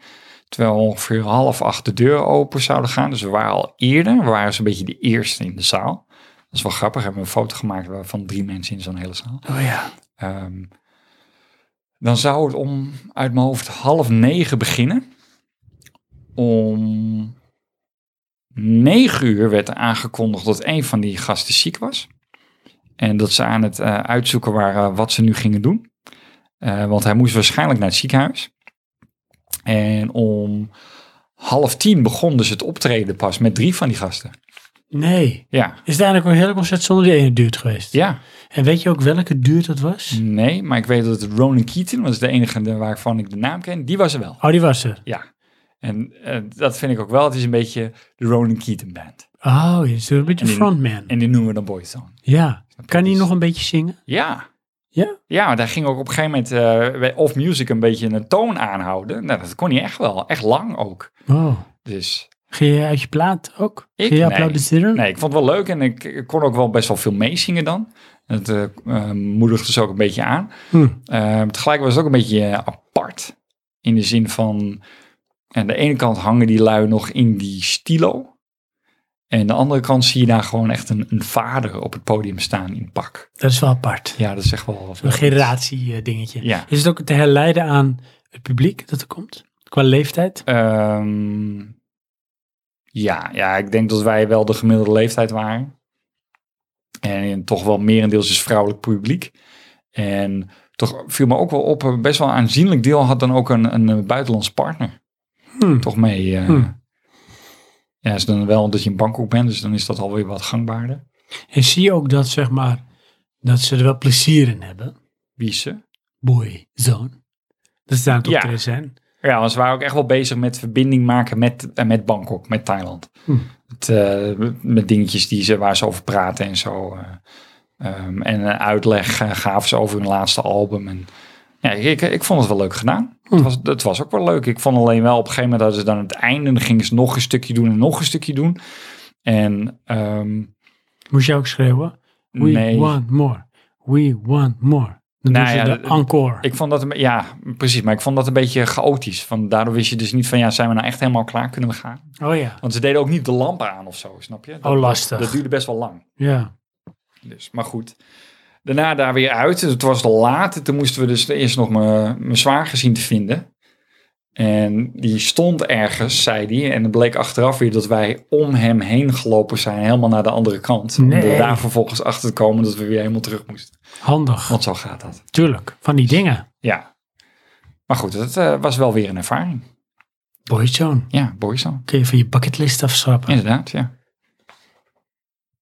[SPEAKER 2] Terwijl ongeveer half acht de deuren open zouden gaan. Dus we waren al eerder. We waren zo'n beetje de eerste in de zaal. Dat is wel grappig. Hebben we een foto gemaakt van drie mensen in zo'n hele zaal.
[SPEAKER 1] Oh ja.
[SPEAKER 2] Ehm, dan zou het om uit mijn hoofd half negen beginnen. Om negen uur werd er aangekondigd dat een van die gasten ziek was. En dat ze aan het eh, uitzoeken waren wat ze nu gingen doen. Eh, want hij moest waarschijnlijk naar het ziekenhuis. En om half tien begon dus het optreden pas met drie van die gasten.
[SPEAKER 1] Nee.
[SPEAKER 2] Ja,
[SPEAKER 1] Is het eigenlijk een hele concert zonder die ene duurt geweest?
[SPEAKER 2] ja. Mm.
[SPEAKER 1] En weet je ook welke duurt dat was?
[SPEAKER 2] Nee, maar ik weet dat het Ronan Keaton, dat is de enige waarvan ik de naam ken, die was er wel.
[SPEAKER 1] Oh, die was er.
[SPEAKER 2] Ja. En eh, dat vind ik ook wel. Het is een beetje de Ronan Keaton Band.
[SPEAKER 1] Oh, die is een beetje
[SPEAKER 2] En die-
[SPEAKER 1] frontman.
[SPEAKER 2] En die noemen we dan Boyzone.
[SPEAKER 1] ja.
[SPEAKER 2] je?
[SPEAKER 1] Kan die
[SPEAKER 2] Dus-
[SPEAKER 1] nog een beetje zingen?
[SPEAKER 2] Ja.
[SPEAKER 1] Ja?
[SPEAKER 2] Ja, daar ging ook op een gegeven moment eh, bij Off Music een beetje een toon aanhouden. Nou, dat kon hij echt wel. Echt lang ook.
[SPEAKER 1] Oh.
[SPEAKER 2] Dus
[SPEAKER 1] Ging je uit je plaat ook?
[SPEAKER 2] Ik?
[SPEAKER 1] Ging je
[SPEAKER 2] Nee.
[SPEAKER 1] applaudisseren?
[SPEAKER 2] nee, ik vond het wel leuk. En ik, ik kon ook wel best wel veel meezingen dan. Dat eh, eh, moedigde ze ook een beetje aan.
[SPEAKER 1] Hm.
[SPEAKER 2] Eh, tegelijk was het ook een beetje eh, apart. In de zin van, aan de ene kant hangen die lui nog in die stilo. En aan de andere kant zie je daar gewoon echt een, een vader op het podium staan in pak.
[SPEAKER 1] Dat is wel apart.
[SPEAKER 2] Ja, dat is echt wel...
[SPEAKER 1] Een generatie eh, dingetje.
[SPEAKER 2] Ja.
[SPEAKER 1] Is het ook te herleiden aan het publiek dat er komt? Qua leeftijd?
[SPEAKER 2] Ehm, ja, ja, ik denk dat wij wel de gemiddelde leeftijd waren. En in toch wel merendeels is vrouwelijk publiek. En toch viel me ook wel op, eh, best wel een aanzienlijk deel had dan ook een, een eh, buitenlands partner.
[SPEAKER 1] Hmm.
[SPEAKER 2] Toch mee. eh,
[SPEAKER 1] Hmm.
[SPEAKER 2] Ja, is dan wel dat je in Bangkok bent, dus dan is dat alweer wat gangbaarder.
[SPEAKER 1] En zie je ook dat, zeg maar, dat ze er wel plezier in hebben.
[SPEAKER 2] Wie is ze?
[SPEAKER 1] Boy, zoon. Dat ze daar aan het
[SPEAKER 2] Ja.
[SPEAKER 1] optreden zijn.
[SPEAKER 2] Ja, want ze waren ook echt wel bezig met verbinding maken met, eh, met Bangkok, met Thailand.
[SPEAKER 1] Hm.
[SPEAKER 2] Het, eh, met dingetjes die ze, waar ze over praten en zo. eh, ehm, en een uitleg eh, gaven ze over hun laatste album. En, ja, ik, ik vond het wel leuk gedaan. Het, was, het was ook wel leuk. Ik vond alleen wel op een gegeven moment dat ze dan aan het einde dan gingen ze nog een stukje doen en nog een stukje doen. En ehm,
[SPEAKER 1] Moest je ook schreeuwen? We
[SPEAKER 2] nee,
[SPEAKER 1] want more. We want more. Dan
[SPEAKER 2] Nou
[SPEAKER 1] doen ze
[SPEAKER 2] ja,
[SPEAKER 1] de
[SPEAKER 2] dat-
[SPEAKER 1] encore.
[SPEAKER 2] ik vond dat een, be- ja, precies. Maar ik vond dat een beetje chaotisch. Van, daardoor wist je dus niet van ja, zijn we nou echt helemaal klaar? Kunnen we gaan?
[SPEAKER 1] oh ja.
[SPEAKER 2] Want ze deden ook niet de lampen aan of zo, snap je? Dat,
[SPEAKER 1] Oh, lastig.
[SPEAKER 2] dat duurde best wel lang.
[SPEAKER 1] Ja.
[SPEAKER 2] Dus, maar goed. Daarna daar weer uit. Dus het was al laat. Toen moesten we dus eerst nog mijn mijn zwager zien te vinden. En die stond ergens, zei die. En het bleek achteraf weer dat wij om hem heen gelopen zijn. Helemaal naar de andere kant. Om
[SPEAKER 1] Nee.
[SPEAKER 2] er daar vervolgens achter te komen dat we weer helemaal terug moesten.
[SPEAKER 1] Handig.
[SPEAKER 2] Want zo gaat dat.
[SPEAKER 1] Tuurlijk. Van die dingen.
[SPEAKER 2] Ja. Maar goed, het eh, was wel weer een ervaring.
[SPEAKER 1] Boy, zoon.
[SPEAKER 2] Ja, boyzone.
[SPEAKER 1] Kun je van je bucketlist afschrappen.
[SPEAKER 2] Inderdaad, ja.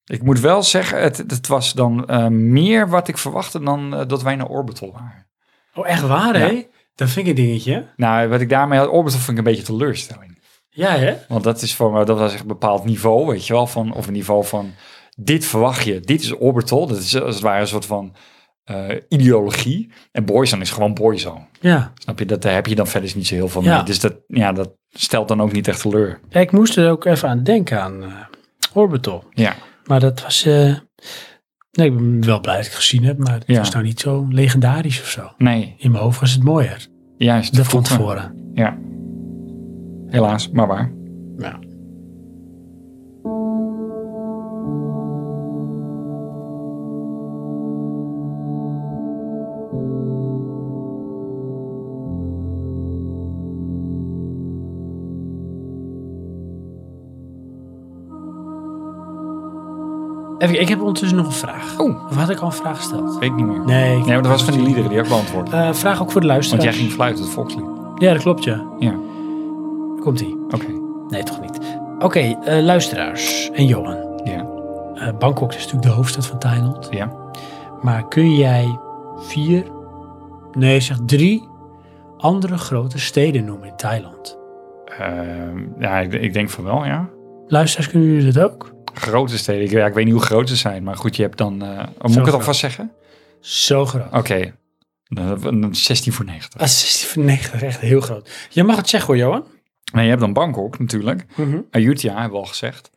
[SPEAKER 2] Ik moet wel zeggen, het, het was dan eh, meer wat ik verwachtte dan eh, dat wij naar Orbital waren.
[SPEAKER 1] Oh, echt waar, hè? Dat vind ik een dingetje.
[SPEAKER 2] Nou, wat ik daarmee had, Orbital vind ik een beetje teleurstelling.
[SPEAKER 1] Ja, hè?
[SPEAKER 2] Want dat, is voor, me- dat was echt een bepaald niveau, weet je wel, van, of een niveau van dit verwacht je, dit is Orbital. Dat is als het ware een soort van eh, ideologie. En Boyzone is gewoon Boyzone.
[SPEAKER 1] Ja.
[SPEAKER 2] Snap je, dat, daar heb je dan verder niet zo heel veel
[SPEAKER 1] Ja.
[SPEAKER 2] mee. Dus dat, ja, dat stelt dan ook niet echt teleur.
[SPEAKER 1] Ja, ik moest er ook even aan denken aan eh, Orbital.
[SPEAKER 2] Ja,
[SPEAKER 1] Maar dat was... eh, nee, ik ben wel blij dat ik het gezien heb, maar het
[SPEAKER 2] Ja.
[SPEAKER 1] was nou niet zo legendarisch of zo.
[SPEAKER 2] nee,
[SPEAKER 1] In mijn hoofd was het mooier.
[SPEAKER 2] juist.
[SPEAKER 1] Dat van
[SPEAKER 2] voelt me-
[SPEAKER 1] tevoren.
[SPEAKER 2] Ja. Helaas, maar waar.
[SPEAKER 1] Ja. Even, ik heb ondertussen nog een vraag.
[SPEAKER 2] Oeh.
[SPEAKER 1] Of had ik al een vraag gesteld?
[SPEAKER 2] Weet ik niet meer. Oh. Nee,
[SPEAKER 1] Nee.
[SPEAKER 2] maar dat was van die liederen, die heb ik beantwoord.
[SPEAKER 1] Eh, vraag ook voor de
[SPEAKER 2] Want
[SPEAKER 1] luisteraars.
[SPEAKER 2] jij ging fluiten, het volkslied.
[SPEAKER 1] Ja, dat klopt, ja.
[SPEAKER 2] Ja,
[SPEAKER 1] Komt-ie.
[SPEAKER 2] oké.
[SPEAKER 1] Nee, toch niet. Oké, eh, luisteraars en Johan.
[SPEAKER 2] Ja,
[SPEAKER 1] Eh, Bangkok is natuurlijk de hoofdstad van Thailand.
[SPEAKER 2] ja.
[SPEAKER 1] Maar kun jij vier, nee zeg drie andere grote steden noemen in Thailand?
[SPEAKER 2] Ehm, ja, ik, ik denk van wel, ja.
[SPEAKER 1] Luisteraars, kunnen jullie dat ook?
[SPEAKER 2] Grote steden. Ik, ja, ik weet niet hoe groot ze zijn, maar goed, je hebt dan... eh, oh, moet
[SPEAKER 1] Zo
[SPEAKER 2] ik het
[SPEAKER 1] groot.
[SPEAKER 2] alvast zeggen?
[SPEAKER 1] Zo groot.
[SPEAKER 2] Oké. Dan- dan- dan 16 voor 90.
[SPEAKER 1] Ah, 16 van 90 echt heel groot. Je mag het zeggen hoor, Johan.
[SPEAKER 2] Nee, je hebt dan Bangkok natuurlijk.
[SPEAKER 1] Mhm.
[SPEAKER 2] Ayutthaya hebben we al gezegd.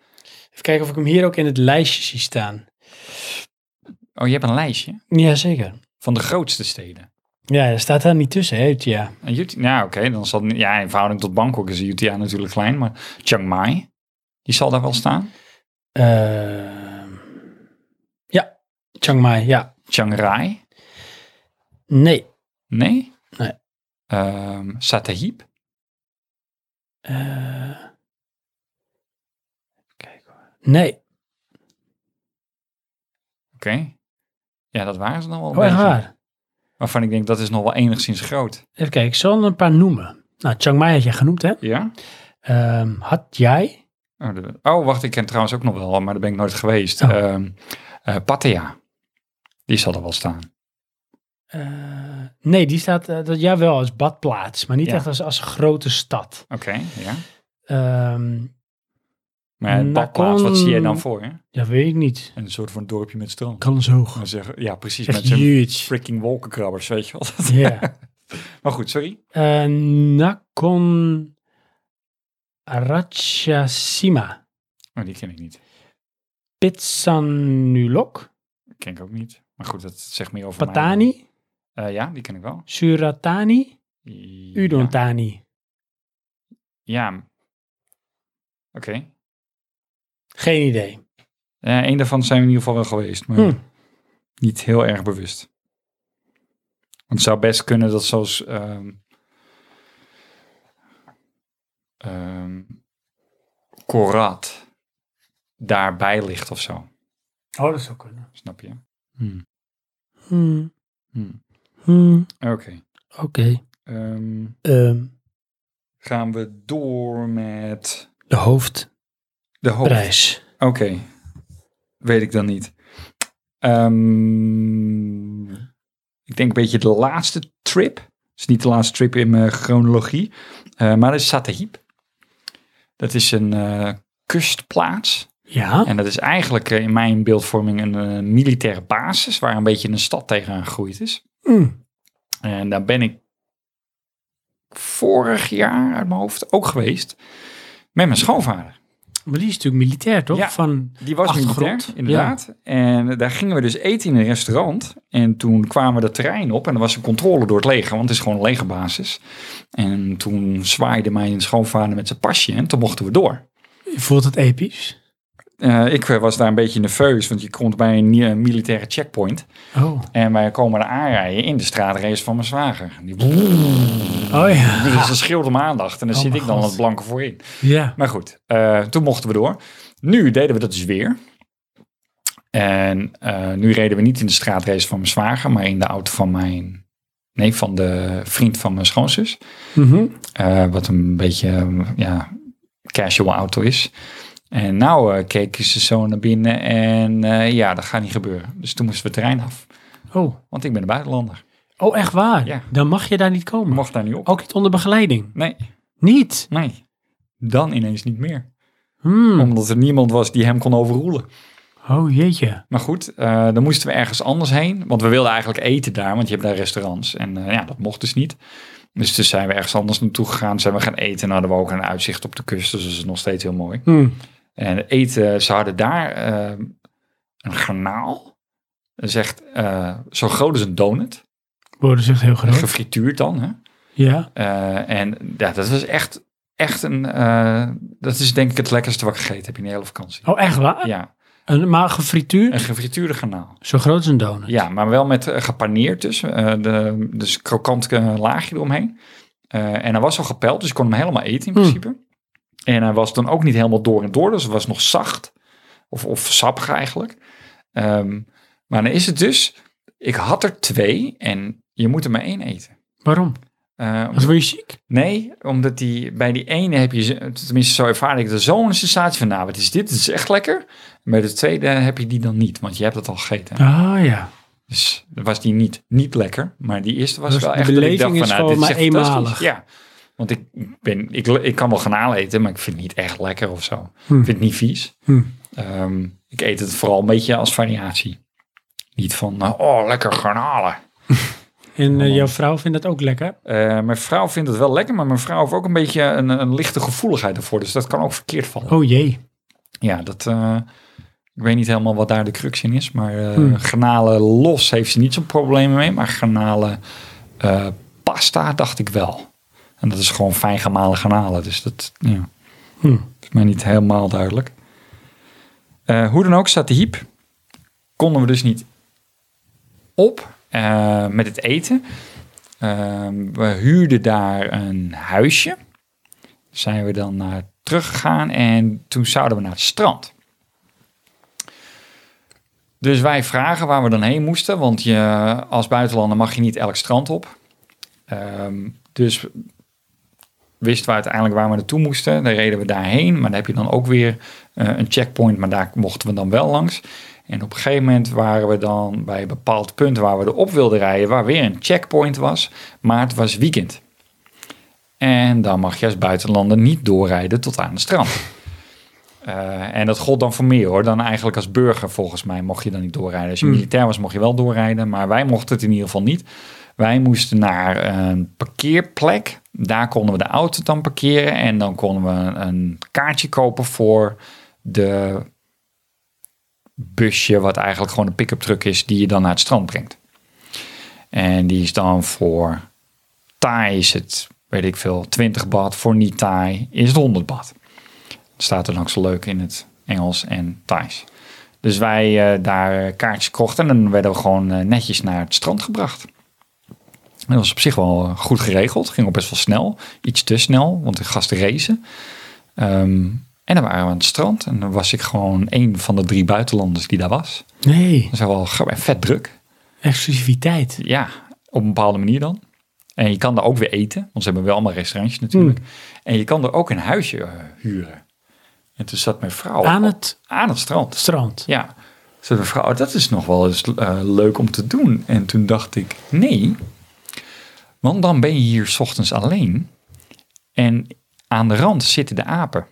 [SPEAKER 1] Even kijken of ik hem hier ook in het lijstje zie staan.
[SPEAKER 2] Oh, je hebt een lijstje
[SPEAKER 1] Jazeker.
[SPEAKER 2] van de grootste steden.
[SPEAKER 1] Ja, er staat daar niet tussen, hè? Ja.
[SPEAKER 2] Ayutthaya, nou oké, dan zal... Ja, in verhouding tot Bangkok is Ayutthaya natuurlijk klein, maar Chiang Mai, die zal daar wel staan.
[SPEAKER 1] Ehm, ja, Chiang Mai, ja.
[SPEAKER 2] Chiang Rai,
[SPEAKER 1] Nee.
[SPEAKER 2] Nee?
[SPEAKER 1] Nee.
[SPEAKER 2] Ehm, Satahip?
[SPEAKER 1] Eh, kijk hoor. Nee.
[SPEAKER 2] Oké. Ja, dat waren ze dan wel. een
[SPEAKER 1] Oh, echt
[SPEAKER 2] beetje.
[SPEAKER 1] waar?
[SPEAKER 2] Waarvan ik denk, dat is nog wel enigszins groot.
[SPEAKER 1] Even kijken, ik zal er een paar noemen. Nou, Chiang Mai had jij genoemd, hè?
[SPEAKER 2] Ja?
[SPEAKER 1] Ehm had jij?
[SPEAKER 2] Oh, de- oh, wacht, ik ken trouwens ook nog wel, maar daar ben ik nooit geweest.
[SPEAKER 1] Oh.
[SPEAKER 2] Ehm, eh, Pattaya. Die zal er wel staan.
[SPEAKER 1] Eh, nee, die staat eh, dat, ja wel als badplaats, maar niet
[SPEAKER 2] Ja.
[SPEAKER 1] echt als, als grote stad.
[SPEAKER 2] Oké, ja.
[SPEAKER 1] Ehm,
[SPEAKER 2] Maar het
[SPEAKER 1] Nakhon-
[SPEAKER 2] badplaats, wat zie je dan voor je?
[SPEAKER 1] ja, weet ik niet.
[SPEAKER 2] Een soort van dorpje met strand.
[SPEAKER 1] Kan zo hoog.
[SPEAKER 2] Maar zeggen, ja, precies,
[SPEAKER 1] Echt
[SPEAKER 2] met zijn
[SPEAKER 1] huge.
[SPEAKER 2] freaking wolkenkrabbers, weet je wel.
[SPEAKER 1] Ja.
[SPEAKER 2] maar goed, sorry.
[SPEAKER 1] Eh Nakon Ratchasima.
[SPEAKER 2] Oh, die ken ik niet.
[SPEAKER 1] Pitsanulok.
[SPEAKER 2] Ken ik ook niet. Maar goed, dat zegt meer over mij.
[SPEAKER 1] Patani.
[SPEAKER 2] Eh, ja, die ken ik wel.
[SPEAKER 1] Suratani.
[SPEAKER 2] Ja.
[SPEAKER 1] Udontani.
[SPEAKER 2] Ja. Oké.
[SPEAKER 1] Geen idee.
[SPEAKER 2] Eh, Eén daarvan zijn we in ieder geval wel geweest, maar
[SPEAKER 1] Hm.
[SPEAKER 2] niet heel erg bewust. Want het zou best kunnen dat zoals... ehm ehm Korat daarbij ligt of zo.
[SPEAKER 1] Oh, dat zou kunnen.
[SPEAKER 2] Snap je?
[SPEAKER 1] Hmm.
[SPEAKER 2] Hmm.
[SPEAKER 1] Hmm.
[SPEAKER 2] Oké.
[SPEAKER 1] Oké.
[SPEAKER 2] Ehm,
[SPEAKER 1] Ehm,
[SPEAKER 2] gaan we door met
[SPEAKER 1] de hoofdprijs.
[SPEAKER 2] de hoofd. Oké. Weet ik dan niet. Ehm, ik denk een beetje de laatste trip. Het is niet de laatste trip in mijn chronologie. eh, maar dat is Satahip. Dat is een eh, kustplaats.
[SPEAKER 1] Ja.
[SPEAKER 2] En dat is eigenlijk eh, in mijn beeldvorming een eh, militaire basis waar een beetje een stad tegenaan gegroeid is.
[SPEAKER 1] Mm.
[SPEAKER 2] En daar ben ik vorig jaar uit mijn hoofd ook geweest met mijn schoonvader.
[SPEAKER 1] Maar die is natuurlijk militair, toch?
[SPEAKER 2] Ja.
[SPEAKER 1] Van,
[SPEAKER 2] Die was militair,
[SPEAKER 1] Achtergrond,
[SPEAKER 2] inderdaad. En daar gingen we dus eten in een restaurant. En toen kwamen we dat terrein op en er was een controle door het leger, want het is gewoon een legerbasis. En toen zwaaide mijn schoonvader met zijn pasje en toen mochten we door.
[SPEAKER 1] je voelt het episch.
[SPEAKER 2] Eh, ik eh, was daar een beetje nerveus, want je komt bij een nie- militaire checkpoint.
[SPEAKER 1] Oh.
[SPEAKER 2] En wij komen er aanrijden in de straatrace van mijn zwager. En Die
[SPEAKER 1] Oh ja.
[SPEAKER 2] dus dat schreeuwde om aandacht. En dan
[SPEAKER 1] Oh
[SPEAKER 2] zit
[SPEAKER 1] mijn
[SPEAKER 2] ik dan
[SPEAKER 1] God.
[SPEAKER 2] als blanke voorin.
[SPEAKER 1] Ja.
[SPEAKER 2] Maar goed, eh, toen mochten we door. Nu deden we dat dus weer. En eh, nu reden we niet in de straatrace van mijn zwager, maar in de auto van mijn... Nee, van de vriend van mijn schoonzus.
[SPEAKER 1] Mhm.
[SPEAKER 2] Eh, wat een beetje eh, ja, casual auto is. En nou eh, keken ze zo naar binnen en eh, ja, dat gaat niet gebeuren. Dus toen moesten we het terrein af,
[SPEAKER 1] Oh.
[SPEAKER 2] want ik ben een buitenlander.
[SPEAKER 1] oh, echt waar?
[SPEAKER 2] Ja.
[SPEAKER 1] Dan mag je daar niet
[SPEAKER 2] Ik
[SPEAKER 1] komen.
[SPEAKER 2] mocht daar niet op.
[SPEAKER 1] Ook niet onder begeleiding.
[SPEAKER 2] Nee,
[SPEAKER 1] Niet.
[SPEAKER 2] nee. Dan ineens niet meer.
[SPEAKER 1] Hmm.
[SPEAKER 2] Omdat er niemand was die hem kon overroelen.
[SPEAKER 1] Oh jeetje.
[SPEAKER 2] Maar goed, eh, dan moesten we ergens anders heen. Want we wilden eigenlijk eten daar, want je hebt daar restaurants. En eh, ja, dat mocht dus niet. Dus toen zijn we ergens anders naartoe gegaan. Zijn we gaan eten en hadden we ook een uitzicht op de kust. Dus dat is nog steeds heel mooi.
[SPEAKER 1] Hmm.
[SPEAKER 2] En eten, ze hadden daar eh, een garnaal. Dat is echt eh, zo groot als een donut.
[SPEAKER 1] Worden zegt heel groot.
[SPEAKER 2] Gefrituurd dan. Hè?
[SPEAKER 1] Ja.
[SPEAKER 2] Eh, en ja, dat was echt, echt een... eh, dat is denk ik het lekkerste wat ik gegeten heb in de hele vakantie.
[SPEAKER 1] Oh, echt waar?
[SPEAKER 2] Ja,
[SPEAKER 1] Een, maar gefrituurd?
[SPEAKER 2] een gefrituurde garnaal.
[SPEAKER 1] Zo groot als een donut.
[SPEAKER 2] Ja, maar wel met eh, gepaneerd dus. eh, de, dus krokant eh, laagje eromheen. Eh, en hij was al gepeld, dus ik kon hem helemaal eten in
[SPEAKER 1] Hmm.
[SPEAKER 2] principe. En hij was dan ook niet helemaal door en door, dus het was nog zacht. Of, of sappig eigenlijk. Ehm, maar dan is het dus, ik had er twee en je moet er maar één eten.
[SPEAKER 1] Waarom?
[SPEAKER 2] Eh,
[SPEAKER 1] Als word je ziek?
[SPEAKER 2] nee, omdat die, bij die ene heb je, ze- tenminste zo ervaar ik er zo'n sensatie van, nou wat is dit, dit is echt lekker. En bij de tweede heb je die dan niet, want je hebt het al gegeten.
[SPEAKER 1] Ah ja.
[SPEAKER 2] Dus dat was die niet, niet lekker. Maar die eerste was
[SPEAKER 1] Dus
[SPEAKER 2] wel
[SPEAKER 1] de
[SPEAKER 2] echt... dat ik
[SPEAKER 1] beleving
[SPEAKER 2] dacht van,
[SPEAKER 1] is
[SPEAKER 2] nou,
[SPEAKER 1] gewoon
[SPEAKER 2] dit
[SPEAKER 1] maar
[SPEAKER 2] echt fantastisch.
[SPEAKER 1] eenmalig.
[SPEAKER 2] Ja, want ik, ben, ik, ik kan wel garnaal eten, maar ik vind het niet echt lekker of zo.
[SPEAKER 1] Hm.
[SPEAKER 2] Ik vind het niet vies.
[SPEAKER 1] Hm.
[SPEAKER 2] Ehm, ik eet het vooral een beetje als variatie. Niet van, nou, oh, lekker garnalen.
[SPEAKER 1] En eh,
[SPEAKER 2] Oh, man.
[SPEAKER 1] jouw vrouw vindt dat ook lekker?
[SPEAKER 2] Eh, mijn vrouw vindt het wel lekker, maar mijn vrouw heeft ook een beetje een, een lichte gevoeligheid ervoor. Dus dat kan ook verkeerd vallen.
[SPEAKER 1] Oh jee.
[SPEAKER 2] Ja, dat... eh, ik weet niet helemaal wat daar de crux in is, maar eh
[SPEAKER 1] Hm.
[SPEAKER 2] garnalen los heeft ze niet zo'n probleem mee, maar garnalen eh, pasta dacht ik wel. En dat is gewoon fijn gemalen garnalen, dus dat ja,
[SPEAKER 1] Hm.
[SPEAKER 2] is mij niet helemaal duidelijk. Eh, hoe dan ook staat de hiep, konden we dus niet op eh, met het eten. Eh, we huurden daar een huisje, zijn we dan naar teruggegaan en toen zouden we naar het strand. Dus wij vragen waar we dan heen moesten, want je, als buitenlander mag je niet elk strand op. Ehm, dus wisten we uiteindelijk waar we naartoe moesten. Dan reden we daarheen, maar dan heb je dan ook weer eh, een checkpoint, maar daar mochten we dan wel langs. En op een gegeven moment waren we dan bij een bepaald punt waar we erop wilden rijden, waar weer een checkpoint was, maar het was weekend. En dan mag je als buitenlander niet doorrijden tot aan het strand. Eh, en dat gold dan voor meer hoor, dan eigenlijk als burger volgens mij mocht je dan niet doorrijden. Als je
[SPEAKER 1] Hmm.
[SPEAKER 2] militair was mocht je wel doorrijden, maar wij mochten het in ieder geval niet. Wij moesten naar een parkeerplek, daar konden we de auto dan parkeren en dan konden we een kaartje kopen voor de busje, wat eigenlijk gewoon een pick-up truck is, die je dan naar het strand brengt. En die is dan voor Thai is het, weet ik veel, 20 bad. Voor niet Thai is het 100 bad. Dat staat er dan ook zo leuk in het Engels en Thais. Dus wij eh, daar kaartjes kochten en dan werden we gewoon eh, netjes naar het strand gebracht. Dat was op zich wel eh, goed geregeld. Ging ook best wel snel. Iets te snel, want de gasten racen. Ehm, En dan waren we aan het strand en dan was ik gewoon een van de drie buitenlanders die daar was.
[SPEAKER 1] Nee,
[SPEAKER 2] Dat is wel grappig en vet druk.
[SPEAKER 1] exclusiviteit.
[SPEAKER 2] Ja, op een bepaalde manier dan. En je kan daar ook weer eten, want ze hebben wel allemaal restaurantjes
[SPEAKER 1] Hmm.
[SPEAKER 2] natuurlijk. En je kan er ook een huisje eh, huren. En toen zat mijn vrouw
[SPEAKER 1] Aan
[SPEAKER 2] op-
[SPEAKER 1] het
[SPEAKER 2] aan het strand.
[SPEAKER 1] strand.
[SPEAKER 2] Ja. Toen zei mijn vrouw, "Oh, dat is nog wel eens eh, leuk om te doen. En toen dacht ik, nee. Want dan ben je hier 's ochtends alleen. En aan de rand zitten de apen.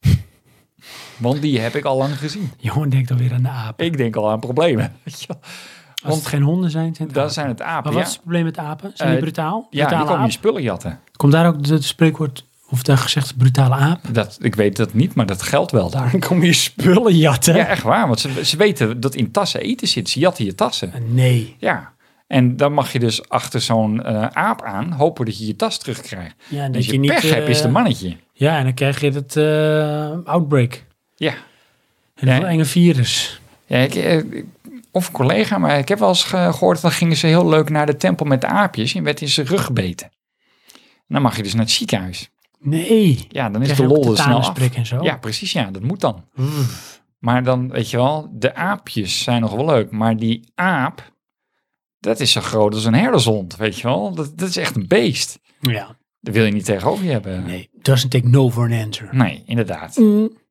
[SPEAKER 2] Want die heb ik al lang gezien.
[SPEAKER 1] Johan denkt alweer aan de apen.
[SPEAKER 2] Ik denk al aan problemen. weet je wel.
[SPEAKER 1] Als
[SPEAKER 2] Want
[SPEAKER 1] het geen honden zijn, zijn het
[SPEAKER 2] daar
[SPEAKER 1] apen.
[SPEAKER 2] zijn het apen.
[SPEAKER 1] Maar wat
[SPEAKER 2] ja.
[SPEAKER 1] is het probleem met apen? Zijn die
[SPEAKER 2] Eh,
[SPEAKER 1] brutaal?
[SPEAKER 2] Ja, die
[SPEAKER 1] Brutale
[SPEAKER 2] komen je
[SPEAKER 1] aap?
[SPEAKER 2] spullen jatten.
[SPEAKER 1] Komt daar ook het- het spreekwoord, of daar gezegd brutale aap?
[SPEAKER 2] Dat, ik weet dat niet, maar dat geldt wel daar.
[SPEAKER 1] Dan kom je spullen jatten.
[SPEAKER 2] Ja, echt waar. Want ze, ze weten dat in tassen eten zit. Ze jatten je tassen.
[SPEAKER 1] Nee.
[SPEAKER 2] Ja. En dan mag je dus achter zo'n eh, aap aan hopen dat je je tas terugkrijgt.
[SPEAKER 1] Ja, en
[SPEAKER 2] Als je, pech
[SPEAKER 1] eh,
[SPEAKER 2] hebt, is de mannetje.
[SPEAKER 1] Ja, en dan krijg je dat eh, outbreak.
[SPEAKER 2] Ja.
[SPEAKER 1] En
[SPEAKER 2] Ja.
[SPEAKER 1] dat enge virus.
[SPEAKER 2] ja ik, eh, ik- of een collega, maar ik heb wel eens ge- gehoord... dan gingen ze heel leuk naar de tempel met de aapjes... en werd in zijn rug gebeten. En dan mag je dus naar het ziekenhuis.
[SPEAKER 1] Nee.
[SPEAKER 2] Ja, dan is
[SPEAKER 1] Krijg
[SPEAKER 2] de
[SPEAKER 1] je ook
[SPEAKER 2] lol er snel af.
[SPEAKER 1] tetanusprik en zo? Hmm.
[SPEAKER 2] Ja, precies. Ja, dat moet dan. Maar dan, weet je wel, de aapjes zijn nog wel leuk. Maar die aap, dat is zo groot als een herdershond, weet je wel. Dat, dat is echt een beest.
[SPEAKER 1] Ja.
[SPEAKER 2] Dat wil je niet tegenover je hebben.
[SPEAKER 1] Nee. Doesn't take no for an answer.
[SPEAKER 2] Nee, inderdaad.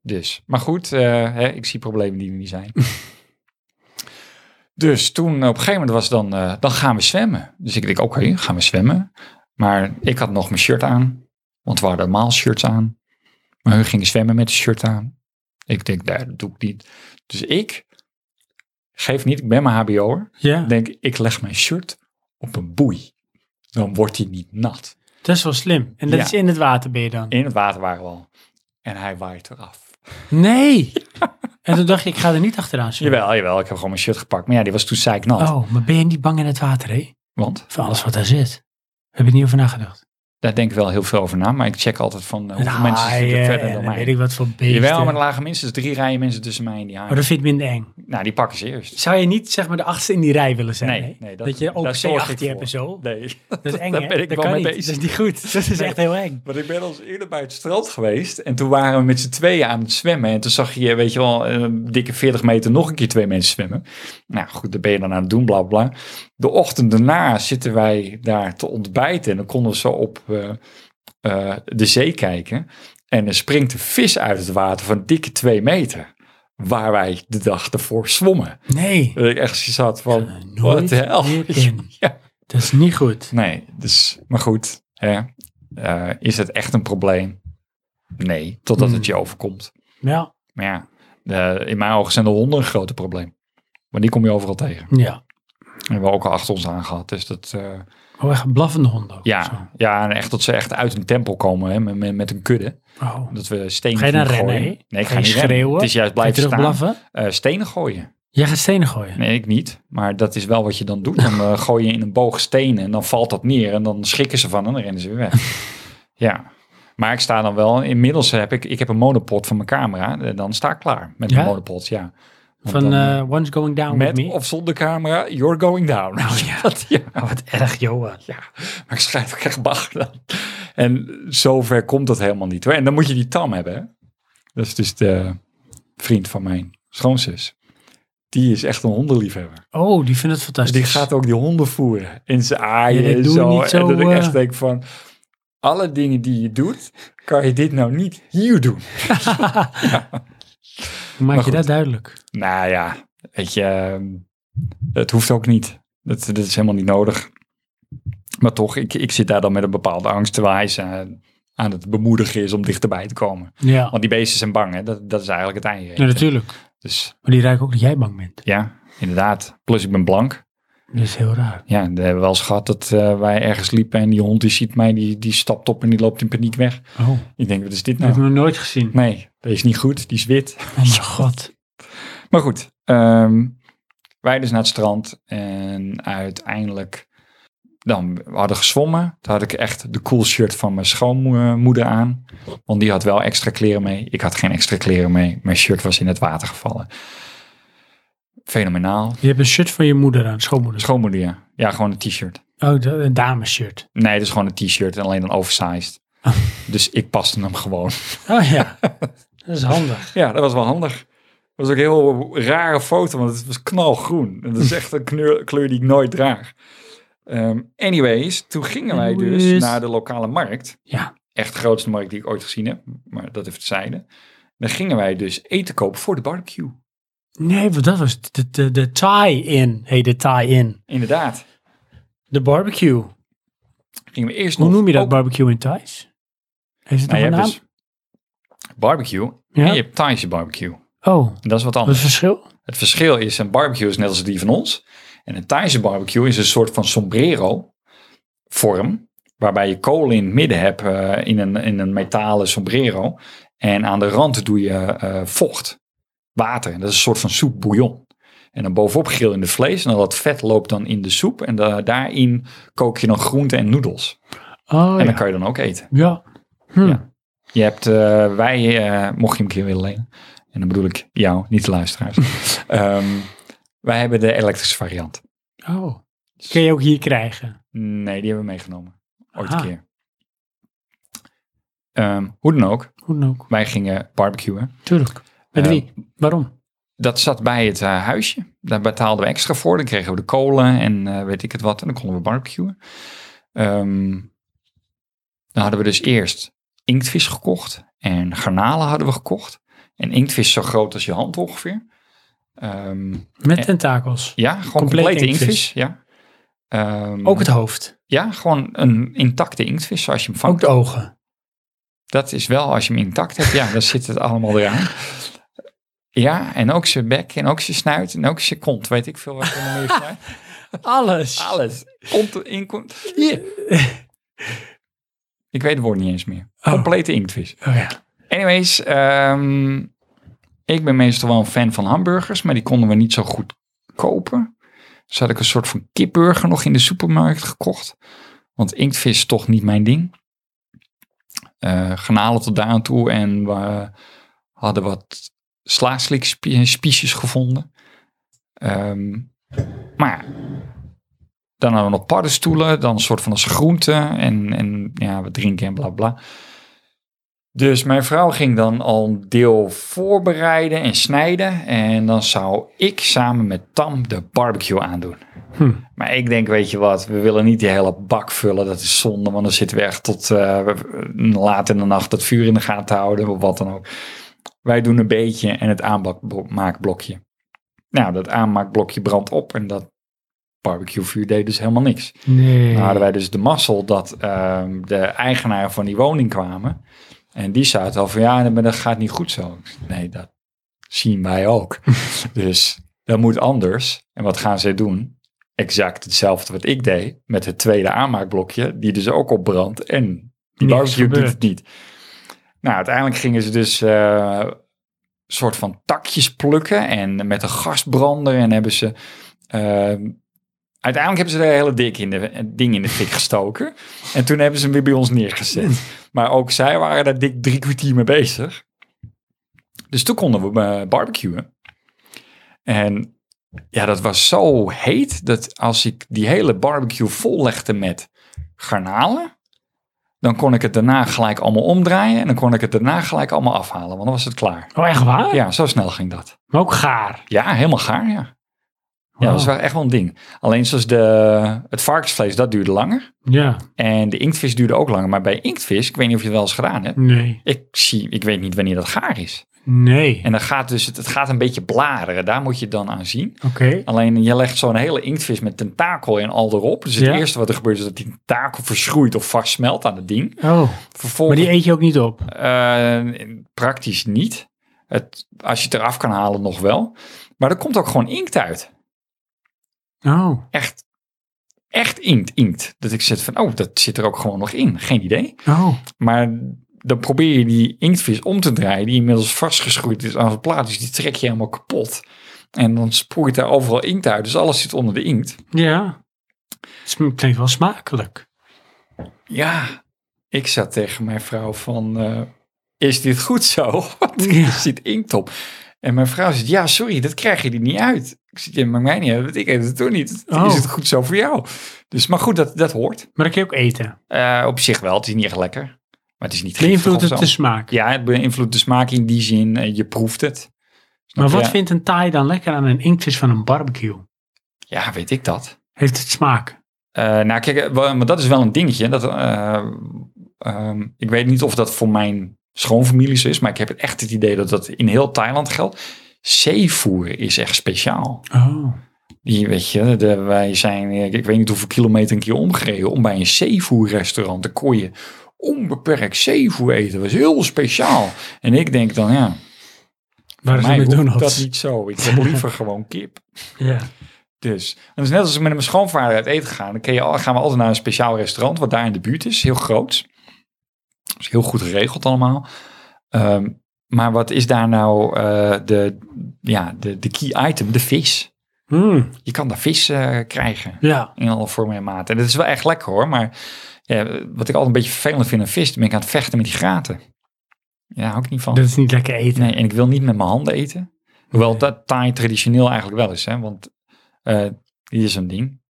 [SPEAKER 2] Dus, maar goed, eh, hè, ik zie problemen die er niet zijn. dus toen op een gegeven moment was dan, eh, dan gaan we zwemmen. Dus ik denk, oké, gaan we zwemmen. Maar ik had nog mijn shirt aan, want we hadden normaal shirts aan. Maar hun gingen zwemmen met een shirt aan. Ik denk, nee, dat doe ik niet. Dus ik, geef niet, ik ben mijn hbo'er.
[SPEAKER 1] Ja.
[SPEAKER 2] Ik denk, ik leg mijn shirt op een boei. Dan wordt hij niet nat.
[SPEAKER 1] Dat is wel slim. En dat
[SPEAKER 2] Ja.
[SPEAKER 1] is in het water ben je dan.
[SPEAKER 2] In het water waren we al. En hij waait eraf.
[SPEAKER 1] Nee. en toen dacht je, ik ga er niet achteraan zwemmen.
[SPEAKER 2] Jawel, jawel. Ik heb gewoon mijn shirt gepakt. Maar ja, die was toen zeiknat.
[SPEAKER 1] Oh, maar ben je niet bang in het water, hè?
[SPEAKER 2] Want
[SPEAKER 1] Van alles wat daar zit. Heb je niet over nagedacht?
[SPEAKER 2] daar denk ik wel heel veel over na. Maar ik check altijd van eh, hoeveel
[SPEAKER 1] Nou,
[SPEAKER 2] mensen zitten
[SPEAKER 1] ja,
[SPEAKER 2] er
[SPEAKER 1] en
[SPEAKER 2] verder dan
[SPEAKER 1] dan weet ik
[SPEAKER 2] mij.
[SPEAKER 1] wat voor beesten.
[SPEAKER 2] Jawel, maar er lagen minstens drie rijen mensen tussen mij en die
[SPEAKER 1] Maar
[SPEAKER 2] haaien.
[SPEAKER 1] dat vind ik minder eng.
[SPEAKER 2] Nou, die pakken ze eerst.
[SPEAKER 1] Zou je niet zeg maar de achtste in die rij willen zijn?
[SPEAKER 2] Nee,
[SPEAKER 1] hè?
[SPEAKER 2] nee,
[SPEAKER 1] dat,
[SPEAKER 2] dat-
[SPEAKER 1] je ook
[SPEAKER 2] daar zorg ik
[SPEAKER 1] C18 hebt
[SPEAKER 2] voor.
[SPEAKER 1] en zo.
[SPEAKER 2] Nee,
[SPEAKER 1] Dat is eng,
[SPEAKER 2] daar
[SPEAKER 1] hè?
[SPEAKER 2] ben ik
[SPEAKER 1] dat
[SPEAKER 2] wel
[SPEAKER 1] kan
[SPEAKER 2] mee
[SPEAKER 1] niet.
[SPEAKER 2] bezig.
[SPEAKER 1] Dat is niet goed. Dat is
[SPEAKER 2] Nee.
[SPEAKER 1] echt heel eng.
[SPEAKER 2] Want ik ben al eens eerder bij het strand geweest. En toen waren we met z'n tweeën aan het zwemmen. En toen zag je, weet je wel, een dikke 40 meter nog een keer twee mensen zwemmen. Nou goed, dat ben je dan aan het doen, bla bla. bla. De ochtend daarna zitten wij daar te ontbijten. En dan konden we zo op eh, eh, de zee kijken. En er springt een vis uit het water van dikke twee meter. Waar wij de dag ervoor zwommen.
[SPEAKER 1] Nee.
[SPEAKER 2] Dat ik echt zat van,
[SPEAKER 1] Eh, Nooit
[SPEAKER 2] wat de hel.
[SPEAKER 1] meer in.
[SPEAKER 2] Ja.
[SPEAKER 1] Dat is niet goed.
[SPEAKER 2] Nee, dus, maar goed, hè, eh, is het echt een probleem? Nee, totdat
[SPEAKER 1] Hmm.
[SPEAKER 2] het je overkomt.
[SPEAKER 1] Ja.
[SPEAKER 2] Maar ja, de- in mijn ogen zijn de honden een groot probleem. Maar die kom je overal tegen.
[SPEAKER 1] Ja.
[SPEAKER 2] Die hebben we ook al achter ons aan gehad. Dus dat, eh,
[SPEAKER 1] Oh, echt een blaffende hond ook. zo.
[SPEAKER 2] ja, ja, en echt dat ze echt uit een tempel komen hè, met, met, met een kudde.
[SPEAKER 1] Oh.
[SPEAKER 2] Dat we stenen
[SPEAKER 1] Ga je dan
[SPEAKER 2] gooien.
[SPEAKER 1] rennen? hè?
[SPEAKER 2] Nee, ik ga,
[SPEAKER 1] je
[SPEAKER 2] niet rennen.
[SPEAKER 1] schreeuwen?
[SPEAKER 2] Het is juist
[SPEAKER 1] Ga je
[SPEAKER 2] blijven
[SPEAKER 1] terug
[SPEAKER 2] staan.
[SPEAKER 1] blaffen?
[SPEAKER 2] Eh, stenen gooien.
[SPEAKER 1] Jij gaat stenen gooien.
[SPEAKER 2] Nee, ik niet. Maar dat is wel wat je dan doet. Dan eh, gooi je in een boog stenen en dan valt dat neer. En dan schrikken ze van en dan rennen ze weer weg. ja. Maar ik sta dan wel... Inmiddels heb ik... Ik heb een monopod van mijn camera. En dan sta ik klaar met
[SPEAKER 1] Ja?
[SPEAKER 2] mijn monopod, ja. Want
[SPEAKER 1] Van
[SPEAKER 2] dan,
[SPEAKER 1] eh, One's Going Down With
[SPEAKER 2] met
[SPEAKER 1] Me.
[SPEAKER 2] of zonder camera, you're going down.
[SPEAKER 1] ja.
[SPEAKER 2] Dat- ja.
[SPEAKER 1] Oh, wat erg, Johan.
[SPEAKER 2] ja. Maar ik schrijf ook echt bag dan. En zover komt dat helemaal niet. hoor. En dan moet je die Tam hebben. hè. Dat is dus de vriend van mijn schoonzus. Die is echt een hondenliefhebber.
[SPEAKER 1] Oh, die vindt het fantastisch.
[SPEAKER 2] Die gaat ook die honden voeren. En ze aaien
[SPEAKER 1] Ja, dat
[SPEAKER 2] en
[SPEAKER 1] doe je
[SPEAKER 2] zo.
[SPEAKER 1] niet zo,
[SPEAKER 2] En dat ik
[SPEAKER 1] eh.
[SPEAKER 2] echt denk van... Alle dingen die je doet, kan je dit nou niet hier doen.
[SPEAKER 1] Hoe Maak
[SPEAKER 2] Maar
[SPEAKER 1] je
[SPEAKER 2] goed.
[SPEAKER 1] dat duidelijk?
[SPEAKER 2] Nou ja, weet je... ehm, Het hoeft ook niet. Dat, dat is helemaal niet nodig. Maar toch, ik, ik zit daar dan met een bepaalde angst... terwijl hij ze aan- aan het bemoedigen is om dichterbij te komen.
[SPEAKER 1] Ja,
[SPEAKER 2] Want die beesten zijn bang, hè? Dat, dat is eigenlijk het einde.
[SPEAKER 1] Ja, natuurlijk.
[SPEAKER 2] Dus
[SPEAKER 1] Maar die ruiken ook dat jij bang bent.
[SPEAKER 2] ja, inderdaad. Plus ik ben blank.
[SPEAKER 1] Dat is heel raar.
[SPEAKER 2] Ja, we hebben wel eens gehad dat eh, wij ergens liepen en die hond die ziet mij, die, die stapt op en die loopt in paniek weg.
[SPEAKER 1] Oh, dat
[SPEAKER 2] Ik denk, wat is dit
[SPEAKER 1] heb ik
[SPEAKER 2] nou?
[SPEAKER 1] nog nooit gezien.
[SPEAKER 2] Nee, dat is niet goed, die is wit.
[SPEAKER 1] Oh mijn god.
[SPEAKER 2] Maar goed, ehm, wij dus naar het strand en uiteindelijk, dan, we hadden gezwommen. Toen had ik echt de cool shirt van mijn schoonmoeder aan, want die had wel extra kleren mee. Ik had geen extra kleren mee, mijn shirt was in het water gevallen. Fenomenaal.
[SPEAKER 1] Je hebt een shirt van je moeder aan, schoonmoeder.
[SPEAKER 2] Schoonmoeder, ja. Ja, gewoon een t-shirt.
[SPEAKER 1] oh, de- een damesshirt.
[SPEAKER 2] Nee, het is Ah. gewoon een t-shirt en alleen dan oversized. Dus ik paste hem gewoon.
[SPEAKER 1] Oh ja. Dat is handig.
[SPEAKER 2] Ja, dat was wel handig. Dat was ook een heel rare foto, want het was knalgroen. En dat is echt een kleur, kleur die ik nooit draag. Ehm, anyways, toen gingen wij dus
[SPEAKER 1] Anyways.
[SPEAKER 2] naar de lokale markt.
[SPEAKER 1] Ja.
[SPEAKER 2] Echt de grootste markt die ik ooit gezien heb, maar dat even terzijde. Dan gingen wij dus eten kopen voor de barbecue.
[SPEAKER 1] Nee, want dat was de, de, de tie-in. Hey, de tie-in.
[SPEAKER 2] Inderdaad.
[SPEAKER 1] De barbecue.
[SPEAKER 2] Gingen we eerst
[SPEAKER 1] Hoe
[SPEAKER 2] nog
[SPEAKER 1] noem je dat
[SPEAKER 2] ook-
[SPEAKER 1] barbecue in Thais? Heeft het
[SPEAKER 2] Nou, je
[SPEAKER 1] nog een
[SPEAKER 2] hebt
[SPEAKER 1] naam?
[SPEAKER 2] dus barbecue
[SPEAKER 1] Ja?
[SPEAKER 2] en je hebt Thaise barbecue.
[SPEAKER 1] Oh,
[SPEAKER 2] En dat is wat
[SPEAKER 1] wat is
[SPEAKER 2] anders.
[SPEAKER 1] het verschil?
[SPEAKER 2] Het verschil is, een barbecue is net als die van ons. En een Thaise barbecue is een soort van sombrero vorm. Waarbij je kolen in het midden hebt eh, in, een, in een metalen sombrero. En aan de rand doe je eh, vocht, water. En dat is een soort van soep bouillon. En dan bovenop gril in de vlees. En al dat vet loopt dan in de soep. En da- daarin kook je dan groenten en noedels.
[SPEAKER 1] Oh,
[SPEAKER 2] en dan
[SPEAKER 1] ja.
[SPEAKER 2] kan je dan ook eten.
[SPEAKER 1] ja. Hm.
[SPEAKER 2] Ja. Je hebt, eh, wij, eh, mocht je hem een keer willen lenen. En dan bedoel ik jou, niet de luisteraars. Ehm, wij hebben de elektrische variant.
[SPEAKER 1] Oh. Kun je ook hier krijgen?
[SPEAKER 2] Nee, die hebben we meegenomen. Ooit
[SPEAKER 1] Aha.
[SPEAKER 2] een keer. Ehm, hoe dan ook,
[SPEAKER 1] Hoe dan ook.
[SPEAKER 2] wij gingen barbecuen.
[SPEAKER 1] Tuurlijk. Met
[SPEAKER 2] Ja.
[SPEAKER 1] wie? Waarom?
[SPEAKER 2] Dat zat bij het eh, huisje. Daar betaalden we extra voor. Dan kregen we de kolen en eh, weet ik het wat. En dan konden we barbecuen. Ehm, dan hadden we dus eerst inktvis gekocht. En garnalen hadden we gekocht. En inktvis zo groot als je hand ongeveer. Ehm,
[SPEAKER 1] Met tentakels.
[SPEAKER 2] ja, gewoon
[SPEAKER 1] Compleet
[SPEAKER 2] complete
[SPEAKER 1] inktvis.
[SPEAKER 2] inktvis. ja. Ehm,
[SPEAKER 1] Ook het hoofd.
[SPEAKER 2] Ja, gewoon een intacte inktvis zoals je hem vangt.
[SPEAKER 1] Ook de ogen.
[SPEAKER 2] Dat is wel als je hem intact hebt. Ja, dan zit het allemaal eraan. Ja, en ook zijn bek en ook zijn snuit en ook zijn kont. Weet ik veel wat er nog meer snuit.
[SPEAKER 1] Alles.
[SPEAKER 2] Alles. Kont in kont. Ik weet het woord niet eens meer.
[SPEAKER 1] Oh.
[SPEAKER 2] Complete inktvis.
[SPEAKER 1] Oh ja.
[SPEAKER 2] Anyways, ehm, ik ben meestal wel een fan van hamburgers, maar die konden we niet zo goed kopen. Dus had ik een soort van kipburger nog in de supermarkt gekocht. Want inktvis is toch niet mijn ding. Eh granalen tot daar aan toe en we hadden wat slaaslikspiesjes gevonden. Ehm, maar dan hadden we nog paddenstoelen, dan een soort van als groente en, en ja, we drinken en bla bla. Dus mijn vrouw ging dan al een deel voorbereiden en snijden. En dan zou ik samen met Tam de barbecue aandoen.
[SPEAKER 1] Hm.
[SPEAKER 2] Maar ik denk, weet je wat, we willen niet die hele bak vullen. Dat is zonde, want dan zitten we echt tot eh, laat in de nacht dat vuur in de gaten houden of wat dan ook. Wij doen een beetje en het aanmaakblokje. Nou, dat aanmaakblokje brandt op en dat barbecuevuur deed dus helemaal niks.
[SPEAKER 1] Nee.
[SPEAKER 2] Dan hadden wij dus de mazzel dat ehm, de eigenaren van die woning kwamen. En die zaten al van, ja, maar dat gaat niet goed zo. Ik zei, Nee, dat zien wij ook. dus dat moet anders. En wat gaan zij doen? Exact hetzelfde wat ik deed met het tweede aanmaakblokje, die dus ook opbrandt. En die
[SPEAKER 1] Niks
[SPEAKER 2] barbecue doet
[SPEAKER 1] gebeurt.
[SPEAKER 2] het niet. Nou, uiteindelijk gingen ze dus eh soort van takjes plukken en met een gasbrander en hebben ze... ehm, Uiteindelijk hebben ze de hele dik in de, het ding in de fik gestoken. En toen hebben ze hem weer bij ons neergezet. Maar ook zij waren daar dik drie kwartier mee bezig. Dus toen konden we eh, barbecuen. En ja, dat was zo heet dat als ik die hele barbecue vollegde met garnalen, dan kon ik het daarna gelijk allemaal omdraaien en dan kon ik het daarna gelijk allemaal afhalen, want dan was het klaar.
[SPEAKER 1] Oh, echt waar?
[SPEAKER 2] Ja, zo snel ging dat.
[SPEAKER 1] Maar ook gaar.
[SPEAKER 2] Ja, helemaal gaar, ja. Ja,
[SPEAKER 1] Wauw.
[SPEAKER 2] dat is wel echt wel een ding. Alleen zoals de, het varkensvlees, dat duurde langer.
[SPEAKER 1] Ja.
[SPEAKER 2] En de inktvis duurde ook langer. Maar bij inktvis, ik weet niet of je het wel eens gedaan hebt.
[SPEAKER 1] Nee.
[SPEAKER 2] Ik, zie, ik weet niet wanneer dat gaar is.
[SPEAKER 1] Nee.
[SPEAKER 2] En dan gaat dus, het, het gaat een beetje bladeren. Daar moet je het dan aan zien.
[SPEAKER 1] Oké.
[SPEAKER 2] Alleen je legt zo'n hele inktvis met tentakel en al erop. Dus het
[SPEAKER 1] Ja.
[SPEAKER 2] eerste wat er gebeurt is dat die tentakel verschroeit of vastsmelt aan het ding.
[SPEAKER 1] Oh. Maar
[SPEAKER 2] Vervolgens
[SPEAKER 1] die eet je ook niet op?
[SPEAKER 2] eh, praktisch niet. Het, als je het eraf kan halen nog wel. Maar er komt ook gewoon inkt uit.
[SPEAKER 1] Oh.
[SPEAKER 2] echt, echt inkt, inkt. Dat ik zit van, oh, dat zit er ook gewoon nog in. Geen idee.
[SPEAKER 1] Oh.
[SPEAKER 2] Maar dan probeer je die inktvis om te draaien, die inmiddels vastgeschroeid is aan zijn plaat. Dus die trek je helemaal kapot. En dan sproeit daar overal inkt uit. Dus alles zit onder de inkt.
[SPEAKER 1] Ja. Het klinkt wel smakelijk.
[SPEAKER 2] Ja, ik zat tegen mijn vrouw van, eh, is dit goed zo? Want er
[SPEAKER 1] Ja.
[SPEAKER 2] zit inkt op. En mijn vrouw zegt, ja, sorry, dat krijg je er niet uit. Ik zit je maakt mij niet uit, want ik eet het toch niet.
[SPEAKER 1] Oh.
[SPEAKER 2] Is het goed zo voor jou? Dus, maar goed, dat, dat hoort.
[SPEAKER 1] Maar dat kun je ook eten.
[SPEAKER 2] Eh, op zich wel, het is niet echt lekker. Maar het is niet giftig
[SPEAKER 1] Beïnvloedt
[SPEAKER 2] of
[SPEAKER 1] het
[SPEAKER 2] zo.
[SPEAKER 1] de smaak.
[SPEAKER 2] Ja, het beïnvloedt de smaak in die zin. eh, je proeft het. Snap
[SPEAKER 1] maar
[SPEAKER 2] je?
[SPEAKER 1] wat vindt een Thai dan lekker aan een inktvis van een barbecue?
[SPEAKER 2] Ja, weet ik dat.
[SPEAKER 1] Heeft het smaak?
[SPEAKER 2] Eh, nou, kijk, eh, wa- maar dat is wel een dingetje. Dat, eh, ehm, ik weet niet of dat voor mijn schoonfamilie zo is, maar ik heb het echt het idee dat dat in heel Thailand geldt. Zeevoer is echt speciaal.
[SPEAKER 1] Oh.
[SPEAKER 2] Die, weet je, de, wij zijn, eh, ik weet niet hoeveel kilometer een keer omgereden om bij een zeevoerrestaurant. Dan kon je onbeperkt zeevoer eten. Dat was heel speciaal. En ik denk dan, ja,
[SPEAKER 1] Waar is
[SPEAKER 2] mij
[SPEAKER 1] het
[SPEAKER 2] hoeft
[SPEAKER 1] McDonald's?
[SPEAKER 2] dat niet zo. Ik heb liever gewoon kip.
[SPEAKER 1] Ja.
[SPEAKER 2] Dus. En dat is net als we met mijn schoonvader uit eten gaan. Dan kun je, al- gaan we altijd naar een speciaal restaurant wat daar in de buurt is. Heel groot. Dat is heel goed geregeld allemaal. Ehm, maar wat is daar nou eh, de, ja, de, de key item? De vis.
[SPEAKER 1] Mm,
[SPEAKER 2] Je kan daar vis eh, krijgen.
[SPEAKER 1] ja.
[SPEAKER 2] In alle vormen en maten. En dat is wel echt lekker hoor. Maar ja, wat ik altijd een beetje vervelend vind aan vis. Dan ben ik aan het vechten met die graten. Ja, hou ik niet van.
[SPEAKER 1] Dat is niet lekker eten.
[SPEAKER 2] Nee, en ik wil niet met mijn handen eten. Hoewel dat Thai traditioneel eigenlijk wel is, hè? want eh hier is een ding.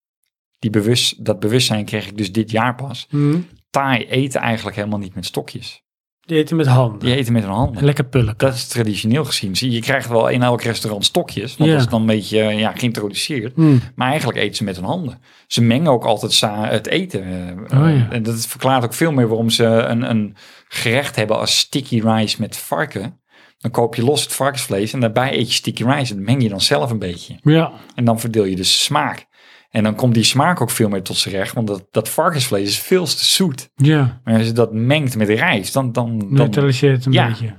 [SPEAKER 2] Die bewust, dat bewustzijn kreeg ik dus dit jaar pas.
[SPEAKER 1] Mm.
[SPEAKER 2] Thai eten eigenlijk helemaal niet met stokjes.
[SPEAKER 1] Die eten met handen.
[SPEAKER 2] Die eten met hun handen.
[SPEAKER 1] Lekker pullen.
[SPEAKER 2] Dat is traditioneel gezien. Zie, je, je krijgt wel in elk restaurant stokjes, want
[SPEAKER 1] Ja.
[SPEAKER 2] dat is dan een beetje eh, ja, geïntroduceerd.
[SPEAKER 1] Mm.
[SPEAKER 2] Maar eigenlijk eten ze met hun handen. Ze mengen ook altijd sa- het eten. eh,
[SPEAKER 1] Oh ja.
[SPEAKER 2] En dat verklaart ook veel meer waarom ze een, een gerecht hebben als sticky rice met varken. Dan koop je los het varkensvlees en daarbij eet je sticky rice. En dat meng je dan zelf een beetje.
[SPEAKER 1] Ja.
[SPEAKER 2] En dan verdeel je dus smaak. En dan komt die smaak ook veel meer tot zijn recht. Want dat, dat varkensvlees is veel te zoet.
[SPEAKER 1] Ja.
[SPEAKER 2] Maar als je dat mengt met rijst, dan... dan, dan
[SPEAKER 1] Neutraliseert het een
[SPEAKER 2] Ja.
[SPEAKER 1] beetje.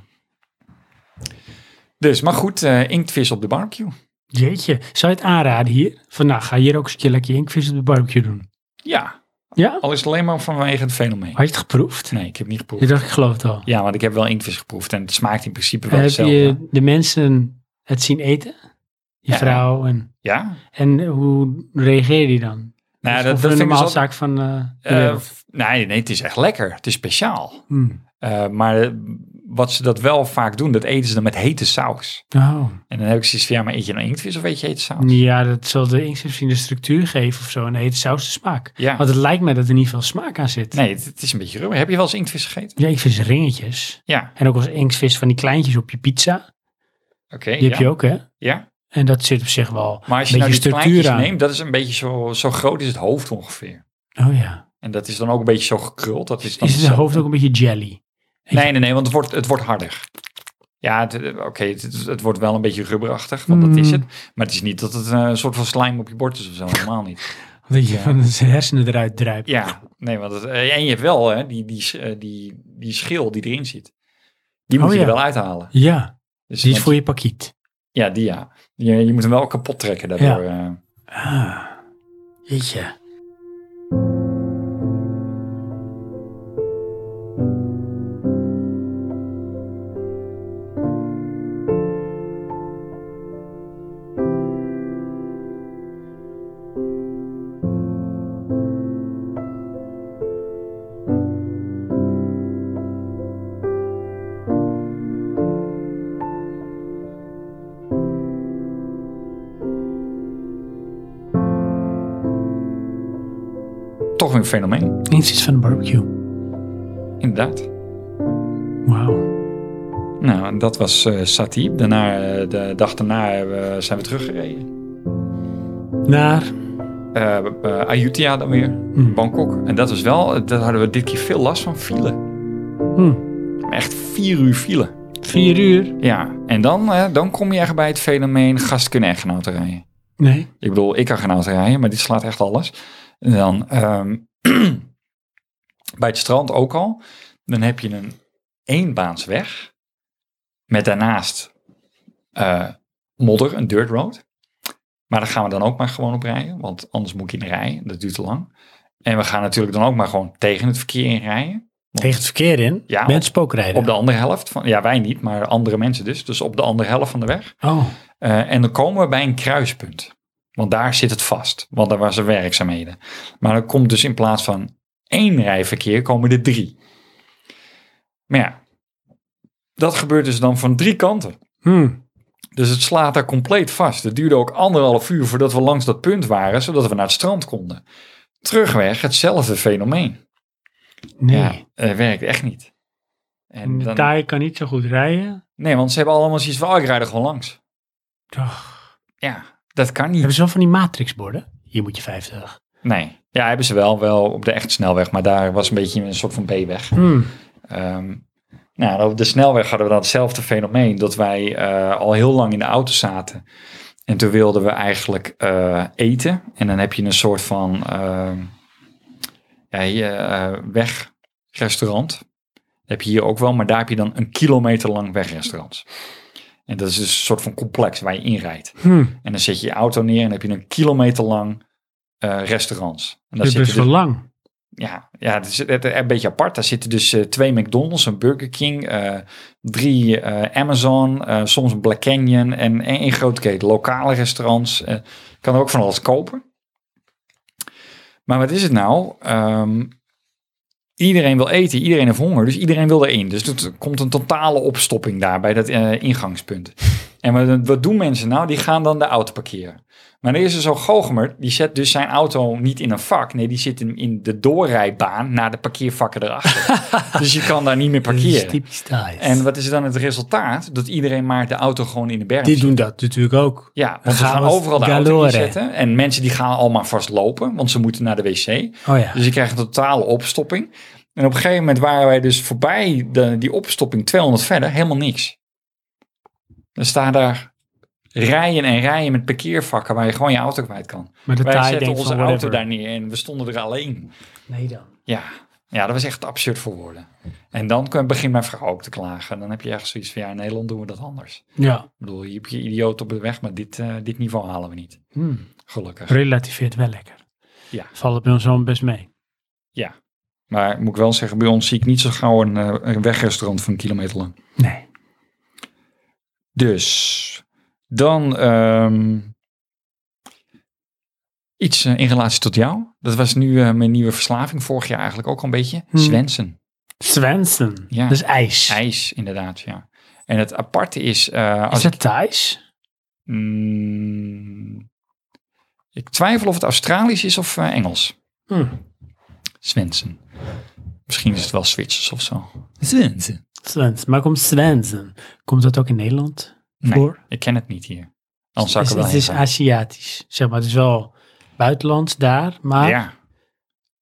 [SPEAKER 2] dus, maar goed, eh, inktvis op de barbecue.
[SPEAKER 1] Jeetje. Zou je het aanraden hier? Van nou, ga hier ook eens een keer lekker je inktvis op de barbecue doen.
[SPEAKER 2] Ja,
[SPEAKER 1] Ja?
[SPEAKER 2] al is het alleen maar vanwege het fenomeen.
[SPEAKER 1] Had je het geproefd?
[SPEAKER 2] Nee, ik heb niet geproefd.
[SPEAKER 1] Je dacht, ik geloof het al.
[SPEAKER 2] Ja, want ik heb wel inktvis geproefd en het smaakt in principe wel
[SPEAKER 1] Heb
[SPEAKER 2] hetzelfde.
[SPEAKER 1] je de mensen het zien eten? Je
[SPEAKER 2] Ja.
[SPEAKER 1] vrouw en...
[SPEAKER 2] Ja?
[SPEAKER 1] En hoe reageer je dan?
[SPEAKER 2] Nou,
[SPEAKER 1] is
[SPEAKER 2] dat-
[SPEAKER 1] of een
[SPEAKER 2] dat vind ik
[SPEAKER 1] normaal
[SPEAKER 2] dus al-
[SPEAKER 1] zaak van eh, de
[SPEAKER 2] Eh,
[SPEAKER 1] wereld.
[SPEAKER 2] f- nee, nee, het is echt lekker. Het is speciaal.
[SPEAKER 1] Hmm.
[SPEAKER 2] Eh, maar eh, wat ze dat wel vaak doen, dat eten ze dan met hete saus.
[SPEAKER 1] Oh.
[SPEAKER 2] En dan heb ik zoiets van, ja, maar eet je nou inktvis of eet je hete saus?
[SPEAKER 1] Ja, dat zal de inkt misschien de structuur geven of zo. En de hete saus de smaak.
[SPEAKER 2] Ja.
[SPEAKER 1] Want het lijkt me dat er niet veel smaak aan zit.
[SPEAKER 2] Nee, het, het is een beetje ruw. Heb je wel eens inktvis gegeten?
[SPEAKER 1] Ja, ik vis ringetjes.
[SPEAKER 2] Ja,
[SPEAKER 1] En ook als inktvis van die kleintjes op je pizza.
[SPEAKER 2] oké.
[SPEAKER 1] Die
[SPEAKER 2] ja.
[SPEAKER 1] heb je ook, hè?
[SPEAKER 2] ja.
[SPEAKER 1] En dat zit op zich wel
[SPEAKER 2] Maar als je
[SPEAKER 1] een
[SPEAKER 2] nou
[SPEAKER 1] beetje
[SPEAKER 2] die
[SPEAKER 1] structuur
[SPEAKER 2] kleintjes
[SPEAKER 1] aan.
[SPEAKER 2] neemt, dat is een beetje zo, zo groot is het hoofd ongeveer.
[SPEAKER 1] Oh ja.
[SPEAKER 2] En dat is dan ook een beetje zo gekruld. Dat is, dan
[SPEAKER 1] Is het
[SPEAKER 2] zo-
[SPEAKER 1] hoofd ook een beetje jelly?
[SPEAKER 2] Nee, nee, nee, want het wordt, het wordt harder. Ja, het- eh, oké, het, het wordt wel een beetje rubberachtig, want dat is
[SPEAKER 1] Mm.
[SPEAKER 2] het. Maar het is niet dat het eh, een soort van slijm op je bord is of zo, helemaal niet.
[SPEAKER 1] Dat je van zijn hersenen eruit druipt.
[SPEAKER 2] Ja, nee, want het, eh, en je hebt wel hè, die, die, sch- eh, die, die schil die erin zit. Die
[SPEAKER 1] Oh,
[SPEAKER 2] moet je
[SPEAKER 1] ja.
[SPEAKER 2] er wel uithalen.
[SPEAKER 1] Ja,
[SPEAKER 2] Dus,
[SPEAKER 1] die is
[SPEAKER 2] want-
[SPEAKER 1] voor je pakiet.
[SPEAKER 2] Ja, die ja. Je, je moet hem wel kapot trekken daardoor. eh.
[SPEAKER 1] Ah, jeetje.
[SPEAKER 2] Toch weer een fenomeen,
[SPEAKER 1] Eens iets van een barbecue.
[SPEAKER 2] inderdaad.
[SPEAKER 1] Wauw.
[SPEAKER 2] Nou, en dat was eh Satie. Daarna, eh, de dag daarna hebben we- zijn we teruggereden.
[SPEAKER 1] Naar,
[SPEAKER 2] Eh eh, Ayutthaya dan weer, Bangkok. En dat was wel, daar hadden we dit keer veel last van, file.
[SPEAKER 1] hm,
[SPEAKER 2] Echt vier uur file.
[SPEAKER 1] vier uur.
[SPEAKER 2] Ja, en dan, eh, dan kom je echt bij het fenomeen gasten kunnen echtgenoten rijden.
[SPEAKER 1] Nee.
[SPEAKER 2] Ik bedoel, ik kan gaan auto rijden, maar dit slaat echt alles. En dan ehm, bij het strand ook al. Dan heb je een eenbaansweg. Met daarnaast eh, modder, een dirt road. Maar daar gaan we dan ook maar gewoon op rijden. Want anders moet ik in rijden. Dat duurt te lang. En we gaan natuurlijk dan ook maar gewoon tegen het verkeer in rijden.
[SPEAKER 1] Tegen het verkeer in?
[SPEAKER 2] Ja,
[SPEAKER 1] Met spookrijden?
[SPEAKER 2] Op de andere helft. Van, ja, wij niet, maar andere mensen dus. Dus op de andere helft van de weg.
[SPEAKER 1] Oh,
[SPEAKER 2] Eh, en dan komen we bij een kruispunt. Want daar zit het vast. Want daar waren werkzaamheden. Maar dan komt dus in plaats van één rijverkeer, komen er drie. Maar ja, dat gebeurt dus dan van drie kanten.
[SPEAKER 1] hm.
[SPEAKER 2] Dus het slaat daar compleet vast. Het duurde ook anderhalf uur voordat we langs dat punt waren, zodat we naar het strand konden. Terugweg hetzelfde fenomeen.
[SPEAKER 1] nee.
[SPEAKER 2] Ja, eh, werkt echt niet.
[SPEAKER 1] En
[SPEAKER 2] En
[SPEAKER 1] de
[SPEAKER 2] dan,
[SPEAKER 1] taai kan niet zo goed rijden.
[SPEAKER 2] nee, want ze hebben allemaal zoiets van, oh, ik rijd er gewoon langs.
[SPEAKER 1] Toch.
[SPEAKER 2] Ja, dat kan niet.
[SPEAKER 1] Hebben ze wel van die matrixborden? Hier moet je 50.
[SPEAKER 2] Nee. Ja, hebben ze wel, wel op de echte snelweg, maar daar was een beetje een soort van B-weg.
[SPEAKER 1] Hmm.
[SPEAKER 2] Ehm, nou, op de snelweg hadden we dan hetzelfde fenomeen dat wij eh, al heel lang in de auto zaten. En toen wilden we eigenlijk eh, eten. En dan heb je een soort van ehm, ja, hier, eh, wegrestaurant. Dat heb je hier ook wel, maar daar heb je dan een kilometer lang wegrestaurant. En dat is dus een soort van complex waar je inrijdt.
[SPEAKER 1] Hmm.
[SPEAKER 2] En dan zet je je auto neer en heb je een kilometer lang eh restaurants. En daar
[SPEAKER 1] Dat is best
[SPEAKER 2] zitten dus-
[SPEAKER 1] wel lang.
[SPEAKER 2] ja, ja, het is het- een beetje apart. Daar zitten dus eh, twee McDonald's, een Burger King, eh, drie eh, Amazon, eh, soms een Black Canyon en één grote keten. Lokale restaurants. eh, kan er ook van alles kopen. Maar wat is het nou? Ehm, iedereen wil eten, iedereen heeft honger, dus iedereen wil erin. Dus er komt een totale opstopping daar bij dat eh, ingangspunt. En wat, wat doen mensen nou? Die gaan dan de auto parkeren. Maar dan is er zo'n goochemer, die zet dus zijn auto niet in een vak. Nee, die zit in, in de doorrijbaan naar de parkeervakken erachter. dus je kan daar niet meer
[SPEAKER 1] Dat is
[SPEAKER 2] parkeren.
[SPEAKER 1] typisch taai.
[SPEAKER 2] En wat is dan het resultaat? Dat iedereen maar de auto gewoon in de berm
[SPEAKER 1] Die
[SPEAKER 2] zet.
[SPEAKER 1] doen dat natuurlijk ook.
[SPEAKER 2] Ja, want ze
[SPEAKER 1] gaan
[SPEAKER 2] gaan
[SPEAKER 1] we
[SPEAKER 2] overal de auto
[SPEAKER 1] galore.
[SPEAKER 2] inzetten. En mensen die gaan allemaal vast lopen, want ze moeten naar de wc.
[SPEAKER 1] Oh ja.
[SPEAKER 2] Dus je krijgt een totale opstopping. En op een gegeven moment waren wij dus voorbij de, die opstopping 200 verder, helemaal niks. Dan staan daar rijen en rijen met parkeervakken waar je gewoon je auto kwijt kan.
[SPEAKER 1] Maar de
[SPEAKER 2] wij
[SPEAKER 1] taai
[SPEAKER 2] zetten
[SPEAKER 1] denkt
[SPEAKER 2] onze
[SPEAKER 1] van
[SPEAKER 2] auto
[SPEAKER 1] whatever.
[SPEAKER 2] daar neer en we stonden er alleen.
[SPEAKER 1] Nee dan.
[SPEAKER 2] Ja. ja, dat was echt absurd voor woorden. En dan kan- begint mijn vrouw ook te klagen. Dan heb je echt zoiets van, ja, in Nederland doen we dat anders.
[SPEAKER 1] Ja.
[SPEAKER 2] Ik bedoel, je hebt je idioot op de weg, maar dit, eh, dit niveau halen we niet.
[SPEAKER 1] Hmm.
[SPEAKER 2] Gelukkig.
[SPEAKER 1] relativeert wel lekker.
[SPEAKER 2] Ja.
[SPEAKER 1] Valt het bij ons allemaal best mee.
[SPEAKER 2] Maar moet ik wel zeggen, bij ons zie ik niet zo gauw een, eh, een wegrestaurant van een kilometer lang.
[SPEAKER 1] Nee.
[SPEAKER 2] Dus dan ehm, iets eh, in relatie tot jou. Dat was nu eh, mijn nieuwe verslaving, vorig jaar eigenlijk ook al een beetje.
[SPEAKER 1] Hmm.
[SPEAKER 2] Swensen.
[SPEAKER 1] Swensen.
[SPEAKER 2] Ja.
[SPEAKER 1] Dat is ijs.
[SPEAKER 2] IJs, inderdaad, ja. En het aparte is... eh, als
[SPEAKER 1] Is dat Thais?
[SPEAKER 2] ik, Mm, ik twijfel of het Australisch is of eh, Engels.
[SPEAKER 1] Hmm.
[SPEAKER 2] Swensen. Misschien is het wel Zwitsers of zo. Swensen.
[SPEAKER 1] Swensen. Maar komt Swensen? Komt dat ook in Nederland
[SPEAKER 2] Nee,
[SPEAKER 1] voor?
[SPEAKER 2] ik ken het niet hier. Anders zou
[SPEAKER 1] het,
[SPEAKER 2] ik er
[SPEAKER 1] is,
[SPEAKER 2] wel
[SPEAKER 1] het
[SPEAKER 2] heen
[SPEAKER 1] is
[SPEAKER 2] gaan.
[SPEAKER 1] Aziatisch. Zeg maar, het is wel buitenlands daar, maar...
[SPEAKER 2] Ja.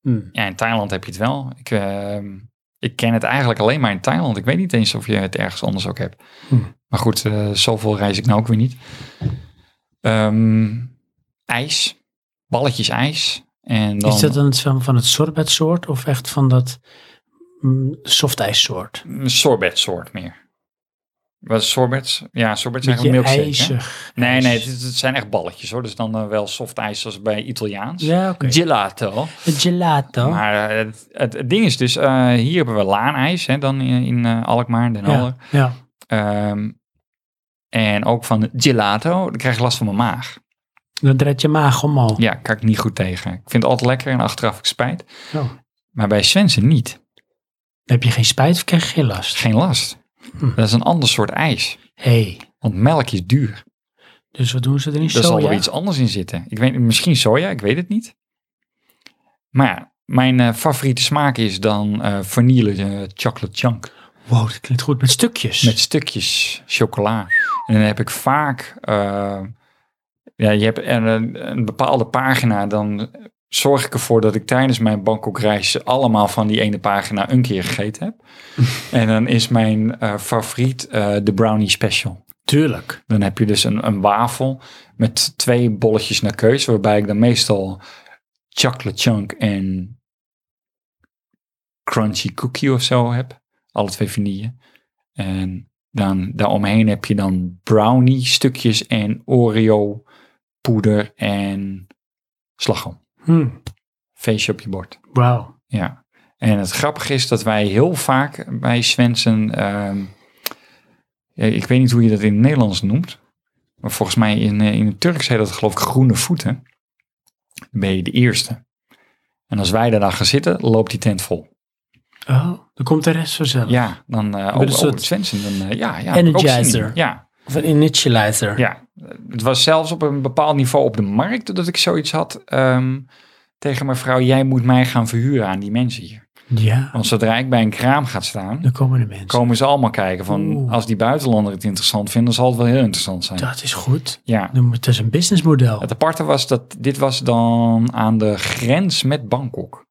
[SPEAKER 1] Hmm.
[SPEAKER 2] ja, in Thailand heb je het wel. Ik, ehm, ik ken het eigenlijk alleen maar in Thailand. Ik weet niet eens of je het ergens anders ook hebt.
[SPEAKER 1] Hm.
[SPEAKER 2] Maar goed, eh, zoveel reis ik nou ook weer niet. Ehm, ijs. Balletjes ijs. En dan,
[SPEAKER 1] Is dat dan het van, van het sorbetsoort of echt van dat mm, softijssoort?
[SPEAKER 2] een sorbet soort meer. Wat is sorbets? Ja, sorbets zijn
[SPEAKER 1] Beetje
[SPEAKER 2] eigenlijk milkshake. hè?
[SPEAKER 1] ijzig.
[SPEAKER 2] Nee,
[SPEAKER 1] ijs.
[SPEAKER 2] nee, het, is- het zijn echt balletjes hoor. Dus dan eh, wel soft ijs zoals bij Italiaans.
[SPEAKER 1] Ja, Oh. oké.
[SPEAKER 2] Gelato.
[SPEAKER 1] Het Gelato.
[SPEAKER 2] Maar eh, het, het, het ding is dus, eh, hier hebben we laanijs hè, dan in, in eh, Alkmaar en Den Helder.
[SPEAKER 1] ja, ja.
[SPEAKER 2] Ehm, en ook van gelato, dan krijg ik last van mijn maag.
[SPEAKER 1] Dan draait je maag omhoog.
[SPEAKER 2] Ja, kan ik niet goed tegen. Ik vind het altijd lekker en achteraf heb ik spijt.
[SPEAKER 1] Oh.
[SPEAKER 2] Maar bij Swensen niet.
[SPEAKER 1] Dan heb je geen spijt of krijg je geen last?
[SPEAKER 2] Geen last.
[SPEAKER 1] Hm.
[SPEAKER 2] Dat is een ander soort ijs.
[SPEAKER 1] hey,
[SPEAKER 2] Want melk is duur.
[SPEAKER 1] dus wat doen ze er in
[SPEAKER 2] Er zal
[SPEAKER 1] soja?
[SPEAKER 2] er iets anders in zitten. Ik weet, misschien soja, ik weet het niet. Maar ja, mijn eh, favoriete smaak is dan eh vanille eh, chocolate chunk.
[SPEAKER 1] Wow, dat klinkt goed. Met stukjes.
[SPEAKER 2] Met stukjes chocola. En dan heb ik vaak. eh, ja, je hebt er een, een bepaalde pagina. Dan zorg ik ervoor dat ik tijdens mijn Bangkok-reis allemaal van die ene pagina een keer gegeten heb. en dan is mijn eh, favoriet eh, de Brownie Special.
[SPEAKER 1] Tuurlijk.
[SPEAKER 2] Dan heb je dus een, een wafel met twee bolletjes naar keus. Waarbij ik dan meestal chocolate chunk en crunchy cookie of zo heb. Alle twee vanille. En dan daaromheen heb je dan brownie stukjes en Oreo poeder en slagroom.
[SPEAKER 1] Hmm.
[SPEAKER 2] Feestje op je bord.
[SPEAKER 1] Wauw.
[SPEAKER 2] Ja. En het grappige is dat wij heel vaak bij Swensen, ehm, ja, ik weet niet hoe je dat in het Nederlands noemt, maar volgens mij in, eh, in het Turks heet dat geloof ik groene voeten. Dan ben je de eerste. En als wij daar dan gaan zitten, loopt die tent vol.
[SPEAKER 1] Oh, dan komt de rest vanzelf.
[SPEAKER 2] Ja, dan eh oh,
[SPEAKER 1] een
[SPEAKER 2] oh,
[SPEAKER 1] soort
[SPEAKER 2] Swensen, dan eh, ja, ja. heb ik ook zin in.
[SPEAKER 1] energizer.
[SPEAKER 2] Ja,
[SPEAKER 1] Of een initializer.
[SPEAKER 2] ja, het was zelfs op een bepaald niveau op de markt dat ik zoiets had ehm, tegen mijn vrouw. Jij moet mij gaan verhuren aan die mensen hier.
[SPEAKER 1] Ja,
[SPEAKER 2] Want zodra ik bij een kraam ga staan,
[SPEAKER 1] dan komen de mensen.
[SPEAKER 2] komen ze allemaal kijken van
[SPEAKER 1] Oeh.
[SPEAKER 2] als die buitenlander het interessant vinden, zal het wel heel interessant zijn.
[SPEAKER 1] Dat is goed.
[SPEAKER 2] Ja.
[SPEAKER 1] Dan moet- Het is een businessmodel.
[SPEAKER 2] Het aparte was dat dit was dan aan de grens met Bangkok.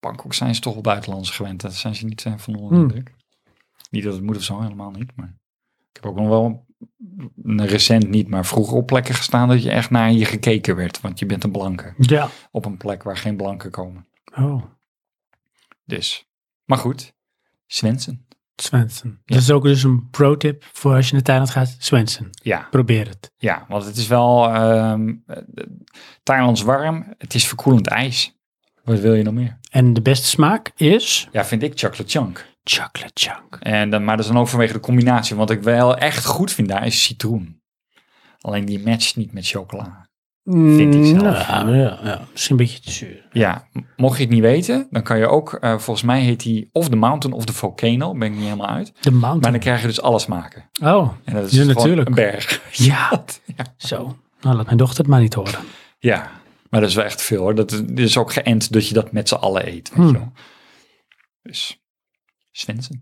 [SPEAKER 2] Bangkok zijn ze toch wel buitenlanders gewend. Daar zijn ze niet eh, van onder de
[SPEAKER 1] Hmm.
[SPEAKER 2] indruk. Niet dat het moet of zo, helemaal niet. Maar ik heb ook nog wel een- recent niet, maar vroeger op plekken gestaan dat je echt naar je gekeken werd. Want je bent een blanke
[SPEAKER 1] Ja.
[SPEAKER 2] op een plek waar geen blanken komen.
[SPEAKER 1] Oh,
[SPEAKER 2] Dus, maar goed. Swensen.
[SPEAKER 1] Swensen.
[SPEAKER 2] Ja.
[SPEAKER 1] Dat is ook dus een pro-tip voor als je naar Thailand gaat. Swensen.
[SPEAKER 2] Ja,
[SPEAKER 1] Probeer het.
[SPEAKER 2] ja, want het is wel ehm eh, Thailands warm. Het is verkoelend ijs. Wat wil je nog meer?
[SPEAKER 1] En de beste smaak is...
[SPEAKER 2] Ja, vind ik chocolate chunk.
[SPEAKER 1] Chocolate chunk.
[SPEAKER 2] En dan, maar dat is dan ook vanwege de combinatie. Wat ik wel echt goed vind daar is citroen. Alleen die matcht niet met chocola. Vind ik zelf.
[SPEAKER 1] Ja, ja, ja. Misschien een beetje te zuur.
[SPEAKER 2] Ja, m- mocht je het niet weten, dan kan je ook, eh, volgens mij heet die of de mountain of de volcano, ben ik niet helemaal uit.
[SPEAKER 1] De
[SPEAKER 2] Maar dan
[SPEAKER 1] mountain.
[SPEAKER 2] krijg je dus alles maken.
[SPEAKER 1] Oh,
[SPEAKER 2] En dat is
[SPEAKER 1] Ja,
[SPEAKER 2] gewoon
[SPEAKER 1] natuurlijk.
[SPEAKER 2] een berg.
[SPEAKER 1] ja.
[SPEAKER 2] Ja.
[SPEAKER 1] Zo. Nou, laat mijn dochter het maar niet horen.
[SPEAKER 2] Ja, maar dat is wel echt veel hoor. Dat dat is ook geënt dat je dat met z'n allen eet. Weet
[SPEAKER 1] Hmm.
[SPEAKER 2] je wel. Dus, Swensen.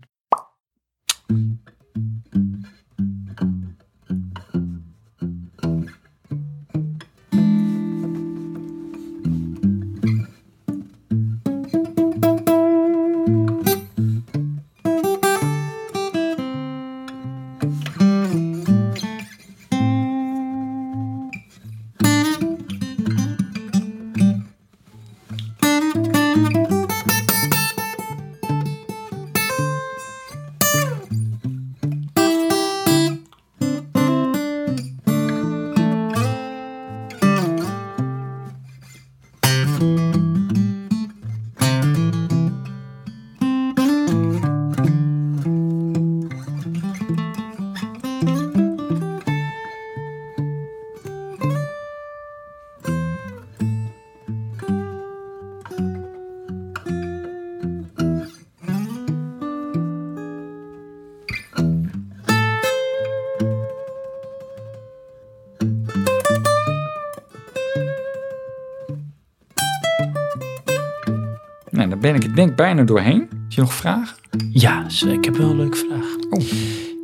[SPEAKER 2] Nou, daar ben ik het denk ik bijna doorheen. Heb je nog vragen?
[SPEAKER 1] Ja, ze- ik heb wel een leuke vraag.
[SPEAKER 2] Oh.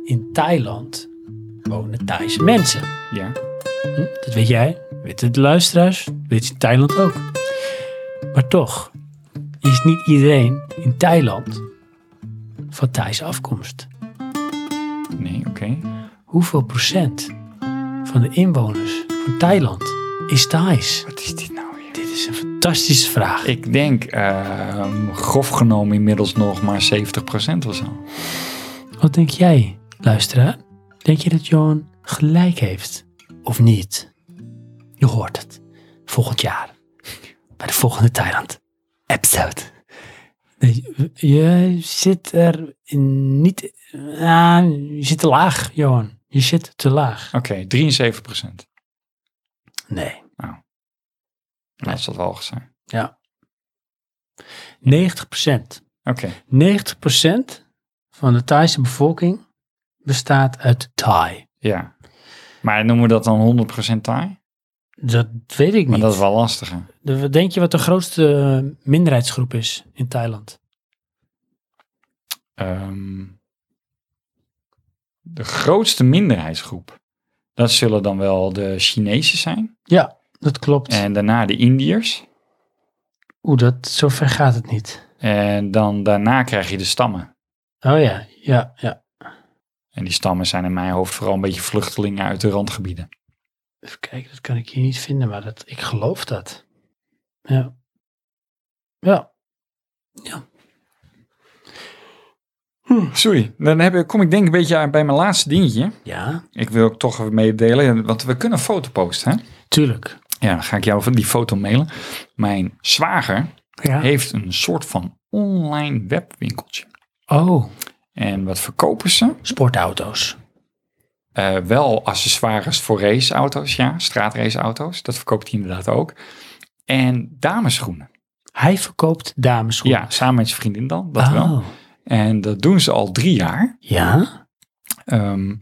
[SPEAKER 1] In Thailand wonen Thaise mensen.
[SPEAKER 2] Ja.
[SPEAKER 1] Hm, Dat weet jij, weten de luisteraars, weet je in Thailand ook. Maar toch is niet iedereen in Thailand van Thaise afkomst.
[SPEAKER 2] Nee, oké.
[SPEAKER 1] Hoeveel procent van de inwoners van Thailand is Thais?
[SPEAKER 2] Wat is dit nou weer?
[SPEAKER 1] Dit is een fantastische vraag.
[SPEAKER 2] Ik denk, ehm, grof genomen inmiddels nog maar 70% of zo.
[SPEAKER 1] Wat denk jij, luisteraar? Denk je dat Johan gelijk heeft? Of niet? Je hoort het. Volgend jaar. Bij de volgende Thailand. Episode. Nee, je zit er niet... Ah, je zit te laag, Johan. Je zit te laag.
[SPEAKER 2] Oké, 73%.
[SPEAKER 1] Nee.
[SPEAKER 2] Laat ze dat wel zijn.
[SPEAKER 1] Ja. 90
[SPEAKER 2] Oké,
[SPEAKER 1] 90 van de Thaise bevolking bestaat uit Thai.
[SPEAKER 2] ja. Maar noemen we dat dan 100% Thai?
[SPEAKER 1] Dat weet ik niet.
[SPEAKER 2] Maar dat is wel lastiger.
[SPEAKER 1] De- wat denk je wat de grootste eh, minderheidsgroep is in Thailand?
[SPEAKER 2] Ehm, de grootste minderheidsgroep, dat zullen dan wel de Chinezen zijn.
[SPEAKER 1] Ja, dat klopt.
[SPEAKER 2] En daarna de Indiërs.
[SPEAKER 1] Oeh, dat, zover gaat het niet.
[SPEAKER 2] En dan daarna krijg je de stammen.
[SPEAKER 1] Oh ja, ja, ja.
[SPEAKER 2] En die stammen zijn in mijn hoofd vooral een beetje vluchtelingen uit de randgebieden.
[SPEAKER 1] Even kijken, dat kan ik hier niet vinden, maar dat, ik geloof dat. Ja. Ja.
[SPEAKER 2] Sorry, dan heb ik, kom ik denk ik een beetje aan bij mijn laatste dingetje.
[SPEAKER 1] Ja,
[SPEAKER 2] Ik wil ook toch even meedelen, want we kunnen een foto posten. Hè?
[SPEAKER 1] tuurlijk.
[SPEAKER 2] Ja, dan ga ik jou die foto mailen. Mijn zwager
[SPEAKER 1] Ja.
[SPEAKER 2] heeft een soort van online webwinkeltje.
[SPEAKER 1] Oh,
[SPEAKER 2] En wat verkopen ze?
[SPEAKER 1] sportauto's.
[SPEAKER 2] Eh, wel accessoires voor raceauto's, ja, straatraceauto's. Dat verkoopt hij inderdaad ook. En damesschoenen.
[SPEAKER 1] Hij verkoopt dameschoenen.
[SPEAKER 2] Ja, samen met zijn vriendin dan, dat wel.
[SPEAKER 1] Oh,
[SPEAKER 2] En dat doen ze al drie jaar.
[SPEAKER 1] Ja,
[SPEAKER 2] Ehm,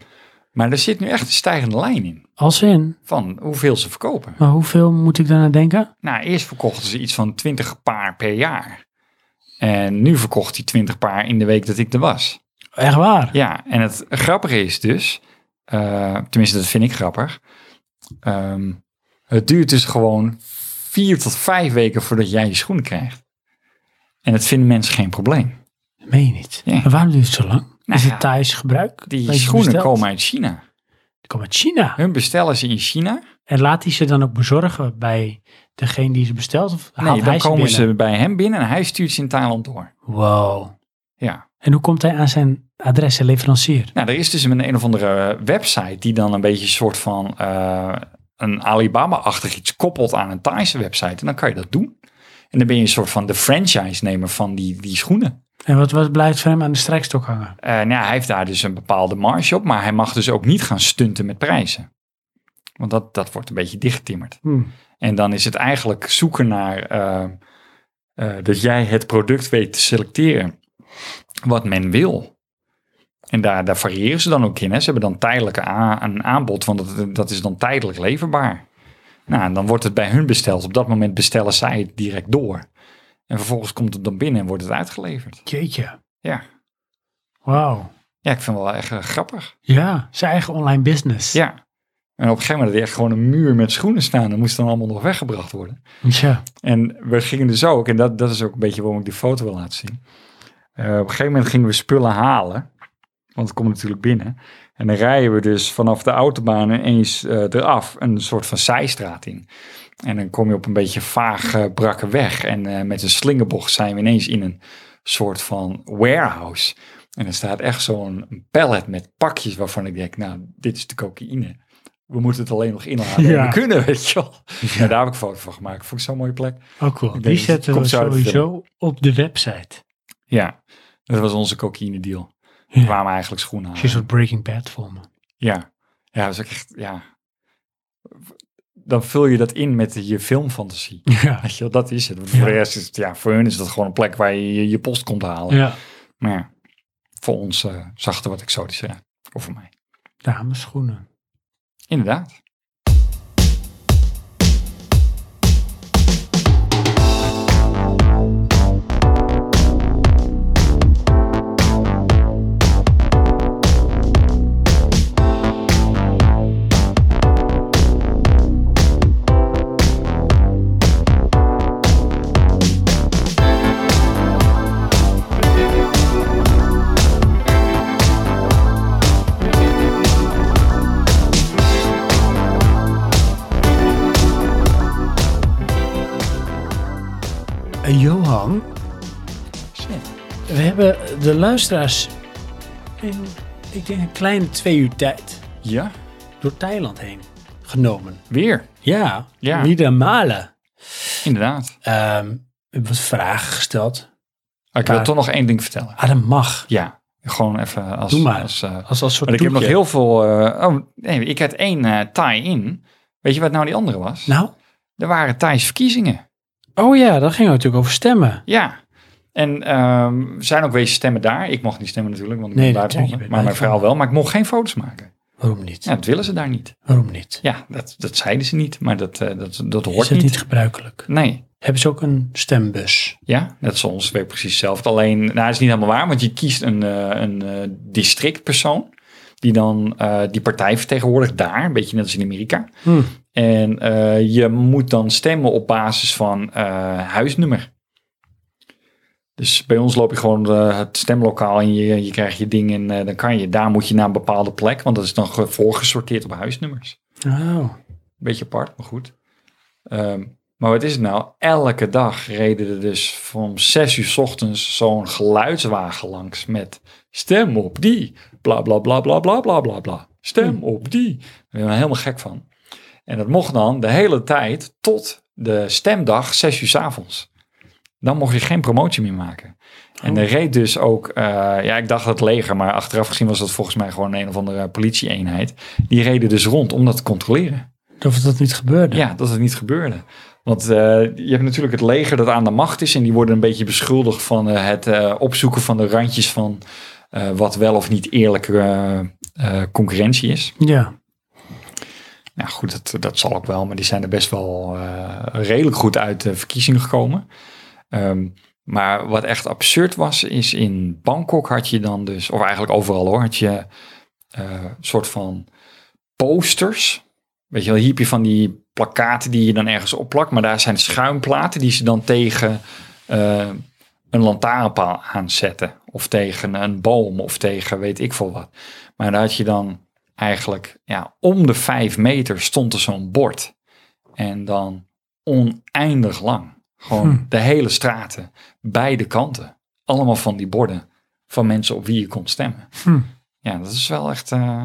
[SPEAKER 2] maar er zit nu echt een stijgende lijn in
[SPEAKER 1] als in.
[SPEAKER 2] van hoeveel ze verkopen.
[SPEAKER 1] Maar hoeveel moet ik daarna denken?
[SPEAKER 2] Nou, eerst verkochten ze iets van 20 paar per jaar. En nu verkocht hij 20 paar in de week dat ik er was.
[SPEAKER 1] Echt waar?
[SPEAKER 2] Ja, en het grappige is dus, eh, tenminste dat vind ik grappig, ehm, het duurt dus gewoon vier tot vijf weken voordat jij je schoenen krijgt. En dat vinden mensen geen probleem.
[SPEAKER 1] Meen je niet.
[SPEAKER 2] Ja.
[SPEAKER 1] Maar waarom duurt het zo lang?
[SPEAKER 2] Nou
[SPEAKER 1] is
[SPEAKER 2] ja,
[SPEAKER 1] het Thais gebruik?
[SPEAKER 2] Die
[SPEAKER 1] Dat je
[SPEAKER 2] schoenen
[SPEAKER 1] bestelt?
[SPEAKER 2] komen uit China.
[SPEAKER 1] Die komen uit China.
[SPEAKER 2] Hun bestellen ze in China.
[SPEAKER 1] En laat hij ze dan ook bezorgen bij degene die ze bestelt? Of haalt
[SPEAKER 2] Nee,
[SPEAKER 1] hij
[SPEAKER 2] dan komen
[SPEAKER 1] binnen?
[SPEAKER 2] ze bij hem binnen en hij stuurt ze in Thailand door.
[SPEAKER 1] Wow.
[SPEAKER 2] Ja.
[SPEAKER 1] En hoe komt hij aan zijn adres en leverancier?
[SPEAKER 2] Nou, er is dus een, een of andere eh, website die dan een beetje een soort van eh, een Alibaba-achtig iets koppelt aan een Thaise website. En dan kan je dat doen. En dan ben je een soort van de franchise-nemer van die, die schoenen.
[SPEAKER 1] En wat, wat blijft voor hem aan de strijkstok hangen?
[SPEAKER 2] Eh, nou, ja, hij heeft daar dus een bepaalde marge op, maar hij mag dus ook niet gaan stunten met prijzen. Want dat, dat wordt een beetje dichtgetimmerd.
[SPEAKER 1] Hmm.
[SPEAKER 2] En dan is het eigenlijk zoeken naar eh, eh, dat jij het product weet te selecteren wat men wil. En daar, daar variëren ze dan ook in. Hè. Ze hebben dan tijdelijk a- een aanbod, want dat, dat is dan tijdelijk leverbaar. Nou, en dan wordt het bij hun besteld. Op dat moment bestellen zij het direct door. En vervolgens komt het dan binnen en wordt het uitgeleverd.
[SPEAKER 1] Jeetje.
[SPEAKER 2] Ja,
[SPEAKER 1] Wauw.
[SPEAKER 2] ja ik vind het wel echt eh, grappig.
[SPEAKER 1] Ja, zijn eigen online business.
[SPEAKER 2] Ja. En op een gegeven moment had hij echt gewoon een muur met schoenen staan. Dat moest dan allemaal nog weggebracht worden.
[SPEAKER 1] Tja.
[SPEAKER 2] En we gingen dus ook, en dat, dat is ook een beetje waarom ik die foto wil laten zien. Eh, op een gegeven moment gingen we spullen halen, want het komt natuurlijk binnen. En dan rijden we dus vanaf de autobaan ineens eh, eraf een soort van zijstraat in. En dan kom je op een beetje vaag eh, brakke weg. En eh, met een slingerbocht zijn we ineens in een soort van warehouse. En er staat echt zo'n pallet met pakjes waarvan ik denk, nou, dit is de cocaïne. We moeten het alleen nog inhalen.
[SPEAKER 1] Ja.
[SPEAKER 2] En we kunnen, weet je wel. Ja, daar heb ik een foto van gemaakt. Vond ik zo'n mooie plek.
[SPEAKER 1] Oh cool.
[SPEAKER 2] denk
[SPEAKER 1] Die
[SPEAKER 2] dat het
[SPEAKER 1] zetten we
[SPEAKER 2] komt zo uit de
[SPEAKER 1] sowieso op de website.
[SPEAKER 2] Ja, dat was onze cocaïne deal. We
[SPEAKER 1] Ja.
[SPEAKER 2] kwamen eigenlijk schoenen
[SPEAKER 1] Is een
[SPEAKER 2] halen.
[SPEAKER 1] soort Breaking Bad voor me.
[SPEAKER 2] Ja. ja, dat is ook echt, ja. Dan vul je dat in met je filmfantasie.
[SPEAKER 1] Ja.
[SPEAKER 2] Weet je wel, dat is het. Voor de
[SPEAKER 1] Ja.
[SPEAKER 2] rest is het, ja, voor hun is dat gewoon een plek waar je je, je post komt halen.
[SPEAKER 1] Ja.
[SPEAKER 2] Maar ja, voor ons eh, zag het er wat exotischer uit. Of voor mij.
[SPEAKER 1] Dameschoenen.
[SPEAKER 2] Inderdaad.
[SPEAKER 1] En Johan, we hebben de luisteraars in, ik denk, een kleine twee uur tijd
[SPEAKER 2] Ja,
[SPEAKER 1] door Thailand heen genomen.
[SPEAKER 2] weer.
[SPEAKER 1] Ja,
[SPEAKER 2] Ja.
[SPEAKER 1] Wieder malen.
[SPEAKER 2] Inderdaad.
[SPEAKER 1] Ehm, we hebben wat vragen gesteld.
[SPEAKER 2] Ik wil
[SPEAKER 1] Maar-
[SPEAKER 2] toch nog één ding vertellen.
[SPEAKER 1] Ah, dat mag.
[SPEAKER 2] Ja, gewoon even als...
[SPEAKER 1] Doe maar.
[SPEAKER 2] Als, eh,
[SPEAKER 1] Als, als soort
[SPEAKER 2] Maar ik heb nog
[SPEAKER 1] toetje.
[SPEAKER 2] heel veel. eh, oh, nee, ik had één eh tie-in. Weet je wat nou die andere was?
[SPEAKER 1] Nou?
[SPEAKER 2] Er waren Thais verkiezingen.
[SPEAKER 1] Oh ja, dat ging natuurlijk over stemmen.
[SPEAKER 2] Ja. En ehm, er zijn ook wezen stemmen daar. Ik mocht niet stemmen natuurlijk, want ik
[SPEAKER 1] Nee,
[SPEAKER 2] ben
[SPEAKER 1] natuurlijk,
[SPEAKER 2] buitenlander.
[SPEAKER 1] je bent
[SPEAKER 2] Maar mijn vrouw
[SPEAKER 1] buitenlander.
[SPEAKER 2] wel. Maar ik mocht geen foto's maken.
[SPEAKER 1] Waarom niet?
[SPEAKER 2] Ja, dat willen ze daar niet.
[SPEAKER 1] Waarom niet?
[SPEAKER 2] Ja, dat, dat zeiden ze niet. Maar dat, eh, dat, dat hoort
[SPEAKER 1] Is dat
[SPEAKER 2] niet.
[SPEAKER 1] niet gebruikelijk?
[SPEAKER 2] Nee.
[SPEAKER 1] Hebben ze ook een stembus?
[SPEAKER 2] Ja, dat is ons weer precies hetzelfde. Alleen, nou, dat is niet helemaal waar, want je kiest een, eh, een eh, districtpersoon. Die dan eh, die partij vertegenwoordigt daar, een beetje net als in Amerika.
[SPEAKER 1] Hm.
[SPEAKER 2] En eh, je moet dan stemmen op basis van eh, huisnummer. Dus bij ons loop je gewoon eh, het stemlokaal en je, je krijgt je ding en eh, dan kan je. Daar moet je naar een bepaalde plek, want dat is dan ge- voorgesorteerd op huisnummers.
[SPEAKER 1] Oh,
[SPEAKER 2] Beetje apart, maar goed. Ehm, maar wat is het nou? Elke dag reden er dus van 6 uur 's ochtends zo'n geluidswagen langs met stem op die, bla bla bla bla bla bla bla bla. Stem op die. Daar ben ik nou helemaal gek van. En dat mocht dan de hele tijd tot de stemdag 6 uur 's avonds. Dan mocht je geen promotie meer maken. En er reed dus ook, eh, ja, ik dacht het leger, maar achteraf gezien was dat volgens mij gewoon een of andere politie-eenheid. Die reden dus rond om dat te controleren.
[SPEAKER 1] dat dat niet gebeurde.
[SPEAKER 2] Ja, dat het niet gebeurde. Want eh, je hebt natuurlijk het leger dat aan de macht is. En die worden een beetje beschuldigd van eh, het eh, opzoeken van de randjes van eh, wat wel of niet eerlijke eh, eh, concurrentie is.
[SPEAKER 1] Ja.
[SPEAKER 2] Nou goed, dat, dat zal ook wel. Maar die zijn er best wel eh, redelijk goed uit de verkiezingen gekomen. Ehm, Maar wat echt absurd was, is in Bangkok had je dan dus, of eigenlijk overal hoor, had je eh soort van posters. Weet je wel, hier heb je van die plakkaten die je dan ergens opplakt, maar daar zijn schuimplaten die ze dan tegen eh, een lantaarnpaal aanzetten. Of tegen een boom, of tegen weet ik veel wat. Maar daar had je dan eigenlijk, ja, om de vijf meter stond er zo'n bord. En dan oneindig lang. Gewoon de hele straten, beide kanten. Allemaal van die borden van mensen op wie je kon stemmen.
[SPEAKER 1] Hm.
[SPEAKER 2] Ja, dat is wel echt... eh,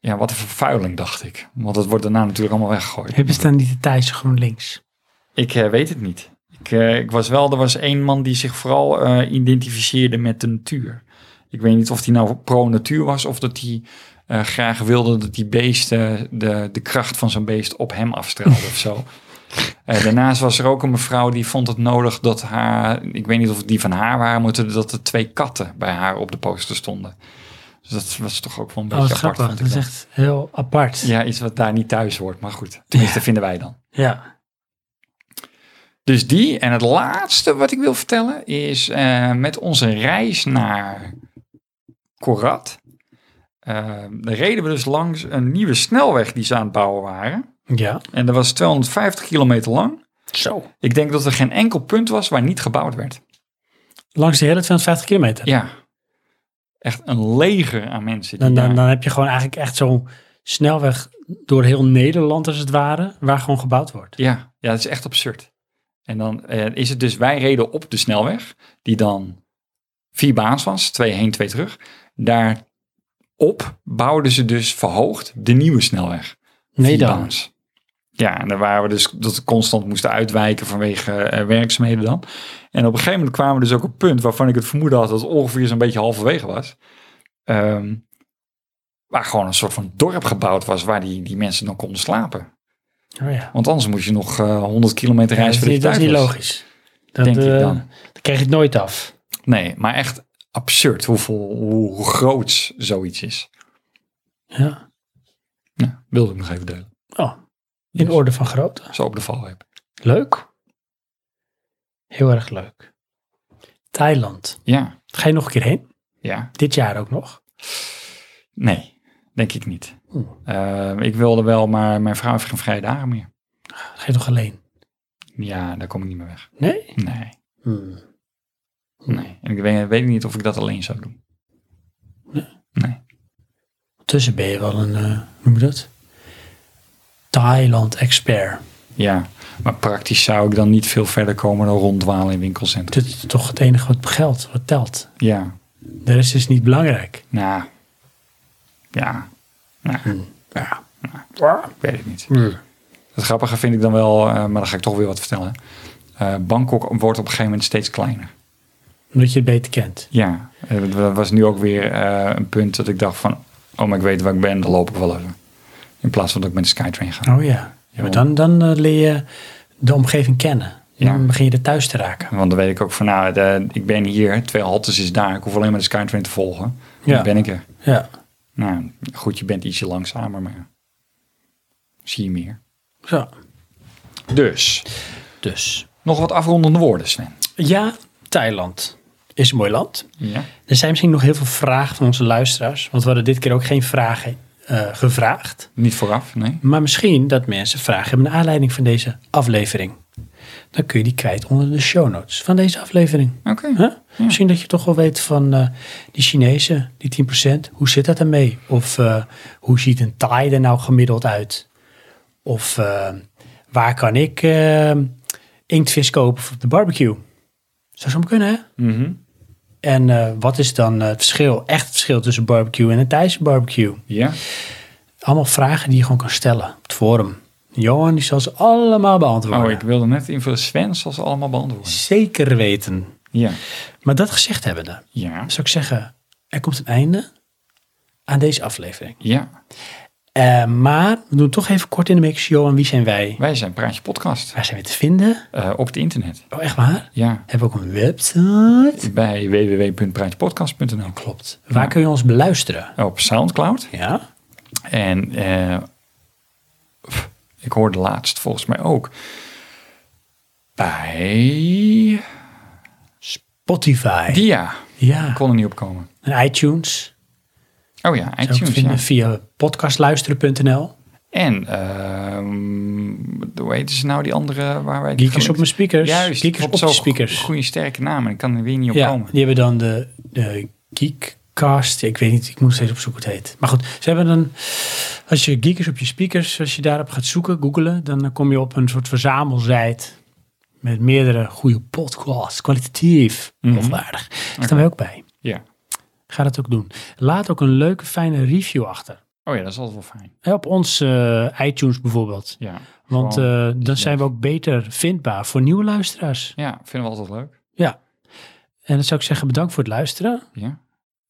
[SPEAKER 2] ja, wat een vervuiling, dacht ik. Want dat wordt daarna natuurlijk allemaal weggegooid.
[SPEAKER 1] Hebben ze dan niet de Thaise GroenLinks?
[SPEAKER 2] Ik eh, weet het niet. Ik, eh, ik was wel, er was één man die zich vooral eh, identificeerde met de natuur. Ik weet niet of die nou pro-natuur was of dat hij eh, graag wilde dat die beesten, de, de kracht van zo'n beest op hem afstraalde of zo. Eh, daarnaast was er ook een mevrouw die vond het nodig dat haar, ik weet niet of het die van haar waren, maar dat er twee katten bij haar op de poster stonden. Dus dat was toch ook wel een
[SPEAKER 1] Oh, wat
[SPEAKER 2] beetje apart.
[SPEAKER 1] grappig.
[SPEAKER 2] vond
[SPEAKER 1] Dat
[SPEAKER 2] ik
[SPEAKER 1] is
[SPEAKER 2] dan.
[SPEAKER 1] echt heel apart.
[SPEAKER 2] Ja, iets wat daar niet thuis hoort, maar goed. Tenminste, vinden wij dan.
[SPEAKER 1] Ja.
[SPEAKER 2] Dus die. En het laatste wat ik wil vertellen is eh, met onze reis naar Korat. eh, reden we dus langs een nieuwe snelweg die ze aan het bouwen waren.
[SPEAKER 1] Ja.
[SPEAKER 2] En dat was 250 kilometer lang.
[SPEAKER 1] Zo.
[SPEAKER 2] Ik denk dat er geen enkel punt was waar niet gebouwd werd.
[SPEAKER 1] Langs de hele 250 kilometer.
[SPEAKER 2] Ja. Echt een leger aan mensen. Die
[SPEAKER 1] Dan, dan,
[SPEAKER 2] daar-
[SPEAKER 1] dan heb je gewoon eigenlijk echt zo'n snelweg door heel Nederland als het ware, waar gewoon gebouwd wordt.
[SPEAKER 2] Ja, ja, dat is echt absurd. En dan eh, is het dus, wij reden op de snelweg, die dan vier baans was, twee heen, twee terug. Daarop bouwden ze dus verhoogd de nieuwe snelweg.
[SPEAKER 1] Nee
[SPEAKER 2] Vier
[SPEAKER 1] dan.
[SPEAKER 2] baans. Ja, en daar waren we dus dat we constant moesten uitwijken vanwege eh, werkzaamheden dan. En op een gegeven moment kwamen we dus ook op een punt waarvan ik het vermoeden had dat het ongeveer zo'n beetje halverwege was. Ehm, waar gewoon een soort van dorp gebouwd was waar die, die mensen dan konden slapen.
[SPEAKER 1] Oh ja.
[SPEAKER 2] Want anders moest je nog eh 100 kilometer
[SPEAKER 1] Ja, dat,
[SPEAKER 2] reizen
[SPEAKER 1] is
[SPEAKER 2] voor
[SPEAKER 1] niet,
[SPEAKER 2] je
[SPEAKER 1] dat is
[SPEAKER 2] thuis
[SPEAKER 1] niet
[SPEAKER 2] was.
[SPEAKER 1] logisch. Dat,
[SPEAKER 2] Denk ik
[SPEAKER 1] eh,
[SPEAKER 2] dan.
[SPEAKER 1] dan krijg je het nooit af.
[SPEAKER 2] Nee, maar echt absurd hoeveel, hoe hoe groot zoiets is.
[SPEAKER 1] Ja.
[SPEAKER 2] Nou, wilde ik nog even delen.
[SPEAKER 1] Oh, in
[SPEAKER 2] Dus,
[SPEAKER 1] orde van grootte.
[SPEAKER 2] Zo op de val heb.
[SPEAKER 1] Leuk. Heel erg leuk. Thailand.
[SPEAKER 2] Ja,
[SPEAKER 1] Ga je nog een keer heen?
[SPEAKER 2] ja.
[SPEAKER 1] Dit jaar ook nog?
[SPEAKER 2] Nee, denk ik niet.
[SPEAKER 1] Oeh.
[SPEAKER 2] Eh, ik wilde wel, maar mijn vrouw heeft geen vrije dagen meer.
[SPEAKER 1] Ga je nog alleen?
[SPEAKER 2] Ja, daar kom ik niet meer weg.
[SPEAKER 1] Nee?
[SPEAKER 2] Nee,
[SPEAKER 1] Hmm.
[SPEAKER 2] nee. En ik weet, weet niet of ik dat alleen zou doen.
[SPEAKER 1] Tussen ben je wel een, eh, hoe noem je dat? Thailand-expert.
[SPEAKER 2] Ja, maar praktisch zou ik dan niet veel verder komen dan ronddwalen in winkelcentra.
[SPEAKER 1] Dit is toch het enige wat geldt, wat telt.
[SPEAKER 2] Ja,
[SPEAKER 1] De rest is niet belangrijk.
[SPEAKER 2] nou. Ja,
[SPEAKER 1] Hm.
[SPEAKER 2] Nou,
[SPEAKER 1] Ja.
[SPEAKER 2] ik weet het niet. Het grappige vind ik dan wel, eh, maar dan ga ik toch weer wat vertellen. Eh, Bangkok wordt op een gegeven moment steeds kleiner.
[SPEAKER 1] Omdat je het beter kent.
[SPEAKER 2] Ja, eh, dat was nu ook weer eh, een punt dat ik dacht van... oh, maar ik weet waar ik ben, dan loop ik wel even. In plaats van dat ik met de Skytrain ga.
[SPEAKER 1] Oh ja. Maar dan, dan eh, leer je de omgeving kennen.
[SPEAKER 2] Ja.
[SPEAKER 1] Dan begin je er thuis te raken.
[SPEAKER 2] Want dan weet ik ook van, nou, de- ik ben hier, twee haltes is daar. Ik hoef alleen maar de Skytrain te volgen.
[SPEAKER 1] Ja.
[SPEAKER 2] Dan ben ik er.
[SPEAKER 1] Ja.
[SPEAKER 2] Nou, goed, je bent ietsje langzamer, maar zie je meer.
[SPEAKER 1] Zo.
[SPEAKER 2] Dus,
[SPEAKER 1] Dus.
[SPEAKER 2] nog wat afrondende woorden, Sven.
[SPEAKER 1] Ja, Thailand is een mooi land.
[SPEAKER 2] Ja,
[SPEAKER 1] Er zijn misschien nog heel veel vragen van onze luisteraars. Want we hadden dit keer ook geen vragen eh, gevraagd.
[SPEAKER 2] niet vooraf, nee.
[SPEAKER 1] Maar misschien dat mensen vragen hebben naar aanleiding van deze aflevering. Dan kun je die kwijt onder de show notes van deze aflevering.
[SPEAKER 2] Oké.
[SPEAKER 1] Huh? Misschien dat je toch wel weet van eh, die Chinezen, die 10%, hoe zit dat ermee? Of eh, hoe ziet een Thai er nou gemiddeld uit? Of eh, waar kan ik eh, inktvis kopen voor op de barbecue? Zou zo kunnen, hè?
[SPEAKER 2] Mhm.
[SPEAKER 1] En eh, wat is dan eh, het verschil, echt het verschil tussen barbecue en een Thaise barbecue?
[SPEAKER 2] Ja,
[SPEAKER 1] Allemaal vragen die je gewoon kan stellen op het forum. Johan, die zal ze allemaal beantwoorden.
[SPEAKER 2] Oh, ik wilde net invullen. Sven zal ze allemaal beantwoorden.
[SPEAKER 1] Zeker weten.
[SPEAKER 2] Ja.
[SPEAKER 1] Maar dat gezegd hebbende,
[SPEAKER 2] Ja.
[SPEAKER 1] zou ik zeggen, er komt een einde aan deze aflevering.
[SPEAKER 2] Ja.
[SPEAKER 1] Eh, maar we doen toch even kort in de mix. Johan, wie zijn wij?
[SPEAKER 2] Wij zijn Praatje Podcast.
[SPEAKER 1] Waar zijn we te vinden?
[SPEAKER 2] eh, op het internet.
[SPEAKER 1] Oh, echt waar?
[SPEAKER 2] Ja.
[SPEAKER 1] Hebben we ook een website?
[SPEAKER 2] Bij www.praatjepodcast.nl.
[SPEAKER 1] Klopt. Waar kun je ons beluisteren?
[SPEAKER 2] Op Soundcloud.
[SPEAKER 1] Ja?
[SPEAKER 2] En eh, pff, ik hoorde laatst volgens mij ook bij
[SPEAKER 1] Spotify.
[SPEAKER 2] Die ja,
[SPEAKER 1] ja.
[SPEAKER 2] kon er niet op komen.
[SPEAKER 1] En iTunes.
[SPEAKER 2] Oh ja,
[SPEAKER 1] Zou ik
[SPEAKER 2] iTunes.
[SPEAKER 1] vinden
[SPEAKER 2] ja.
[SPEAKER 1] via podcastluisteren.nl.
[SPEAKER 2] En, ehm hoe heet ze nou, die andere waar wij...
[SPEAKER 1] Geekers op mijn speakers.
[SPEAKER 2] Juist,
[SPEAKER 1] Geekers op,
[SPEAKER 2] zo'n
[SPEAKER 1] de speakers.
[SPEAKER 2] goede sterke naam en ik kan er weer niet op
[SPEAKER 1] Ja,
[SPEAKER 2] komen.
[SPEAKER 1] die hebben dan de, de Geekcast. Ik weet niet, ik moet steeds opzoeken hoe het heet. Maar goed, ze hebben dan, als je Geekers op je speakers, als je daarop gaat zoeken, googelen, dan eh, kom je op een soort verzamelzijd met meerdere goede podcasts, kwalitatief,
[SPEAKER 2] Mhm.
[SPEAKER 1] lofwaardig. Staan wij ook bij.
[SPEAKER 2] Ja.
[SPEAKER 1] Ga dat ook doen. Laat ook een leuke, fijne review achter.
[SPEAKER 2] Oh ja, dat is altijd wel fijn.
[SPEAKER 1] Hè, Op ons eh, iTunes bijvoorbeeld.
[SPEAKER 2] Ja,
[SPEAKER 1] Want
[SPEAKER 2] Gewoon-
[SPEAKER 1] eh, dan zijn we ook beter vindbaar voor nieuwe luisteraars.
[SPEAKER 2] ja, vinden we altijd leuk.
[SPEAKER 1] Ja. En dan zou ik zeggen bedankt voor het luisteren.
[SPEAKER 2] Ja,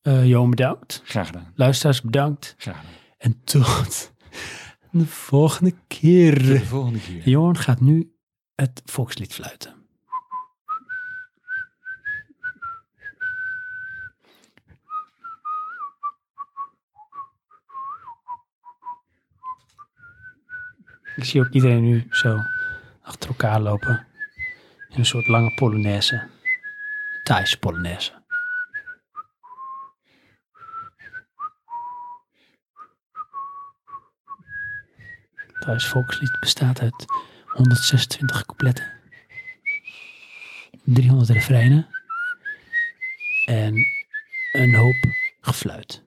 [SPEAKER 1] Eh Johan bedankt.
[SPEAKER 2] graag gedaan.
[SPEAKER 1] Luisteraars bedankt.
[SPEAKER 2] Graag gedaan.
[SPEAKER 1] En tot de volgende keer.
[SPEAKER 2] De volgende keer.
[SPEAKER 1] Johan gaat nu het volkslied fluiten. Ik zie ook iedereen nu zo achter elkaar lopen. In een soort lange polonaise. Thaise polonaise. Thaise volkslied bestaat uit 126 coupletten. 300 refreinen. En een hoop gefluit.